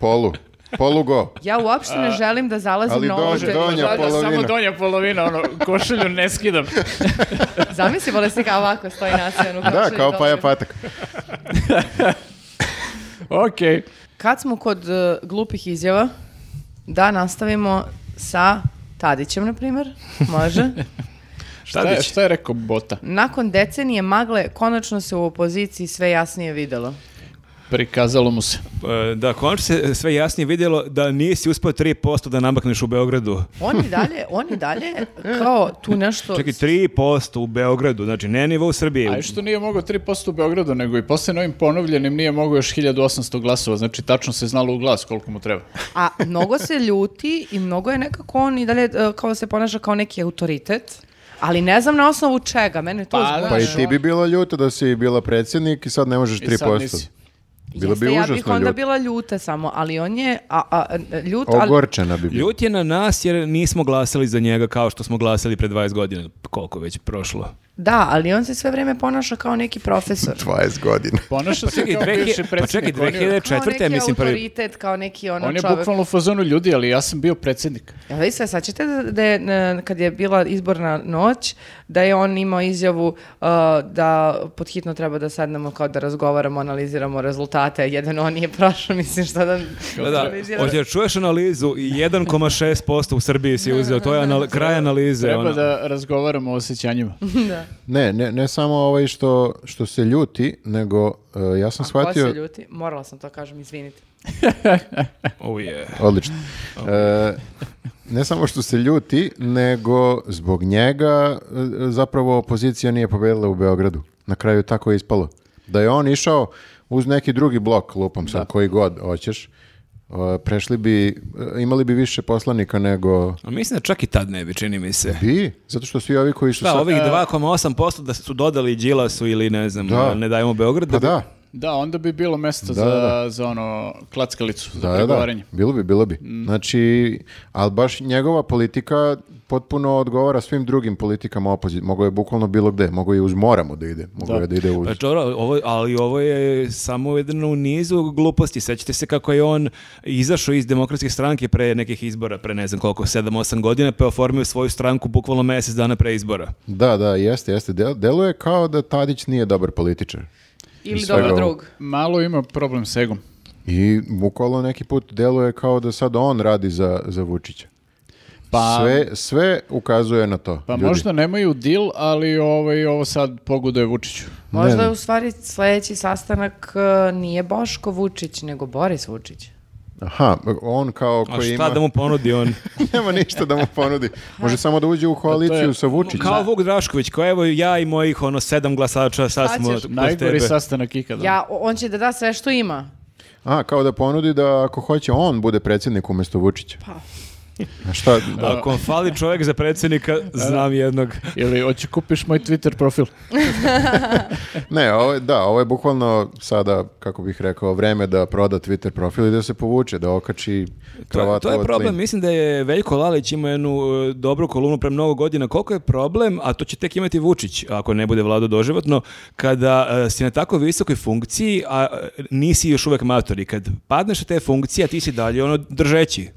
[SPEAKER 2] Polu. Polu go.
[SPEAKER 1] Ja uopšte ne želim da zalazim
[SPEAKER 2] ali
[SPEAKER 1] na ovu
[SPEAKER 2] dođe,
[SPEAKER 1] temu.
[SPEAKER 2] dođe. Donja
[SPEAKER 3] Da, da,
[SPEAKER 2] polovina.
[SPEAKER 3] Samo donja polovina, ono, košulju ne
[SPEAKER 4] <laughs>
[SPEAKER 3] skidam.
[SPEAKER 1] Zamisli bolesnika ovako stoji nasijanu.
[SPEAKER 2] Da, kao pa Paja Patak.
[SPEAKER 3] Okej.
[SPEAKER 1] Kad smo kod e, glupih izjava, da nastavimo sa Tadićem, na primjer. <laughs> Može.
[SPEAKER 3] Šta, je, šta je rekao Bota?
[SPEAKER 1] Nakon decenije magle, konačno se u opoziciji sve jasnije videlo.
[SPEAKER 3] Prikazalo mu se.
[SPEAKER 4] E, Da, konačno se sve jasnije vidjelo da nisi uspio 3% da namakneš u Beogradu.
[SPEAKER 1] On i dalje, on i dalje kao tu nešto...
[SPEAKER 4] Čekaj, 3% u Beogradu, znači ne nivo u Srbiji.
[SPEAKER 3] A i što nije mogao 3% u Beogradu, nego i posle novim ponovljenim nije mogao još 1800 glasova, znači tačno se znalo u glas koliko mu treba.
[SPEAKER 1] A mnogo se ljuti i mnogo je nekako on i dalje e, kao se ponaša kao neki autoritet. Ali ne znam na osnovu čega, mene to
[SPEAKER 3] Pa,
[SPEAKER 1] zbunjuje.
[SPEAKER 2] Pa i ti bi bilo ljuto da si bila predsjednik i sad ne možeš
[SPEAKER 3] I sad
[SPEAKER 2] 3%.
[SPEAKER 3] nisi.
[SPEAKER 2] Bilo
[SPEAKER 1] Jeste,
[SPEAKER 2] bi
[SPEAKER 1] ja bih
[SPEAKER 2] užasno
[SPEAKER 1] onda
[SPEAKER 2] ljut.
[SPEAKER 1] bila ljuta samo, ali on je a, a, a, ljut, ali
[SPEAKER 2] Ogorčena bi bila.
[SPEAKER 4] Ljut je na nas jer nismo glasali za njega kao što smo glasali pre 20 godina, koliko je već prošlo.
[SPEAKER 1] da, ali on se sve vreme ponaša kao neki profesor.
[SPEAKER 2] 20 godina.
[SPEAKER 3] Ponaša se
[SPEAKER 4] Čekaj,
[SPEAKER 3] kao
[SPEAKER 4] dve-
[SPEAKER 3] bivši
[SPEAKER 4] pa čekaj,
[SPEAKER 3] predsjednik. on je-
[SPEAKER 4] 2004. je,
[SPEAKER 1] Kao neki
[SPEAKER 4] mislim prvi.
[SPEAKER 1] autoritet, kao neki ono
[SPEAKER 3] On je
[SPEAKER 1] čovek.
[SPEAKER 3] bukvalno u fazonu ljudi, ali ja sam bio predsjednik.
[SPEAKER 1] Jel vi se sećate da- da je, e, kad je bila izborna noć, da je on imao izjavu e, da podhitno treba da sednemo kao da razgovaramo, analiziramo rezultate, jedan on nije prošao, <laughs> mislim šta da...
[SPEAKER 4] Da, da.
[SPEAKER 1] analizira.
[SPEAKER 4] Hoće da čuješ analizu i 1,6% u Srbiji si uzeo, to je anal- kraj analize.
[SPEAKER 3] Treba
[SPEAKER 4] ono. Mhm.
[SPEAKER 3] da razgovaramo o osjećanjima.
[SPEAKER 2] Ne, ne, ne samo ovaj što, što se ljuti, nego e, ja sam
[SPEAKER 1] A ko se
[SPEAKER 2] shvatio...
[SPEAKER 1] ljuti? Morala sam to kažem, izvinite.
[SPEAKER 4] Oh, yeah.
[SPEAKER 2] Odlično. E, ne samo što se ljuti, nego zbog njega e, zapravo opozicija nije pobedila u Beogradu. Na kraju je tako ispalo. Da je on išao uz neki drugi blok, lupam sad, koji god hoćeš, e, prešli bi, e, imali bi više poslanika nego
[SPEAKER 4] A mislim da čak i tad ne bi, čini mi se.
[SPEAKER 2] vi, zato što svi ovi koji su
[SPEAKER 4] Da,
[SPEAKER 2] sad- e,
[SPEAKER 4] ovih 2,8% da su dodali Đilasu ili ne znam,
[SPEAKER 2] Da.
[SPEAKER 4] ne dajemo Beograd.
[SPEAKER 2] Pa
[SPEAKER 4] bi-
[SPEAKER 2] da,
[SPEAKER 3] Da, onda bi bilo mesta
[SPEAKER 2] Da,
[SPEAKER 3] za,
[SPEAKER 2] da.
[SPEAKER 3] za ono klackalicu, za
[SPEAKER 2] da, da, da,
[SPEAKER 3] pregovaranje.
[SPEAKER 2] bilo bi, bilo bi. Znači, ali baš njegova politika potpuno odgovara svim drugim politikama opozicije. Mogu je bukvalno bilo gde, mogu je uz moramo da ide, mogu
[SPEAKER 3] Da.
[SPEAKER 2] je da ide uz...
[SPEAKER 4] Pa čora, ovo, ali ovo je samo uvedeno u nizu gluposti. Sećate se kako je on izašao iz demokratske stranke pre nekih izbora, pre ne znam koliko, 7-8 godina, pa je oformio svoju stranku bukvalno mjesec dana pre izbora.
[SPEAKER 2] Da, da, jeste, jeste. Del, deluje kao da Tadić nije dobar političar.
[SPEAKER 1] Ili
[SPEAKER 2] svega
[SPEAKER 1] dobro
[SPEAKER 2] ovog.
[SPEAKER 1] drug.
[SPEAKER 3] Malo ima problem s egom.
[SPEAKER 2] I bukvalno neki put deluje kao da sad on radi za, za Vučića.
[SPEAKER 3] Pa-
[SPEAKER 2] sve, sve ukazuje na to.
[SPEAKER 3] Pa
[SPEAKER 2] ljudi.
[SPEAKER 3] možda nemaju dil, ali ovaj, ovo sad pogoduje Vučiću.
[SPEAKER 1] Možda
[SPEAKER 2] Ne.
[SPEAKER 1] u stvari sljedeći sastanak e, nije Boško Vučić, nego Boris Vučić.
[SPEAKER 2] Aha, on kao
[SPEAKER 4] A
[SPEAKER 2] koji
[SPEAKER 4] šta
[SPEAKER 2] ima...
[SPEAKER 4] da mu ponudi on?
[SPEAKER 2] <laughs> Nema ništa da mu ponudi. Može samo da uđe u koaliciju sa Vučićem.
[SPEAKER 4] Kao Vuk Drašković, kao evo ja i mojih ono sedam glasača, sad
[SPEAKER 1] Šta
[SPEAKER 4] smo
[SPEAKER 1] ćeš?
[SPEAKER 4] kod
[SPEAKER 3] Najgori
[SPEAKER 4] tebe.
[SPEAKER 3] sastanak ikada.
[SPEAKER 1] Ja, o- on će da da sve što ima.
[SPEAKER 2] A, kao da ponudi da ako hoće on bude predsjednik umjesto Vučića. A šta?
[SPEAKER 4] Ako vam fali čovjek za predsjednika, znam jednog.
[SPEAKER 3] Ili hoće kupiš moj Twitter profil.
[SPEAKER 2] Ne, ovo, je- da, ovo je bukvalno sada, kako bih rekao, vreme da proda Twitter profil i da se povuče, da okači
[SPEAKER 4] To, je-
[SPEAKER 2] kravatu
[SPEAKER 4] to je
[SPEAKER 2] od
[SPEAKER 4] problem,
[SPEAKER 2] linije.
[SPEAKER 4] mislim da je Veljko Lalić imao jednu e, dobru kolumnu pre mnogo godina. Koliko je problem, a to će tek imati Vučić, ako ne bude vlado doživotno, kada e, si na tako visokoj funkciji, a e, nisi još uvek matori. Kad padneš sa te funkcije, a ti si dalje ono držeći.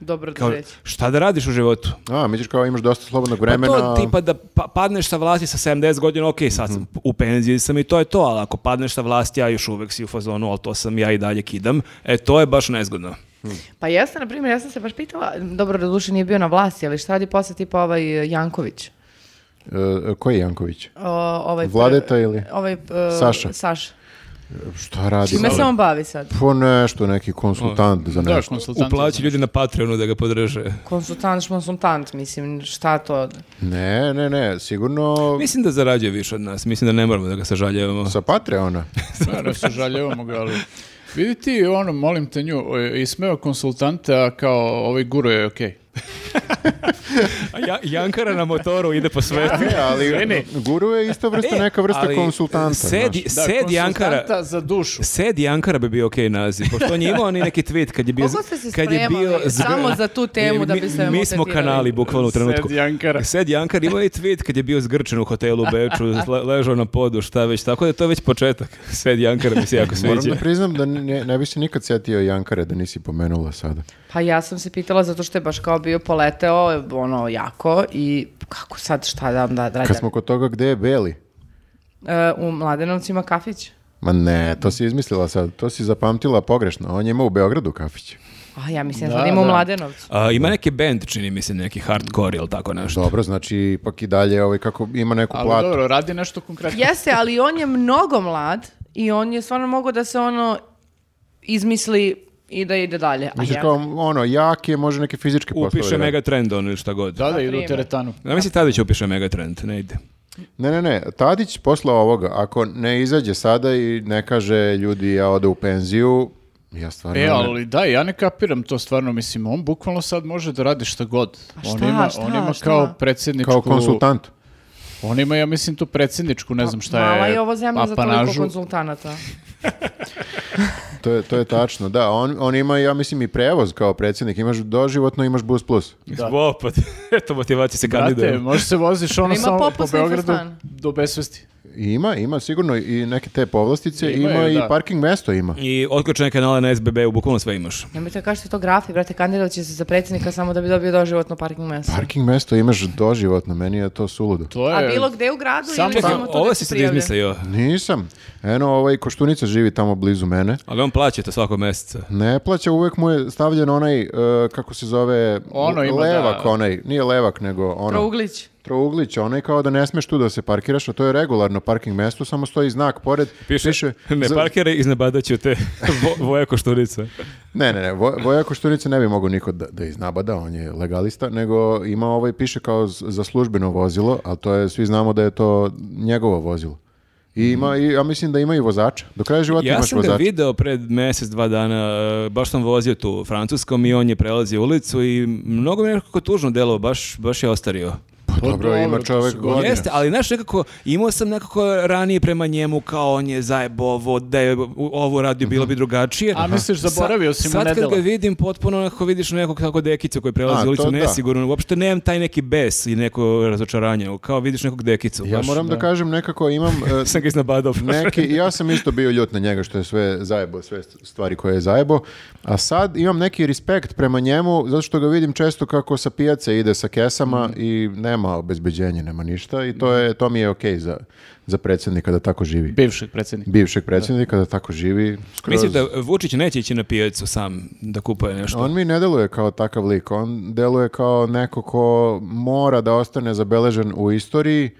[SPEAKER 1] Dobro da
[SPEAKER 4] Kao,
[SPEAKER 1] reći.
[SPEAKER 4] šta da radiš u životu?
[SPEAKER 2] A, misliš kao imaš dosta slobodnog
[SPEAKER 4] Pa
[SPEAKER 2] vremena. Mhm.
[SPEAKER 4] to tipa da pa- padneš sa vlasti sa 70 godina, ok, sad sam u penziji sam i to je to, ali ako padneš sa vlasti, ja još uvek si u fazonu, ali to sam ja i dalje kidam, e to je baš nezgodno.
[SPEAKER 1] Pa jeste, na primjer, ja sam se baš pitala, dobro, doduše nije bio na vlasti, ali šta radi posle tipa ovaj e, Janković?
[SPEAKER 2] E, koji je Janković?
[SPEAKER 1] O, ovaj pre-
[SPEAKER 2] Vladeta ili?
[SPEAKER 1] Ovaj, e,
[SPEAKER 2] Saša.
[SPEAKER 1] Saša.
[SPEAKER 2] Šta radi?
[SPEAKER 1] Čime se on bavi sad?
[SPEAKER 2] Po nešto, neki konsultant za
[SPEAKER 3] Da,
[SPEAKER 2] nešto.
[SPEAKER 3] konsultant.
[SPEAKER 4] Uplaći ljudi na Patreonu da ga podrže.
[SPEAKER 1] Konsultant, šmonsultant, mislim, šta to?
[SPEAKER 2] Ne, ne, ne, sigurno
[SPEAKER 4] Pa Mislim da zarađuje više od nas, mislim da ne moramo da ga sažaljevamo.
[SPEAKER 2] sa
[SPEAKER 4] <laughs>
[SPEAKER 2] Patreona.
[SPEAKER 3] Naravno, sažaljevamo Pa, ga, ali... Vidi ti, ono, molim te nju, o, ismeo konsultanta kao ovaj guru je okej.
[SPEAKER 4] A ja, Jankara na motoru ide po svetu.
[SPEAKER 2] Ne, ali guru je isto vrsta neka vrsta
[SPEAKER 4] E, ali
[SPEAKER 2] konsultanta.
[SPEAKER 4] Sed,
[SPEAKER 2] znaš.
[SPEAKER 3] Da,
[SPEAKER 4] sed Jankara,
[SPEAKER 3] konsultanta za dušu.
[SPEAKER 4] Sed Jankara bi bio okej naziv, pošto on je imao ni neki tweet kad je bio...
[SPEAKER 1] Koliko ste se
[SPEAKER 4] kad je bio
[SPEAKER 1] spremali samo za tu temu da bi se
[SPEAKER 4] Mi, mi smo
[SPEAKER 1] emotetirali?
[SPEAKER 4] kanali, bukvalno u trenutku.
[SPEAKER 3] Sed Jankara.
[SPEAKER 4] Sed Jankar imao je tweet kad je bio zgrčen u hotelu u
[SPEAKER 1] <laughs>
[SPEAKER 4] Beču, le- ležao na podu, šta već, tako da to je već početak. Sed Jankara mi se <laughs> jako
[SPEAKER 2] Moram
[SPEAKER 4] sviđa.
[SPEAKER 2] da priznam da ne, ne bi se nikad sjetio Jankare da nisi pomenula sada.
[SPEAKER 1] Pa ja sam se pitala zato što je baš kao bio poleteo, ono, jako i kako sad, šta da vam da, da,
[SPEAKER 2] Kad smo kod toga gde je Beli?
[SPEAKER 1] E, u Mladenovcima kafić.
[SPEAKER 2] Ma ne, to si izmislila sad, to si zapamtila pogrešno. On je imao u Beogradu kafić.
[SPEAKER 1] A ja mislim da,
[SPEAKER 3] Da,
[SPEAKER 1] sad ima u
[SPEAKER 3] da.
[SPEAKER 1] Mladenovcu.
[SPEAKER 4] A, ima neki band, čini mi se, neki hardcore ili tako nešto.
[SPEAKER 2] Dobro, znači ipak i dalje ovaj, kako ima neku
[SPEAKER 3] Ali
[SPEAKER 2] platu.
[SPEAKER 3] dobro, radi nešto konkretno.
[SPEAKER 1] Jeste, ali on je mnogo mlad i on je stvarno mogao da se ono izmisli i da ide dalje. A
[SPEAKER 2] Misliš
[SPEAKER 1] ja-
[SPEAKER 2] kao ono, jak je, može neke fizičke poslove.
[SPEAKER 4] Upiše
[SPEAKER 2] da radi.
[SPEAKER 4] Megatrend on ili šta god.
[SPEAKER 3] Da, da,
[SPEAKER 1] Na
[SPEAKER 3] idu u
[SPEAKER 1] primer.
[SPEAKER 3] teretanu.
[SPEAKER 4] Ja mislim Tadić upiše Megatrend, ne ide.
[SPEAKER 2] Ne, ne, ne, Tadić posla ovoga, ako ne izađe sada i ne kaže ljudi ja ode u penziju, ja stvarno...
[SPEAKER 3] E,
[SPEAKER 2] ne-
[SPEAKER 3] ali da, ja ne kapiram to stvarno, mislim, on bukvalno sad može da radi šta god.
[SPEAKER 1] A Pa šta,
[SPEAKER 3] on ima,
[SPEAKER 1] šta,
[SPEAKER 3] on ima
[SPEAKER 1] šta?
[SPEAKER 3] kao predsjedničku...
[SPEAKER 2] Kao konsultant.
[SPEAKER 3] On ima, ja mislim, tu predsjedničku, ne znam šta je.
[SPEAKER 1] Pa Mala je ovo zemlja za toliko
[SPEAKER 3] apanažu.
[SPEAKER 1] konzultanata.
[SPEAKER 2] To je, to je tačno, da. On, on ima, ja mislim, i prevoz kao predsjednik. Imaš doživotno, imaš bus plus.
[SPEAKER 4] <laughs> Wow, pa eto motivacija se
[SPEAKER 3] Brate,
[SPEAKER 4] kandiduje.
[SPEAKER 3] može se voziš ono
[SPEAKER 1] Ima
[SPEAKER 3] samo po
[SPEAKER 1] popust na
[SPEAKER 3] Beogradu
[SPEAKER 1] infostan.
[SPEAKER 3] do besvesti.
[SPEAKER 2] I ima, ima sigurno i neke te povlastice,
[SPEAKER 3] Ima
[SPEAKER 2] ima,
[SPEAKER 3] je,
[SPEAKER 2] i
[SPEAKER 3] da.
[SPEAKER 2] parking mesto ima.
[SPEAKER 4] I otključene kanale na SBB, u bukvalno sve imaš.
[SPEAKER 1] Nemojte kažete to grafi, brate, kandidat će se za predsjednika samo da bi dobio doživotno parking mesto.
[SPEAKER 2] Parking mesto imaš doživotno, meni je to suludo.
[SPEAKER 3] To je...
[SPEAKER 1] A bilo gde u gradu
[SPEAKER 3] Samo-
[SPEAKER 1] ili
[SPEAKER 4] Čekaj,
[SPEAKER 1] samo to
[SPEAKER 4] ovo
[SPEAKER 1] da
[SPEAKER 4] si
[SPEAKER 1] se
[SPEAKER 4] sad
[SPEAKER 1] prijavlja?
[SPEAKER 4] izmislio,
[SPEAKER 2] Nisam. Eno, ovaj Koštunica živi tamo blizu mene.
[SPEAKER 4] ali on plaća to svakog meseca.
[SPEAKER 2] Ne plaća, uvek mu je stavljen onaj, e, kako se zove,
[SPEAKER 3] Ono ima,
[SPEAKER 2] levak
[SPEAKER 3] da.
[SPEAKER 2] onaj, nije levak, nego ono,
[SPEAKER 1] Trouglić.
[SPEAKER 2] trouglić, onaj kao da ne smeš tu da se parkiraš, a to je regularno parking mesto, samo stoji znak pored,
[SPEAKER 4] Piše,
[SPEAKER 3] <laughs>
[SPEAKER 4] ne
[SPEAKER 2] za-
[SPEAKER 4] parkiraj, iznebadat ću te vo, voja košturica.
[SPEAKER 2] Ne, ne, ne, Vo- Voja Koštunica ne bi mogao niko da, da iznabada, on je legalista, nego ima ovaj, piše kao z- za službeno vozilo, ali to je, svi znamo da je to njegovo vozilo. I ima, i, ja mislim da ima i vozača. Do kraja života
[SPEAKER 4] Ja
[SPEAKER 2] Pa imaš
[SPEAKER 4] sam ga
[SPEAKER 2] vozača.
[SPEAKER 4] video pred mjesec, dva dana, e, baš sam vozio tu u Francuskom i on je prelazio ulicu i mnogo mi je nekako tužno delo, baš, baš je ostario.
[SPEAKER 2] Pa dobro, ima
[SPEAKER 3] to
[SPEAKER 2] čovek
[SPEAKER 3] su
[SPEAKER 2] godine.
[SPEAKER 4] Jeste, ali znaš nekako, imao sam nekako ranije prema njemu kao on je zajebo ovo, da je u- ovo radio bilo bi
[SPEAKER 2] Mhm.
[SPEAKER 4] drugačije.
[SPEAKER 3] <laughs> A misliš,
[SPEAKER 4] Sa-
[SPEAKER 3] zaboravio si mu
[SPEAKER 4] Sad kad
[SPEAKER 3] nedela?
[SPEAKER 4] ga vidim, potpuno onako vidiš nekog tako dekicu koji prelazi
[SPEAKER 2] A,
[SPEAKER 4] ulicu
[SPEAKER 2] to da.
[SPEAKER 4] nesigurno. Uopšte nemam taj neki bes i neko razočaranje. Kao vidiš nekog dekicu.
[SPEAKER 2] Ja
[SPEAKER 4] baš
[SPEAKER 2] moram da. kažem nekako imam e,
[SPEAKER 4] Sam ga iznabadao.
[SPEAKER 2] neki, ja sam isto bio ljut na njega što je sve zajebo, sve stvari koje je zajebo, a sad imam neki respekt prema njemu, zato što ga vidim često kako sa pijace ide sa kesama i nema obezbeđenja, nema ništa i to, je, to mi je okej za, za predsjednika da tako živi.
[SPEAKER 3] Bivšeg predsjednika.
[SPEAKER 2] Bivšeg predsjednika da tako živi skroz.
[SPEAKER 4] Mislim da Vučić neće ići na pijacu sam da kupuje nešto.
[SPEAKER 2] On mi ne deluje kao takav lik, on deluje kao neko ko mora da ostane zabeležen u istoriji,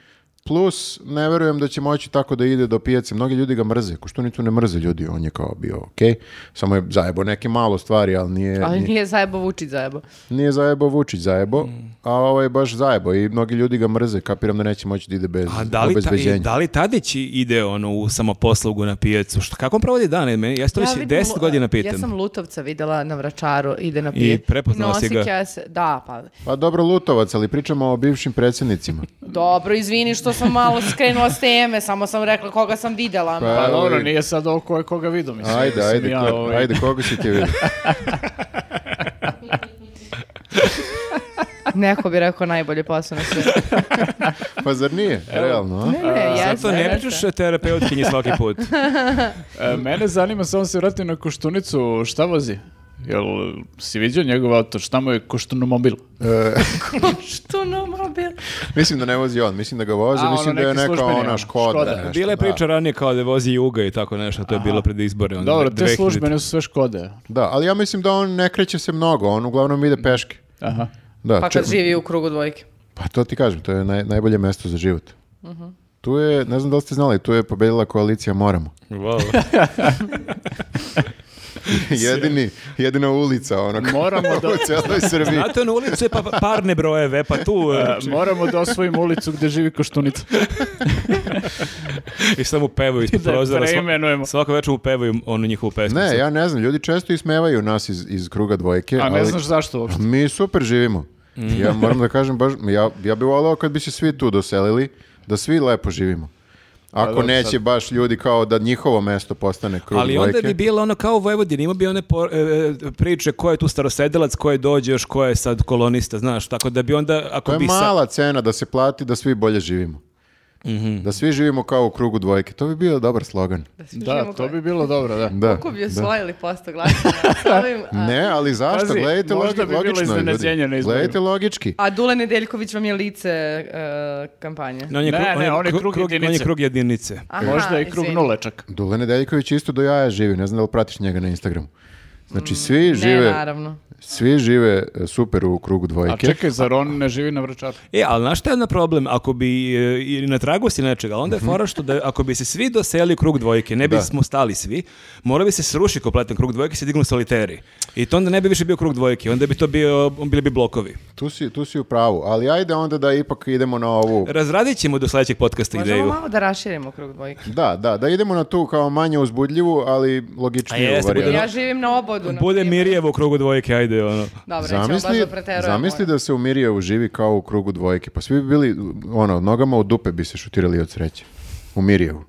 [SPEAKER 2] plus ne verujem da će moći tako da ide do pijace. Mnogi ljudi ga mrze, ko što ni tu ne mrze ljudi, on je kao bio okej, samo je zajebo neke malo stvari, ali nije,
[SPEAKER 1] Ali
[SPEAKER 2] nije.
[SPEAKER 1] nije zajebo Vučić zajebo.
[SPEAKER 2] nije zajebo Vučić zajebo, a ovo je baš zajebo i mnogi ljudi ga mrze, kapiram da neće moći da ide bez
[SPEAKER 4] A da li, ta, i
[SPEAKER 2] obezbeđenja.
[SPEAKER 4] da li Tadić ide ono u samoposlugu na pijacu? Što, kako on provodi dane? Meni, ja se to već
[SPEAKER 1] vidim
[SPEAKER 4] 10
[SPEAKER 1] Lu-
[SPEAKER 4] godina pitam.
[SPEAKER 1] Ja sam Lutovca videla na vračaru, ide na pijet.
[SPEAKER 4] prepoznala si ga.
[SPEAKER 1] kese. Da, pa.
[SPEAKER 2] Pa dobro Lutovac, ali pričamo o bivšim predsjednicima.
[SPEAKER 1] Dobro, izvini što sam malo skrenula s teme, samo sam rekla koga sam videla. no.
[SPEAKER 2] Pa,
[SPEAKER 3] Pa dobro,
[SPEAKER 2] ovaj,
[SPEAKER 3] nije sad ovo ko je koga vidio, mislim.
[SPEAKER 2] Ajde,
[SPEAKER 3] Mislim,
[SPEAKER 2] ajde,
[SPEAKER 3] ja,
[SPEAKER 2] ko-
[SPEAKER 3] ovaj,
[SPEAKER 2] ajde, koga si ti vidio?
[SPEAKER 4] Pa-
[SPEAKER 1] Neko bi rekao najbolje posao na
[SPEAKER 4] <laughs>
[SPEAKER 1] svijetu.
[SPEAKER 2] Pa zar nije? Realno, a?
[SPEAKER 1] Ne, ne, jeste,
[SPEAKER 4] Zato ne
[SPEAKER 1] jeste.
[SPEAKER 4] pričaš terapeutkinji svaki put.
[SPEAKER 3] e, mene zanima, samo se vratim na Koštunicu, šta vozi? Jel si vidio njegov auto, šta mu je Koštunomobil?
[SPEAKER 2] E,
[SPEAKER 1] Što no mobil?
[SPEAKER 4] Pa
[SPEAKER 2] Mislim da ne vozi on, mislim da ga voze,
[SPEAKER 3] A,
[SPEAKER 2] mislim
[SPEAKER 3] ono,
[SPEAKER 2] da je
[SPEAKER 3] neki
[SPEAKER 2] neka
[SPEAKER 3] službeni,
[SPEAKER 2] ona
[SPEAKER 3] ono,
[SPEAKER 2] škoda.
[SPEAKER 3] Škoda.
[SPEAKER 2] nešto,
[SPEAKER 4] Bila je
[SPEAKER 2] da.
[SPEAKER 4] priča ranije kao da vozi Juga i tako nešto, to je bilo pred izbore. ono,
[SPEAKER 3] Dobro, te
[SPEAKER 4] 2000.
[SPEAKER 3] službene su sve škode.
[SPEAKER 2] Da, ali ja mislim da on ne kreće se mnogo, on uglavnom ide peške.
[SPEAKER 3] Aha.
[SPEAKER 2] Da,
[SPEAKER 1] Pa
[SPEAKER 2] čak-
[SPEAKER 1] kad živi u krugu dvojke.
[SPEAKER 2] pa to ti kažem, to je naj, najbolje mesto za život. Tu je, ne znam da li ste znali, tu je pobedila koalicija Moramo. <laughs>
[SPEAKER 4] Wow.
[SPEAKER 2] Jedini, jedina ulica, ono, kao
[SPEAKER 3] Moramo da...
[SPEAKER 2] <laughs> u celoj Srbiji.
[SPEAKER 4] Znate, ono ulicu je pa pa- parne brojeve, pa tu e,
[SPEAKER 3] e, Moramo da osvojimo ulicu gde živi Koštunica.
[SPEAKER 4] i samo pevaju ispod
[SPEAKER 3] Da je
[SPEAKER 4] prozora. sva-
[SPEAKER 3] preimenujemo.
[SPEAKER 4] Svako večer upevaju onu njihovu pesmu.
[SPEAKER 2] Ne, ja ne znam, ljudi često ismevaju nas iz, iz kruga dvojke,
[SPEAKER 3] A ne
[SPEAKER 2] ali
[SPEAKER 3] znaš zašto uopšte.
[SPEAKER 2] mi super živimo.
[SPEAKER 4] Mm.
[SPEAKER 2] Ja moram
[SPEAKER 4] <laughs>
[SPEAKER 2] da kažem, baš, ja, ja bih volao kad bi se svi tu doselili, da svi lepo živimo. Ako
[SPEAKER 4] Pa
[SPEAKER 3] dobro,
[SPEAKER 2] neće
[SPEAKER 3] sad-
[SPEAKER 2] baš ljudi kao da njihovo mesto postane krug
[SPEAKER 4] Ali
[SPEAKER 2] dvojke.
[SPEAKER 4] onda bi bilo ono kao u Vojvodini, imao bi one por- e, e, priče ko je tu starosedelac, ko je dođe još, ko je sad kolonista, znaš, tako da bi onda, ako
[SPEAKER 2] To je
[SPEAKER 4] bi sa-
[SPEAKER 2] mala cena da se plati da svi bolje živimo.
[SPEAKER 4] Mhm.
[SPEAKER 2] Da svi živimo kao u krugu dvojke. To bi bio dobar slogan.
[SPEAKER 3] Da, to bi bilo dobro, da.
[SPEAKER 2] Da.
[SPEAKER 1] Kako bi
[SPEAKER 2] da.
[SPEAKER 1] osvojili posto
[SPEAKER 4] <laughs>
[SPEAKER 1] glasova? sa ovim, a-
[SPEAKER 2] Ne, ali zašto?
[SPEAKER 3] Pazi,
[SPEAKER 2] Gledajte
[SPEAKER 3] možda
[SPEAKER 2] logi-
[SPEAKER 3] bi bilo
[SPEAKER 2] logično. je,
[SPEAKER 3] iznenađenje na
[SPEAKER 2] ljudi.
[SPEAKER 3] izborima.
[SPEAKER 2] Gledajte logički.
[SPEAKER 1] A Dule Nedeljković vam je lice e, kampanje.
[SPEAKER 4] Ne, on je
[SPEAKER 3] Ne,
[SPEAKER 4] krug-
[SPEAKER 3] ne, on je
[SPEAKER 4] krug-
[SPEAKER 3] krug
[SPEAKER 4] krug- on je
[SPEAKER 3] jedinice.
[SPEAKER 4] krug jedinice.
[SPEAKER 1] Aha,
[SPEAKER 3] Možda je krug
[SPEAKER 1] izvini.
[SPEAKER 3] nule čak.
[SPEAKER 2] Dule Nedeljković isto do jaja živi. Ne znam da li pratiš njega na Instagramu. Znači, svi žive,
[SPEAKER 1] Ne, naravno.
[SPEAKER 2] svi žive e, super u krugu
[SPEAKER 3] A
[SPEAKER 2] dvojke.
[SPEAKER 3] čekaj, zar on ne živi na vračaru?
[SPEAKER 4] E, ali znaš šta je na problem? Ako bi, e, i na tragu si nečega, ali onda je fora što da, ako bi se svi doseli u krug dvojke, ne bismo stali svi, morao bi se sruši kompletan krug dvojke i se dignu soliteri. I to onda ne bi više bio krug dvojke, onda bi to bio, bili bi blokovi.
[SPEAKER 2] Tu si, tu si u pravu. Ali ajde onda da ipak idemo na ovu...
[SPEAKER 4] Razradit ćemo do sledećeg podcasta
[SPEAKER 1] Možemo
[SPEAKER 4] ideju.
[SPEAKER 1] malo da raširimo krug dvojke.
[SPEAKER 2] Da, da, da idemo na tu kao manje uzbudljivu, ali
[SPEAKER 4] A
[SPEAKER 2] logičniju
[SPEAKER 4] jeste, bude
[SPEAKER 1] E,
[SPEAKER 2] varijantu.
[SPEAKER 1] Ja živim na obo, vodu. na
[SPEAKER 4] Bude
[SPEAKER 1] primer.
[SPEAKER 4] Mirjevo u krugu dvojke, ajde, ono.
[SPEAKER 1] Dobro, nećemo baš
[SPEAKER 2] Zamisli,
[SPEAKER 1] da preterujemo.
[SPEAKER 2] zamisli da se u Mirija uživi kao u krugu dvojke. Pa svi bi bili, ono, nogama u dupe bi se šutirali od sreće. U Mirijevu.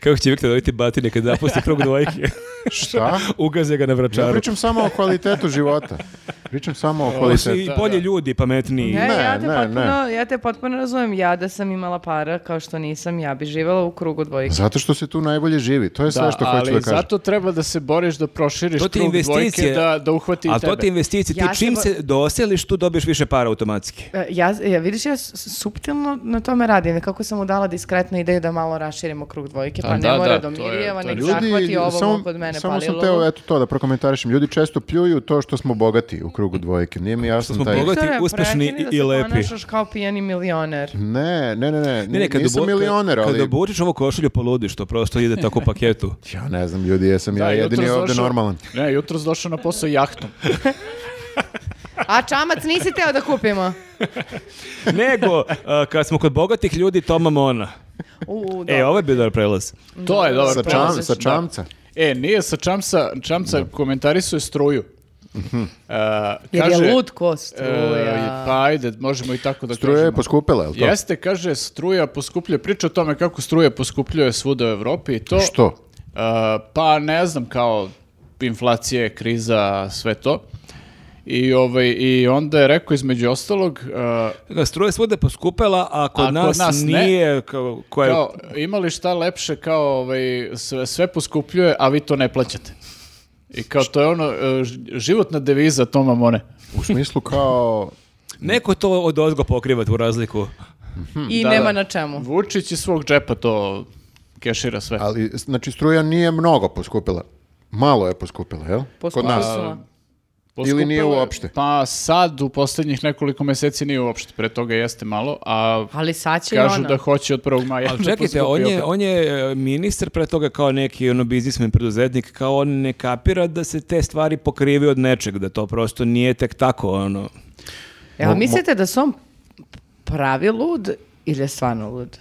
[SPEAKER 4] Kako će Viktor dobiti batine kad zapusti
[SPEAKER 1] <laughs>
[SPEAKER 4] krug dvojke?
[SPEAKER 2] Šta?
[SPEAKER 4] Ugaze ga na
[SPEAKER 2] Ja
[SPEAKER 4] vračaru.
[SPEAKER 2] pričam samo o kvalitetu života. Pričam samo o
[SPEAKER 4] I
[SPEAKER 2] kvalitetu.
[SPEAKER 4] bolje ljudi, pametniji.
[SPEAKER 1] Ne,
[SPEAKER 2] Ne,
[SPEAKER 1] ja, te
[SPEAKER 2] ne,
[SPEAKER 1] potpuno, ja te potpuno razumijem. Ja da sam imala para kao što nisam, ja bi živjela u krugu dvojke.
[SPEAKER 2] Zato što se tu najbolje živi. To je sve što hoću da
[SPEAKER 3] ali
[SPEAKER 2] kažem.
[SPEAKER 3] zato treba da se boriš da proširiš
[SPEAKER 4] To ti
[SPEAKER 3] krug dvojke,
[SPEAKER 4] investicije.
[SPEAKER 3] da, da uhvati i
[SPEAKER 4] A to
[SPEAKER 3] tebe.
[SPEAKER 4] ti investicije, ti
[SPEAKER 1] Ja se
[SPEAKER 4] čim
[SPEAKER 1] bo-
[SPEAKER 4] se doseliš, tu dobiješ više para automatski.
[SPEAKER 1] E, Ja, ja, vidiš, ja s- suptilno na tome radim. Kako sam mu dala diskretnu ideju da malo raširimo krug dvojke, pa
[SPEAKER 3] A,
[SPEAKER 1] ne
[SPEAKER 3] da,
[SPEAKER 1] mora
[SPEAKER 3] da,
[SPEAKER 1] do
[SPEAKER 3] to je-
[SPEAKER 1] Mirjeva,
[SPEAKER 3] to
[SPEAKER 1] nek
[SPEAKER 3] je-
[SPEAKER 1] Pa zahvati ovo
[SPEAKER 2] samo,
[SPEAKER 1] kod mene
[SPEAKER 2] samo sam
[SPEAKER 1] palilo.
[SPEAKER 2] teo eto to da prokomentarišem. Ljudi često pljuju to što smo bogati u krugu dvojke. Nije mi
[SPEAKER 4] Što
[SPEAKER 2] jasno
[SPEAKER 4] smo
[SPEAKER 2] taj...
[SPEAKER 4] bogati.
[SPEAKER 1] Viktore,
[SPEAKER 4] uspešni
[SPEAKER 1] prekini
[SPEAKER 4] i- i lepi.
[SPEAKER 1] Da se ponašaš kao pijani milioner.
[SPEAKER 2] Ne, ne, ne, ne.
[SPEAKER 4] Ne, ne, kad
[SPEAKER 2] Nisam
[SPEAKER 4] obu-
[SPEAKER 2] milioner,
[SPEAKER 4] kad-
[SPEAKER 2] ali...
[SPEAKER 4] Kad obučeš ovo košulju, poludiš, to prosto ide tako u
[SPEAKER 2] <laughs>
[SPEAKER 4] paketu.
[SPEAKER 2] Ja ne znam, ljudi, jesam ja
[SPEAKER 3] Da,
[SPEAKER 2] jedini
[SPEAKER 3] jutros
[SPEAKER 2] ovde
[SPEAKER 3] došao-
[SPEAKER 2] normalan.
[SPEAKER 3] Ne, jutros došao na posao jahtom.
[SPEAKER 1] A čamac nisi teo da kupimo?
[SPEAKER 4] Nego, a, kad smo kod bogatih ljudi, Toma Mona.
[SPEAKER 1] U, u,
[SPEAKER 4] E, ovo je bio dobar prelaz.
[SPEAKER 3] To je dobar
[SPEAKER 2] Sa, čam,
[SPEAKER 3] prelaz.
[SPEAKER 2] sa
[SPEAKER 3] Da.
[SPEAKER 2] čamca.
[SPEAKER 3] E, nije sa čamca, čamca komentarisuje struju.
[SPEAKER 2] Mhm.
[SPEAKER 3] Uh,
[SPEAKER 1] Jer
[SPEAKER 3] kaže,
[SPEAKER 1] je lud ko
[SPEAKER 3] e,
[SPEAKER 1] struja.
[SPEAKER 3] pa ajde, možemo i tako da
[SPEAKER 2] Struja je
[SPEAKER 3] kažemo.
[SPEAKER 2] poskupela, je li to?
[SPEAKER 3] Jeste, kaže, struja poskupljuje. Priča o tome kako struja poskupljuje svuda u Evropi i to.
[SPEAKER 2] Što?
[SPEAKER 3] Uh, pa ne znam, kao inflacije, kriza, sve to. I, ovaj, I onda je rekao između ostalog, uh,
[SPEAKER 4] Struja je svuda poskupela, a kod,
[SPEAKER 3] A kod
[SPEAKER 4] nas,
[SPEAKER 3] nas ne.
[SPEAKER 4] nije kao, koja Pa je
[SPEAKER 3] kao, ima li šta lepše kao ovaj, sve, sve poskupljuje, a vi to ne plaćate. I kao to je ono, e, ž- životna deviza Toma Mone.
[SPEAKER 2] U smislu kao...
[SPEAKER 4] Neko to od ozgo pokriva tu razliku.
[SPEAKER 1] I
[SPEAKER 3] da,
[SPEAKER 1] nema
[SPEAKER 3] da.
[SPEAKER 1] na čemu.
[SPEAKER 3] Vučić iz svog džepa to kešira sve.
[SPEAKER 2] Ali, znači, struja nije mnogo poskupila. Malo je poskupila, jel? Kod nas.
[SPEAKER 1] Poskusila.
[SPEAKER 3] Poskupilo
[SPEAKER 2] ili nije
[SPEAKER 3] je-
[SPEAKER 2] uopšte?
[SPEAKER 3] Pa sad u posljednjih nekoliko meseci nije uopće, pre toga jeste malo, a
[SPEAKER 1] Ali sad će i ono.
[SPEAKER 3] kažu
[SPEAKER 1] ona.
[SPEAKER 3] da hoće od 1.
[SPEAKER 2] E,
[SPEAKER 3] maja. <laughs>
[SPEAKER 4] Ali
[SPEAKER 3] da
[SPEAKER 4] čekajte,
[SPEAKER 3] poskupi
[SPEAKER 4] on je,
[SPEAKER 3] opet.
[SPEAKER 4] on je e, ministar pre toga kao neki ono biznismen preduzetnik, kao on ne kapira da se te stvari pokrivaju od nečeg, da to prosto nije tek tako ono.
[SPEAKER 1] Jel mislite da su on pravi lud ili je stvarno lud?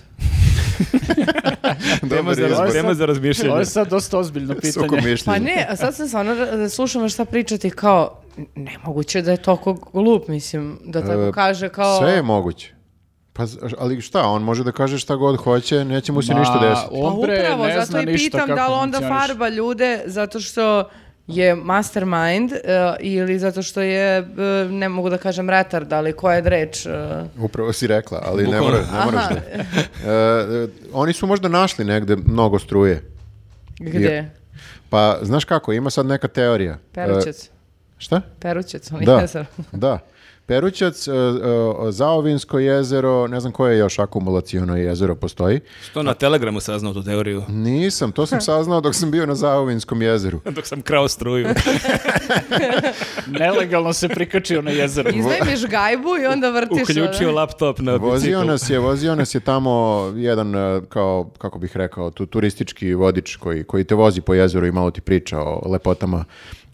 [SPEAKER 4] Tema
[SPEAKER 2] Dobar
[SPEAKER 4] za,
[SPEAKER 2] izbor.
[SPEAKER 3] razgovor.
[SPEAKER 4] tema za
[SPEAKER 3] Ovo
[SPEAKER 4] razmišljanje.
[SPEAKER 3] je sad dosta
[SPEAKER 2] <laughs>
[SPEAKER 3] ozbiljno pitanje.
[SPEAKER 2] Sukob
[SPEAKER 1] Pa
[SPEAKER 2] mišljenja.
[SPEAKER 1] ne, a sad sam stvarno ra- slušala šta pričati kao nemoguće da je toliko glup, mislim, da tako
[SPEAKER 2] E,
[SPEAKER 1] kaže kao...
[SPEAKER 2] Sve je moguće. Pa, z- ali šta, on može da kaže šta god hoće, neće mu se
[SPEAKER 3] Ma,
[SPEAKER 2] ništa desiti.
[SPEAKER 1] Pa
[SPEAKER 3] on bre
[SPEAKER 1] upravo,
[SPEAKER 3] ne
[SPEAKER 1] zato
[SPEAKER 3] zna
[SPEAKER 1] i
[SPEAKER 3] ništa
[SPEAKER 1] pitam da li
[SPEAKER 3] kako
[SPEAKER 1] onda
[SPEAKER 3] funkcioniš.
[SPEAKER 1] farba ljude zato što je mastermind e, ili zato što je, e, ne mogu da kažem retard, ali koja je reč? e,
[SPEAKER 2] Upravo si rekla, ali ne,
[SPEAKER 4] Bukvalno.
[SPEAKER 2] mora, ne moraš da. E, e, oni su možda našli negde mnogo struje.
[SPEAKER 1] gde?
[SPEAKER 2] Je. Pa, znaš kako, ima sad neka teorija. E,
[SPEAKER 1] Perućac.
[SPEAKER 2] šta?
[SPEAKER 1] Perućac, on
[SPEAKER 2] Da,
[SPEAKER 1] je sad-
[SPEAKER 2] da. Perućac, e, e, Zaovinsko jezero, ne znam koje još akumulacijono jezero postoji.
[SPEAKER 4] To na Telegramu saznao tu teoriju.
[SPEAKER 2] Mm. Nisam, to sam saznao dok sam bio na Zaovinskom jezeru.
[SPEAKER 4] <laughs> Dok sam krao struju.
[SPEAKER 2] <laughs>
[SPEAKER 3] <laughs> Nelegalno se prikačio na jezero.
[SPEAKER 1] Iznajmiš gajbu i onda vrtiš.
[SPEAKER 4] Uključio
[SPEAKER 1] ono.
[SPEAKER 4] laptop na
[SPEAKER 2] Vozio
[SPEAKER 4] bicikl.
[SPEAKER 2] nas je, vozio nas je tamo jedan e, kao kako bih rekao, tu turistički vodič koji koji te vozi po jezeru i malo ti priča o lepotama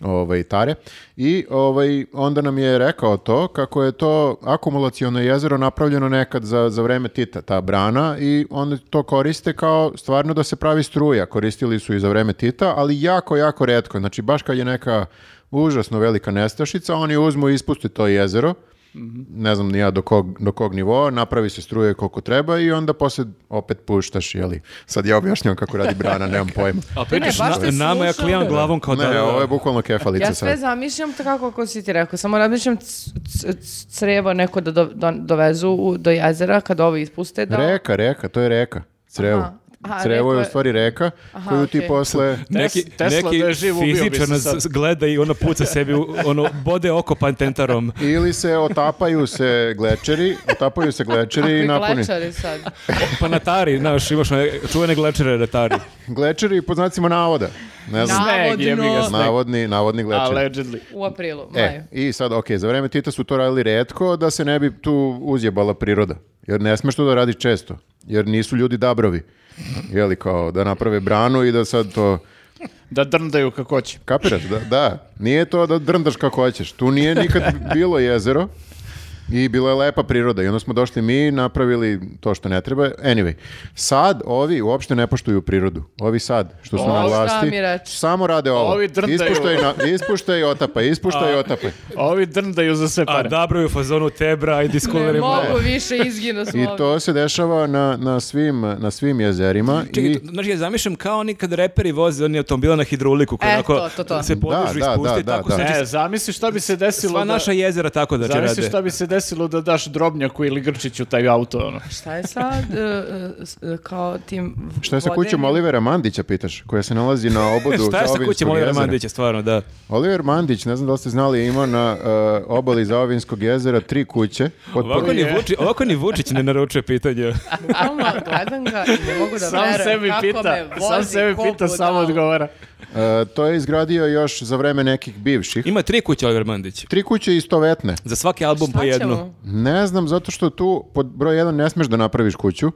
[SPEAKER 2] ovaj Tare i ovaj onda nam je rekao to kako je to akumulaciono jezero napravljeno nekad za za vreme Tita ta brana i onda to koriste kao stvarno da se pravi struja, koristili su i za vreme Tita, ali jako jako retko. Znači baš kad je neka užasno velika nestašica, oni uzmu i ispuste to jezero Mhm. ne znam ni ja do kog, do kog nivoa, napravi se struje koliko treba i onda posle opet puštaš, jeli. Sad ja objašnjam kako radi brana, nemam pojma.
[SPEAKER 4] A pa
[SPEAKER 1] e,
[SPEAKER 4] pričaš,
[SPEAKER 1] Ne, baš
[SPEAKER 4] na-
[SPEAKER 1] te
[SPEAKER 4] nama ja
[SPEAKER 1] slušam.
[SPEAKER 4] klijam glavom kao da...
[SPEAKER 2] Ne, ovo je bukvalno kefalica
[SPEAKER 1] Ja sve
[SPEAKER 2] sad.
[SPEAKER 1] zamišljam tako kako si ti rekao, samo razmišljam c- c- c- crevo neko da do, do- dovezu u- do jezera kad ovo ispuste. Da...
[SPEAKER 2] Reka, reka, to je reka. Crevo.
[SPEAKER 1] Aha. Aha,
[SPEAKER 2] Crevo je
[SPEAKER 1] reko
[SPEAKER 2] u
[SPEAKER 1] je-
[SPEAKER 2] stvari reka
[SPEAKER 1] Aha,
[SPEAKER 2] koju ti
[SPEAKER 1] okej.
[SPEAKER 2] posle...
[SPEAKER 4] Neki,
[SPEAKER 3] Tesla
[SPEAKER 4] neki
[SPEAKER 3] da je živ, ubio bi se
[SPEAKER 4] fizičar nas
[SPEAKER 3] sad.
[SPEAKER 4] gleda i ono puca sebi,
[SPEAKER 3] <laughs>
[SPEAKER 4] u- ono, bode oko pantentarom.
[SPEAKER 2] Ili se otapaju se glečeri, otapaju se glečeri
[SPEAKER 1] Kakvi
[SPEAKER 2] i napuni.
[SPEAKER 1] glečari sad.
[SPEAKER 4] Panatari, Pa znaš, imaš one čuvene glečere retari.
[SPEAKER 2] Glečeri pod znacima navoda. Ne znam.
[SPEAKER 3] Sneg, jebi ga,
[SPEAKER 1] Navodno.
[SPEAKER 2] Navodni, navodni glečeri.
[SPEAKER 3] Allegedly.
[SPEAKER 1] U aprilu, maju.
[SPEAKER 2] E, i sad, ok, za vreme Tita su to radili redko da se ne bi tu uzjebala priroda. Jer ne smeš to da radi često. Jer nisu ljudi dabrovi. Jeli kao da naprave branu i da sad to...
[SPEAKER 3] Da drndaju kako hoće.
[SPEAKER 2] Kapiraš? Da, da. Nije to da drndaš kako hoćeš. Tu nije nikad bilo jezero. I bila je lepa priroda. I onda smo došli mi i napravili to što ne treba. Anyway, sad ovi uopšte ne poštuju prirodu. Ovi sad, što su na
[SPEAKER 1] O, šta
[SPEAKER 2] vlasti,
[SPEAKER 1] mi reći?
[SPEAKER 2] samo rade ovo.
[SPEAKER 3] Ovi drndaju.
[SPEAKER 2] Ispuštaj, na, ispuštaj otapa, ispuštaj otapa.
[SPEAKER 3] Ovi drndaju za sve
[SPEAKER 4] A
[SPEAKER 3] pare.
[SPEAKER 4] Dabro je u fazonu Tebra i Discovery
[SPEAKER 1] Ne
[SPEAKER 4] Mall.
[SPEAKER 1] mogu više, izginu smo
[SPEAKER 2] I
[SPEAKER 1] ovdje.
[SPEAKER 2] to se dešava na, na, svim, na svim jezerima.
[SPEAKER 4] Čekaj,
[SPEAKER 2] i...
[SPEAKER 4] to- znači ja zamišljam kao oni kad reperi voze oni automobila na hidrauliku koji
[SPEAKER 1] E,
[SPEAKER 4] onako
[SPEAKER 1] to, to, to.
[SPEAKER 4] se podižu
[SPEAKER 2] Da, da,
[SPEAKER 4] i spuste i
[SPEAKER 2] da,
[SPEAKER 4] tako
[SPEAKER 2] da,
[SPEAKER 4] se
[SPEAKER 2] da.
[SPEAKER 4] znači,
[SPEAKER 3] E, zamisli šta bi se desilo
[SPEAKER 4] sva
[SPEAKER 3] da...
[SPEAKER 4] naša jezera tako da će
[SPEAKER 3] Zamisli
[SPEAKER 4] rade.
[SPEAKER 3] šta bi se desilo da daš drobnjaku ili grčiću taj auto, ono.
[SPEAKER 1] Šta je sad e, e, s- e, kao tim v-
[SPEAKER 2] Šta je sa
[SPEAKER 1] vodenim-
[SPEAKER 2] kućom Olivera Mandića, pitaš, koja se nalazi na obodu
[SPEAKER 4] <laughs> Šta je sa
[SPEAKER 2] Zaovinskog
[SPEAKER 4] kućem Olivera
[SPEAKER 2] jezera?
[SPEAKER 4] Mandića, stvarno, da.
[SPEAKER 2] Oliver Mandić, ne znam da li ste znali, ima na e, obali Zaovinskog jezera tri kuće. Potpuno-
[SPEAKER 4] Ovako ni, Vuči, ovako ni Vučić ne naručuje pitanje.
[SPEAKER 1] Bukvalno gledam ga i ne mogu da
[SPEAKER 3] sam
[SPEAKER 1] verujem
[SPEAKER 3] sebi
[SPEAKER 1] kako
[SPEAKER 3] pita,
[SPEAKER 1] me vozi,
[SPEAKER 3] sam sebi
[SPEAKER 1] ko
[SPEAKER 3] pita, sam
[SPEAKER 1] budala.
[SPEAKER 3] odgovara.
[SPEAKER 2] E, to je izgradio još za vreme nekih bivših.
[SPEAKER 4] Ima tri kuće Oliver Mandić.
[SPEAKER 2] Tri kuće istovetne.
[SPEAKER 4] Za svaki album
[SPEAKER 1] Šta
[SPEAKER 4] po jednu.
[SPEAKER 1] ćemo?
[SPEAKER 2] Ne znam, zato što tu pod broj jedan ne smeš da napraviš kuću,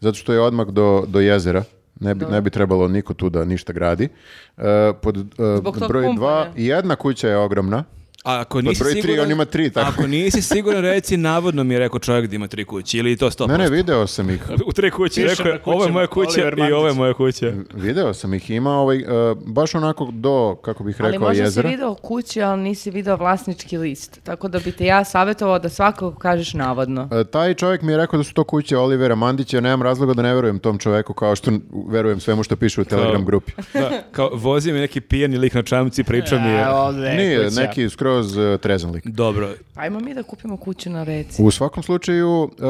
[SPEAKER 2] zato što je odmak do, do jezera. Ne bi, ne bi trebalo niko tu da ništa gradi. E, pod e,
[SPEAKER 1] Zbog tog
[SPEAKER 2] broj dva,
[SPEAKER 1] pumpanja.
[SPEAKER 2] jedna kuća je ogromna.
[SPEAKER 4] A ako nisi
[SPEAKER 2] Pa broj tri,
[SPEAKER 4] siguran,
[SPEAKER 2] on ima tri, tako.
[SPEAKER 4] Ako nisi siguran, reci, navodno mi je rekao čovjek da ima tri kuće, ili to
[SPEAKER 1] Pa
[SPEAKER 4] 100%.
[SPEAKER 2] Ne, ne, video sam ih.
[SPEAKER 4] U tri kuće,
[SPEAKER 3] Piše
[SPEAKER 4] rekao je,
[SPEAKER 3] na kućama
[SPEAKER 4] ovo je moja kuća
[SPEAKER 3] Oliver
[SPEAKER 4] i
[SPEAKER 3] Mandić.
[SPEAKER 4] ovo je moja kuća.
[SPEAKER 2] Video sam ih, ima ovaj, e, baš onako do, kako bih
[SPEAKER 1] Ali
[SPEAKER 2] rekao,
[SPEAKER 1] možda
[SPEAKER 2] jezera.
[SPEAKER 1] si video kuće, ali nisi video vlasnički list. Tako da bi te ja savjetovao da svakog kažeš navodno.
[SPEAKER 2] E, taj čovjek mi je rekao da su to kuće Olivera Mandića, ja nemam razloga da ne verujem tom čovjeku kao što n- verujem svemu što piše u Telegram grupi.
[SPEAKER 4] Da, kao vozi mi neki pijeni lik na čamci, priča mi je.
[SPEAKER 3] E, ovdje je
[SPEAKER 2] Nije,
[SPEAKER 3] kuća.
[SPEAKER 2] neki skroz e, trezan lik.
[SPEAKER 4] Dobro,
[SPEAKER 1] Ajmo mi da kupimo kuću na reci.
[SPEAKER 2] U svakom slučaju, e,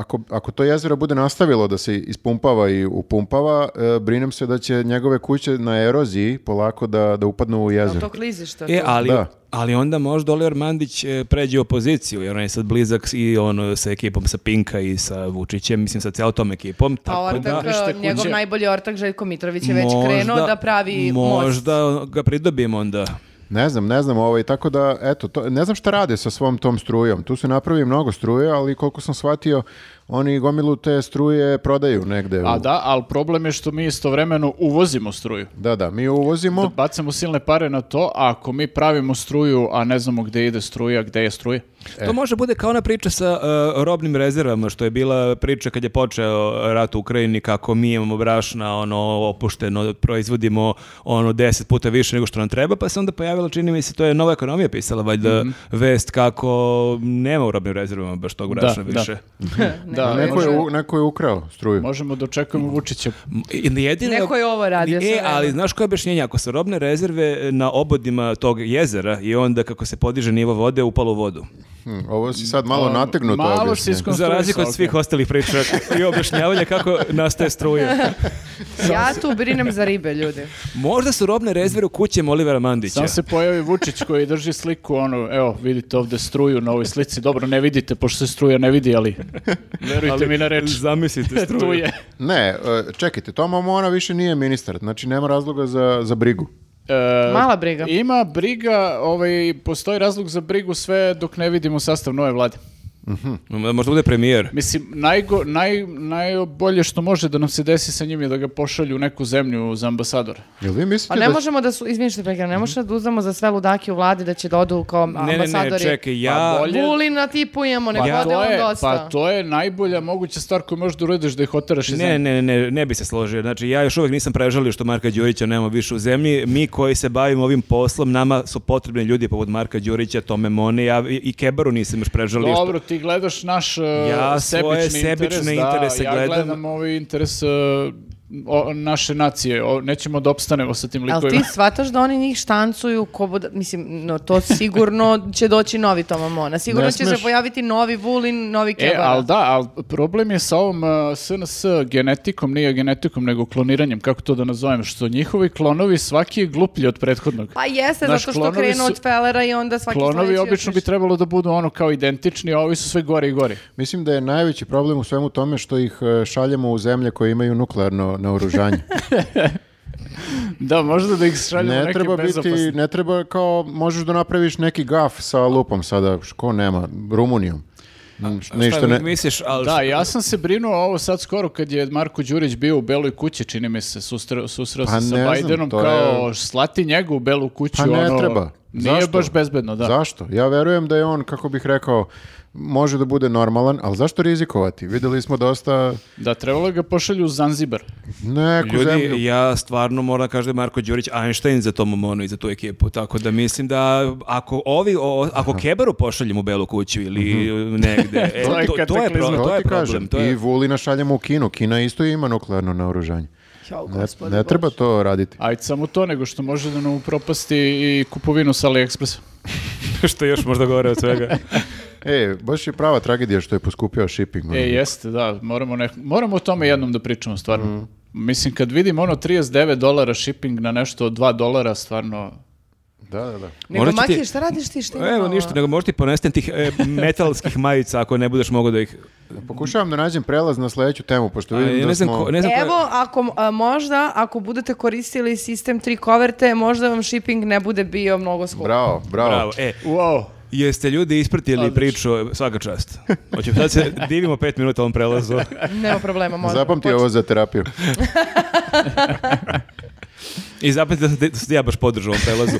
[SPEAKER 2] ako, ako to jezero bude nastavilo da se ispumpava i upumpava, e, brinem se da će njegove kuće na eroziji polako da, da upadnu u
[SPEAKER 1] Jel
[SPEAKER 2] jezero.
[SPEAKER 1] to klizište?
[SPEAKER 4] E, ali,
[SPEAKER 2] Da.
[SPEAKER 4] ali onda možda Oliver Mandić e, pređe u opoziciju, jer on je sad blizak i on e, sa ekipom sa Pinka i sa Vučićem, mislim sa cijelom tom ekipom.
[SPEAKER 1] Pa
[SPEAKER 4] tako da,
[SPEAKER 1] ortak,
[SPEAKER 3] Ništa
[SPEAKER 1] e,
[SPEAKER 3] kuće.
[SPEAKER 1] njegov najbolji ortak Željko Mitrović je već krenuo da pravi most.
[SPEAKER 4] Možda ga pridobimo onda.
[SPEAKER 2] Ne znam, ne znam, ovaj, tako da, eto, to, ne znam šta rade sa svom tom strujom. Tu se napravi mnogo struje, ali koliko sam shvatio, oni gomilu te struje prodaju negde. u-
[SPEAKER 3] A da, ali problem je što mi istovremeno uvozimo struju.
[SPEAKER 2] Da, da, mi uvozimo.
[SPEAKER 3] Da bacamo silne pare na to, a ako mi pravimo struju, a ne znamo gde ide struja, gde je struja.
[SPEAKER 4] To može bude kao ona priča sa e, robnim rezervama, što je bila priča kad je počeo rat u Ukrajini, kako mi imamo brašna, ono, opušteno, proizvodimo ono deset puta više nego što nam treba, pa se onda pojavila, čini mi se, to je nova ekonomija pisala, valjda,
[SPEAKER 3] Mhm.
[SPEAKER 4] vest kako nema u robnim rezervama baš tog brašna
[SPEAKER 3] da.
[SPEAKER 4] više.
[SPEAKER 3] Da,
[SPEAKER 2] neko, je,
[SPEAKER 3] može-
[SPEAKER 2] u- neko je ukrao struju.
[SPEAKER 3] možemo da očekujemo Vučića.
[SPEAKER 4] I jedino,
[SPEAKER 1] Neko je ovo radio sve
[SPEAKER 4] E,
[SPEAKER 1] vreme.
[SPEAKER 4] ali znaš koje je objašnjenje? Ako su robne rezerve na obodima tog jezera i onda kako se podiže nivo vode, upalo u vodu.
[SPEAKER 2] Hm, ovo si sad malo nategnuto.
[SPEAKER 3] Malo si
[SPEAKER 2] objašnjenje.
[SPEAKER 3] iskon-
[SPEAKER 4] Za razliku od svih ostalih priča i objašnjavanja kako nastaje struja.
[SPEAKER 1] Ja tu brinem za ribe, ljudi.
[SPEAKER 4] Možda su robne rezerve u kućem Olivera Mandića.
[SPEAKER 3] Sam se pojavi Vučić koji drži sliku, ono, evo, vidite ovde struju na ovoj slici. Dobro, ne vidite, pošto se struja ne vidi,
[SPEAKER 2] <laughs>
[SPEAKER 3] ali verujte mi na reč.
[SPEAKER 4] Zamislite
[SPEAKER 3] <laughs>
[SPEAKER 4] struju.
[SPEAKER 3] Tu je.
[SPEAKER 2] Ne, e, čekajte, Toma Mona više nije ministar, znači nema razloga za, za brigu.
[SPEAKER 3] E,
[SPEAKER 1] Mala briga.
[SPEAKER 3] Ima briga, ovaj, postoji razlog za brigu sve dok ne vidimo sastav nove vlade.
[SPEAKER 4] Možda bude premijer.
[SPEAKER 3] Mislim, najgo, naj, najbolje što može da nam se desi sa njim je da ga pošalju u neku zemlju za ambasador.
[SPEAKER 2] Jel vi
[SPEAKER 1] Pa
[SPEAKER 2] mislite
[SPEAKER 1] ne
[SPEAKER 2] da...
[SPEAKER 1] možemo da su, izvini što te prekidam, ne možemo da uzmemo za sve ludake u vladi da će da odu kao
[SPEAKER 4] Ne, ne, ne,
[SPEAKER 1] ambasadori.
[SPEAKER 4] čekaj,
[SPEAKER 3] Pa
[SPEAKER 4] ja...
[SPEAKER 3] bolje-
[SPEAKER 1] Vulina tipujemo, nek
[SPEAKER 4] Pa
[SPEAKER 1] vode
[SPEAKER 3] to,
[SPEAKER 1] on
[SPEAKER 3] je,
[SPEAKER 1] dosta.
[SPEAKER 3] pa to je najbolja moguća stvar koju možeš da uradiš da ih oteraš iz
[SPEAKER 4] Ne,
[SPEAKER 3] zemlje.
[SPEAKER 4] ne, ne, ne bi se složio. Znači, ja još uvijek nisam prežalio što Marka Đurića nema više u zemlji. Mi koji se bavimo ovim poslom, nama su potrebni ljudi poput Marka Đurića, Tome Mone, ja i- i Kebaru nisam još prežalio. što-
[SPEAKER 3] Dobro, ti gledaš naš uh,
[SPEAKER 4] Ja svoje
[SPEAKER 3] sebični
[SPEAKER 4] sebične
[SPEAKER 3] interes,
[SPEAKER 4] interese
[SPEAKER 3] da, ja
[SPEAKER 4] gledam.
[SPEAKER 3] gledam ovaj interes uh, o- naše nacije, o- nećemo da opstanemo sa tim
[SPEAKER 1] Ali
[SPEAKER 3] likovima.
[SPEAKER 1] ti shvataš da oni njih štancuju ko buda- mislim, no, to sigurno će doći novi Toma Mona. Sigurno
[SPEAKER 2] Ne
[SPEAKER 1] će
[SPEAKER 2] smeš.
[SPEAKER 1] se pojaviti novi Vulin, novi
[SPEAKER 3] E,
[SPEAKER 1] Kebara.
[SPEAKER 3] ali da, ali problem je sa ovom uh, SNS genetikom, nije genetikom, nego kloniranjem, kako to da nazovem, što njihovi klonovi svaki je gluplji od prethodnog.
[SPEAKER 1] Pa jeste,
[SPEAKER 3] Znaš,
[SPEAKER 1] zato što
[SPEAKER 3] klonovi
[SPEAKER 1] krenu
[SPEAKER 3] su-
[SPEAKER 1] od Fellera i onda svaki
[SPEAKER 3] Klonovi
[SPEAKER 1] sledeći
[SPEAKER 3] obično
[SPEAKER 1] još
[SPEAKER 3] bi
[SPEAKER 1] više.
[SPEAKER 3] trebalo da budu ono kao identični, a ovi su sve gori i gori.
[SPEAKER 2] Mislim da je najveći problem u svemu tome što ih e, šaljemo u zemlje koje imaju nuklearno
[SPEAKER 1] <laughs>
[SPEAKER 2] naoružanje.
[SPEAKER 3] Da, možda da ih šaljamo
[SPEAKER 2] ne
[SPEAKER 3] neke
[SPEAKER 2] treba
[SPEAKER 3] bezopasne.
[SPEAKER 2] biti, ne treba kao, možeš da napraviš neki gaf sa lupom sada, š- ko nema, Rumunijom. Mm, š- Ništa
[SPEAKER 4] Šta
[SPEAKER 2] ne...
[SPEAKER 4] misliš, ali...
[SPEAKER 3] Da, ja sam se brinuo ovo sad skoro kad je Marko Đurić bio u Beloj kući, čini mi se, susreo, susreo
[SPEAKER 2] Pa
[SPEAKER 3] se
[SPEAKER 2] ne
[SPEAKER 3] sa
[SPEAKER 2] znam,
[SPEAKER 3] Bidenom,
[SPEAKER 2] to
[SPEAKER 3] kao slati njegu u Belu kuću.
[SPEAKER 2] Pa ne
[SPEAKER 3] ono,
[SPEAKER 2] treba.
[SPEAKER 3] Nije
[SPEAKER 2] Zašto?
[SPEAKER 3] baš bezbedno, da.
[SPEAKER 2] Zašto? Ja verujem da je on, kako bih rekao, može da bude normalan, ali zašto rizikovati? Videli smo dosta
[SPEAKER 3] Da, trebalo je ga pošalju u Zanzibar.
[SPEAKER 2] neku zemlju.
[SPEAKER 4] Ljudi, ja stvarno moram da kažem da je Marko Đurić Einstein za Tomu Mono i za tu ekipu, tako da mislim da ako ovi, o- ako Kebaru pošaljemo u Belu kuću ili
[SPEAKER 2] Mhm.
[SPEAKER 4] negde,
[SPEAKER 2] <laughs>
[SPEAKER 4] e,
[SPEAKER 3] To je
[SPEAKER 4] to, to, je
[SPEAKER 3] kataklizma.
[SPEAKER 4] problem, to je
[SPEAKER 2] ti
[SPEAKER 4] problem. To
[SPEAKER 2] I
[SPEAKER 4] je...
[SPEAKER 2] Vulina šaljemo u Kinu. Kina isto ima nuklearno naoružanje.
[SPEAKER 5] Ćao,
[SPEAKER 2] Ne,
[SPEAKER 5] gospode
[SPEAKER 2] ne
[SPEAKER 5] Bože.
[SPEAKER 2] treba to raditi.
[SPEAKER 3] Ajde, samo to, nego što može da nam upropasti i kupovinu sa AliExpressa.
[SPEAKER 4] <laughs> Što još možda govore od
[SPEAKER 2] <laughs>
[SPEAKER 4] svega.
[SPEAKER 2] E, baš je prava tragedija što je poskupio shipping. ono.
[SPEAKER 3] E, jeste, da, moramo, ne, moramo o tome jednom da pričamo, stvarno. Mislim, kad vidim ono 39 dolara shipping na nešto od 2 dolara, stvarno...
[SPEAKER 2] Da, da, da.
[SPEAKER 1] Nego,
[SPEAKER 4] Možda će ti-
[SPEAKER 1] Maki, šta radiš ti? Šta
[SPEAKER 4] Evo ništa, nego možete ponestem tih e, metalskih majica ako ne budeš mogao da ih...
[SPEAKER 2] Pokušavam da nađem prelaz na sledeću temu, pošto
[SPEAKER 4] A,
[SPEAKER 2] vidim
[SPEAKER 4] ja
[SPEAKER 2] da
[SPEAKER 4] ne znam,
[SPEAKER 2] smo...
[SPEAKER 4] ko- ne znam ko-
[SPEAKER 1] Evo, ako, a, možda, ako budete koristili sistem tri koverte, možda vam shipping ne bude bio mnogo skup.
[SPEAKER 2] Bravo, bravo.
[SPEAKER 4] Bravo, e,
[SPEAKER 3] Wow!
[SPEAKER 4] jeste ljudi ispratili
[SPEAKER 3] Odlično.
[SPEAKER 4] priču, svaka čast. Hoćemo sad se divimo pet minuta ovom prelazu.
[SPEAKER 1] Nema problema, možda.
[SPEAKER 2] Zapamti ovo za
[SPEAKER 4] <laughs>
[SPEAKER 2] terapiju.
[SPEAKER 4] I zapamtite da, sam te- da sam ja baš podržao ovom
[SPEAKER 1] <laughs>
[SPEAKER 4] prelazu.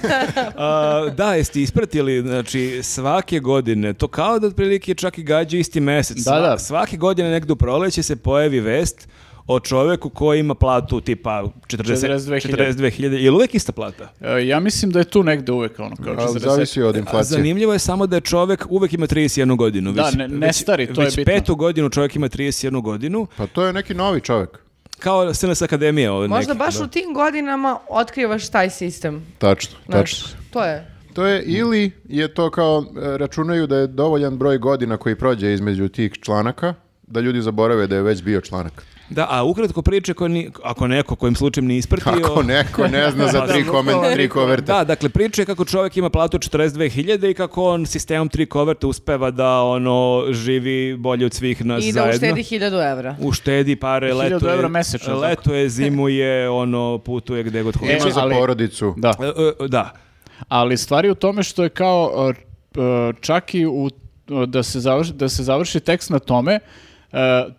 [SPEAKER 4] A, da, jeste ispratili, znači, svake godine, to kao da otprilike čak i gađa isti mesec.
[SPEAKER 3] Da, da.
[SPEAKER 4] Svake godine negdje u proleće se pojavi vest o čoveku koji ima platu tipa 40
[SPEAKER 3] 42.000.
[SPEAKER 4] 42.000 ili uvek ista plata.
[SPEAKER 3] E, ja mislim da je tu negde uvek, ono, kao
[SPEAKER 2] Ali
[SPEAKER 3] 40.
[SPEAKER 2] zavisi od
[SPEAKER 4] A
[SPEAKER 2] inflacije.
[SPEAKER 4] zanimljivo je samo da je čovek uvek ima 31 godinu.
[SPEAKER 3] Da, ne- ne stari, to je
[SPEAKER 4] već
[SPEAKER 3] bitno.
[SPEAKER 4] petu godinu čovek ima 31 godinu,
[SPEAKER 2] Pa to je neki novi čovjek.
[SPEAKER 4] kao SNS Akademija. Ovaj
[SPEAKER 1] Možda
[SPEAKER 4] neki,
[SPEAKER 1] baš
[SPEAKER 4] da.
[SPEAKER 1] u tim godinama otkrivaš taj sistem.
[SPEAKER 2] Tačno,
[SPEAKER 1] Znaš,
[SPEAKER 2] tačno.
[SPEAKER 1] to je.
[SPEAKER 2] To je ili je to kao e, računaju da je dovoljan broj godina koji prođe između tih članaka da ljudi zaborave da je već bio
[SPEAKER 4] <laughs>
[SPEAKER 2] članak.
[SPEAKER 4] Da, a ukratko priče, ko ni, ako neko kojim slučajem nije ispratio...
[SPEAKER 2] Ako neko ne zna
[SPEAKER 4] <laughs>
[SPEAKER 2] za tri, komen, tri koverte.
[SPEAKER 4] Pa Da, dakle, priča je kako čovjek ima platu 42.000 i kako on sistemom tri koverta uspeva da ono živi bolje od svih nas
[SPEAKER 1] I da
[SPEAKER 4] zajedno.
[SPEAKER 1] uštedi 1000 evra.
[SPEAKER 4] Uštedi pare,
[SPEAKER 3] 1000
[SPEAKER 4] leto je,
[SPEAKER 3] evra mesečno, tako.
[SPEAKER 4] leto je, zimuje, ono, putuje gde god hoće.
[SPEAKER 2] Ima za
[SPEAKER 3] ali-
[SPEAKER 2] porodicu.
[SPEAKER 3] Da.
[SPEAKER 4] E, e, da.
[SPEAKER 3] Ali stvar je u tome što je kao e, e, čak i u, e, da, se završi, da se završi tekst na tome, e,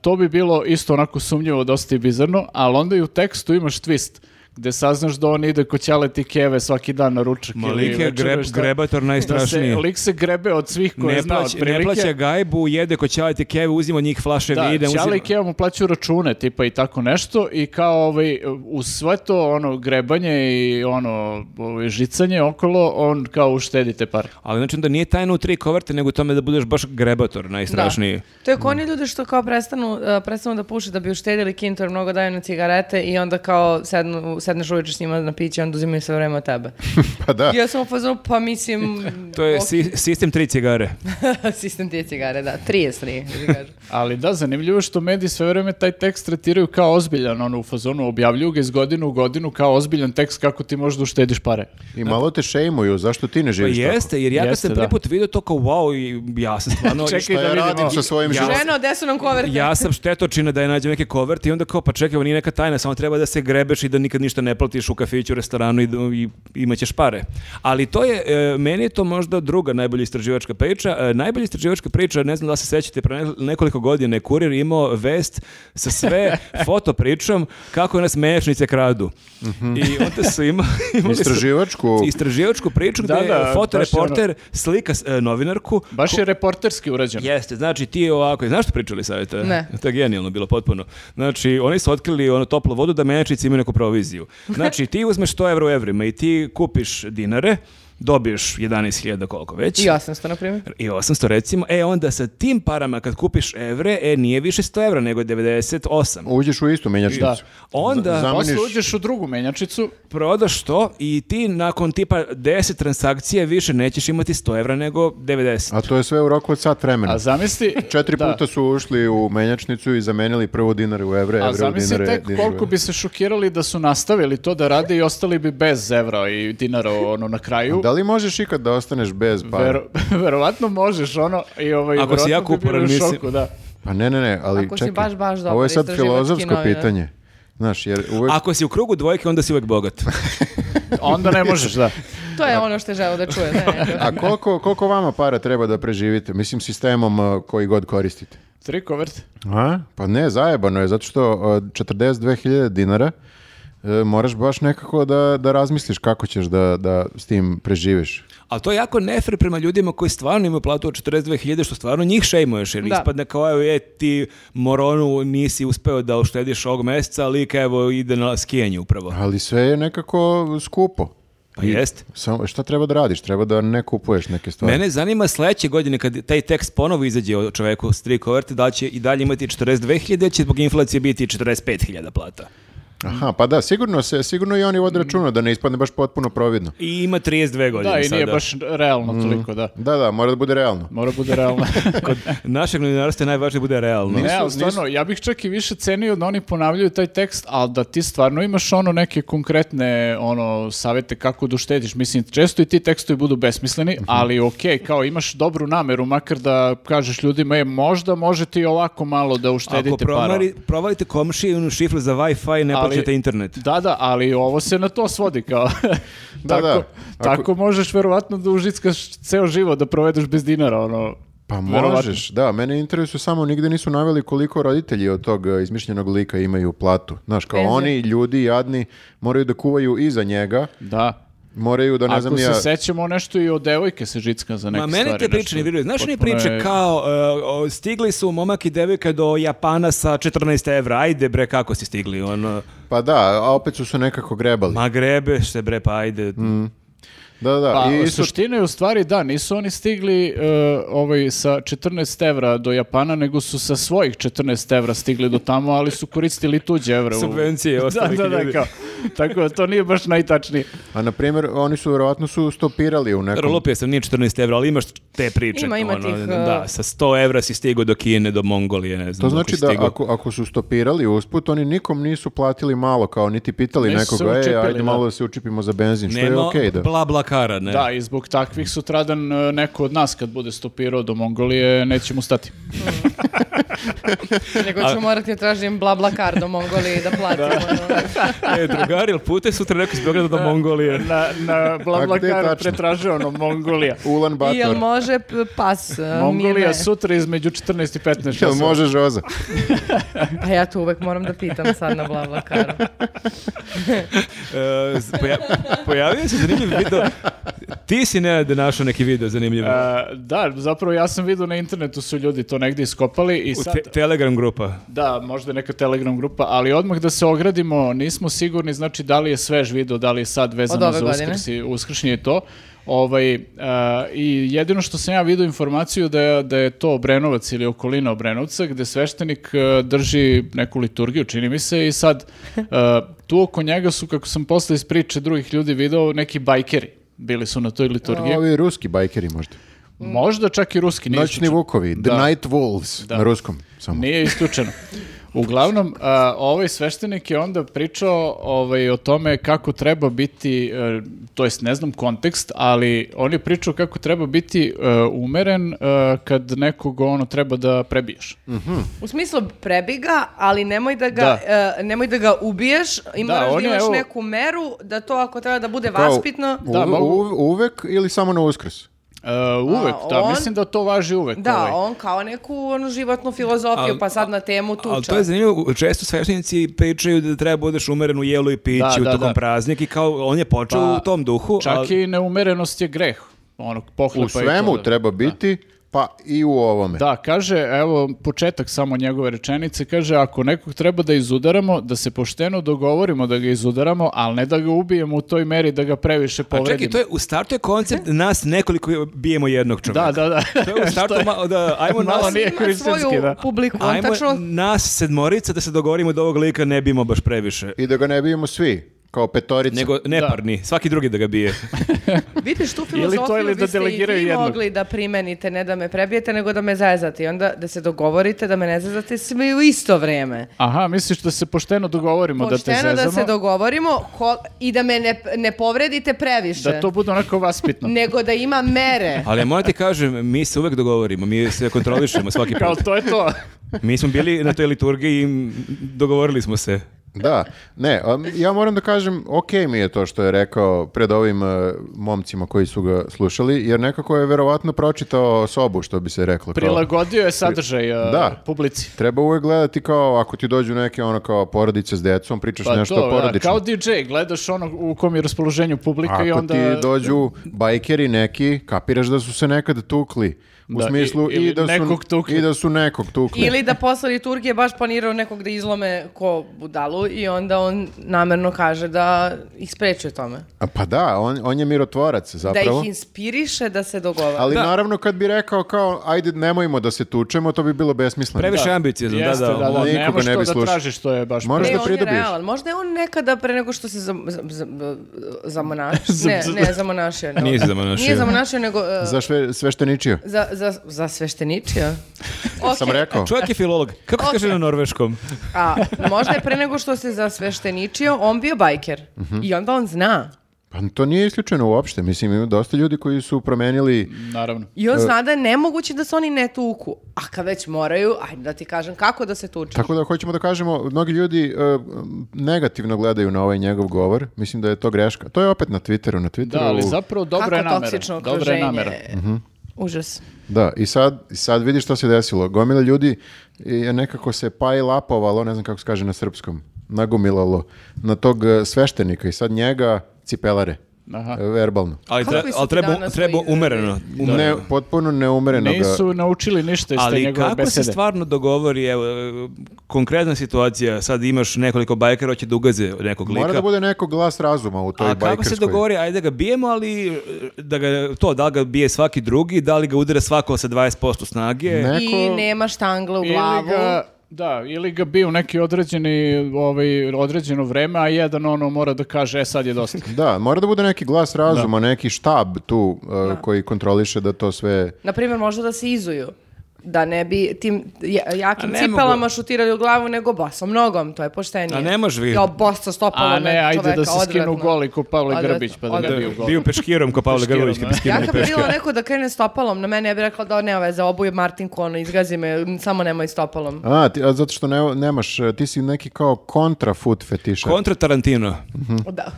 [SPEAKER 3] to bi bilo isto onako sumnjivo, dosta i bizarno, ali onda i u tekstu imaš twist gde saznaš da on ide kod ćaleti keve svaki dan na ručak
[SPEAKER 4] Ma,
[SPEAKER 3] ili
[SPEAKER 4] lik je
[SPEAKER 3] večeru,
[SPEAKER 4] greb-
[SPEAKER 3] šta-
[SPEAKER 4] grebator najstrašniji.
[SPEAKER 3] Da se, lik se grebe od svih koje
[SPEAKER 4] Ne
[SPEAKER 3] zna
[SPEAKER 4] plaća,
[SPEAKER 3] otprilike.
[SPEAKER 4] ne plaća gajbu, jede kod Ćalite Keve, uzima od njih flaše
[SPEAKER 3] Da,
[SPEAKER 4] vina. uzima-
[SPEAKER 3] Ćale i Keva mu plaćaju račune, tipa i tako nešto, i kao ovaj, uz sve to ono grebanje i ono ovaj, žicanje okolo, on kao uštedi te pare.
[SPEAKER 4] Ali znači onda nije tajna u tri koverte, nego u tome da budeš baš grebator najstrašniji.
[SPEAKER 1] Da. To je kao oni ljudi što kao prestanu, uh, prestanu da puše da bi uštedili kintor, mnogo daju na cigarete i onda kao sednu, sedneš uveče s njima na piće i onda uzimaju sve vreme od tebe.
[SPEAKER 2] <laughs> Pa da.
[SPEAKER 1] I ja sam u fazonu, pa mislim...
[SPEAKER 4] <laughs> To je
[SPEAKER 1] ok,
[SPEAKER 4] si- sistem tri cigare.
[SPEAKER 1] <laughs> Sistem tije cigare, da. 33, da ti kažem.
[SPEAKER 3] Ali da, zanimljivo je što mediji sve vreme taj tekst tretiraju kao ozbiljan, ono u fazonu objavljuju ga iz godine u godinu kao ozbiljan tekst kako ti možeš da uštediš pare.
[SPEAKER 2] I malo te šejmuju, zašto ti ne
[SPEAKER 4] Pa
[SPEAKER 2] živiš tako?
[SPEAKER 4] jeste, jer ja kad
[SPEAKER 3] Jeste,
[SPEAKER 4] sam
[SPEAKER 3] da.
[SPEAKER 4] prvi put vidio to kao wow, i ja sam
[SPEAKER 3] <laughs>
[SPEAKER 4] stvarno...
[SPEAKER 3] Čekaj
[SPEAKER 2] Šta Pa ja
[SPEAKER 3] da vidimo.
[SPEAKER 2] radim sa svojim
[SPEAKER 4] Ja-
[SPEAKER 2] životom?
[SPEAKER 1] Ženo, gde su nam koverte?
[SPEAKER 4] ja sam štetočina da je nađem neke koverte i onda kao, pa čekaj, ovo nije neka tajna, samo treba da se grebeš i da nikad ništa ne platiš u kafiću, restoranu i, i imaćeš pare. Ali to je, e, meni je to možda druga najbolja istraživačka priča. E, najbolja istraživačka priča, ne znam da li se sećate, pre ne- nekoliko godina je kurir imao vest sa sve fotopričom kako nas mešnice kradu.
[SPEAKER 3] Mhm.
[SPEAKER 4] I onda su
[SPEAKER 3] <laughs>
[SPEAKER 4] ima, imali su-
[SPEAKER 2] Istraživačku.
[SPEAKER 4] istraživačku priču gde
[SPEAKER 3] Da, da, baš
[SPEAKER 4] je
[SPEAKER 3] je ono-
[SPEAKER 4] fotoreporter slika s- e, novinarku
[SPEAKER 3] Baš je reporterski urađeno.
[SPEAKER 4] Jeste, znači ti ovako, znaš što pričali savjeta?
[SPEAKER 1] Ne.
[SPEAKER 4] To je genijalno bilo potpuno. Znači, oni su otkrili ono toplu vodu da menjačici imaju neku proviziju. Znači, ti uzmeš 100 evra u evrima i ti kupiš dinare, dobiješ 11.000 koliko već.
[SPEAKER 1] I 800, na primjer.
[SPEAKER 4] I 800 recimo, e onda sa tim parama kad kupiš evre, e nije više 100 evra nego je 98.
[SPEAKER 2] Uđeš u istu menjačnicu.
[SPEAKER 3] Da.
[SPEAKER 4] Onda
[SPEAKER 2] Za-
[SPEAKER 3] Posle
[SPEAKER 2] Zameniš-
[SPEAKER 3] uđeš u drugu menjačicu,
[SPEAKER 4] prodaš to i ti nakon tipa 10 transakcija više nećeš imati 100 evra nego 90.
[SPEAKER 2] A to je sve u roku od sat vremena.
[SPEAKER 3] a zamisli...
[SPEAKER 2] <laughs> Četiri
[SPEAKER 3] da.
[SPEAKER 2] puta su ušli u menjačnicu i zamenili prvo dinare u evre,
[SPEAKER 3] A
[SPEAKER 2] evre u
[SPEAKER 3] zamisli
[SPEAKER 2] dinare.
[SPEAKER 3] tek
[SPEAKER 2] dinare u
[SPEAKER 3] koliko
[SPEAKER 2] evre.
[SPEAKER 3] bi se šokirali da su nastavili to da rade i ostali bi bez evra i dinara ono na kraju.
[SPEAKER 2] Da pa. li možeš ikad da ostaneš bez para?
[SPEAKER 3] Vero, <laughs> verovatno možeš ono i ovaj
[SPEAKER 4] Ako si
[SPEAKER 3] verovatno
[SPEAKER 4] jako
[SPEAKER 3] bi bili
[SPEAKER 4] uporan,
[SPEAKER 3] u
[SPEAKER 4] nisi-
[SPEAKER 3] šoku, da.
[SPEAKER 2] Pa ne, ne, ne, ali
[SPEAKER 1] Ako si
[SPEAKER 2] čekaj.
[SPEAKER 1] baš, baš dobar
[SPEAKER 2] Ovo je sad
[SPEAKER 1] istraživački
[SPEAKER 2] filozofsko
[SPEAKER 1] novinar.
[SPEAKER 2] pitanje. Znaš, jer uvek...
[SPEAKER 4] Ako si u krugu dvojke, onda si uvek
[SPEAKER 2] <laughs>
[SPEAKER 4] bogat.
[SPEAKER 3] Onda ne možeš, da.
[SPEAKER 1] To je ono što je želeo da čuje. Ne, ne, ne.
[SPEAKER 2] A koliko, koliko vama para treba da preživite? Mislim, sistemom uh, koji god koristite.
[SPEAKER 3] Tri koverte.
[SPEAKER 2] A? Pa ne, zajebano je, zato što uh, 42.000 dinara uh, e, moraš baš nekako da, da razmisliš kako ćeš da, da s tim preživiš.
[SPEAKER 4] Ali to je jako nefer prema ljudima koji stvarno imaju platu od 42.000, što stvarno njih šejmuješ, jer
[SPEAKER 1] Da.
[SPEAKER 4] ispadne kao, evo, je, ti moronu nisi uspeo da uštediš ovog meseca, ali lik, evo, ide na skijenje upravo.
[SPEAKER 2] Ali sve je nekako skupo.
[SPEAKER 4] Pa jest.
[SPEAKER 2] Samo, šta treba da radiš? Treba da ne kupuješ neke stvari.
[SPEAKER 4] Mene zanima sledeće godine kad taj tekst ponovo izađe o čoveku s tri koverte, da li će i dalje imati 42.000, ili će zbog inflacije biti 45.000 plata.
[SPEAKER 2] Aha, pa da, sigurno, se, sigurno i oni vode računa da ne ispadne baš potpuno providno.
[SPEAKER 4] I ima 32 godine
[SPEAKER 3] Da, i nije
[SPEAKER 4] sada.
[SPEAKER 3] baš realno
[SPEAKER 2] Mm.
[SPEAKER 3] toliko, da.
[SPEAKER 2] Da, da, mora da bude realno.
[SPEAKER 3] Mora
[SPEAKER 2] <laughs>
[SPEAKER 3] bude realno.
[SPEAKER 4] Kod našeg novinarstva je najvažnije da bude realno.
[SPEAKER 2] Nisu-
[SPEAKER 3] Ne,
[SPEAKER 2] nisu-
[SPEAKER 3] stvarno, ja bih čak i više cenio da oni ponavljaju taj tekst, ali da ti stvarno imaš ono neke konkretne ono savete kako da uštediš. Mislim, često i ti tekstovi budu
[SPEAKER 2] Mhm.
[SPEAKER 3] besmisleni, ali okej, kao imaš dobru nameru, makar da kažeš ljudima, je, možda možete i ovako malo da uštedite
[SPEAKER 4] Ako promari, provalite komšiju šifru za Wi-Fi, ne
[SPEAKER 3] Ali-
[SPEAKER 4] plaćate internet.
[SPEAKER 3] Da, da, ali ovo se na to svodi kao.
[SPEAKER 2] <laughs> Da,
[SPEAKER 3] <laughs> tako,
[SPEAKER 2] da. Ako-
[SPEAKER 3] tako možeš verovatno da užickaš ceo život da provedeš bez dinara, ono.
[SPEAKER 2] Pa
[SPEAKER 3] verovatno.
[SPEAKER 2] možeš, da, mene interesuje samo nigde nisu naveli koliko roditelji od tog e, izmišljenog lika imaju platu. Znaš, kao
[SPEAKER 1] Penzije.
[SPEAKER 2] oni ljudi jadni moraju da kuvaju iza njega,
[SPEAKER 3] Da.
[SPEAKER 2] moraju da ne znam
[SPEAKER 3] Ako
[SPEAKER 2] ni
[SPEAKER 3] se
[SPEAKER 2] ja...
[SPEAKER 3] sećamo nešto i o devojke se žicka za neke
[SPEAKER 4] Ma mene
[SPEAKER 3] stvari,
[SPEAKER 4] te priče
[SPEAKER 3] nešto.
[SPEAKER 4] ne viruju. Znaš mi
[SPEAKER 3] Potpuno
[SPEAKER 4] priče
[SPEAKER 3] je-
[SPEAKER 4] kao e, o, stigli su momak i devojka do Japana sa 14 evra. Ajde bre, kako ste stigli? Ono,
[SPEAKER 2] Pa da, a opet su se nekako grebali.
[SPEAKER 4] ma grebeš se bre, pa ajde.
[SPEAKER 2] Da, da, da,
[SPEAKER 3] Pa,
[SPEAKER 2] i isto...
[SPEAKER 3] suština je u stvari da, nisu oni stigli e, ovaj, sa 14 evra do Japana, nego su sa svojih 14 evra stigli do tamo, ali su koristili tuđe evra. u- <laughs>
[SPEAKER 4] Subvencije
[SPEAKER 3] da,
[SPEAKER 4] ostalih
[SPEAKER 3] da, da,
[SPEAKER 4] ljudi.
[SPEAKER 3] kao. Tako da to nije baš najtačnije.
[SPEAKER 2] A na primjer, oni su vjerojatno su stopirali u nekom...
[SPEAKER 4] Lupio sam, nije 14 evra, ali imaš te priče. ono,
[SPEAKER 1] Ima, ima tih, e,
[SPEAKER 4] Da, sa 100 evra si stigao do Kine, do Mongolije, ne znam.
[SPEAKER 2] To
[SPEAKER 4] dok
[SPEAKER 2] znači
[SPEAKER 4] si
[SPEAKER 2] da
[SPEAKER 4] stigao.
[SPEAKER 2] ako, ako su stopirali usput, oni nikom nisu platili malo, kao niti pitali
[SPEAKER 3] Nisu se
[SPEAKER 2] nekoga, e,
[SPEAKER 3] učepili,
[SPEAKER 2] ajde
[SPEAKER 3] da."
[SPEAKER 2] malo da se učipimo za benzin, što je
[SPEAKER 4] Nema
[SPEAKER 2] okej da.
[SPEAKER 4] bla bla kara, ne.
[SPEAKER 3] Da, i zbog takvih sutradan e, neko od nas kad bude stopirao do Mongolije neće mu stati.
[SPEAKER 1] Nego ću morati da tražim bla bla kar do Mongolije da platim. ono.
[SPEAKER 4] <laughs> E, drugari, jel pute sutra neko iz Beograda do Mongolije?
[SPEAKER 3] Na, na
[SPEAKER 2] A gde je
[SPEAKER 3] BlaBlaCaru
[SPEAKER 2] tačno?
[SPEAKER 3] pretražuje ono Mongolija.
[SPEAKER 2] Ulan Bator.
[SPEAKER 1] Jel može p- pas? e, a,
[SPEAKER 3] Mongolija
[SPEAKER 1] Mine?
[SPEAKER 3] sutra između 14 i 15.
[SPEAKER 2] <laughs> Jel
[SPEAKER 3] časova.
[SPEAKER 2] može Žoza?
[SPEAKER 1] Pa ja to uvek moram da pitam sad na Blablakaru.
[SPEAKER 4] E, z- poja- pojavio se zanimljiv video. Ti si ne da našao neki video zanimljiv.
[SPEAKER 3] E, da, zapravo ja sam vidio na internetu su ljudi to negdje iskopali i
[SPEAKER 4] U
[SPEAKER 3] sad...
[SPEAKER 4] te- Telegram grupa.
[SPEAKER 3] Da, možda neka Telegram grupa, ali odmah da se ogradimo, nismo sigurni, znači da li je svež video, da li je sad vezano
[SPEAKER 1] Od ove
[SPEAKER 3] za
[SPEAKER 1] godine.
[SPEAKER 3] uskrs i, uskršnje i to. Ovaj, e, I jedino što sam ja vidio informaciju da je, da je to Obrenovac ili okolina Obrenovca, gde sveštenik e, drži neku liturgiju, čini mi se, i sad e, tu oko njega su, kako sam posle iz priče drugih ljudi video, neki bajkeri bili su na toj liturgiji.
[SPEAKER 2] Ovi ruski bajkeri možda.
[SPEAKER 1] Mm.
[SPEAKER 3] Možda čak i ruski, nije
[SPEAKER 2] Noćni
[SPEAKER 3] isključeno.
[SPEAKER 2] vukovi, The
[SPEAKER 3] Da.
[SPEAKER 2] Night Wolves, na ruskom samo. <laughs>
[SPEAKER 3] Nije isključeno. Uglavnom, a, ovaj sveštenik je onda pričao ovaj, o tome kako treba biti, e, to jest ne znam kontekst, ali on je pričao kako treba biti e, umeren e, kad nekog ono treba da prebiješ.
[SPEAKER 2] Mm.
[SPEAKER 3] E,
[SPEAKER 1] U smislu prebi ga, ali nemoj da ga,
[SPEAKER 3] Da.
[SPEAKER 1] e, nemoj da ga ubiješ i
[SPEAKER 3] Da,
[SPEAKER 1] moraš
[SPEAKER 3] on
[SPEAKER 1] da
[SPEAKER 3] je,
[SPEAKER 1] imaš
[SPEAKER 3] evo-
[SPEAKER 1] neku meru da to ako treba da bude
[SPEAKER 2] Kao-
[SPEAKER 1] vaspitno.
[SPEAKER 2] U-
[SPEAKER 3] Da, mogu-
[SPEAKER 2] u- uvek ili samo na uskrs?
[SPEAKER 3] E, uvek,
[SPEAKER 1] A,
[SPEAKER 3] da,
[SPEAKER 1] on-
[SPEAKER 3] mislim da to važi uvek.
[SPEAKER 1] Da,
[SPEAKER 3] ovaj.
[SPEAKER 1] on kao neku ono, životnu filozofiju,
[SPEAKER 4] Al-
[SPEAKER 1] pa sad na temu tuča.
[SPEAKER 4] Ali to je zanimljivo, često sveštenici pričaju da treba budeš umeren u jelu i piću
[SPEAKER 3] Da, da,
[SPEAKER 4] tokom
[SPEAKER 3] da.
[SPEAKER 4] praznika i kao on je počeo
[SPEAKER 3] Pa,
[SPEAKER 4] u tom duhu.
[SPEAKER 3] Čak
[SPEAKER 4] ali-
[SPEAKER 3] i neumerenost je greh. Onog pohlepa
[SPEAKER 2] U
[SPEAKER 3] i to
[SPEAKER 2] svemu
[SPEAKER 3] da-
[SPEAKER 2] treba biti, pa i u ovome.
[SPEAKER 3] Da, kaže, evo, početak samo njegove rečenice, kaže, ako nekog treba da izudaramo, da se pošteno dogovorimo da ga izudaramo, ali ne da ga ubijemo u toj meri da ga previše
[SPEAKER 4] A
[SPEAKER 3] povredimo.
[SPEAKER 4] Pa čekaj, to je u startu je koncept nas nekoliko bijemo jednog čovjeka.
[SPEAKER 3] Da, da, da. <laughs>
[SPEAKER 4] To je u startu, ma- da, ajmo
[SPEAKER 3] Malo
[SPEAKER 4] nas,
[SPEAKER 3] nije
[SPEAKER 1] Ima
[SPEAKER 3] hrišćanski,
[SPEAKER 1] svoju
[SPEAKER 3] da.
[SPEAKER 1] publiku, Pa on
[SPEAKER 4] ajmo
[SPEAKER 1] tačno
[SPEAKER 4] nas sedmorica da se dogovorimo da ovog lika ne bijemo baš previše.
[SPEAKER 2] I da ga ne bijemo svi, kao petorica.
[SPEAKER 4] Nego neparni, svaki drugi da ga bije.
[SPEAKER 1] Vidiš tu
[SPEAKER 3] <laughs> Ili to,
[SPEAKER 1] filozofiju,
[SPEAKER 3] ili da
[SPEAKER 1] vi ste i
[SPEAKER 3] delegiraju
[SPEAKER 1] vi
[SPEAKER 3] jednog.
[SPEAKER 1] mogli da primenite, ne da me prebijete, nego da me zezate. I onda da se dogovorite da me ne zezate svi u isto vrijeme.
[SPEAKER 3] Aha, misliš da se pošteno dogovorimo da te
[SPEAKER 1] Pošteno da,
[SPEAKER 3] zezamo?
[SPEAKER 1] se dogovorimo ko- i da me ne, ne povredite previše.
[SPEAKER 3] da to bude onako vaspitno.
[SPEAKER 1] <laughs> Nego da ima
[SPEAKER 3] <laughs>
[SPEAKER 1] mere.
[SPEAKER 4] Ali moram ti kažem, mi se uvek dogovorimo, mi se kontrolišemo svaki
[SPEAKER 3] Kao
[SPEAKER 4] put.
[SPEAKER 3] to je to.
[SPEAKER 4] Mi smo bili na toj liturgiji i dogovorili smo se.
[SPEAKER 2] Da, ne, a, ja moram da kažem, ok mi je to što je rekao pred ovim e, momcima koji su ga slušali, jer nekako je verovatno pročitao sobu, što bi se reklo. kao-
[SPEAKER 3] Prilagodio je sadržaj uh,
[SPEAKER 2] Da.
[SPEAKER 3] publici.
[SPEAKER 2] Treba uvek gledati kao, ako ti dođu neke ono kao porodice s decom, pričaš
[SPEAKER 3] Pa
[SPEAKER 2] nešto
[SPEAKER 3] to, da,
[SPEAKER 2] porodično.
[SPEAKER 3] kao DJ, gledaš ono u kom je raspoloženju publika
[SPEAKER 2] Ako
[SPEAKER 3] i onda...
[SPEAKER 2] ti dođu bajkeri neki, kapiraš da su se nekad tukli. U
[SPEAKER 3] Da,
[SPEAKER 2] smislu
[SPEAKER 3] i-
[SPEAKER 2] i,
[SPEAKER 3] ili
[SPEAKER 2] da su,
[SPEAKER 3] nekog tukli.
[SPEAKER 2] i da su nekog tukli.
[SPEAKER 1] Ili da posle liturgije baš planirao nekog da izlome ko budalu i onda on namerno kaže da ih sprečuje tome.
[SPEAKER 2] A Pa da, on, on je mirotvorac
[SPEAKER 1] Da
[SPEAKER 2] zapravo.
[SPEAKER 1] ih inspiriše da se dogovara.
[SPEAKER 2] Ali naravno kad bi rekao kao ajde nemojmo da se tučemo, to bi bilo besmisleno.
[SPEAKER 4] Previše ambiciozno, da,
[SPEAKER 3] Pa Jeste,
[SPEAKER 4] da.
[SPEAKER 3] da,
[SPEAKER 4] on-
[SPEAKER 2] nikoga
[SPEAKER 3] nemaš
[SPEAKER 2] ne
[SPEAKER 3] to
[SPEAKER 2] bi
[SPEAKER 3] da
[SPEAKER 2] slušao.
[SPEAKER 3] tražiš, to je baš...
[SPEAKER 2] Moraš
[SPEAKER 1] Ne,
[SPEAKER 2] da
[SPEAKER 1] on
[SPEAKER 2] pridobiš.
[SPEAKER 1] je realan. Možda je on nekada pre nego što se za, za, za, zamonaš- ne, ne, zamonašio. nego-
[SPEAKER 4] Nije se zamonašio.
[SPEAKER 1] Nije zamonašio, nego... e,
[SPEAKER 2] Za sve, svešteničio.
[SPEAKER 1] za, za, za svešteničija.
[SPEAKER 2] Sam rekao.
[SPEAKER 4] Čovjek je filolog. Kako se kaže na norveškom?
[SPEAKER 1] A možda je pre nego što se zasvešteničio, on bio bajker. I onda on zna.
[SPEAKER 2] Pa to nije isključeno uopšte. Mislim, ima dosta ljudi koji su promenili...
[SPEAKER 3] Naravno.
[SPEAKER 1] I on zna da je nemoguće da se oni ne tuku. A kad već moraju, ajde da ti kažem kako da se tuče.
[SPEAKER 2] Tako da hoćemo da kažemo, mnogi ljudi e, negativno gledaju na ovaj njegov govor. Mislim da je to greška. To je opet na Twitteru. Na Twitteru
[SPEAKER 3] Da, ali zapravo dobra je
[SPEAKER 1] kako
[SPEAKER 3] namera.
[SPEAKER 1] toksično
[SPEAKER 3] Dobra je
[SPEAKER 1] okruženje.
[SPEAKER 3] namera.
[SPEAKER 1] Užas.
[SPEAKER 2] Da, i sad, i sad vidi što se desilo. Gomila ljudi je nekako se pajlapovalo, ne znam kako se kaže na srpskom, nagomilalo na tog e, sveštenika i sad njega cipelare.
[SPEAKER 3] Aha.
[SPEAKER 2] E, Verbalno.
[SPEAKER 4] Ali,
[SPEAKER 1] Kakvi
[SPEAKER 4] tre-
[SPEAKER 1] su
[SPEAKER 4] ali
[SPEAKER 1] ti
[SPEAKER 4] treba,
[SPEAKER 1] danas
[SPEAKER 4] treba
[SPEAKER 1] moji
[SPEAKER 4] umereno. umereno.
[SPEAKER 2] Ne, potpuno neumereno ga-
[SPEAKER 3] Nisu naučili ništa iz te
[SPEAKER 4] Ali
[SPEAKER 3] njegove
[SPEAKER 4] kako
[SPEAKER 3] besede.
[SPEAKER 4] se stvarno dogovori, evo, e, konkretna situacija, sad imaš nekoliko bajkera, hoće da ugaze nekog lika.
[SPEAKER 2] Mora da bude neko glas razuma u toj
[SPEAKER 4] A kako se
[SPEAKER 2] bajkerskoj.
[SPEAKER 4] dogovori, ajde da ga bijemo, ali e, da ga, to, da li ga bije svaki drugi, da li ga udara svako sa 20% snage.
[SPEAKER 2] Ne.
[SPEAKER 1] I
[SPEAKER 2] Neko-
[SPEAKER 1] nema štangla u glavu.
[SPEAKER 3] Ili ga, da, ili ga bi u neki određeni, ovaj, određeno vreme, a jedan ono mora da kaže, e sad
[SPEAKER 1] <laughs>
[SPEAKER 3] je dosta.
[SPEAKER 2] Da, mora da bude neki glas razuma, neki štab tu uh, koji kontroliše da to sve...
[SPEAKER 1] Naprimjer, možda da se izuju. Da ne bi tim ja- jakim
[SPEAKER 4] A ne
[SPEAKER 1] cipelama
[SPEAKER 4] mogu.
[SPEAKER 1] šutirali u glavu, nego bosom nogom. To je poštenije.
[SPEAKER 4] A ne može vi-
[SPEAKER 1] Kao bosa stopala
[SPEAKER 3] A ne, ajde da se skinu goli ko Pavle
[SPEAKER 1] Odvratno,
[SPEAKER 3] Grbić, pa da ga
[SPEAKER 1] odvratno.
[SPEAKER 3] biju goli.
[SPEAKER 4] Bio peškirom kao Pavle
[SPEAKER 3] Peškirom,
[SPEAKER 4] Grbović kad bi
[SPEAKER 3] da.
[SPEAKER 4] skinuo
[SPEAKER 1] Ja kad bi bilo neko da krene stopalom, na mene ja bi rekla da nema veze, obuje Martin Kono, izgazi me, m, samo nemoj stopalom.
[SPEAKER 2] A, ti, a zato što ne, nemaš, e, ti si neki kao kontra food fetiša.
[SPEAKER 4] Kontra Tarantino.
[SPEAKER 1] <laughs> Da.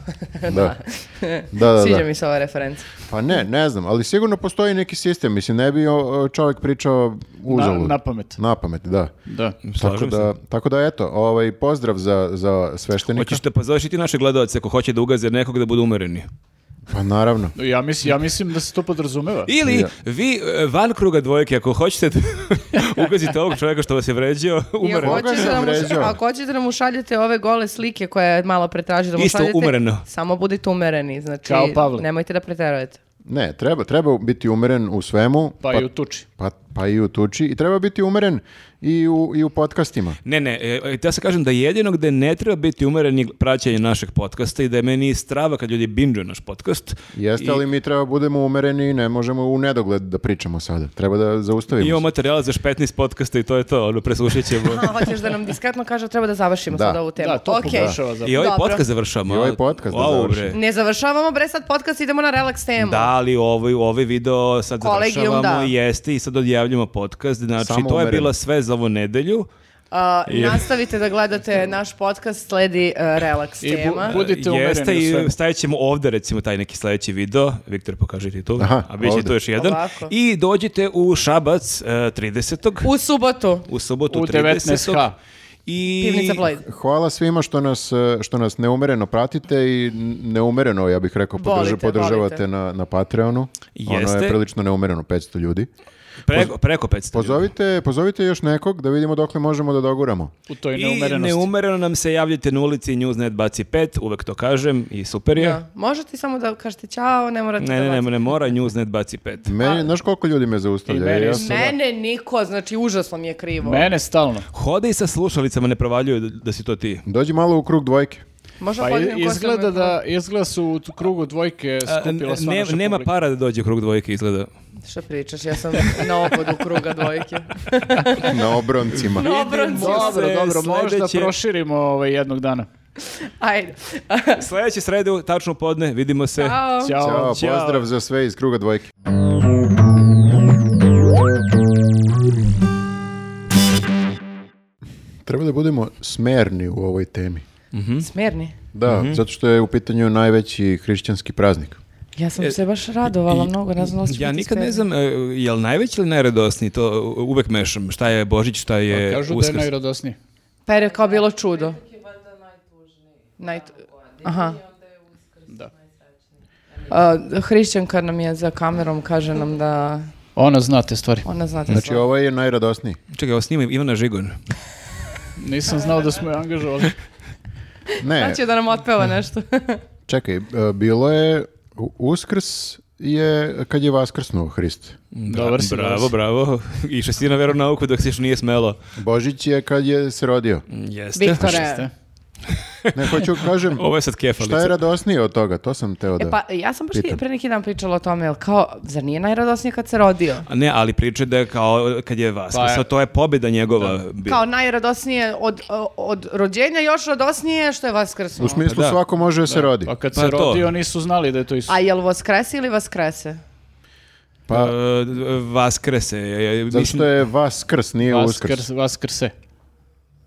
[SPEAKER 2] Mhm. da. da, da,
[SPEAKER 1] Sviđa
[SPEAKER 2] da.
[SPEAKER 1] mi se ova referenca.
[SPEAKER 2] Pa ne, ne znam, ali sigurno postoji neki sistem. Mislim, ne bi o, čovjek pričao uzalud.
[SPEAKER 3] Na, na pamet.
[SPEAKER 2] Na pamet, da.
[SPEAKER 3] Da.
[SPEAKER 2] Tako
[SPEAKER 4] Slažem se.
[SPEAKER 2] da, tako da, eto, ovaj, pozdrav za, za sveštenika.
[SPEAKER 4] Hoćeš da pozoveš i ti naše gledalce ako hoće da ugaze nekog da budu umereni.
[SPEAKER 2] Pa naravno.
[SPEAKER 3] Ja, mislim, ja mislim da se to podrazumeva.
[SPEAKER 4] Ili
[SPEAKER 2] Ja.
[SPEAKER 4] vi e, van kruga dvojke ako hoćete <laughs>
[SPEAKER 2] <laughs>
[SPEAKER 4] da ugazite ovog čovjeka što vas je vređao,
[SPEAKER 1] I ako
[SPEAKER 4] umereno.
[SPEAKER 2] Koga
[SPEAKER 1] hoćete da
[SPEAKER 2] sam
[SPEAKER 1] mu, ša-
[SPEAKER 2] vređao?
[SPEAKER 1] ako hoćete da mu šaljete ove gole slike koje je malo pretražio da mu
[SPEAKER 4] Isto
[SPEAKER 1] šaljete,
[SPEAKER 4] umereno.
[SPEAKER 1] samo budite umereni, znači
[SPEAKER 3] Kao Pavle.
[SPEAKER 1] nemojte da preterujete.
[SPEAKER 2] Ne, treba, treba biti umeren u svemu.
[SPEAKER 3] Pa, i u tuči.
[SPEAKER 2] Pa, pa i u tuči. I treba biti umeren i u, i u podcastima.
[SPEAKER 4] Ne, ne, e, ja sam kažem da jedino gde ne treba biti umeren je praćenje našeg podcasta i da je meni strava kad ljudi binđuju naš podcast.
[SPEAKER 2] Jeste, ali mi treba budemo umereni i ne možemo u nedogled da pričamo sada. Treba da
[SPEAKER 4] I
[SPEAKER 2] zaustavimo.
[SPEAKER 4] imamo
[SPEAKER 2] se.
[SPEAKER 4] materijala za još 15 podcasta i to je to, ono, preslušat
[SPEAKER 1] <laughs>
[SPEAKER 4] ćemo.
[SPEAKER 1] A, hoćeš da nam diskretno kaže treba da završimo
[SPEAKER 2] Da.
[SPEAKER 1] sada ovu temu.
[SPEAKER 3] Da, to
[SPEAKER 1] Ok.
[SPEAKER 3] pokušava za...
[SPEAKER 4] I ovaj
[SPEAKER 1] Dobro.
[SPEAKER 4] podcast završamo.
[SPEAKER 2] I ovaj
[SPEAKER 4] a?
[SPEAKER 2] podcast da
[SPEAKER 4] Au,
[SPEAKER 2] završimo.
[SPEAKER 4] bre.
[SPEAKER 1] Ne završavamo bre sad podcast, idemo na relax temu.
[SPEAKER 4] Da, ali ovaj, ovaj video sad
[SPEAKER 1] Kolegijum,
[SPEAKER 4] završavamo,
[SPEAKER 1] da.
[SPEAKER 4] jeste i sad odjavljamo podcast, znači
[SPEAKER 2] Samo
[SPEAKER 4] to je
[SPEAKER 2] umereno.
[SPEAKER 4] bila sve za ovu nedelju.
[SPEAKER 1] A, nastavite da gledate naš podcast, sledi uh, relax
[SPEAKER 3] I bu-
[SPEAKER 1] tema.
[SPEAKER 3] budite
[SPEAKER 4] Jeste
[SPEAKER 3] umereni u svemu.
[SPEAKER 4] i stavit ćemo ovde recimo taj neki sledeći video, Viktor pokaže ti tu,
[SPEAKER 2] Aha,
[SPEAKER 4] a bit će
[SPEAKER 2] ovde.
[SPEAKER 4] tu još jedan.
[SPEAKER 1] Ovako.
[SPEAKER 4] I dođite u Šabac e, 30.
[SPEAKER 1] U subotu.
[SPEAKER 4] u sobotu
[SPEAKER 3] U
[SPEAKER 4] 30.
[SPEAKER 3] 19H.
[SPEAKER 4] I...
[SPEAKER 1] Pivnica Floyd.
[SPEAKER 2] Hvala svima što nas, eh, što nas neumereno pratite i neumereno, ja bih rekao, podrža-
[SPEAKER 1] Volite,
[SPEAKER 2] podržavate
[SPEAKER 1] volite.
[SPEAKER 2] Na, na Patreonu. Ono
[SPEAKER 4] Jeste.
[SPEAKER 2] je prilično neumereno, 500 ljudi.
[SPEAKER 4] Preko, preko 500.
[SPEAKER 2] Pozovite, pozovite još nekog da vidimo dokle možemo da doguramo.
[SPEAKER 3] U toj
[SPEAKER 4] I
[SPEAKER 3] neumerenosti.
[SPEAKER 4] neumereno nam se javljate na ulici Newsnet baci 5, uvek to kažem i super je.
[SPEAKER 1] Da. Možete samo da kažete ćao, ne morate
[SPEAKER 4] Ne,
[SPEAKER 1] da
[SPEAKER 4] ne,
[SPEAKER 1] bacite.
[SPEAKER 4] ne, ne mora Newsnet baci 5.
[SPEAKER 2] Meni, znaš koliko ljudi me
[SPEAKER 3] Pa- I
[SPEAKER 2] zaustavlja?
[SPEAKER 3] meni
[SPEAKER 2] Ja-
[SPEAKER 3] isto.
[SPEAKER 1] Mene niko, znači užasno mi je krivo.
[SPEAKER 3] Mene stalno.
[SPEAKER 4] Hode i sa slušalicama, ne provaljuju da, da si to ti.
[SPEAKER 2] Dođi malo u krug dvojke.
[SPEAKER 1] Možda
[SPEAKER 3] Pa i-
[SPEAKER 1] podijem kosu
[SPEAKER 3] izgleda
[SPEAKER 1] na-
[SPEAKER 3] da izgleda su u tu krugu dvojke
[SPEAKER 4] A,
[SPEAKER 3] skupila sva
[SPEAKER 4] E, ne-
[SPEAKER 3] naša
[SPEAKER 4] nema
[SPEAKER 3] publika.
[SPEAKER 4] para da dođe krug dvojke izgleda.
[SPEAKER 1] Šta pričaš, ja sam na obodu kruga
[SPEAKER 3] <laughs>
[SPEAKER 1] dvojke.
[SPEAKER 2] Na obroncima.
[SPEAKER 1] Obronci.
[SPEAKER 3] Dobro,
[SPEAKER 4] pa- Se
[SPEAKER 3] dobro, možda
[SPEAKER 4] sledeće-
[SPEAKER 3] proširimo ovaj jednog dana.
[SPEAKER 1] Ajde.
[SPEAKER 4] Sledeće sredu, tačno u podne, vidimo se.
[SPEAKER 1] Ćao.
[SPEAKER 3] Ćao.
[SPEAKER 2] Ćao,
[SPEAKER 4] Ćao.
[SPEAKER 2] pozdrav za sve iz kruga dvojke. Treba da budemo smerni u ovoj temi.
[SPEAKER 4] Mhm.
[SPEAKER 1] Smerni.
[SPEAKER 2] Da, zato što je u pitanju najveći hrišćanski praznik.
[SPEAKER 4] Mhm.
[SPEAKER 1] Ja sam se baš radovala mnogo, ne znam da li ću
[SPEAKER 4] E, Ja
[SPEAKER 1] biti
[SPEAKER 4] nikad
[SPEAKER 1] smerni.
[SPEAKER 4] ne znam, e, jel najveći ili najradosniji, to u- uvek mešam, šta je Božić, šta Pa je
[SPEAKER 3] Pa Kažu da je
[SPEAKER 4] E, Uskrs.
[SPEAKER 3] najradosniji.
[SPEAKER 1] Pa je kao bilo čudo. Najt- Aha.
[SPEAKER 3] Da.
[SPEAKER 1] A, hrišćanka nam je za kamerom, kaže nam da
[SPEAKER 3] Ona zna te Ono, stvari.
[SPEAKER 1] ona znate
[SPEAKER 2] Znači, ovo je najradosniji.
[SPEAKER 4] Čekaj, ovo snima Ivana Žigon.
[SPEAKER 3] Nisam znao da smo je
[SPEAKER 4] <laughs>
[SPEAKER 3] angažovali.
[SPEAKER 2] Ne,
[SPEAKER 1] Znači da nam otpeva nešto.
[SPEAKER 2] čekaj, e, bilo je, u- uskrs je kad je vaskrsnuo Hrist.
[SPEAKER 3] Dobar si. dobar
[SPEAKER 4] Bravo,
[SPEAKER 3] si.
[SPEAKER 4] bravo. <laughs> I si na veru nauku dok se još nije smelo.
[SPEAKER 2] Božić je kad je se rodio.
[SPEAKER 4] Jeste.
[SPEAKER 1] Viktore.
[SPEAKER 2] Ne, hoću kažem,
[SPEAKER 4] <laughs> Ovo je sad
[SPEAKER 2] šta je
[SPEAKER 4] kefalica.
[SPEAKER 2] radosnije od toga, to sam teo da...
[SPEAKER 1] E pa ja sam baš
[SPEAKER 2] Pitam.
[SPEAKER 1] pre neki dan pričala o tome, jel kao, zar nije najradosnije kad se rodio?
[SPEAKER 4] A Ne, ali priča da je kao kad je vas.
[SPEAKER 3] Pa je-
[SPEAKER 4] to je pobjeda njegova. bila.
[SPEAKER 1] Kao najradosnije od, od rođenja, još radosnije što je Vaskrsnuo.
[SPEAKER 2] U smislu
[SPEAKER 4] Pa da.
[SPEAKER 2] svako može da se rodi.
[SPEAKER 3] Pa kad
[SPEAKER 4] Pa
[SPEAKER 3] se
[SPEAKER 4] to.
[SPEAKER 3] rodio nisu znali da je to Isus.
[SPEAKER 1] A jel Voskrese ili Vaskrese?
[SPEAKER 2] Pa-
[SPEAKER 4] E, Vaskrese. e, e,
[SPEAKER 2] Zato
[SPEAKER 4] mislim-
[SPEAKER 2] što je vaskrs, nije uskrs.
[SPEAKER 3] Vaskrs, vaskrse.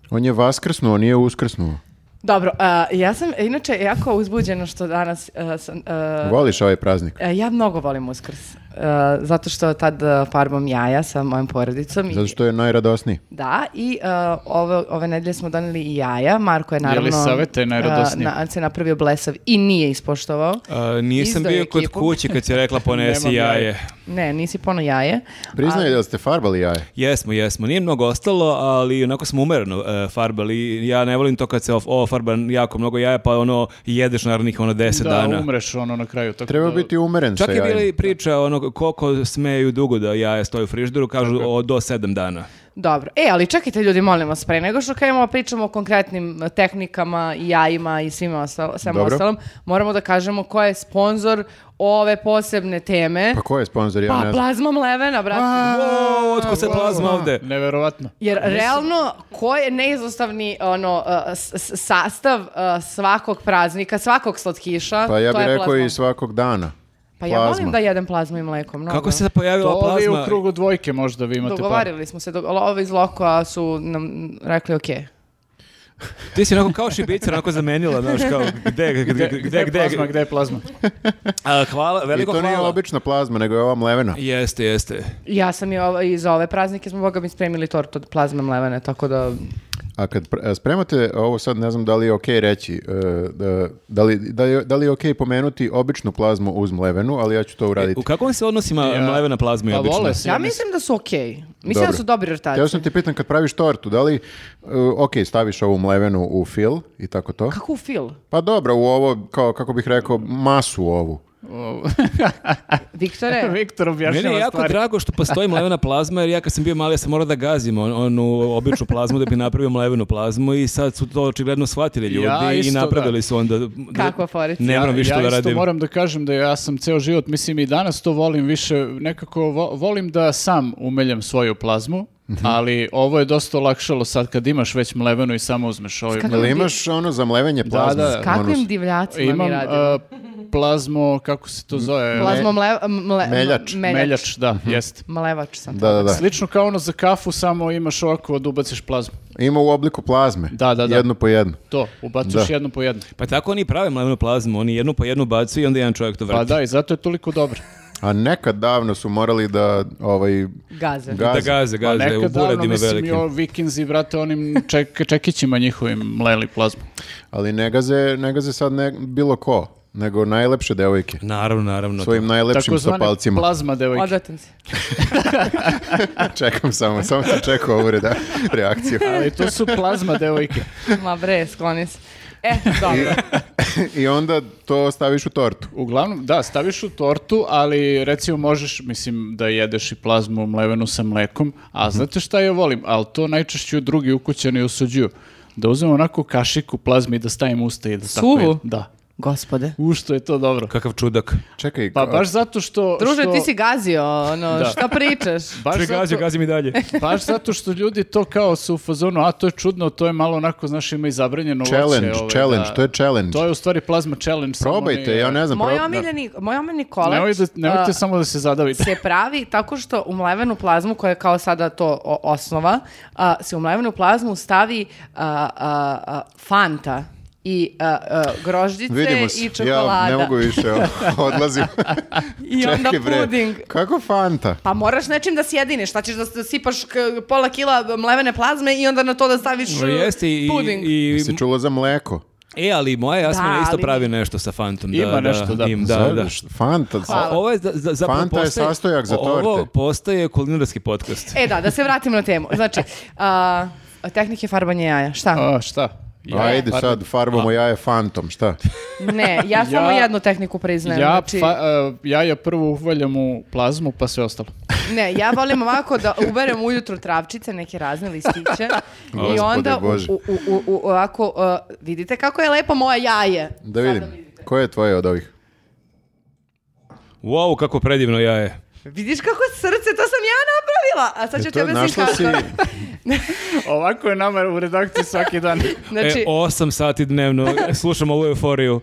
[SPEAKER 2] On je vaskrsnuo, nije uskrsnuo.
[SPEAKER 1] Dobro, a, ja sam inače jako uzbuđena što danas a, sam... a,
[SPEAKER 2] Voliš ovaj praznik?
[SPEAKER 1] E, Ja mnogo volim Uskrs. E, zato što tad e, farbam jaja sa mojom porodicom. I,
[SPEAKER 2] Zato što je najradosniji.
[SPEAKER 1] Da, i e, ove, ove nedelje smo doneli i jaja. Marko je naravno...
[SPEAKER 3] Jelisaveta je najradosnija.
[SPEAKER 1] e, na- se napravio blesav i nije ispoštovao.
[SPEAKER 4] A, uh, nisam
[SPEAKER 1] Izdao je
[SPEAKER 4] bio kod
[SPEAKER 1] ekipu.
[SPEAKER 4] kuće
[SPEAKER 1] <laughs>
[SPEAKER 4] kad si rekla ponesi
[SPEAKER 3] Nemam jaja.
[SPEAKER 4] jaje.
[SPEAKER 1] Ne, nisi pono jaje.
[SPEAKER 2] Priznaj da ste farbali jaje.
[SPEAKER 4] Jesmo, jesmo. Nije mnogo ostalo, ali onako smo umereno e, farbali. Ja ne volim to kad se of, o, farba jako mnogo jaja, pa ono, jedeš naravnih ono 10
[SPEAKER 3] Da,
[SPEAKER 4] dana.
[SPEAKER 3] umreš ono na kraju. Tako
[SPEAKER 2] Treba
[SPEAKER 3] da-
[SPEAKER 2] biti umeren
[SPEAKER 4] Čak
[SPEAKER 2] sa
[SPEAKER 4] je bila
[SPEAKER 2] jajima.
[SPEAKER 4] i priča ono koliko smeju dugo da jaja stoje u frižderu, kažu o, do 7 dana.
[SPEAKER 1] Dobro. E, ali čekajte ljudi, molim vas, pre nego što krenemo pričamo o konkretnim e, tehnikama i jajima i svima ostalo, svemu
[SPEAKER 2] Dobro.
[SPEAKER 1] ostalom, moramo da kažemo ko je sponsor ove posebne teme.
[SPEAKER 2] Pa ko je sponsor? Ja
[SPEAKER 1] Pa,
[SPEAKER 2] ne znam.
[SPEAKER 1] plazma mlevena, brate.
[SPEAKER 4] O, otko se plazma ovde?
[SPEAKER 3] Neverovatno.
[SPEAKER 1] Jer realno, ko je neizostavni ono, uh, s- s- sastav uh, svakog praznika, svakog slatkiša?
[SPEAKER 2] Pa ja
[SPEAKER 1] to
[SPEAKER 2] bih
[SPEAKER 1] je
[SPEAKER 2] rekao
[SPEAKER 1] plazma.
[SPEAKER 2] i svakog dana.
[SPEAKER 1] Pa ja volim
[SPEAKER 2] plazma.
[SPEAKER 1] da jedem plazmu i mleko, mnogo.
[SPEAKER 4] Kako se pojavila
[SPEAKER 3] To vi u
[SPEAKER 4] plazma?
[SPEAKER 3] krugu dvojke možda vi imate par.
[SPEAKER 1] Dogovarili smo se, do, ovi iz Lokova su nam rekli ok.
[SPEAKER 4] Ti si onako kao šibica, onako zamenila, znaš, kao gde, gde,
[SPEAKER 3] Gde,
[SPEAKER 4] gde,
[SPEAKER 3] gde,
[SPEAKER 4] gde,
[SPEAKER 3] je plazma, gde je plazma?
[SPEAKER 4] A, hvala,
[SPEAKER 2] I
[SPEAKER 4] veliko
[SPEAKER 2] to nije
[SPEAKER 4] hvala.
[SPEAKER 2] obična plazma, nego je ova mlevena.
[SPEAKER 4] Jeste, jeste.
[SPEAKER 1] Ja sam i ovo, i za ove praznike smo boga mi spremili tort od plazme mlevene, tako da...
[SPEAKER 2] A kad pr- e, spremate ovo sad, ne znam da li je okej reći, e, da, da, li, da, je- da li je okej pomenuti običnu plazmu uz mlevenu, ali ja ću to uraditi.
[SPEAKER 4] E, U kakvom se odnosima
[SPEAKER 3] Ja.
[SPEAKER 4] mlevena plazma i
[SPEAKER 3] Pa
[SPEAKER 4] obično?
[SPEAKER 3] vole se.
[SPEAKER 1] Ja mislim da su ok. Mislim da
[SPEAKER 2] Dobro.
[SPEAKER 1] su dobri rotaci.
[SPEAKER 2] Htio sam ti pitan kad praviš tortu, da li, uh, ok, staviš ovu mlevenu u fil i tako to?
[SPEAKER 1] Kako u fil?
[SPEAKER 2] Pa dobro, u ovo, kao, kako bih rekao, masu ovu. <laughs>
[SPEAKER 1] Viktore?
[SPEAKER 3] <laughs> Viktor
[SPEAKER 4] Meni je
[SPEAKER 3] objašnjava
[SPEAKER 4] jako
[SPEAKER 3] stvari.
[SPEAKER 4] drago što postoji mlevena plazma, jer ja kad sam bio mali ja sam morao da gazim on, onu običnu plazmu da bi napravio mlevenu plazmu i sad su to očigledno shvatili ljudi
[SPEAKER 3] Ja
[SPEAKER 4] i
[SPEAKER 3] isto,
[SPEAKER 4] napravili
[SPEAKER 3] da.
[SPEAKER 4] su onda...
[SPEAKER 1] Kakva forica.
[SPEAKER 4] Ne moram
[SPEAKER 3] Ja-
[SPEAKER 4] više
[SPEAKER 3] ja
[SPEAKER 4] to da
[SPEAKER 3] isto
[SPEAKER 4] radim.
[SPEAKER 3] moram da kažem da ja sam ceo život, mislim i danas to volim više, nekako vo- volim da sam umeljam svoju plazmu,
[SPEAKER 4] Mhm.
[SPEAKER 3] ali ovo je dosta olakšalo sad kad imaš već mlevenu i samo uzmeš ovaj
[SPEAKER 1] Kako-
[SPEAKER 2] Jel imaš ono za mlevenje plazme?
[SPEAKER 3] da.
[SPEAKER 1] Dakle, S
[SPEAKER 2] Ono
[SPEAKER 1] kakvim
[SPEAKER 2] s-
[SPEAKER 1] divljacima
[SPEAKER 3] Imam
[SPEAKER 1] mi
[SPEAKER 2] e,
[SPEAKER 1] radimo?
[SPEAKER 3] a, plazmo, kako se to zove? eh,
[SPEAKER 1] Plazmo mle, mle,
[SPEAKER 2] Meljač.
[SPEAKER 1] meljač.
[SPEAKER 3] Meljač,
[SPEAKER 4] Mhm.
[SPEAKER 3] da, jest.
[SPEAKER 1] Malevač sam.
[SPEAKER 2] Da, da, da.
[SPEAKER 3] Slično kao ono za kafu, samo imaš ovako da ubaciš plazmu.
[SPEAKER 2] Ima u obliku plazme.
[SPEAKER 3] Da, da, da.
[SPEAKER 2] Jednu po jednu.
[SPEAKER 3] To, ubaciš
[SPEAKER 2] Da.
[SPEAKER 3] jednu po jednu.
[SPEAKER 4] Pa tako oni i prave mlevenu plazmu, oni jednu po jednu bacu i onda jedan čovjek to vrti.
[SPEAKER 3] Pa da, i zato je toliko dobro.
[SPEAKER 2] A nekad davno su morali da, ovaj,
[SPEAKER 1] Gaze.
[SPEAKER 4] Da
[SPEAKER 2] gaze.
[SPEAKER 4] gaze,
[SPEAKER 3] Pa
[SPEAKER 4] gaze, u
[SPEAKER 3] nekad davno,
[SPEAKER 4] buredima
[SPEAKER 3] mislim, i ono-
[SPEAKER 4] velikim.
[SPEAKER 3] o vikinzi, brate, onim ček, čekićima njihovim mleli plazmu.
[SPEAKER 2] Ali ne gaze, ne gaze sad ne, bilo ko, nego najlepše devojke.
[SPEAKER 4] Naravno, naravno.
[SPEAKER 2] Svojim najlepšim stopalcima.
[SPEAKER 3] plazma devojke.
[SPEAKER 1] Odvratan si.
[SPEAKER 2] <laughs> Čekam samo, samo sam čekao ovu reda,
[SPEAKER 3] <laughs>
[SPEAKER 2] reakciju.
[SPEAKER 3] <laughs> Ali to su plazma devojke.
[SPEAKER 1] Ma bre, skloni se. E, dobro.
[SPEAKER 2] I onda to staviš u tortu.
[SPEAKER 3] Uglavnom, da, staviš u tortu, ali recimo možeš, mislim, da jedeš i plazmu mlevenu sa mlekom, a
[SPEAKER 2] Mhm.
[SPEAKER 3] znate šta ja volim, ali to najčešće drugi ukućani osuđuju. Da uzmem onako kašiku plazmi i da stavim u usta i da tako
[SPEAKER 1] Suvu?
[SPEAKER 3] jedem. Da.
[SPEAKER 1] Gospode.
[SPEAKER 3] U što je to dobro.
[SPEAKER 4] Kakav čudak.
[SPEAKER 2] Čekaj,
[SPEAKER 3] Pa
[SPEAKER 2] ka-
[SPEAKER 3] baš zato što...
[SPEAKER 1] Druže,
[SPEAKER 3] što-
[SPEAKER 1] ti si gazio, ono,
[SPEAKER 3] Da.
[SPEAKER 1] šta pričaš?
[SPEAKER 3] Baš
[SPEAKER 4] Če
[SPEAKER 3] zato-
[SPEAKER 4] gazi, gazi mi
[SPEAKER 3] <laughs>
[SPEAKER 4] dalje.
[SPEAKER 3] Baš zato što ljudi to kao su u fazonu, a to je čudno, to je malo onako, znaš, ima i zabranjeno voće,
[SPEAKER 2] challenge,
[SPEAKER 3] ovaj,
[SPEAKER 2] challenge,
[SPEAKER 3] da.
[SPEAKER 2] to je challenge.
[SPEAKER 3] To je u stvari plazma challenge. samo
[SPEAKER 2] Probajte,
[SPEAKER 3] ne-
[SPEAKER 2] ja ne znam.
[SPEAKER 1] Moj
[SPEAKER 2] prob-
[SPEAKER 1] omiljeni, moj omiljeni kolač
[SPEAKER 3] Nemojte, nemojte
[SPEAKER 1] a,
[SPEAKER 3] samo da se zadavite.
[SPEAKER 1] se pravi tako što u mlevenu plazmu, koja je kao sada to o- osnova, a, se u mlevenu plazmu stavi a, a, a, fanta. i a, a, grožđice
[SPEAKER 2] Vidimo se.
[SPEAKER 1] i čokolada.
[SPEAKER 2] Ja ne mogu više,
[SPEAKER 1] <laughs>
[SPEAKER 2] odlazim.
[SPEAKER 1] I onda
[SPEAKER 2] Čekaj, bre,
[SPEAKER 1] puding.
[SPEAKER 2] Kako Fanta?
[SPEAKER 1] Pa moraš nečim da sjediniš, šta ćeš da s- da sipaš k- pola kila mlevene plazme i onda na to da staviš
[SPEAKER 4] No,
[SPEAKER 1] uh,
[SPEAKER 4] Pa jeste i,
[SPEAKER 1] puding.
[SPEAKER 4] i,
[SPEAKER 2] Si čula za mleko?
[SPEAKER 4] e, ali moja jasmina
[SPEAKER 1] Da,
[SPEAKER 4] isto
[SPEAKER 1] ali-
[SPEAKER 4] pravi nešto sa Fantom.
[SPEAKER 3] Ima nešto, da.
[SPEAKER 4] im, da, da.
[SPEAKER 2] Fanta.
[SPEAKER 1] Hvala.
[SPEAKER 4] Ovo je za- za- zapravo
[SPEAKER 2] Fanta je
[SPEAKER 4] postaje-
[SPEAKER 2] sastojak za
[SPEAKER 4] Ovo
[SPEAKER 2] torte.
[SPEAKER 4] postaje kulinarski podcast.
[SPEAKER 1] E da, da se vratimo na temu. Znači, a, tehnike farbanja jaja, šta?
[SPEAKER 3] A, šta? Ja,
[SPEAKER 2] Ajde
[SPEAKER 3] par-
[SPEAKER 2] sad, farbamo jaje Fantom, šta?
[SPEAKER 1] Ne, ja samo
[SPEAKER 3] Ja-
[SPEAKER 1] jednu tehniku priznajem.
[SPEAKER 3] Ja,
[SPEAKER 1] znači,
[SPEAKER 3] fa, e, jaja prvo uvaljam u plazmu, pa sve ostalo.
[SPEAKER 1] Ne, ja volim ovako da uberem ujutru travčice, neke razne
[SPEAKER 3] <laughs>
[SPEAKER 1] listiće i
[SPEAKER 2] Gospode
[SPEAKER 1] onda u,
[SPEAKER 2] Bože.
[SPEAKER 1] u, u, u, u- ovako, uh, vidite kako je lepo moje jaje.
[SPEAKER 2] Da vidim. Koje je tvoje od ovih?
[SPEAKER 4] Wow, kako predivno jaje.
[SPEAKER 1] Vidiš kako srce, to sam ja napravila. A sad Pa ću
[SPEAKER 2] E,
[SPEAKER 1] ti
[SPEAKER 2] to
[SPEAKER 1] objasniti
[SPEAKER 2] našla
[SPEAKER 1] kako.
[SPEAKER 2] si,
[SPEAKER 3] <laughs> Ovako je nama u redakciji svaki dan.
[SPEAKER 1] Znači,
[SPEAKER 4] E, 8 sati dnevno slušam ovu euforiju.
[SPEAKER 1] uh,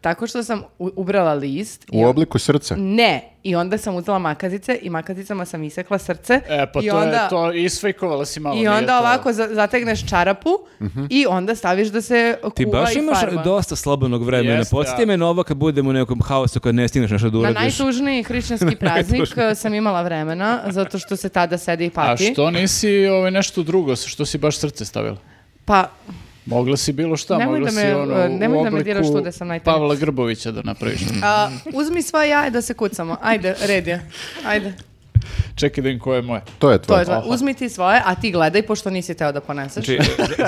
[SPEAKER 1] tako što sam u- ubrala list. i
[SPEAKER 2] u
[SPEAKER 1] on-
[SPEAKER 2] obliku srca.
[SPEAKER 1] Ne. I onda sam uzela makazice i makazicama sam isekla srce.
[SPEAKER 3] E, pa
[SPEAKER 1] I
[SPEAKER 3] to
[SPEAKER 1] onda,
[SPEAKER 3] je to, isfejkovala si malo.
[SPEAKER 1] I
[SPEAKER 3] nije
[SPEAKER 1] onda
[SPEAKER 3] to-
[SPEAKER 1] ovako za- zategneš čarapu i onda staviš da se kuva
[SPEAKER 4] Ti baš
[SPEAKER 1] i
[SPEAKER 4] imaš
[SPEAKER 1] farba.
[SPEAKER 4] dosta slobodnog vremena.
[SPEAKER 3] Jeste,
[SPEAKER 4] Podsjeti
[SPEAKER 3] a-
[SPEAKER 4] me na ovo kad budem u nekom haosu kad ne stigneš nešto da
[SPEAKER 1] Na
[SPEAKER 4] uradiš.
[SPEAKER 1] najtužniji
[SPEAKER 4] <laughs>
[SPEAKER 1] hrišćanski praznik eh, sam imala vremena, zato što se tada sedi i
[SPEAKER 3] A
[SPEAKER 1] pati.
[SPEAKER 3] što nisi ovaj, nešto drugo, što si baš srce stavila?
[SPEAKER 1] Pa,
[SPEAKER 3] Mogla si bilo šta,
[SPEAKER 1] Nemoj
[SPEAKER 3] mogla
[SPEAKER 1] da me,
[SPEAKER 3] si ono,
[SPEAKER 1] e, nemoj
[SPEAKER 3] u
[SPEAKER 1] da me diraš
[SPEAKER 3] obliku
[SPEAKER 1] tu da sam najtanji.
[SPEAKER 3] Pavla Grbovića da
[SPEAKER 1] <laughs>
[SPEAKER 3] napraviš.
[SPEAKER 1] a, uzmi sva jaja da se kucamo. Ajde, red je. Ajde.
[SPEAKER 3] Čekaj da im ko je moje.
[SPEAKER 4] E,
[SPEAKER 2] To je
[SPEAKER 1] To je
[SPEAKER 2] tvoje.
[SPEAKER 1] to. Uzmi ti svoje, a ti gledaj, pošto nisi teo da poneseš. <laughs>
[SPEAKER 4] Znači,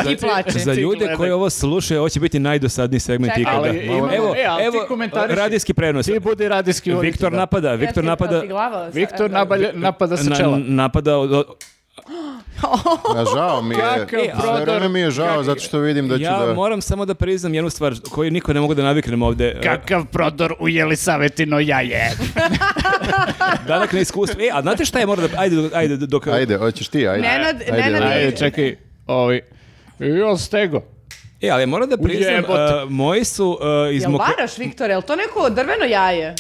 [SPEAKER 4] za,
[SPEAKER 1] I plači.
[SPEAKER 4] za ljude
[SPEAKER 3] gledaj.
[SPEAKER 4] koji ovo slušaju, ovo će biti najdosadniji segment
[SPEAKER 1] Čekaj.
[SPEAKER 4] ikada.
[SPEAKER 3] Ali imamo-
[SPEAKER 4] evo,
[SPEAKER 3] e, ali ti
[SPEAKER 4] evo,
[SPEAKER 3] komentariši.
[SPEAKER 4] radijski prenos.
[SPEAKER 3] Ti budi radijski voditelj,
[SPEAKER 4] Viktor
[SPEAKER 3] da.
[SPEAKER 4] napada, Viktor napada,
[SPEAKER 1] E,
[SPEAKER 3] Viktor nabalje- napada sa
[SPEAKER 4] na,
[SPEAKER 3] čela.
[SPEAKER 4] napada od, od-
[SPEAKER 2] A žao mi je.
[SPEAKER 3] Kakav
[SPEAKER 2] sve
[SPEAKER 3] prodor.
[SPEAKER 2] vreme mi je žao,
[SPEAKER 3] Kak-
[SPEAKER 2] zato što vidim da ću
[SPEAKER 4] ja
[SPEAKER 2] da...
[SPEAKER 4] moram samo da priznam jednu stvar koju niko ne mogu da naviknem ovde.
[SPEAKER 3] Kakav prodor u Jelisavetino jaje.
[SPEAKER 4] Danak na iskustvo. E, a znate šta je mora da... Ajde, ajde, dok...
[SPEAKER 2] Ajde, hoćeš ti, ajde.
[SPEAKER 1] Nenad, Nenad
[SPEAKER 2] ajde.
[SPEAKER 3] Ajde, čekaj, ovi. Jo, stego.
[SPEAKER 4] E, ali moram da priznam,
[SPEAKER 3] Ujebote.
[SPEAKER 4] uh, moji su uh, iz
[SPEAKER 1] Jel
[SPEAKER 4] Moko-
[SPEAKER 1] varaš, Viktore? Jel to neko drveno jaje?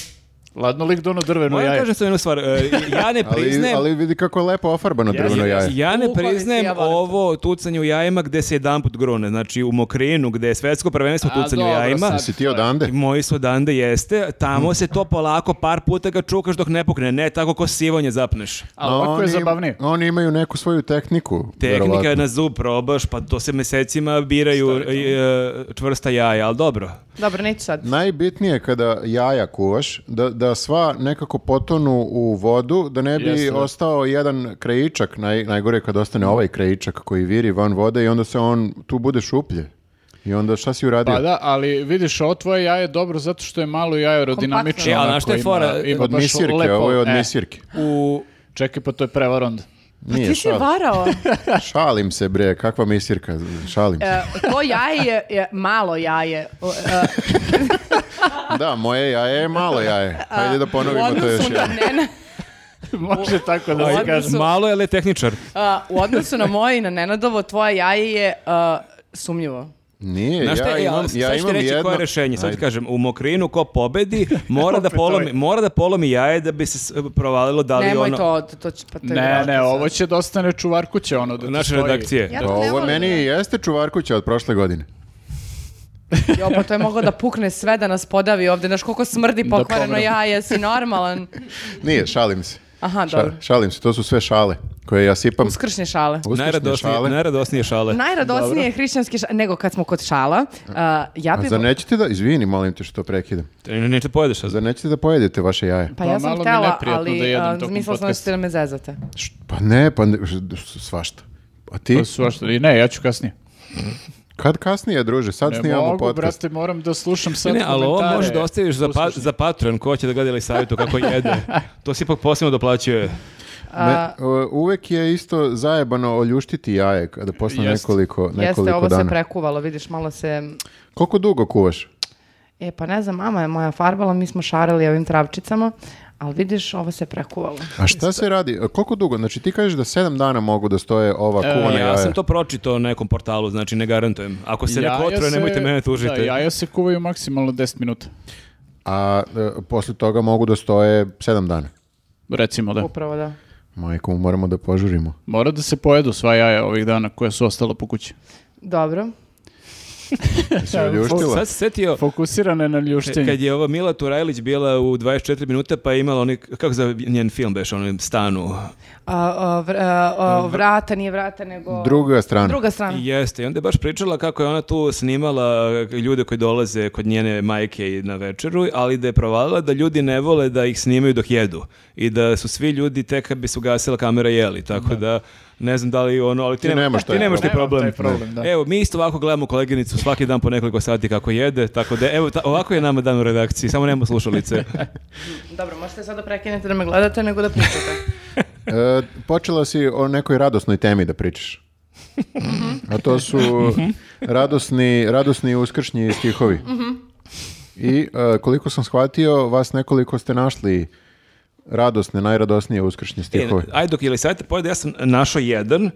[SPEAKER 3] Ladno lik dono drveno
[SPEAKER 4] Moram da
[SPEAKER 3] jaje.
[SPEAKER 4] kažem samo jednu stvar. uh, ja ne
[SPEAKER 2] Ali,
[SPEAKER 4] priznajem...
[SPEAKER 2] ali Ono vidi kako je lepo ofarbano drveno jaje.
[SPEAKER 4] Ja ne
[SPEAKER 1] U, koristi,
[SPEAKER 4] priznajem
[SPEAKER 1] ja volim to.
[SPEAKER 4] ovo tucanje u jajima gde se jedanput grune, znači u Mokrinu gde je svetsko prvenstvo
[SPEAKER 3] A,
[SPEAKER 4] tucanje u
[SPEAKER 3] dobro,
[SPEAKER 4] jajima.
[SPEAKER 3] sad.
[SPEAKER 2] Si ti odande?
[SPEAKER 4] I Moji su odande jeste, tamo se to polako par puta ga čukaš dok ne pukne, ne tako ko sivonje zapneš.
[SPEAKER 3] Ali ovako je
[SPEAKER 2] Oni-
[SPEAKER 3] zabavnije.
[SPEAKER 2] Oni imaju neku svoju tehniku.
[SPEAKER 4] Tehnika
[SPEAKER 2] verovatno.
[SPEAKER 4] je na zub probaš, pa to se mesecima biraju e, čvrsta jaja, ali dobro.
[SPEAKER 1] Dobro, neću sad.
[SPEAKER 2] Najbitnije je kada jaja kuvaš, da, da sva nekako potonu u vodu, da ne bi
[SPEAKER 3] Jeste, da.
[SPEAKER 2] ostao jedan krajičak, naj, najgore je kada ostane ovaj krajičak koji viri van vode i onda se on, tu bude šuplje. I onda šta si uradio?
[SPEAKER 3] Pa da, ali vidiš, ovo tvoje jaje je dobro zato što je malo jaje aerodinamično.
[SPEAKER 1] Kompaktno. E,
[SPEAKER 4] ali
[SPEAKER 3] onako,
[SPEAKER 4] znaš šta je
[SPEAKER 3] ima-
[SPEAKER 4] fora?
[SPEAKER 3] ima
[SPEAKER 2] od
[SPEAKER 3] pa baš
[SPEAKER 2] misirke,
[SPEAKER 3] lepo.
[SPEAKER 2] ovo je od
[SPEAKER 3] E, Pa
[SPEAKER 2] misirke.
[SPEAKER 4] U,
[SPEAKER 3] Čekaj, pa to je prevar onda.
[SPEAKER 2] Nije,
[SPEAKER 1] Ti si
[SPEAKER 2] šal-
[SPEAKER 1] varao.
[SPEAKER 2] šalim se bre, kakva misirka, šalim se.
[SPEAKER 1] E, to jaje je, je malo jaje. O, e,
[SPEAKER 2] Da, moje jaje je malo jaje. Hajde da
[SPEAKER 1] u
[SPEAKER 2] ponovimo to još
[SPEAKER 1] odnosu na
[SPEAKER 2] jednom.
[SPEAKER 1] Nena-
[SPEAKER 3] <laughs> Može tako da se
[SPEAKER 1] odnosu-
[SPEAKER 3] kaže.
[SPEAKER 4] malo je, ali je tehničar.
[SPEAKER 1] a, u odnosu na moje i na Nenadovo, tvoje jaje je a, sumnjivo.
[SPEAKER 2] Nije,
[SPEAKER 4] Znaš šta,
[SPEAKER 2] ja
[SPEAKER 4] e,
[SPEAKER 2] imam,
[SPEAKER 4] ali sad
[SPEAKER 2] ja
[SPEAKER 4] ću ti
[SPEAKER 2] imam
[SPEAKER 4] reći koje
[SPEAKER 2] jedno...
[SPEAKER 4] je rešenje. Sad ti
[SPEAKER 2] Ajde.
[SPEAKER 4] kažem, u Mokrinu ko pobedi mora da, polomi,
[SPEAKER 3] ovaj.
[SPEAKER 4] mora da polomi jaje da bi se s- provalilo da li
[SPEAKER 1] Nemoj
[SPEAKER 4] ono...
[SPEAKER 1] to, to, to će, pa to je
[SPEAKER 3] Ne,
[SPEAKER 1] vjerojatno
[SPEAKER 3] ne,
[SPEAKER 1] sad.
[SPEAKER 3] ovo će da ostane čuvar kuće, ono da ti
[SPEAKER 4] Naše
[SPEAKER 3] stoji.
[SPEAKER 4] redakcije.
[SPEAKER 1] Ja
[SPEAKER 2] Pa
[SPEAKER 1] to ne
[SPEAKER 2] Ovo
[SPEAKER 1] volim.
[SPEAKER 2] meni i jeste čuvarkuća od prošle godine.
[SPEAKER 1] Jo, pa to je moglo da pukne sve da nas podavi ovde. Znaš koliko smrdi pokvareno
[SPEAKER 3] pomrem.
[SPEAKER 1] jaje, si normalan.
[SPEAKER 2] Nije, šalim se.
[SPEAKER 1] Aha,
[SPEAKER 2] Ša-
[SPEAKER 1] dobro.
[SPEAKER 2] šalim se, to su sve šale koje ja sipam.
[SPEAKER 1] Uskršnje šale.
[SPEAKER 2] Uskršnje
[SPEAKER 4] Najradosnije,
[SPEAKER 2] šale.
[SPEAKER 4] najradosnije šale.
[SPEAKER 1] Najradosnije je hrišćanski šale, nego kad smo kod šala. a, ja
[SPEAKER 2] A
[SPEAKER 1] bi...
[SPEAKER 2] zar nećete da, izvini, molim te što prekidam,
[SPEAKER 4] Ne, Neće pojedeš sad.
[SPEAKER 2] zar nećete da pojedete vaše jaje?
[SPEAKER 1] Pa
[SPEAKER 3] Pa
[SPEAKER 1] ja sam
[SPEAKER 3] malo mi je
[SPEAKER 1] htjela,
[SPEAKER 3] neprijatno da
[SPEAKER 1] ali
[SPEAKER 3] jedem
[SPEAKER 1] a,
[SPEAKER 3] tokom
[SPEAKER 1] mislila sam da
[SPEAKER 3] podcasta.
[SPEAKER 1] ćete da me zezate.
[SPEAKER 2] Št- Pa ne, pa ne, š- s- svašta. A ti?
[SPEAKER 3] Pa svašta, i ne, ja ću kasnije.
[SPEAKER 2] Kad kasnije, druže, sad
[SPEAKER 3] Ne
[SPEAKER 2] snimamo
[SPEAKER 3] mogu,
[SPEAKER 2] podcast.
[SPEAKER 3] brate, moram da slušam sad
[SPEAKER 4] Ne, ali ovo
[SPEAKER 3] komentare.
[SPEAKER 4] možeš da ostaviš za, pa,
[SPEAKER 3] Poslušaj.
[SPEAKER 4] za Patreon, ko će da gleda ili savjetu kako <laughs> jede. To se ipak posebno doplaćuje.
[SPEAKER 2] Ne, o, uvek je isto zajebano oljuštiti jaje kada posle
[SPEAKER 3] Jeste.
[SPEAKER 2] nekoliko,
[SPEAKER 1] Jeste,
[SPEAKER 2] nekoliko
[SPEAKER 1] ovo se
[SPEAKER 2] dana.
[SPEAKER 1] prekuvalo, vidiš, malo se...
[SPEAKER 2] Koliko dugo kuvaš?
[SPEAKER 1] E, pa ne znam, mama je moja farbala, mi smo šarali ovim travčicama, ali vidiš, ovo se prekuvalo.
[SPEAKER 2] A šta se radi? A Koliko dugo? Znači ti kažeš da sedam dana mogu da stoje ova
[SPEAKER 3] E,
[SPEAKER 2] kuvana
[SPEAKER 4] E, Ja
[SPEAKER 2] jaja.
[SPEAKER 4] sam to pročitao na nekom portalu, znači ne garantujem. Ako se
[SPEAKER 3] Jaja
[SPEAKER 4] ne potruje,
[SPEAKER 3] se-
[SPEAKER 4] nemojte mene tužiti.
[SPEAKER 3] Da, jaja se kuvaju maksimalno 10 minuta.
[SPEAKER 2] A e, posle toga mogu da stoje sedam dana.
[SPEAKER 3] Recimo da.
[SPEAKER 1] Upravo da.
[SPEAKER 2] Majko, moramo da
[SPEAKER 4] <laughs>
[SPEAKER 2] požurimo.
[SPEAKER 3] Mora da se pojedu sva jaja ovih dana koja su ostala po kući.
[SPEAKER 1] Dobro.
[SPEAKER 2] Jesi joj ljuštila?
[SPEAKER 4] Sad se setio,
[SPEAKER 3] Fokusirana je na ljuštenje.
[SPEAKER 4] kad je ova Mila Turajlić bila u 24 minuta, pa je imala onaj, kako za njen film beš, onom stanu.
[SPEAKER 1] A, a, vr- a, a, vrata, nije vrata, nego...
[SPEAKER 2] Druga strana.
[SPEAKER 1] Druga strana.
[SPEAKER 4] Jeste, i onda je baš pričala kako je ona tu snimala ljude koji dolaze kod njene majke i na večeru, ali da je provalila da ljudi ne vole da ih snimaju dok jedu i da su svi ljudi tek kad bi se ugasila kamera jeli, tako da ne znam da li ono, ali ti,
[SPEAKER 2] Ti
[SPEAKER 4] nema-
[SPEAKER 2] nemaš taj
[SPEAKER 4] ti nemaš taj
[SPEAKER 3] Nemam
[SPEAKER 4] problem.
[SPEAKER 3] taj problem, da.
[SPEAKER 4] Evo, mi isto ovako gledamo koleginicu svaki dan po nekoliko sati kako jede, tako da evo, ta- ovako je nama dan u redakciji, samo nemamo
[SPEAKER 3] <laughs>
[SPEAKER 4] slušalice.
[SPEAKER 1] Dobro, možete sad da prekinete da me gledate, nego da pričate.
[SPEAKER 2] E, počela si o nekoj radosnoj temi da pričaš.
[SPEAKER 1] Mhm.
[SPEAKER 2] A to su radosni, radosni uskršnji stihovi.
[SPEAKER 1] Mhm.
[SPEAKER 2] I e, koliko sam shvatio, vas nekoliko ste našli radosne, najradosnije uskršnje
[SPEAKER 4] E,
[SPEAKER 2] stihove.
[SPEAKER 4] Ajde dok ili sajte pojede, ja sam našao jedan.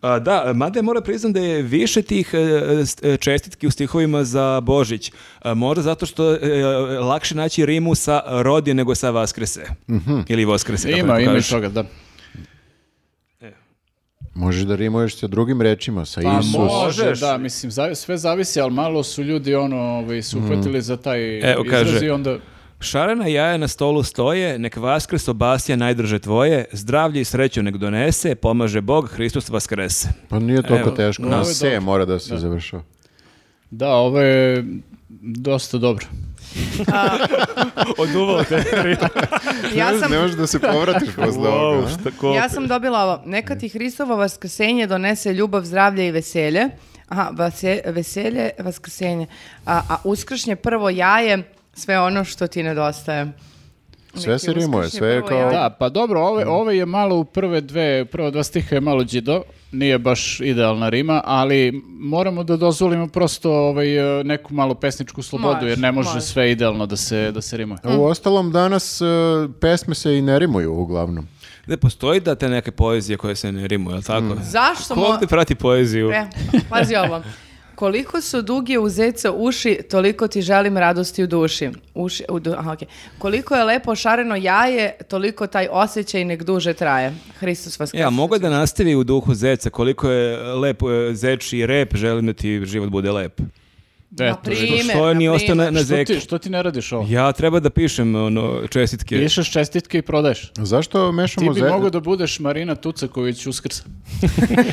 [SPEAKER 4] A, da, mada ja moram priznam da je više tih e, st- e, čestitki u stihovima za Božić. A, možda zato što je lakše naći rimu sa rodi nego sa vaskrese. Ili voskrese. kako
[SPEAKER 3] Ima,
[SPEAKER 4] neko
[SPEAKER 3] ima i
[SPEAKER 4] kaže.
[SPEAKER 3] toga, da.
[SPEAKER 2] Možeš da rimuješ sa drugim rečima, sa
[SPEAKER 4] Pa
[SPEAKER 2] Isus.
[SPEAKER 3] može,
[SPEAKER 4] Možeš.
[SPEAKER 3] da, mislim, zavi- sve zavisi, ali malo su ljudi ono, ovaj, su uhvatili za taj
[SPEAKER 4] Mhm. Evo,
[SPEAKER 3] izraz
[SPEAKER 4] kaže.
[SPEAKER 3] i onda...
[SPEAKER 4] Šarena jaja na stolu stoje, nek vaskrs obasja najdrže tvoje, zdravlje i sreću nek donese, pomaže Bog, Hristos
[SPEAKER 3] <laughs>
[SPEAKER 4] vaskrese.
[SPEAKER 2] Pa nije toliko teško.
[SPEAKER 3] ovo
[SPEAKER 2] Na
[SPEAKER 3] je
[SPEAKER 2] se
[SPEAKER 3] dobro.
[SPEAKER 2] mora da se završava.
[SPEAKER 3] Da, ovo je dosta dobro.
[SPEAKER 4] Oduvalo te. <laughs>
[SPEAKER 1] ja sam...
[SPEAKER 2] Ne možeš da se povratiš posle ovoga. a?
[SPEAKER 1] Ja sam dobila ovo. Neka ti Hristovo vaskrsenje donese ljubav, zdravlje i veselje. Aha, vase- veselje, vaskrsenje. A, a uskršnje prvo jaje, sve ono što ti nedostaje.
[SPEAKER 2] Sve se
[SPEAKER 1] Neki
[SPEAKER 2] rimuje,
[SPEAKER 1] uskršnje
[SPEAKER 2] sve je
[SPEAKER 1] prvo
[SPEAKER 2] kao...
[SPEAKER 1] jaje.
[SPEAKER 3] Da, pa dobro, ove, ove je malo u prve dve, prva dva stiha je malo džido, nije baš idealna rima, ali moramo da dozvolimo prosto ovaj, e, neku malu pesničku slobodu,
[SPEAKER 1] Može,
[SPEAKER 3] jer ne može,
[SPEAKER 1] može.
[SPEAKER 3] sve idealno da se, da se rimuje.
[SPEAKER 2] U ostalom danas e, pesme se i ne rimuju uglavnom.
[SPEAKER 4] Ne postoji da te neke poezije koje se ne rimuju, je li tako?
[SPEAKER 1] Mm. Zašto
[SPEAKER 4] Ko
[SPEAKER 1] mo-
[SPEAKER 4] ovde prati poeziju?
[SPEAKER 1] E, pazi ovo. Koliko su duge u zeca uši, toliko ti želim radosti u duši. Uši, u du- aha, okej. Koliko je lepo šareno jaje, toliko taj osjećaj nek duže traje. Hristos vas
[SPEAKER 4] Ja, E, mogu da nastavi u duhu zeca koliko je lep e, zeči rep, želim da ti život bude lep.
[SPEAKER 1] Na
[SPEAKER 3] Eto,
[SPEAKER 1] primjer,
[SPEAKER 4] Što E,
[SPEAKER 1] na
[SPEAKER 4] je nije ostao na,
[SPEAKER 1] primjer.
[SPEAKER 4] na
[SPEAKER 3] što,
[SPEAKER 4] zeki?
[SPEAKER 3] ti, što ti ne radiš ovo?
[SPEAKER 4] Ja treba da pišem ono, čestitke.
[SPEAKER 3] Pišeš čestitke i prodaješ.
[SPEAKER 2] Zašto
[SPEAKER 3] Ti
[SPEAKER 2] mešamo
[SPEAKER 3] bi
[SPEAKER 2] ze-
[SPEAKER 3] mogao da budeš Marina Tucaković uskrsa.
[SPEAKER 2] <laughs>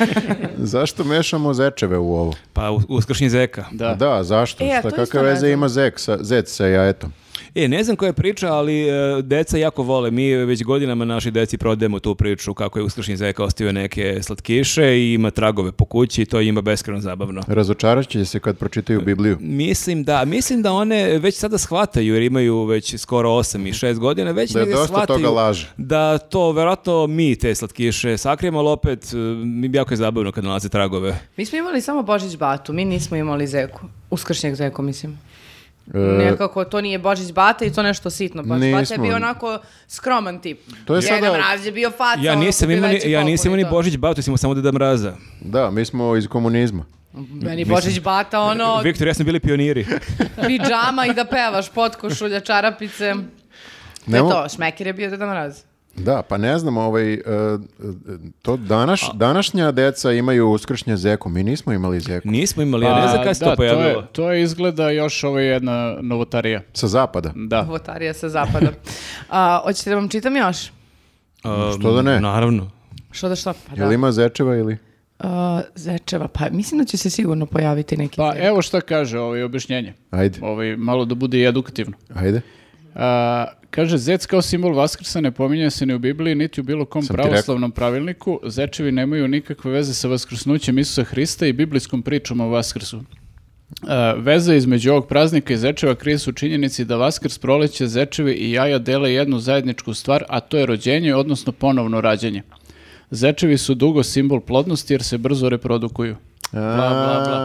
[SPEAKER 2] Zašto mešamo zečeve u ovo?
[SPEAKER 4] Pa u- uskršnji zeka.
[SPEAKER 3] Da.
[SPEAKER 2] Da, zašto?
[SPEAKER 1] E, a
[SPEAKER 2] Šta,
[SPEAKER 1] to isto
[SPEAKER 2] kakve
[SPEAKER 1] ne
[SPEAKER 2] veze
[SPEAKER 1] znam.
[SPEAKER 2] ima zek sa, zec sa jajetom?
[SPEAKER 4] E, ne znam koja je priča, ali e, deca jako vole. Mi već godinama naši deci prodajemo tu priču kako je uskršnji zeka ostavio neke slatkiše i ima tragove po kući i to je ima beskreno zabavno.
[SPEAKER 2] Razočarat će se kad pročitaju Bibliju.
[SPEAKER 4] Mislim da, mislim da one već sada shvataju jer imaju već skoro 8 i 6 godina, već
[SPEAKER 2] Da je
[SPEAKER 4] negde
[SPEAKER 2] dosta
[SPEAKER 4] shvataju
[SPEAKER 2] toga laže.
[SPEAKER 4] da to verovatno mi te slatkiše sakrijemo, ali opet e, mi jako je zabavno kad nalaze tragove.
[SPEAKER 1] Mi smo imali samo Božić Batu, mi nismo imali Zeku. Uskršnjeg Zeku, mislim.
[SPEAKER 2] E,
[SPEAKER 1] Nekako, to nije Božić Bata i to nešto sitno. Božić Bata je
[SPEAKER 2] Nismo.
[SPEAKER 1] bio onako skroman tip.
[SPEAKER 2] To je
[SPEAKER 1] Deda
[SPEAKER 2] sada-
[SPEAKER 1] Mraz je bio faca.
[SPEAKER 4] Ja
[SPEAKER 1] ono,
[SPEAKER 4] nisam
[SPEAKER 1] kupio
[SPEAKER 4] imao ni,
[SPEAKER 1] veći
[SPEAKER 4] ja
[SPEAKER 1] popun
[SPEAKER 4] nisam imao
[SPEAKER 1] i
[SPEAKER 4] ni
[SPEAKER 1] to.
[SPEAKER 4] Božić Batu, sam imao samo Deda Mraza.
[SPEAKER 2] da, mi smo iz komunizma.
[SPEAKER 1] Meni Božić Bata, ono,
[SPEAKER 4] Viktor, ja sam bili pioniri.
[SPEAKER 1] pidžama i da pevaš, potkošulja, čarapice. Ne
[SPEAKER 2] Nemo-
[SPEAKER 1] E to, šmekir je bio Deda Mraz.
[SPEAKER 2] Da, pa ne znam, ovaj, e, e, to današ, današnja deca imaju uskršnje zeku. Mi nismo imali zeku.
[SPEAKER 4] Nismo imali, ja ne znam
[SPEAKER 3] Pa,
[SPEAKER 4] kada se
[SPEAKER 3] da,
[SPEAKER 4] to pojavilo.
[SPEAKER 3] je, to je izgleda još ovo jedna novotarija.
[SPEAKER 2] Sa zapada.
[SPEAKER 3] Da.
[SPEAKER 1] Votarija sa zapada. A, hoćete da vam čitam još?
[SPEAKER 4] Um,
[SPEAKER 2] Pa, Što da ne?
[SPEAKER 4] Naravno.
[SPEAKER 1] Što da što? Pa da.
[SPEAKER 2] Jel ima zečeva ili...
[SPEAKER 1] A, zečeva, pa mislim da će se sigurno pojaviti neki.
[SPEAKER 3] Pa
[SPEAKER 1] zec.
[SPEAKER 3] evo šta kaže ovaj objašnjenje.
[SPEAKER 2] Ajde,
[SPEAKER 3] Ovaj, malo da bude i edukativno.
[SPEAKER 2] ajde.
[SPEAKER 3] A, kaže, zec kao simbol Vaskrsa ne pominje se ni u Bibliji, niti u bilo kom
[SPEAKER 2] Sam ti
[SPEAKER 3] pravoslavnom pravilniku. Zečevi nemaju nikakve veze sa Vaskrsnućem Isusa Hrista i biblijskom pričom o Vaskrsu. A, veza između ovog praznika i zečeva krije su u činjenici da Vaskrs, proleće, zečevi i jaja dele jednu zajedničku stvar, a to je rođenje, odnosno ponovno rađenje. Zečevi su dugo simbol plodnosti jer se brzo reprodukuju. Bla, bla, bla.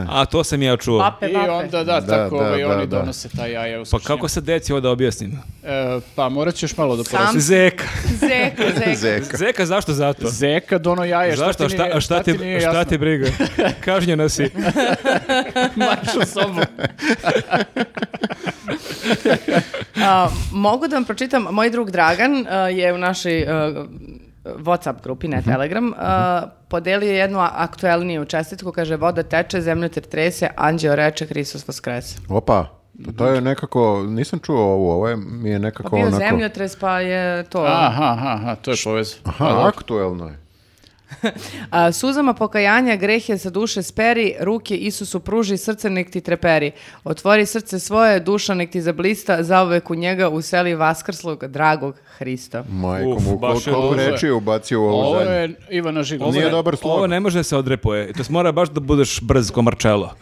[SPEAKER 2] A,
[SPEAKER 4] A to sam ja čuo.
[SPEAKER 1] Pape,
[SPEAKER 3] I
[SPEAKER 1] pape. <laughs>
[SPEAKER 3] onda, da,
[SPEAKER 2] Da,
[SPEAKER 3] tako
[SPEAKER 2] da,
[SPEAKER 3] ovaj,
[SPEAKER 2] da,
[SPEAKER 3] oni
[SPEAKER 2] da.
[SPEAKER 3] donose ta jaja u
[SPEAKER 4] Pa
[SPEAKER 3] skušnju.
[SPEAKER 4] kako se deci ovo da objasnim? Pa,
[SPEAKER 3] E, pa morat ćeš malo da
[SPEAKER 1] Sam-
[SPEAKER 3] pojasniš.
[SPEAKER 4] Zeka.
[SPEAKER 1] Zeka, zeka.
[SPEAKER 2] Zeka.
[SPEAKER 4] Zeka zašto zato?
[SPEAKER 3] Zeka dono ono jaje,
[SPEAKER 4] Zašto?
[SPEAKER 3] E, šta ti nije,
[SPEAKER 4] Šta, šta, ti,
[SPEAKER 3] ti nije
[SPEAKER 4] šta
[SPEAKER 3] jasno?
[SPEAKER 4] ti
[SPEAKER 3] <laughs>
[SPEAKER 4] briga? Kažnjena si.
[SPEAKER 3] Mačo sobu.
[SPEAKER 1] A, mogu da vam pročitam, moj drug Dragan a, je u našoj a, WhatsApp grupi, ne Telegram, uh, podelio je jednu a- aktuelniju čestitku, kaže voda teče, zemlja trese, anđeo reče, Hristos vaskrese.
[SPEAKER 2] Opa, pa
[SPEAKER 4] Mhm.
[SPEAKER 2] to je nekako, nisam čuo ovo, ovo je, mi je
[SPEAKER 1] Pa
[SPEAKER 2] nekako
[SPEAKER 1] bio
[SPEAKER 2] onako...
[SPEAKER 1] zemljotres, pa je to.
[SPEAKER 3] Aha, aha, aha, to je povez.
[SPEAKER 2] Aha, aktuelno je.
[SPEAKER 1] A, suzama pokajanja grehe sa duše speri, ruke Isusu pruži, srce nek ti treperi. Otvori srce svoje, duša nek ti zablista, zauvek u njega useli vaskrslog, dragog Hrista.
[SPEAKER 2] Majko
[SPEAKER 4] Uf,
[SPEAKER 2] mu,
[SPEAKER 4] baš
[SPEAKER 2] kol-
[SPEAKER 4] je
[SPEAKER 2] koliko
[SPEAKER 3] loše.
[SPEAKER 2] reči je ubacio u ovu
[SPEAKER 3] Ovo
[SPEAKER 2] zadnju.
[SPEAKER 3] je Ivana Žigman.
[SPEAKER 2] Ovo Nije
[SPEAKER 4] ne-
[SPEAKER 2] dobar slog.
[SPEAKER 4] Ovo ne može da se odrepuje. To mora baš da budeš brz
[SPEAKER 2] <laughs>
[SPEAKER 4] ko Marcello.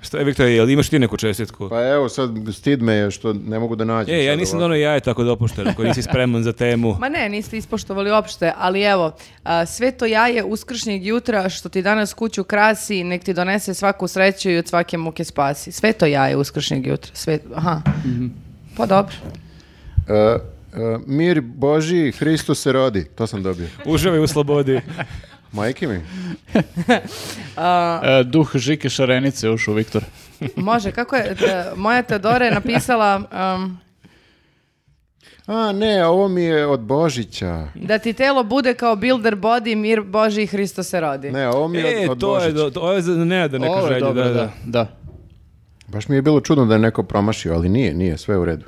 [SPEAKER 4] Šta je, Viktor, jel imaš ti neku čestitku?
[SPEAKER 2] Pa evo, sad stid me je što ne mogu da nađem.
[SPEAKER 4] E, ja
[SPEAKER 2] sad
[SPEAKER 4] nisam
[SPEAKER 2] ovako.
[SPEAKER 4] donao jaje tako dopušteno, koji nisi spreman za temu.
[SPEAKER 1] Ma ne, niste ispoštovali opšte, ali evo, a, sve to jaje uskršnjeg jutra što ti danas kuću krasi, nek ti donese svaku sreću i od svake muke spasi. Sve to jaje uskršnjeg jutra. Sve, aha. Pa dobro.
[SPEAKER 2] E, e, mir Boži, Hristos se rodi. To sam dobio.
[SPEAKER 4] Uživaj u
[SPEAKER 2] <laughs>
[SPEAKER 4] slobodi.
[SPEAKER 2] Majke mi.
[SPEAKER 3] E, duh Žike Šarenice je ušao, Viktor.
[SPEAKER 1] Može, kako je, e, moja Teodora je napisala... em,
[SPEAKER 2] A, ne, ovo mi je od Božića.
[SPEAKER 1] Da ti telo bude kao builder body, mir Boži i Hristo se rodi.
[SPEAKER 2] Ne, ovo mi je
[SPEAKER 4] E,
[SPEAKER 2] od, od
[SPEAKER 4] to
[SPEAKER 2] Božića.
[SPEAKER 4] je, do, to, ovo je za Nenada neka
[SPEAKER 3] Ovo je
[SPEAKER 4] želja,
[SPEAKER 3] dobro,
[SPEAKER 4] da, da.
[SPEAKER 3] da.
[SPEAKER 2] Baš mi je bilo čudno da je neko promašio, ali nije, nije, sve u redu.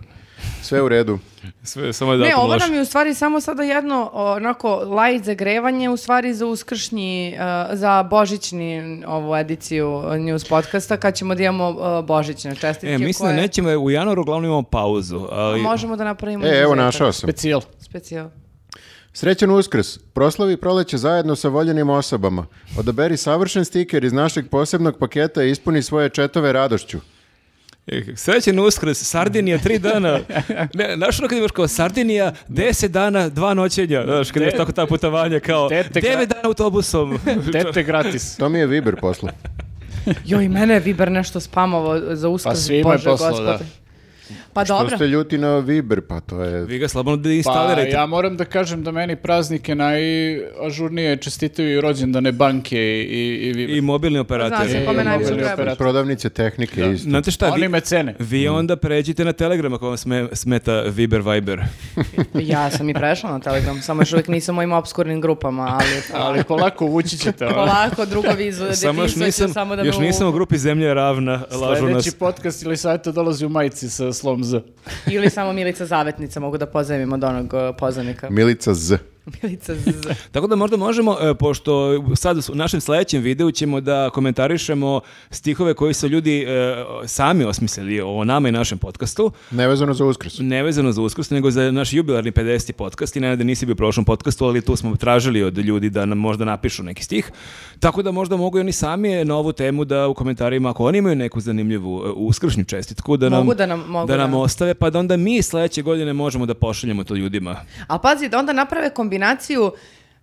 [SPEAKER 2] Sve u redu.
[SPEAKER 4] Sve, samo je
[SPEAKER 1] Ne,
[SPEAKER 4] datum
[SPEAKER 1] ovo
[SPEAKER 4] loš.
[SPEAKER 1] nam je u stvari samo sada jedno onako light zagrevanje, u stvari za uskršnji, eh, za božićni ovu ediciju eh, news podcasta, kad ćemo da imamo eh, božićne čestitke.
[SPEAKER 4] E, mislim da
[SPEAKER 1] koje-
[SPEAKER 4] nećemo, u januaru uglavnom imamo pauzu, ali...
[SPEAKER 1] Možemo da napravimo...
[SPEAKER 2] E, evo
[SPEAKER 1] izuzetak.
[SPEAKER 2] našao sam.
[SPEAKER 3] Specijal.
[SPEAKER 1] Specijal.
[SPEAKER 2] Srećan uskrs. Proslavi proleće zajedno sa voljenim osobama. Odaberi savršen stiker iz našeg posebnog paketa i ispuni svoje četove radošću.
[SPEAKER 4] E, Srećen uskrs, Sardinija
[SPEAKER 2] <laughs>
[SPEAKER 4] tri dana. Ne, znaš ono kad imaš kao Sardinija, deset dana, dva noćenja. Znaš, kad imaš tako ta putovanja kao
[SPEAKER 3] Tete gra-
[SPEAKER 4] devet dana
[SPEAKER 2] <laughs>
[SPEAKER 4] autobusom.
[SPEAKER 3] Tete gratis.
[SPEAKER 2] To mi je Viber poslao.
[SPEAKER 1] Joj, mene je Viber nešto spamovo za uskrs.
[SPEAKER 3] Pa svima je
[SPEAKER 1] Bože,
[SPEAKER 3] poslao,
[SPEAKER 1] gospode.
[SPEAKER 3] da.
[SPEAKER 1] Pa
[SPEAKER 2] To
[SPEAKER 1] dobro.
[SPEAKER 2] ste ljuti na Viber, pa to je...
[SPEAKER 4] Vi ga slobodno da
[SPEAKER 3] Pa
[SPEAKER 4] instalirajte.
[SPEAKER 3] ja moram da kažem da meni praznike najažurnije čestitaju i rođendane banke i, i, i Viber.
[SPEAKER 4] I mobilni
[SPEAKER 1] Zna
[SPEAKER 4] operator.
[SPEAKER 1] se
[SPEAKER 3] I
[SPEAKER 1] kome
[SPEAKER 3] mobilni
[SPEAKER 1] najviše
[SPEAKER 3] operator.
[SPEAKER 1] treba.
[SPEAKER 2] Prodavnice tehnike isto.
[SPEAKER 4] Znate šta,
[SPEAKER 3] Oni
[SPEAKER 4] vi,
[SPEAKER 3] me cene.
[SPEAKER 4] vi onda pređite na Telegram ako vam sme- smeta Viber Viber.
[SPEAKER 1] Ja sam i prešla na Telegram, samo još uvijek nisam u mojim obskurnim grupama,
[SPEAKER 4] <laughs>
[SPEAKER 1] ali...
[SPEAKER 3] Ali polako vući ćete. ono.
[SPEAKER 1] Polako, drugovi iz
[SPEAKER 4] Samo
[SPEAKER 1] definizat
[SPEAKER 4] još
[SPEAKER 1] će
[SPEAKER 4] nisam,
[SPEAKER 1] samo da me
[SPEAKER 4] još nisam u
[SPEAKER 1] uvuku.
[SPEAKER 4] grupi Zemlja je ravna, lažu nas.
[SPEAKER 3] Sljedeći podcast ili savjeta dolazi u majici sa slom Z.
[SPEAKER 1] Ili samo Milica Zavetnica, mogu da pozajmim od onog uh,
[SPEAKER 4] <laughs>
[SPEAKER 1] pozvanika.
[SPEAKER 2] Milica Z.
[SPEAKER 1] Milica Z.
[SPEAKER 4] Tako da možda možemo, e, pošto sad u našem sledećem videu ćemo da komentarišemo stihove koji su ljudi e, sami osmislili o nama i našem podcastu,
[SPEAKER 2] Nevezano za uskrs.
[SPEAKER 4] nevezano za uskrs, nego za naš jubilarni 50. podcast i da nisi bio u prošlom podcastu, ali tu smo tražili od ljudi da nam možda napišu neki stih. Tako da možda mogu i oni sami na ovu temu da u komentarima, ako oni imaju neku zanimljivu e, uskršnju čestitku, da nam,
[SPEAKER 1] Mogu da nam- mogu
[SPEAKER 4] da
[SPEAKER 1] da
[SPEAKER 4] nam
[SPEAKER 1] nam.
[SPEAKER 4] ostave, pa da onda mi sledeće godine možemo da pošaljemo to ljudima.
[SPEAKER 1] A pazi, da onda naprave kombinaciju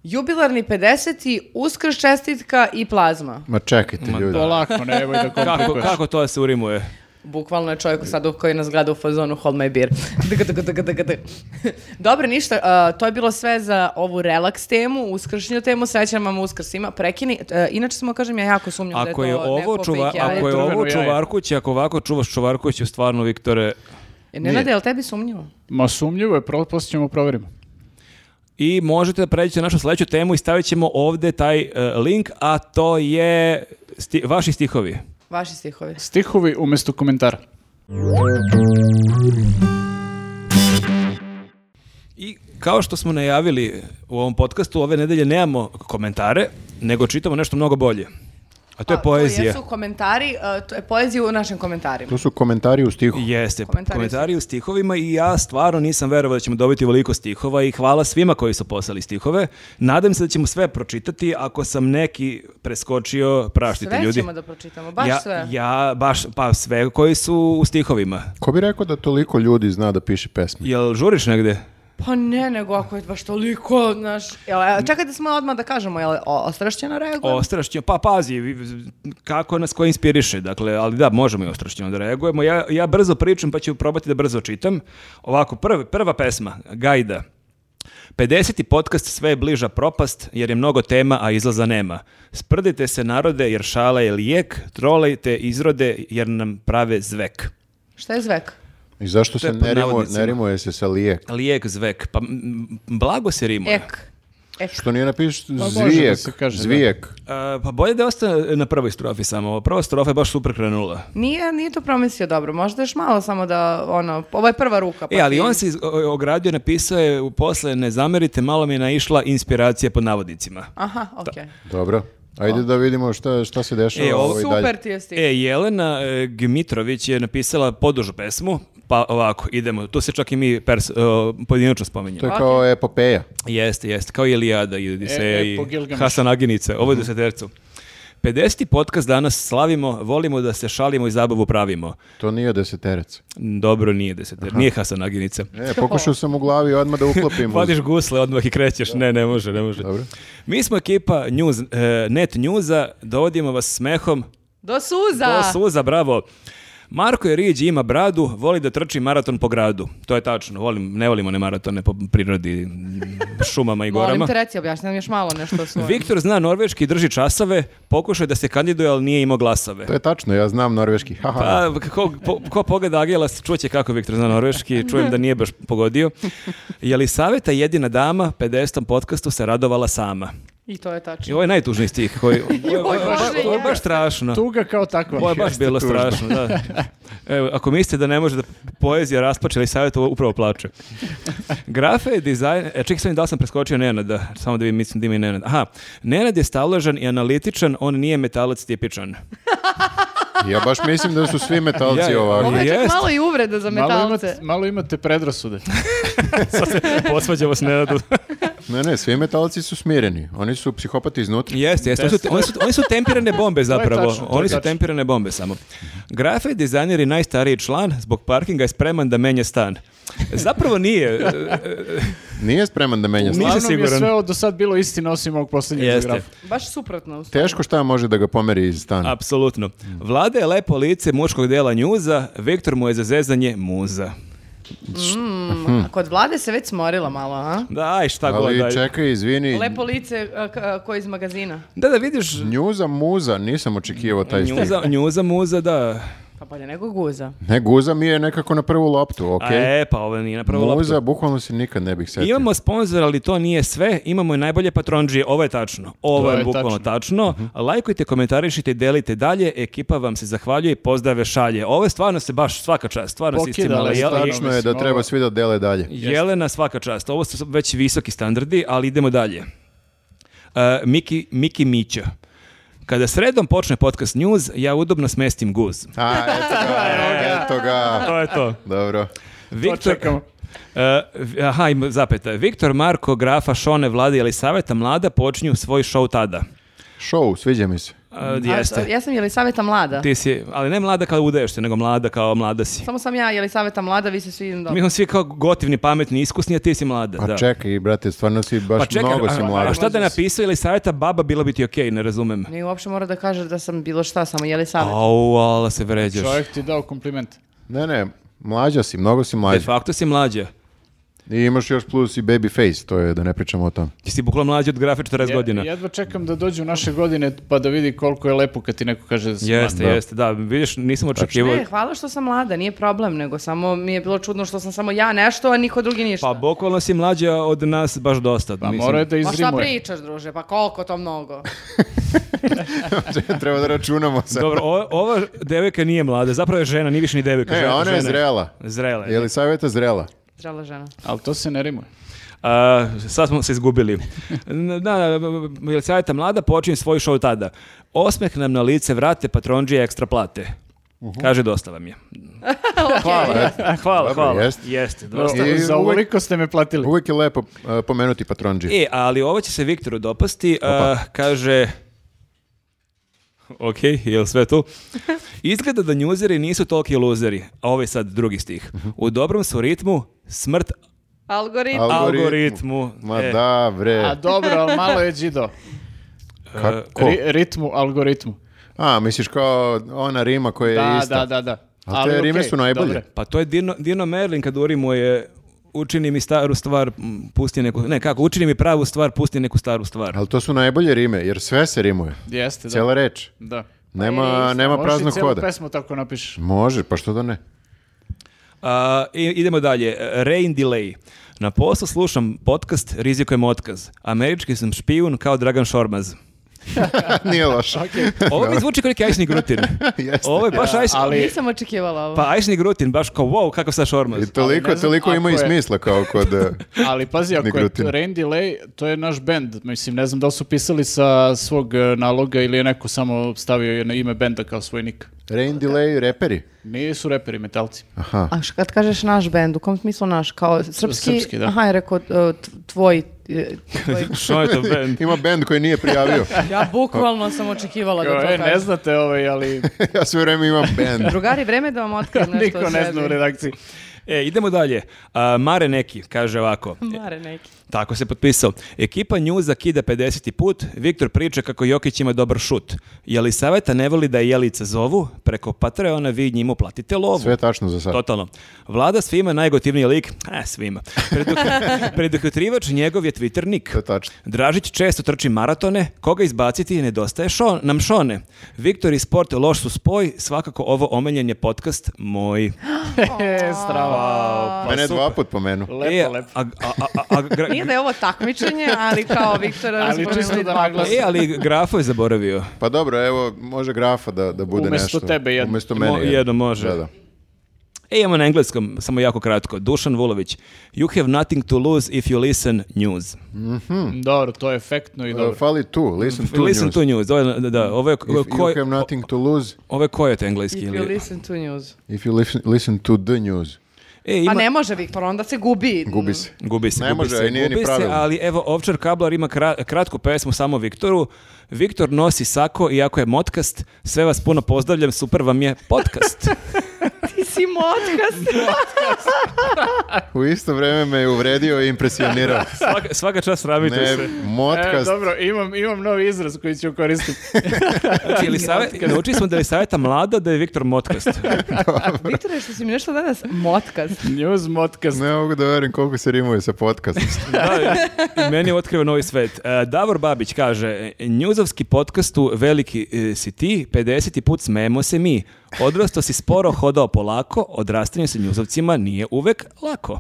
[SPEAKER 1] jubilarni 50. uskrs čestitka i plazma.
[SPEAKER 2] Ma čekajte, ljudi.
[SPEAKER 3] Polako, nemoj da
[SPEAKER 1] Pa
[SPEAKER 4] Kako,
[SPEAKER 3] komplikuješ.
[SPEAKER 4] kako to se urimuje?
[SPEAKER 1] Bukvalno je čovjek sad u koji nas gleda u fazonu Hold my beer. <laughs> Dg, dg, dg, dg, dg. <laughs> Dobro, ništa. uh, to je bilo sve za ovu relaks temu, uskršnju temu. Srećan vam uskrs ima. Prekini. Uh, inače samo kažem, ja jako sumnjam da je to
[SPEAKER 4] Ako je ovo
[SPEAKER 1] neko
[SPEAKER 4] čuva,
[SPEAKER 1] fake jaje.
[SPEAKER 4] ako je
[SPEAKER 3] Trveno
[SPEAKER 4] ovo
[SPEAKER 3] jaje.
[SPEAKER 4] čuvarkuće, ako ovako čuvaš čuvarkuće, stvarno Viktore.
[SPEAKER 1] E, Nenade, je li tebi sumnjivo?
[SPEAKER 3] Ma sumnjivo je, pro- posle ćemo provjerimo.
[SPEAKER 4] I možete da pređete na našu sledeću temu i stavit ćemo ovde taj e, link, a to je sti- vaši stihovi.
[SPEAKER 1] Vaši stihovi.
[SPEAKER 3] Stihovi umjesto komentara.
[SPEAKER 4] I kao što smo najavili u ovom podcastu, ove nedelje nemamo komentare, nego čitamo nešto mnogo bolje. A to je
[SPEAKER 1] A,
[SPEAKER 4] poezija.
[SPEAKER 1] To jesu komentari, uh, to je poezija u našim komentarima.
[SPEAKER 2] To su komentari u stihu.
[SPEAKER 4] Jeste,
[SPEAKER 1] Komentari u
[SPEAKER 4] komentari u stihovima i ja stvarno nisam verovao da ćemo dobiti ovoliko stihova i hvala svima koji su poslali stihove. Nadam se da ćemo sve pročitati, ako sam neki preskočio, praštite
[SPEAKER 1] Sve
[SPEAKER 4] ljudi.
[SPEAKER 1] ćemo da pročitamo, baš
[SPEAKER 4] ja,
[SPEAKER 1] sve.
[SPEAKER 4] Ja, baš, pa sve koji su u stihovima.
[SPEAKER 2] Ko bi rekao da toliko ljudi zna da piše pesme?
[SPEAKER 4] Jel žuriš negde?
[SPEAKER 1] Pa ne, nego ako je baš toliko, znaš... Jel, e, čekaj da smo odmah da kažemo, jel o- ostrašćeno reagujemo?
[SPEAKER 4] Ostrašćeno, pa pazi, vi- kako nas ko inspiriše, dakle, ali da, možemo i ostrašćeno da reagujemo. Ja, ja brzo pričam, pa ću probati da brzo čitam. Ovako, prv, prva pesma, Gajda. 50. podcast sve je bliža propast, jer je mnogo tema, a izlaza nema. Sprdite se narode, jer šala je lijek, trolejte izrode, jer nam prave zvek.
[SPEAKER 1] Šta je zvek?
[SPEAKER 2] I zašto se
[SPEAKER 4] je pod
[SPEAKER 2] ne, rimu,
[SPEAKER 4] navodnicima.
[SPEAKER 2] ne rimuje se sa lijek?
[SPEAKER 4] Lijek zvek, pa m, blago se rimuje. E,
[SPEAKER 1] Ek. Ek.
[SPEAKER 2] Što nije napiš
[SPEAKER 3] može da
[SPEAKER 2] zvijek,
[SPEAKER 3] se kaže, da.
[SPEAKER 2] zvijek.
[SPEAKER 4] A, pa bolje da ostane na prvoj strofi samo. Prva strofa je baš super krenula.
[SPEAKER 1] Nije, nije to promislio dobro, možda još malo samo da, ono, ovo je prva ruka. Pa
[SPEAKER 4] E, ali
[SPEAKER 1] ti-
[SPEAKER 4] on se iz- o- ogradio, napisao je u posle, ne zamerite, malo mi je naišla inspiracija pod navodnicima.
[SPEAKER 1] Aha, okej.
[SPEAKER 2] Dobro. Ajde da vidimo šta, šta se dešava
[SPEAKER 4] E, ovo-
[SPEAKER 2] ovo i dalje.
[SPEAKER 1] Super ti je stigao.
[SPEAKER 4] E, Jelena e, Gmitrović je napisala podužu pesmu, pa ovako, idemo. Tu se čak i mi pers, e, pojedinačno
[SPEAKER 2] To
[SPEAKER 4] spominjemo.
[SPEAKER 2] je kao epopeja.
[SPEAKER 4] Jeste, jeste, kao i Ilijada i Odiseja
[SPEAKER 3] E, e,
[SPEAKER 4] i
[SPEAKER 3] po Gilgameshu.
[SPEAKER 4] Hasan Aginice, ovo je desetercu. 50. podcast danas slavimo, volimo da se šalimo i zabavu pravimo.
[SPEAKER 2] To nije deseterac.
[SPEAKER 4] Dobro, nije deseter, nije Hasan Aginica.
[SPEAKER 2] E, pokušao sam u glavi odmah da uklopim. uz-
[SPEAKER 4] <laughs> Vadiš gusle odmah i krećeš. Ne, ne može, ne može.
[SPEAKER 2] Dobro.
[SPEAKER 4] Mi smo ekipa news, e, Net Newsa, dovodimo vas smehom.
[SPEAKER 1] Do suza!
[SPEAKER 4] Do suza, bravo. Marko je riđi, ima bradu, voli da trči maraton po gradu. To je tačno, volim, ne volimo ne maratone po prirodi, šumama i
[SPEAKER 1] Molim
[SPEAKER 4] gorama.
[SPEAKER 1] te reci, objašnjam još malo nešto o svojem.
[SPEAKER 4] Viktor zna norveški i drži časove, pokušao je da se kandiduje, ali nije imao glasove.
[SPEAKER 2] To je tačno, ja znam norveški. Haha.
[SPEAKER 4] Pa, ko, po- ko pogleda Agelas, čuće kako Viktor zna norveški, čujem da nije baš pogodio. Je li saveta jedina dama 50. podcastu se radovala sama?
[SPEAKER 1] I to je
[SPEAKER 4] I
[SPEAKER 1] tačno.
[SPEAKER 4] ovo je najtužniji stih koji...
[SPEAKER 1] Joj,
[SPEAKER 4] ovo je baš-
[SPEAKER 1] Bože,
[SPEAKER 4] ovo je
[SPEAKER 1] ja.
[SPEAKER 4] baš strašno.
[SPEAKER 3] Tuga kao takva.
[SPEAKER 4] Ovo je baš bilo strašno, da. Evo, ako mislite da ne može da poezija rasplače ili savjet, ovo upravo plače. Grafe je dizajn... E, čekaj, sam da li sam preskočio Nenada, samo da vi mislim da ima i Nenad. Aha, Nenad je staložan i analitičan, on nije metalac tipičan.
[SPEAKER 2] Ja baš mislim da su svi
[SPEAKER 4] Ja,
[SPEAKER 2] metalci
[SPEAKER 4] ja,
[SPEAKER 2] ovakvi.
[SPEAKER 1] Ovo je čak
[SPEAKER 4] jest.
[SPEAKER 1] malo i uvreda za
[SPEAKER 3] Malo
[SPEAKER 1] metalce.
[SPEAKER 3] imate, malo imate predrasude.
[SPEAKER 4] Sad se posvađamo s Nenadom.
[SPEAKER 2] Ne, ne, svi metalci su smireni. Oni su psihopati iznutra.
[SPEAKER 4] Jeste, jeste. Oni su, oni, su, oni su tempirane bombe zapravo.
[SPEAKER 3] tačno, <laughs> to je
[SPEAKER 4] oni su
[SPEAKER 3] tačno.
[SPEAKER 4] tempirane bombe samo. Grafe dizajner i najstariji član, zbog parkinga je spreman da menja stan. Zapravo
[SPEAKER 3] <laughs>
[SPEAKER 4] nije. e, e,
[SPEAKER 2] Nije spreman da menja stan.
[SPEAKER 4] Nisam
[SPEAKER 3] Uglavnom je
[SPEAKER 4] siguran.
[SPEAKER 3] sve ovo do sad bilo istina osim ovog posljednjeg za
[SPEAKER 4] Jeste.
[SPEAKER 3] grafu.
[SPEAKER 1] Baš suprotno. u stvari.
[SPEAKER 2] Teško šta može da ga pomeri iz stana.
[SPEAKER 4] Apsolutno. Vlada je lepo lice muškog dela njuza, Viktor mu je za zezanje muza. Hmm.
[SPEAKER 1] A Pa Kod vlade se već smorila malo, a?
[SPEAKER 4] Da, aj šta god.
[SPEAKER 2] Ali
[SPEAKER 4] aj.
[SPEAKER 2] čekaj, izvini.
[SPEAKER 1] Lepo lice a, k- a, ko iz magazina.
[SPEAKER 4] Da, da vidiš,
[SPEAKER 2] Njuza muza, nisam očekivao taj stih.
[SPEAKER 4] njuza, njuza muza, da.
[SPEAKER 1] Pa bolje nego guza.
[SPEAKER 2] Ne, guza mi je nekako na prvu loptu, ok?
[SPEAKER 4] A E, pa ovo nije napravo
[SPEAKER 2] Muza,
[SPEAKER 4] loptu.
[SPEAKER 2] bukvalno se nikad ne bih setio.
[SPEAKER 4] Imamo sponzor, ali to nije sve. Imamo i najbolje patronđije. Ovo je tačno. Ovo
[SPEAKER 3] To
[SPEAKER 4] je,
[SPEAKER 3] je
[SPEAKER 4] bukvalno tačno. Lajkujte, komentarišite, delite dalje. Ekipa vam se zahvaljuje i pozdrave šalje. Ovo je stvarno se baš svaka čast. Stvarno se
[SPEAKER 3] Pokidale,
[SPEAKER 4] istimala. Jel-
[SPEAKER 3] stvarno.
[SPEAKER 2] Tačno je da
[SPEAKER 3] Mislim,
[SPEAKER 2] treba
[SPEAKER 3] ovo-
[SPEAKER 2] svi da dele dalje.
[SPEAKER 4] Jelena, svaka čast. Ovo su već visoki standardi, ali idemo dalje. Uh, Miki, Miki Mićo. Kada sredom počne podcast news, ja udobno smestim guz.
[SPEAKER 2] A, eto ga, eto ga.
[SPEAKER 4] To je to.
[SPEAKER 2] Dobro.
[SPEAKER 3] To
[SPEAKER 4] Viktor,
[SPEAKER 3] čekamo.
[SPEAKER 4] E, v- aha, ima zapeta. Viktor, Marko, Grafa, Šone, Vlada ili Saveta Mlada počinju svoj show tada.
[SPEAKER 2] Show, sviđa mi se.
[SPEAKER 4] E,
[SPEAKER 1] Mm, A,
[SPEAKER 4] jeste.
[SPEAKER 1] ja sam Jelisaveta mlada.
[SPEAKER 4] Ti si, ali ne mlada kao udaješ se, nego mlada kao mlada si.
[SPEAKER 1] Samo sam ja Jelisaveta mlada, vi se svi idem
[SPEAKER 4] Mi
[SPEAKER 1] dobro.
[SPEAKER 4] smo svi kao gotivni, pametni, iskusni, a ti si mlada.
[SPEAKER 2] Pa
[SPEAKER 4] da.
[SPEAKER 2] čekaj, brate, stvarno si baš
[SPEAKER 4] Pa čekaj,
[SPEAKER 2] mnogo
[SPEAKER 4] a-
[SPEAKER 2] si
[SPEAKER 4] a-
[SPEAKER 2] mlada.
[SPEAKER 4] A šta da je napisao ili saveta baba, bilo bi ti okej, ne razumem.
[SPEAKER 1] Nije uopšte mora da kaže da sam bilo šta, samo Jelisaveta.
[SPEAKER 4] Au, ala se vređaš.
[SPEAKER 3] Čovjek ti dao kompliment.
[SPEAKER 2] Ne, ne, mlađa si, mnogo si
[SPEAKER 4] De
[SPEAKER 2] mlađa.
[SPEAKER 4] facto si mlađa.
[SPEAKER 2] I imaš još plus i baby face, to je da ne pričamo o
[SPEAKER 4] <laughs>
[SPEAKER 2] tom.
[SPEAKER 4] Ti si bukla mlađa od grafe 40
[SPEAKER 3] Je-
[SPEAKER 4] godina.
[SPEAKER 3] jedva čekam da dođu naše godine pa da vidi koliko je lepo kad ti neko kaže da si
[SPEAKER 4] Jeste,
[SPEAKER 2] Da.
[SPEAKER 4] jeste, da. Vidiš, nisam očekivao.
[SPEAKER 1] Ne, hvala što sam mlada, nije problem, nego samo mi je bilo čudno što sam samo ja nešto, a niko drugi ništa.
[SPEAKER 4] Pa bukvalno si mlađa od nas baš dosta.
[SPEAKER 3] Pa
[SPEAKER 4] mislim.
[SPEAKER 3] morao je da
[SPEAKER 1] Ma šta
[SPEAKER 3] izrimuje.
[SPEAKER 1] pričaš, druže, pa koliko to
[SPEAKER 4] <laughs>
[SPEAKER 1] mnogo?
[SPEAKER 2] Treba da računamo <laughs> sad.
[SPEAKER 4] Dobro, o- ova devojka nije mlada, zapravo je žena, nije više ni devojka.
[SPEAKER 2] E,
[SPEAKER 4] žena,
[SPEAKER 2] ona je
[SPEAKER 4] žena
[SPEAKER 2] zrela.
[SPEAKER 4] Zrela je.
[SPEAKER 2] Je li savjeta zrela?
[SPEAKER 1] Zrela žena.
[SPEAKER 3] Ali to se ne rimuje.
[SPEAKER 4] A, sad smo se izgubili. Na- Da, Jelisaveta mlada, počinje svoj show tada. Osmeh nam na lice vrate, patronđije ekstra plate. Kaže, dosta vam je.
[SPEAKER 1] <laughs>
[SPEAKER 2] Hvala.
[SPEAKER 4] A, E, hvala,
[SPEAKER 2] Dobro,
[SPEAKER 4] hvala.
[SPEAKER 2] jeste.
[SPEAKER 4] Jeste, dosta.
[SPEAKER 2] I
[SPEAKER 3] Za
[SPEAKER 2] uvek-
[SPEAKER 3] ovoliko ste me platili.
[SPEAKER 2] Uvijek je lepo e, pomenuti patronđi.
[SPEAKER 4] E, ali ovo će se Viktoru dopasti. a, kaže... Ok, jel sve tu? Izgleda da njuzeri nisu toliki luzeri. A ovo je sad drugi stih. U dobrom su ritmu, smrt
[SPEAKER 1] Algoritm.
[SPEAKER 2] Al- Algoritmu.
[SPEAKER 4] algoritmu.
[SPEAKER 2] Ma
[SPEAKER 4] E,
[SPEAKER 2] da, bre.
[SPEAKER 3] A dobro, ali malo je džido.
[SPEAKER 4] E,
[SPEAKER 2] Kako?
[SPEAKER 3] Ri- ritmu, algoritmu.
[SPEAKER 2] A, misliš kao ona rima koja je
[SPEAKER 3] Da,
[SPEAKER 2] ista.
[SPEAKER 3] da, da, da.
[SPEAKER 2] E, A te rime
[SPEAKER 3] okej,
[SPEAKER 2] su najbolje.
[SPEAKER 3] dobre.
[SPEAKER 4] Pa to je Dino, Dino Merlin kad urimo je učini mi staru stvar, m, pusti neku, ne kako, učini mi pravu stvar, pusti neku staru stvar.
[SPEAKER 2] Ali to su najbolje rime, jer sve se rimuje.
[SPEAKER 3] Jeste, da.
[SPEAKER 2] Cijela reč.
[SPEAKER 3] Da.
[SPEAKER 2] Nema, nema
[SPEAKER 3] Možeš i
[SPEAKER 2] praznog
[SPEAKER 3] cijelu
[SPEAKER 2] hoda.
[SPEAKER 3] <laughs> pesmu tako napišeš.
[SPEAKER 2] Može, pa što da ne?
[SPEAKER 4] A, i- idemo dalje. Rain delay. Na poslu slušam podcast Rizikujem otkaz. Američki sam špijun kao Dragan
[SPEAKER 2] <laughs>
[SPEAKER 4] Šormaz.
[SPEAKER 2] Nije loše.
[SPEAKER 4] Ovo mi zvuči kao neki ajsni grutin.
[SPEAKER 2] <laughs> Jeste.
[SPEAKER 4] Ovo je baš ajsni...
[SPEAKER 3] ali
[SPEAKER 1] Nisam očekivala ovo.
[SPEAKER 4] Pa ajsni grutin, baš kao wow, kakav sa Šormaz.
[SPEAKER 2] I toliko,
[SPEAKER 3] ne znam
[SPEAKER 2] toliko ima i
[SPEAKER 3] ako je-
[SPEAKER 2] smisla kao kod... eh,
[SPEAKER 3] Ali pazi, ako je
[SPEAKER 2] Negrutin.
[SPEAKER 3] Rain Delay, to je naš bend. Mislim, ne znam da li su pisali sa svog eh, naloga ili je neko samo stavio na ime benda kao svoj nik.
[SPEAKER 2] <laughs> Rain delay reperi.
[SPEAKER 3] Nisu reperi metalci.
[SPEAKER 2] Aha.
[SPEAKER 1] A š- kad kažeš naš bend, u kom smislu naš? Kao srpski?
[SPEAKER 3] srpski, da.
[SPEAKER 1] Aha, je rekao e, tv- tvoj... e, tvoj-
[SPEAKER 4] Što je to
[SPEAKER 2] <laughs>
[SPEAKER 4] band?
[SPEAKER 2] Ima band koji nije prijavio.
[SPEAKER 1] <laughs>
[SPEAKER 2] <laughs>
[SPEAKER 1] ja bukvalno sam očekivala Pa da
[SPEAKER 3] Kao,
[SPEAKER 1] to
[SPEAKER 3] e, ne
[SPEAKER 1] kažeš.
[SPEAKER 3] znate ovaj,
[SPEAKER 1] <laughs>
[SPEAKER 3] ali
[SPEAKER 2] ja sve vreme imam band.
[SPEAKER 1] Drugari, vreme da vam
[SPEAKER 3] <laughs>
[SPEAKER 1] otkrijem nešto
[SPEAKER 3] niko
[SPEAKER 1] o
[SPEAKER 3] ne
[SPEAKER 1] sebi.
[SPEAKER 3] zna u redakciji.
[SPEAKER 4] E, idemo dalje. A, Mare neki kaže ovako.
[SPEAKER 1] Mare neki.
[SPEAKER 4] Tako se potpisao. Ekipa Njuza kida 50. put, Viktor priča kako Jokić ima dobar šut. Jelisaveta ne voli da je Jelica zovu, preko Patreona vi njima platite lovu.
[SPEAKER 2] Sve je tačno za sad.
[SPEAKER 4] Totalno. Vlada svima najgotivniji lik, a svima. Preduk- Preduhitrivač njegov je Twitter nick.
[SPEAKER 2] To je tačno.
[SPEAKER 4] Dražić često trči maratone, koga izbaciti nedostaje šo, nam šone. Viktor i sport loš su spoj, svakako ovo omenjen je podcast moj.
[SPEAKER 3] E, strava.
[SPEAKER 4] Pa
[SPEAKER 3] pa
[SPEAKER 2] Mene je dva put pomenu.
[SPEAKER 3] Lepo,
[SPEAKER 4] E,
[SPEAKER 3] lepo.
[SPEAKER 4] a- a- a- a- a gra-
[SPEAKER 1] Nije da je ovo takmičenje, ali kao Viktora
[SPEAKER 3] Ali
[SPEAKER 1] spomenuli
[SPEAKER 3] čisto da
[SPEAKER 1] dva
[SPEAKER 3] naglasim.
[SPEAKER 4] E, ali grafo je zaboravio.
[SPEAKER 2] Pa dobro, evo, može grafa da, da bude
[SPEAKER 3] Umesto
[SPEAKER 2] nešto.
[SPEAKER 3] tebe jedno.
[SPEAKER 2] Umesto
[SPEAKER 4] Mo-
[SPEAKER 2] mene
[SPEAKER 4] jedno može.
[SPEAKER 2] Da, da.
[SPEAKER 4] E, imamo na engleskom, samo jako kratko. Dušan Vulović. You have nothing to lose if you listen news.
[SPEAKER 3] Mm, Dobro, to je efektno i
[SPEAKER 2] Uh,
[SPEAKER 3] dobro.
[SPEAKER 2] Fali tu, listen tu
[SPEAKER 4] listen
[SPEAKER 2] news.
[SPEAKER 4] to news. Ovo je, da, da, ovo je,
[SPEAKER 2] If
[SPEAKER 4] ko-
[SPEAKER 2] you have nothing to lose,
[SPEAKER 4] ovo je kojot engleski.
[SPEAKER 1] If
[SPEAKER 4] ili-
[SPEAKER 1] you listen to news.
[SPEAKER 2] if you listen, listen to the news.
[SPEAKER 4] E,
[SPEAKER 1] Pa
[SPEAKER 4] ima,
[SPEAKER 1] ne može, Viktor, onda se gubi.
[SPEAKER 2] Gubi se.
[SPEAKER 4] Gubi se,
[SPEAKER 2] Ne
[SPEAKER 4] gubi
[SPEAKER 2] može,
[SPEAKER 4] se,
[SPEAKER 2] i nije ni
[SPEAKER 4] gubi se,
[SPEAKER 2] pravilno.
[SPEAKER 4] ali evo Ovčar Kablar ima kra- kratku pesmu samo Viktoru. Viktor nosi sako, iako je motkast. Sve vas puno pozdravljam, super vam je
[SPEAKER 2] <laughs>
[SPEAKER 4] podcast.
[SPEAKER 1] <laughs> Ti si motkast.
[SPEAKER 4] <laughs> Mm.
[SPEAKER 2] U isto vreme me je uvredio i impresionirao.
[SPEAKER 4] <laughs> svaka, svaka čast sramite
[SPEAKER 2] ne,
[SPEAKER 4] se.
[SPEAKER 3] E,
[SPEAKER 2] motkast.
[SPEAKER 3] dobro, imam, imam novi izraz koji ću
[SPEAKER 2] <laughs>
[SPEAKER 3] koristiti.
[SPEAKER 4] Znači, Elisave- naučili smo da je savjeta mlada da je Viktor motkast.
[SPEAKER 2] <laughs>
[SPEAKER 1] Viktore, što si mi nešto danas motkast.
[SPEAKER 3] News Modcast.
[SPEAKER 2] Ne mogu da verujem koliko se rimuje sa podcastom.
[SPEAKER 4] Da, i meni je otkriva novi svet. E, Davor Babić kaže, njuzovski podcast u veliki e, si ti, 50. put smemo se mi. Odrasto si sporo, hodao polako, odrastanje sa njuzovcima nije uvek lako.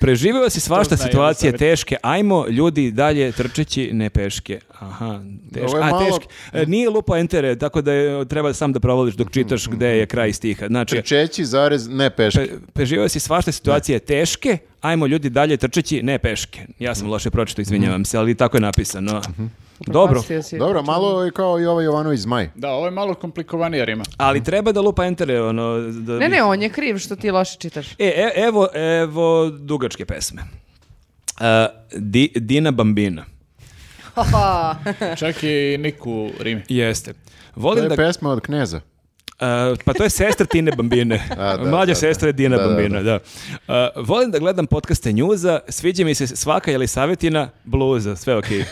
[SPEAKER 4] Preživio si svašta
[SPEAKER 3] To zna
[SPEAKER 4] situacije
[SPEAKER 3] jedan savjet.
[SPEAKER 4] teške, ajmo ljudi dalje trčeći ne peške. Aha, teške.
[SPEAKER 2] Ovo je
[SPEAKER 4] A,
[SPEAKER 2] malo-
[SPEAKER 4] teške. E, Nije lupa entere, tako da je, treba sam da provališ dok
[SPEAKER 2] Mm,
[SPEAKER 4] čitaš gde je kraj stiha. Znači,
[SPEAKER 2] Čeći zarez ne peške.
[SPEAKER 4] Pe, preživao si svašta situacije teške, ajmo ljudi dalje trčeći, ne peške. Ja
[SPEAKER 2] Mhm.
[SPEAKER 4] sam loše pročito, izvinjavam se, ali tako je napisano. Dobro,
[SPEAKER 1] Upropastio si.
[SPEAKER 2] Dobro, malo je kao i ovaj Jovanović Zmaj.
[SPEAKER 3] Da, ovo je malo komplikovanija rima.
[SPEAKER 4] ali treba da lupa entere, ono... Da...
[SPEAKER 1] Ne, ne, on je kriv što ti loše čitaš.
[SPEAKER 4] E, e- evo, evo dugačke pesme. E, Di- Dina Bambina.
[SPEAKER 3] Čak i Niku rimi.
[SPEAKER 4] Jeste.
[SPEAKER 2] To
[SPEAKER 4] Volim
[SPEAKER 2] je
[SPEAKER 4] da...
[SPEAKER 2] pesma od kneza.
[SPEAKER 4] E, pa to je sestra Tine Bambine.
[SPEAKER 2] <laughs> A, da,
[SPEAKER 4] Mlađa
[SPEAKER 2] da,
[SPEAKER 4] sestra je Dina
[SPEAKER 2] da. Da, da,
[SPEAKER 4] Bambina, da. E, volim da gledam podcaste njuza, sviđa mi se svaka je li savjetina bluza, sve
[SPEAKER 2] <laughs>
[SPEAKER 4] okej.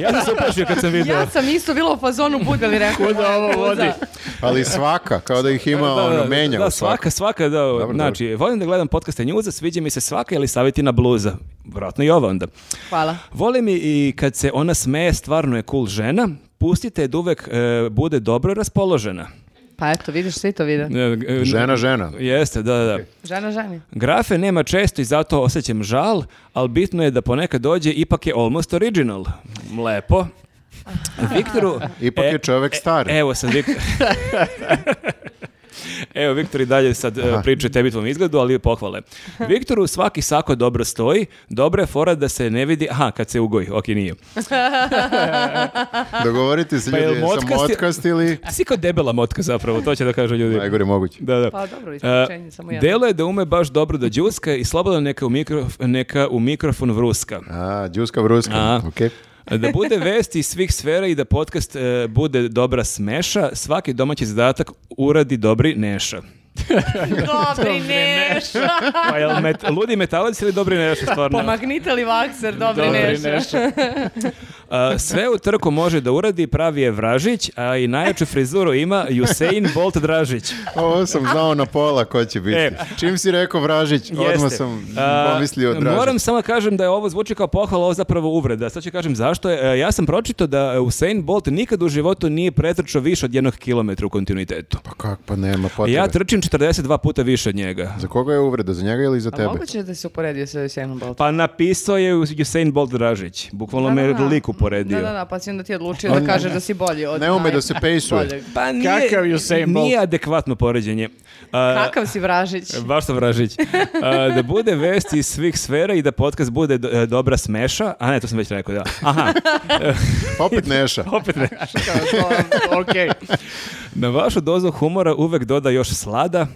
[SPEAKER 4] Ja sam se uplašio kad sam vidio.
[SPEAKER 1] Ja sam isto bila u fazonu bude li rekao.
[SPEAKER 3] Kuda
[SPEAKER 1] moja
[SPEAKER 3] ovo
[SPEAKER 1] bluza.
[SPEAKER 3] vodi?
[SPEAKER 4] <laughs>
[SPEAKER 2] Ali svaka, kao da ih ima, ono, menja
[SPEAKER 4] da,
[SPEAKER 2] u svaka.
[SPEAKER 4] svaka, svaka, da, znači, volim da gledam podcaste njuza, sviđa mi se svaka ili savjetina bluza, vjerojatno i ova onda.
[SPEAKER 1] Hvala.
[SPEAKER 4] Volim i, i kad se ona smeje, stvarno je cool žena, pustite je da uvek e, bude dobro raspoložena.
[SPEAKER 1] Pa eto, vidiš, svi to vide.
[SPEAKER 4] E, e,
[SPEAKER 2] Žena, žena.
[SPEAKER 4] Jeste, da, da, da.
[SPEAKER 1] Žena ženi.
[SPEAKER 4] Grafe nema često i zato osjećam žal, ali bitno je da ponekad dođe, ipak je almost original. Lepo. Viktoru...
[SPEAKER 2] Ipak
[SPEAKER 4] e,
[SPEAKER 2] je čovek star.
[SPEAKER 4] Evo sad Viktor. Evo Viktor i dalje sad e, priča o tebi i tvom izgledu, ali pohvale. Viktoru svaki sako dobro stoji, dobra je fora da se ne vidi, aha, kad se ugoji, ok, nije.
[SPEAKER 2] <laughs> Dogovoriti se
[SPEAKER 4] Pa jel
[SPEAKER 2] ljudi, sam
[SPEAKER 4] motkast je-
[SPEAKER 2] motkast ili...
[SPEAKER 4] Ti Si kao debela motka zapravo, to će da kažu ljudi.
[SPEAKER 2] Najgore moguće.
[SPEAKER 4] Da, da.
[SPEAKER 1] Pa dobro, isključenje,
[SPEAKER 4] E,
[SPEAKER 1] samo ja.
[SPEAKER 4] Delo je da ume baš dobro da đuska i slobodno neka u, mikrof- neka u mikrofon vruska.
[SPEAKER 2] A, Đuska Vruska,
[SPEAKER 4] A.
[SPEAKER 2] okej.
[SPEAKER 4] Da bude vesti iz svih sfera i da podcast e, bude dobra smeša, svaki domaći zadatak uradi dobri neša.
[SPEAKER 1] Dobri neš.
[SPEAKER 4] Pa jel met- ludi metalac ili dobri neša
[SPEAKER 1] <laughs>
[SPEAKER 4] stvarno?
[SPEAKER 1] Pomagnite li vakser, dobri,
[SPEAKER 3] Dobri
[SPEAKER 1] neš.
[SPEAKER 3] nešto.
[SPEAKER 4] A, sve u trku može da uradi, pravi je Vražić, a i najjaču frizuru ima Usain Bolt Dražić.
[SPEAKER 2] Ovo sam znao na pola ko će biti.
[SPEAKER 4] E.
[SPEAKER 2] Čim si rekao Vražić, odmah
[SPEAKER 4] Jeste.
[SPEAKER 2] sam
[SPEAKER 4] A,
[SPEAKER 2] pomislio Dražić.
[SPEAKER 4] Moram samo kažem da je ovo zvuči kao pohvala, ovo zapravo uvreda. Sad ću kažem zašto. je. E, ja sam pročitao da Usain Bolt nikad u životu nije pretrčao više od jednog kilometra u kontinuitetu.
[SPEAKER 2] Pa kak, pa nema potrebe.
[SPEAKER 4] Ja trčim 42 puta više od njega.
[SPEAKER 2] Za koga je uvreda, za njega ili za
[SPEAKER 1] A
[SPEAKER 2] tebe?
[SPEAKER 1] moguće da se uporedio sa Usainom Boltom?
[SPEAKER 4] Pa napisao je Usain Bolt Dražić. Bukvalno me lik uporedio.
[SPEAKER 1] Da, da, da, pa si onda ti odlučio da kažeš da si bolji od
[SPEAKER 2] Ne ume
[SPEAKER 1] naj-
[SPEAKER 2] da se pejsuje.
[SPEAKER 1] boljeg.
[SPEAKER 4] Pa nije,
[SPEAKER 3] Kakav Usain Bolt?
[SPEAKER 4] Nije adekvatno poređenje. A,
[SPEAKER 1] <laughs> Kakav si vražić?
[SPEAKER 4] E, Baš
[SPEAKER 5] <laughs>
[SPEAKER 4] sam Vražić. A, da bude vest iz svih sfera i da podcast bude do- e, dobra smeša. A ne, to sam već rekao, da. Aha,
[SPEAKER 2] Opet Neša.
[SPEAKER 4] <laughs> opet ne.
[SPEAKER 3] Okej.
[SPEAKER 4] Na vašu dozu humora uvek doda još slada.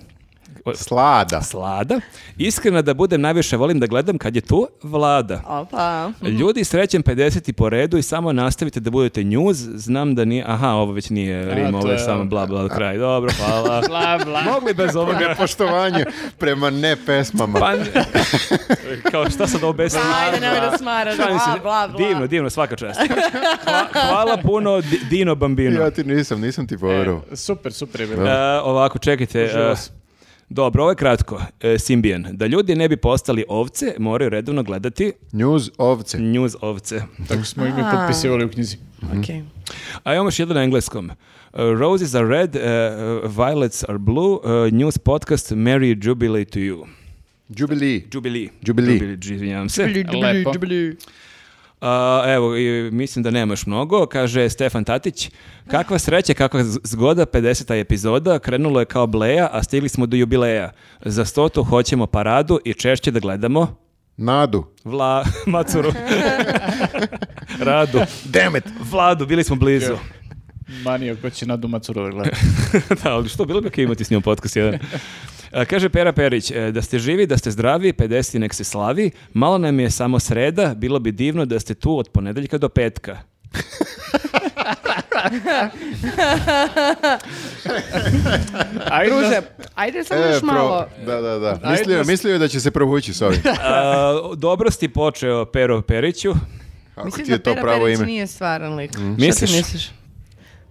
[SPEAKER 4] O,
[SPEAKER 2] Slada.
[SPEAKER 4] Slada. Iskrena da budem, najviše volim da gledam kad je tu vlada.
[SPEAKER 5] Opa.
[SPEAKER 4] Ljudi, srećem 50 po redu i samo nastavite da budete njuz. Znam da nije... Aha, ovo već nije rim,
[SPEAKER 3] to
[SPEAKER 4] ovo je
[SPEAKER 3] je
[SPEAKER 4] samo
[SPEAKER 3] ovo.
[SPEAKER 4] bla bla kraj. Dobro, hvala.
[SPEAKER 3] Bla, bla.
[SPEAKER 4] Mogli bez ovoga...
[SPEAKER 2] <laughs> Nepoštovanje prema ne pesmama.
[SPEAKER 4] <laughs> Pa, kao šta sad obesim?
[SPEAKER 5] Ajde, nemoj da smaraš.
[SPEAKER 4] Šalim se.
[SPEAKER 5] Bla, bla, bla.
[SPEAKER 4] Divno, divno, svaka čast. Hva- hvala puno, Di- Dino Bambino.
[SPEAKER 2] Ja ti nisam, nisam ti poverovao.
[SPEAKER 3] Super, super je bilo.
[SPEAKER 4] E, ovako, čekajte. e,
[SPEAKER 3] Uživo sam.
[SPEAKER 4] dobro, ovo je kratko. E, Symbian. Da ljudi ne bi postali ovce, moraju redovno gledati
[SPEAKER 2] News ovce.
[SPEAKER 4] news ovce.
[SPEAKER 3] Tako smo i mi potpisivali u knjizi.
[SPEAKER 1] Okej.
[SPEAKER 4] A imamo još jedan na engleskom. E, Roses are red, e, violets are blue, e, news podcast, Merry Jubilee to you.
[SPEAKER 2] Jubilee.
[SPEAKER 4] Jubilee.
[SPEAKER 2] Jubilee.
[SPEAKER 4] izvinjavam se.
[SPEAKER 3] Lepo.
[SPEAKER 4] A, evo, i mislim da nemaš mnogo, kaže Stefan Tatić. Kakva sreća, kakva z- zgoda, 50. epizoda, krenulo je kao bleja, a stigli smo do jubileja. Za stotu hoćemo paradu i češće da gledamo
[SPEAKER 2] Nadu.
[SPEAKER 4] Vla... <laughs> Macuru. Radu.
[SPEAKER 2] Damn it.
[SPEAKER 4] Vladu, bili smo blizu.
[SPEAKER 3] Manio ko će nadumat surove gledati.
[SPEAKER 4] <laughs> da, ali što, bilo bi okej imati s njom podcast jedan. A, Kaže Pera Perić, e, da ste živi, da ste zdravi, 50 nek se slavi, malo nam je samo sreda, bilo bi divno da ste tu od ponedeljka do petka.
[SPEAKER 3] Ajde,
[SPEAKER 1] Druže,
[SPEAKER 3] da-
[SPEAKER 1] ajde samo
[SPEAKER 2] E,
[SPEAKER 1] još malo.
[SPEAKER 2] Da, da, da. Mislio, je-
[SPEAKER 3] da s-
[SPEAKER 2] mislio je da će se provući s
[SPEAKER 3] <laughs>
[SPEAKER 2] ovim.
[SPEAKER 4] A, dobro si počeo, Pero Periću.
[SPEAKER 2] Kako
[SPEAKER 1] Mislim
[SPEAKER 2] ti je
[SPEAKER 1] da
[SPEAKER 2] to
[SPEAKER 1] Pera
[SPEAKER 2] pravo
[SPEAKER 1] Perić
[SPEAKER 2] ime?
[SPEAKER 1] nije stvaran lik. Šta ti
[SPEAKER 4] Misliš?
[SPEAKER 1] misliš?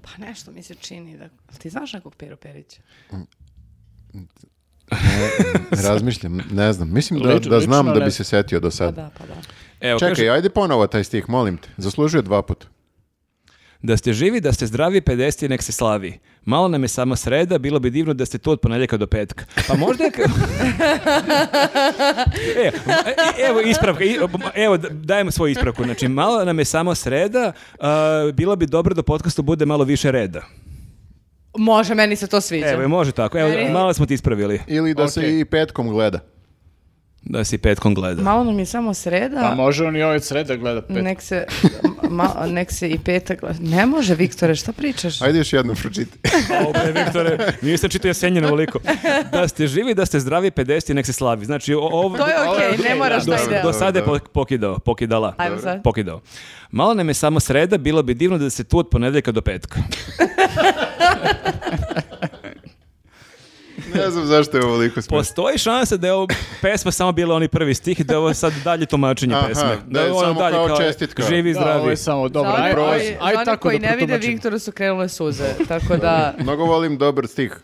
[SPEAKER 1] Pa nešto mi se čini da... Ali Ti znaš nekog Peru Perića?
[SPEAKER 2] Razmišljam, ne znam. Mislim da,
[SPEAKER 3] Lično-
[SPEAKER 2] da znam
[SPEAKER 3] lično
[SPEAKER 2] da
[SPEAKER 3] ne
[SPEAKER 2] bi
[SPEAKER 3] znam.
[SPEAKER 2] se setio do
[SPEAKER 1] Pa
[SPEAKER 2] sad.
[SPEAKER 1] da, pa da.
[SPEAKER 4] Evo,
[SPEAKER 2] Čekaj,
[SPEAKER 4] kaže,
[SPEAKER 2] ajde ponovo taj stih, molim te. Zaslužuje dva puta.
[SPEAKER 4] da ste živi, da ste zdravi, 50 nek se slavi. Malo nam je samo sreda, bilo bi divno da ste tu od ponedjeljka do petka. Pa možda je... ka- <laughs> e, evo ispravka, i- evo da- dajemo svoju ispravku. Znači, malo nam je samo sreda, a, bilo bi dobro da u podcastu bude malo više reda.
[SPEAKER 1] Može, meni se to sviđa.
[SPEAKER 4] Evo, može tako, evo,
[SPEAKER 1] Meni-
[SPEAKER 4] malo smo ti ispravili
[SPEAKER 2] Ili da se
[SPEAKER 3] Okej.
[SPEAKER 2] i petkom gleda.
[SPEAKER 4] da si petkom gleda.
[SPEAKER 1] Malo nam je samo sreda.
[SPEAKER 3] Pa može on i ovaj sreda gleda pet.
[SPEAKER 1] Nek se, ma, nek se i petak... Ne može, Viktore, šta pričaš?
[SPEAKER 2] Ajde još jednom pročiti. <laughs>
[SPEAKER 4] Obe, Viktore, nisam čitao Jesenjina ovoliko. Da ste živi, da ste zdravi, 50 nek se slavi. Znači, o- ovo...
[SPEAKER 1] To je okej,
[SPEAKER 3] okej,
[SPEAKER 1] ne
[SPEAKER 3] da,
[SPEAKER 1] moraš
[SPEAKER 4] Do,
[SPEAKER 1] taj
[SPEAKER 2] Dobro,
[SPEAKER 1] deo.
[SPEAKER 4] do sada je
[SPEAKER 2] dobro.
[SPEAKER 4] pok- pokidao, pokidala.
[SPEAKER 1] Ajmo sad.
[SPEAKER 4] Pokidao. Malo nam je samo sreda, bilo bi divno da se tu od ponedeljka do petka.
[SPEAKER 2] Ne znam zašto je ovoliko smiješno.
[SPEAKER 4] Postoji šansa da je ovo pesma samo bila oni prvi stih i da je ovo sad dalje tumačenje
[SPEAKER 2] Aha,
[SPEAKER 4] pesme.
[SPEAKER 2] da je
[SPEAKER 4] ono
[SPEAKER 2] samo kao čestitka.
[SPEAKER 4] Živi,
[SPEAKER 3] Da, ovo
[SPEAKER 4] zdravi.
[SPEAKER 3] je samo dobro.
[SPEAKER 1] Za one
[SPEAKER 3] Aj,
[SPEAKER 1] koji,
[SPEAKER 3] aj, aj
[SPEAKER 1] za one
[SPEAKER 3] tako
[SPEAKER 1] koji
[SPEAKER 3] da
[SPEAKER 1] ne vide
[SPEAKER 3] protumačim.
[SPEAKER 1] Viktoru su krenule suze, tako da...
[SPEAKER 2] Mnogo volim dobar stih.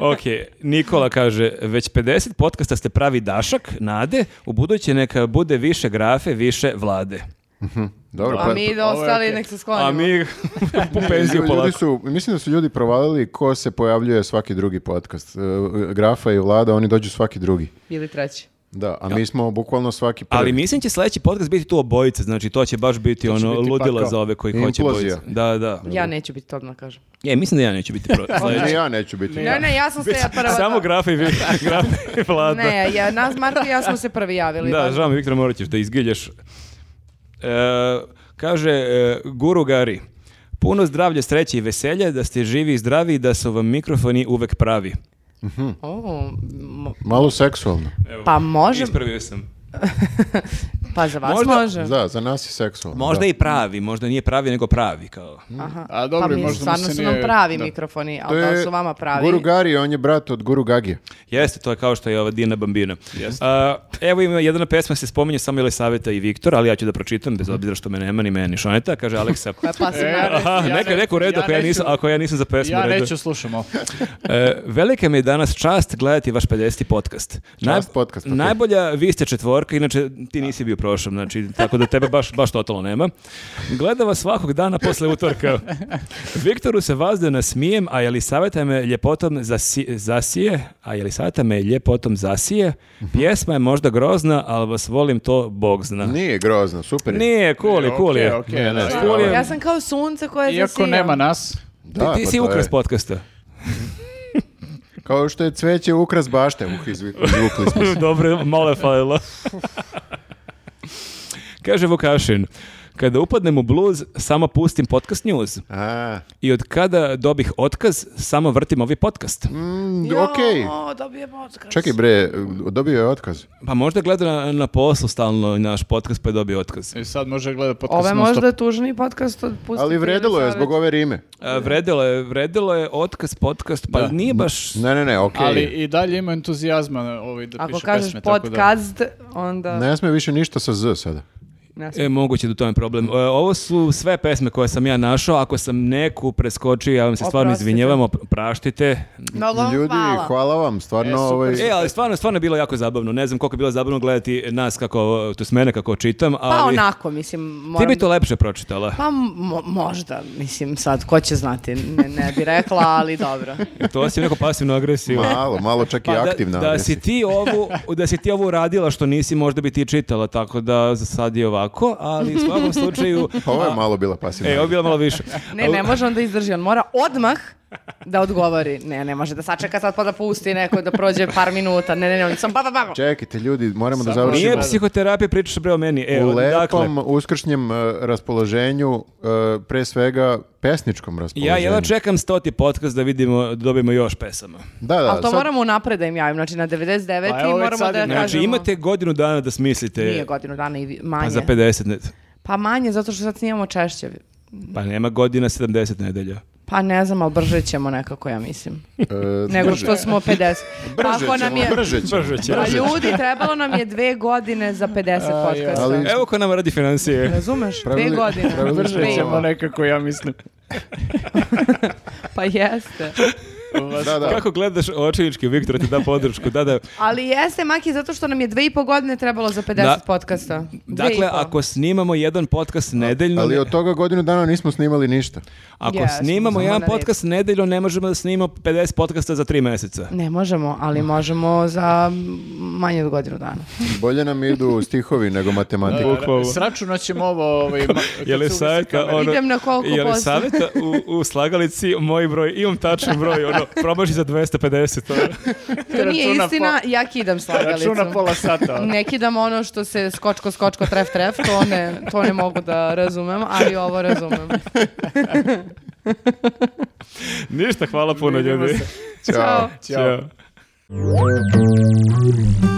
[SPEAKER 4] ok, Nikola kaže, već 50 podcasta ste pravi dašak, nade, u buduće neka bude više grafe, više vlade.
[SPEAKER 2] Dobro,
[SPEAKER 1] A
[SPEAKER 2] pa-
[SPEAKER 1] mi da
[SPEAKER 3] ovo je
[SPEAKER 1] ostali
[SPEAKER 3] okej.
[SPEAKER 1] nek se sklonimo.
[SPEAKER 4] A <laughs> mi po penziju
[SPEAKER 2] Ljudi
[SPEAKER 4] polako.
[SPEAKER 2] su, mislim da su ljudi provalili ko se pojavljuje svaki drugi podcast. E, Grafa i Vlada, oni dođu svaki drugi.
[SPEAKER 1] Ili treći.
[SPEAKER 2] Da, a mi smo bukvalno svaki prvi.
[SPEAKER 4] Ali mislim će sledeći podcast biti tu obojica, znači to će baš biti ono
[SPEAKER 3] biti
[SPEAKER 4] ludila
[SPEAKER 3] pakao.
[SPEAKER 4] za ove koji hoće
[SPEAKER 2] Implozija.
[SPEAKER 4] bojice. Da, da.
[SPEAKER 1] Ja neću biti odmah, kažem.
[SPEAKER 4] Ja mislim da ja neću biti pro...
[SPEAKER 2] <laughs> Pa Ni
[SPEAKER 4] sledeći.
[SPEAKER 2] ja neću biti.
[SPEAKER 1] Znači- Ne, ne, ja sam se ja prva...
[SPEAKER 4] Samo grafa i, vi- grafa i vlada.
[SPEAKER 1] Ne, ja, nas, Marko i ja smo se prvi javili.
[SPEAKER 4] da, žao mi, Viktor, morat ćeš da izgilješ. E, kaže e, Guru Gari, puno zdravlja, sreće i veselja, da ste živi i zdravi i da su vam mikrofoni uvek pravi.
[SPEAKER 1] O, mo- <laughs>
[SPEAKER 2] Malo seksualno.
[SPEAKER 1] pa može,
[SPEAKER 4] Ispravio sam.
[SPEAKER 1] pa za vas
[SPEAKER 4] Možda-
[SPEAKER 1] može.
[SPEAKER 2] Da, za nas je seksualno.
[SPEAKER 4] Možda
[SPEAKER 2] da.
[SPEAKER 4] i pravi, možda nije pravi, nego pravi. Kao.
[SPEAKER 1] Aha.
[SPEAKER 3] A dobro,
[SPEAKER 1] pa mi
[SPEAKER 3] možda mu
[SPEAKER 1] stvarno
[SPEAKER 3] se
[SPEAKER 1] su nam
[SPEAKER 3] nije-
[SPEAKER 1] pravi
[SPEAKER 3] da.
[SPEAKER 1] mikrofoni,
[SPEAKER 2] To
[SPEAKER 1] ali da li
[SPEAKER 2] je
[SPEAKER 1] su vama pravi.
[SPEAKER 2] Guru Gari, on je brat od Guru Gagije.
[SPEAKER 4] Jeste, to je kao što je ova Dina Bambina. A, evo ima jedna pesma, se spominje samo Elisaveta i Viktor, ali ja ću da pročitam, bez obzira što me nema ni mene, ni Šoneta, kaže Aleksa.
[SPEAKER 1] Koja je pasivna.
[SPEAKER 3] E,
[SPEAKER 4] Aha,
[SPEAKER 3] Ja
[SPEAKER 4] neko je
[SPEAKER 3] ne-
[SPEAKER 4] rekao u redu
[SPEAKER 3] ja
[SPEAKER 4] ako ja,
[SPEAKER 3] neću-
[SPEAKER 4] nisam, ako ja nisam za pesmu
[SPEAKER 3] Ja
[SPEAKER 4] u redu.
[SPEAKER 3] neću slušam ovo.
[SPEAKER 4] E, velika mi je danas čast gledati vaš 50. podcast.
[SPEAKER 2] podcast, pa ok.
[SPEAKER 4] Najbolja, vi ste četvorka, inače ti nisi bio prošlom, znači, tako da tebe baš, baš totalno nema. Gleda vas svakog dana posle utorka. Viktoru se vazde nasmijem, a Jelisaveta me ljepotom zasi- zasije, a Jelisaveta me ljepotom zasije.
[SPEAKER 2] Mhm.
[SPEAKER 4] Pjesma je možda grozna, ali vas volim, to Bog zna.
[SPEAKER 2] Nije grozno, super je.
[SPEAKER 4] Nije, cool je, cool je.
[SPEAKER 3] Okej, okej,
[SPEAKER 2] Ne, ne,
[SPEAKER 3] da,
[SPEAKER 2] stvarno.
[SPEAKER 3] da, da.
[SPEAKER 1] Ja sam kao sunce koje
[SPEAKER 3] Iako
[SPEAKER 1] zasijam.
[SPEAKER 3] nema nas,
[SPEAKER 4] Ti,
[SPEAKER 2] Da,
[SPEAKER 4] ti
[SPEAKER 2] pa
[SPEAKER 4] si
[SPEAKER 2] to je
[SPEAKER 4] ukras podcasta.
[SPEAKER 2] Kao što je cveće ukras bašte. Uh, izvu- izvukli
[SPEAKER 4] <laughs>
[SPEAKER 2] smo se.
[SPEAKER 4] Dobro, malo je falilo. Kaže Vukašin, kada upadnem u bluz, samo pustim podcast news.
[SPEAKER 2] A,
[SPEAKER 4] I od kada dobih otkaz, samo vrtim ovi podcast.
[SPEAKER 2] mm,
[SPEAKER 1] Jo,
[SPEAKER 2] okej.
[SPEAKER 1] dobijem otkaz.
[SPEAKER 2] Čekaj bre, dobio je otkaz.
[SPEAKER 4] Pa možda gleda na, na poslu stalno naš podcast pa je dobio otkaz.
[SPEAKER 3] i e, sad može gleda podcast
[SPEAKER 1] Ovo je
[SPEAKER 3] non stop.
[SPEAKER 1] možda tužni podcast od Pusti
[SPEAKER 2] Ali vredilo je zbog ove rime.
[SPEAKER 4] A, E, Vredilo je, vredilo je otkaz podcast, pa
[SPEAKER 3] Da.
[SPEAKER 4] nije baš...
[SPEAKER 2] Ne, ne, ne, okej.
[SPEAKER 3] Ali i dalje ima entuzijazma na ovaj da
[SPEAKER 1] Ako
[SPEAKER 3] piše
[SPEAKER 1] kažeš
[SPEAKER 3] pesme, tako da-
[SPEAKER 1] podcast, onda...
[SPEAKER 2] Ne sme više ništa sa Z sada.
[SPEAKER 1] Ne
[SPEAKER 4] E, moguće da u tome je problem. E, Ovo su sve pesme koje sam ja našao. Ako sam neku preskočio, ja vam se stvarno
[SPEAKER 1] Oprostite.
[SPEAKER 4] izvinjavam, opr- praštite.
[SPEAKER 1] Pa
[SPEAKER 5] Mnogo vam
[SPEAKER 2] Ljudi,
[SPEAKER 5] hvala.
[SPEAKER 2] hvala vam, stvarno
[SPEAKER 3] E, super.
[SPEAKER 2] ovaj...
[SPEAKER 4] E, ali stvarno, stvarno je bilo jako zabavno. Ne znam koliko je bilo zabavno gledati nas kako, to s mene kako čitam,
[SPEAKER 1] Pa
[SPEAKER 4] ali
[SPEAKER 1] onako, mislim,
[SPEAKER 4] ti
[SPEAKER 1] moram...
[SPEAKER 4] bi to lepše pročitala.
[SPEAKER 1] Pa mo- možda, mislim, sad, ko će znati, ne, ne bi rekla, ali dobro.
[SPEAKER 4] To si neko pasivno agresivno.
[SPEAKER 2] Malo, malo čak i
[SPEAKER 4] Pa
[SPEAKER 2] aktivna.
[SPEAKER 4] da, da
[SPEAKER 2] agresija.
[SPEAKER 4] si ti ovu, da si ti ovu radila što nisi, možda bi ti čitala, tako da za sad je ovako, ali u svakom slučaju...
[SPEAKER 2] <laughs> Pa Ovo je
[SPEAKER 4] a-
[SPEAKER 2] malo bila pasivna.
[SPEAKER 4] E, ovo je bilo malo više.
[SPEAKER 1] Ne, ne može on da izdrži, on mora odmah da odgovori. Ne, ne može da sačeka sad pa da pusti neko da prođe par minuta. Ne, ne, ne, on sam ba, ba, ba.
[SPEAKER 2] Čekajte, ljudi, moramo da
[SPEAKER 3] Samo
[SPEAKER 2] završimo.
[SPEAKER 4] Nije psihoterapija, pričaš bre o meni. E,
[SPEAKER 2] u
[SPEAKER 4] dakle,
[SPEAKER 2] lepom uskršnjem e, raspoloženju, e, pre svega pesničkom
[SPEAKER 4] ja
[SPEAKER 2] raspoloženju.
[SPEAKER 4] jedva čekam stoti podcast da vidimo, da dobijemo još pesama.
[SPEAKER 2] Da, da,
[SPEAKER 1] Ali to
[SPEAKER 2] sad-
[SPEAKER 1] moramo napred da im javim, znači na 99
[SPEAKER 3] Pa
[SPEAKER 1] i
[SPEAKER 3] evo već
[SPEAKER 1] moramo
[SPEAKER 3] sad
[SPEAKER 1] da
[SPEAKER 3] je-
[SPEAKER 1] kažemo...
[SPEAKER 4] Znači, imate godinu dana da smislite...
[SPEAKER 1] Nije godinu dana i vi- manje.
[SPEAKER 4] Pa za 50 ne.
[SPEAKER 1] Pa manje, zato što sad snimamo češće.
[SPEAKER 4] Pa nema godina 70 nedelja.
[SPEAKER 1] Pa ne znam, ali brže ćemo nekako, ja mislim.
[SPEAKER 2] e,
[SPEAKER 1] Nego
[SPEAKER 2] brže.
[SPEAKER 1] što smo 50. Pa
[SPEAKER 2] <laughs> Brže
[SPEAKER 1] ako nam
[SPEAKER 2] ćemo,
[SPEAKER 1] je...
[SPEAKER 2] brže ćemo.
[SPEAKER 1] Pa ljudi, trebalo nam je dve godine za 50 podcasta.
[SPEAKER 2] Ali-
[SPEAKER 4] Evo ko nam radi financije.
[SPEAKER 1] Razumeš?
[SPEAKER 2] Pravili-
[SPEAKER 1] dve godine.
[SPEAKER 2] pravili
[SPEAKER 1] brže
[SPEAKER 2] smo-
[SPEAKER 1] i
[SPEAKER 3] Ćemo
[SPEAKER 1] pol.
[SPEAKER 3] nekako, ja mislim.
[SPEAKER 1] Pa jeste.
[SPEAKER 2] Da, da.
[SPEAKER 4] Kako gledaš očinički, Viktor ti da podršku. Da, da.
[SPEAKER 1] Ali jeste, Maki, zato što nam je dve i po godine trebalo za 50
[SPEAKER 4] Da.
[SPEAKER 1] podcasta. Dve i
[SPEAKER 4] Dakle,
[SPEAKER 1] po.
[SPEAKER 4] ako snimamo jedan podcast nedeljno,
[SPEAKER 2] Ali od toga godinu dana nismo snimali ništa.
[SPEAKER 4] ako
[SPEAKER 1] Jesmo,
[SPEAKER 4] snimamo
[SPEAKER 1] samo
[SPEAKER 4] jedan
[SPEAKER 1] na red.
[SPEAKER 4] podcast nedeljno, ne možemo da snimamo 50 podcasta za 3 meseca.
[SPEAKER 1] Ne možemo, ali možemo za manje od godinu dana.
[SPEAKER 2] Bolje nam idu stihovi nego matematika.
[SPEAKER 4] Bukvalno.
[SPEAKER 3] E, Sračunat ćemo ovo... Ovaj, ma- kad
[SPEAKER 4] Je li
[SPEAKER 3] se ugasi
[SPEAKER 4] savjeta,
[SPEAKER 3] kamera.
[SPEAKER 4] ono,
[SPEAKER 1] Idem na koliko
[SPEAKER 4] je li
[SPEAKER 1] posto?
[SPEAKER 4] savjeta u,
[SPEAKER 1] <laughs>
[SPEAKER 4] u slagalici moj broj, imam tačan broj, ono, promaši za
[SPEAKER 1] <laughs>
[SPEAKER 4] 250. ono.
[SPEAKER 1] To nije
[SPEAKER 3] Računa
[SPEAKER 1] istina, ja kidam slagalicu.
[SPEAKER 3] Računa pola sata. ono.
[SPEAKER 1] Ne kidam ono što se skočko, skočko, tref, tref, to ne, to ne mogu da razumem, ali ovo razumem.
[SPEAKER 4] Ništa, hvala puno ljudi.
[SPEAKER 1] Ćao.
[SPEAKER 3] Ćao.
[SPEAKER 4] Ćao.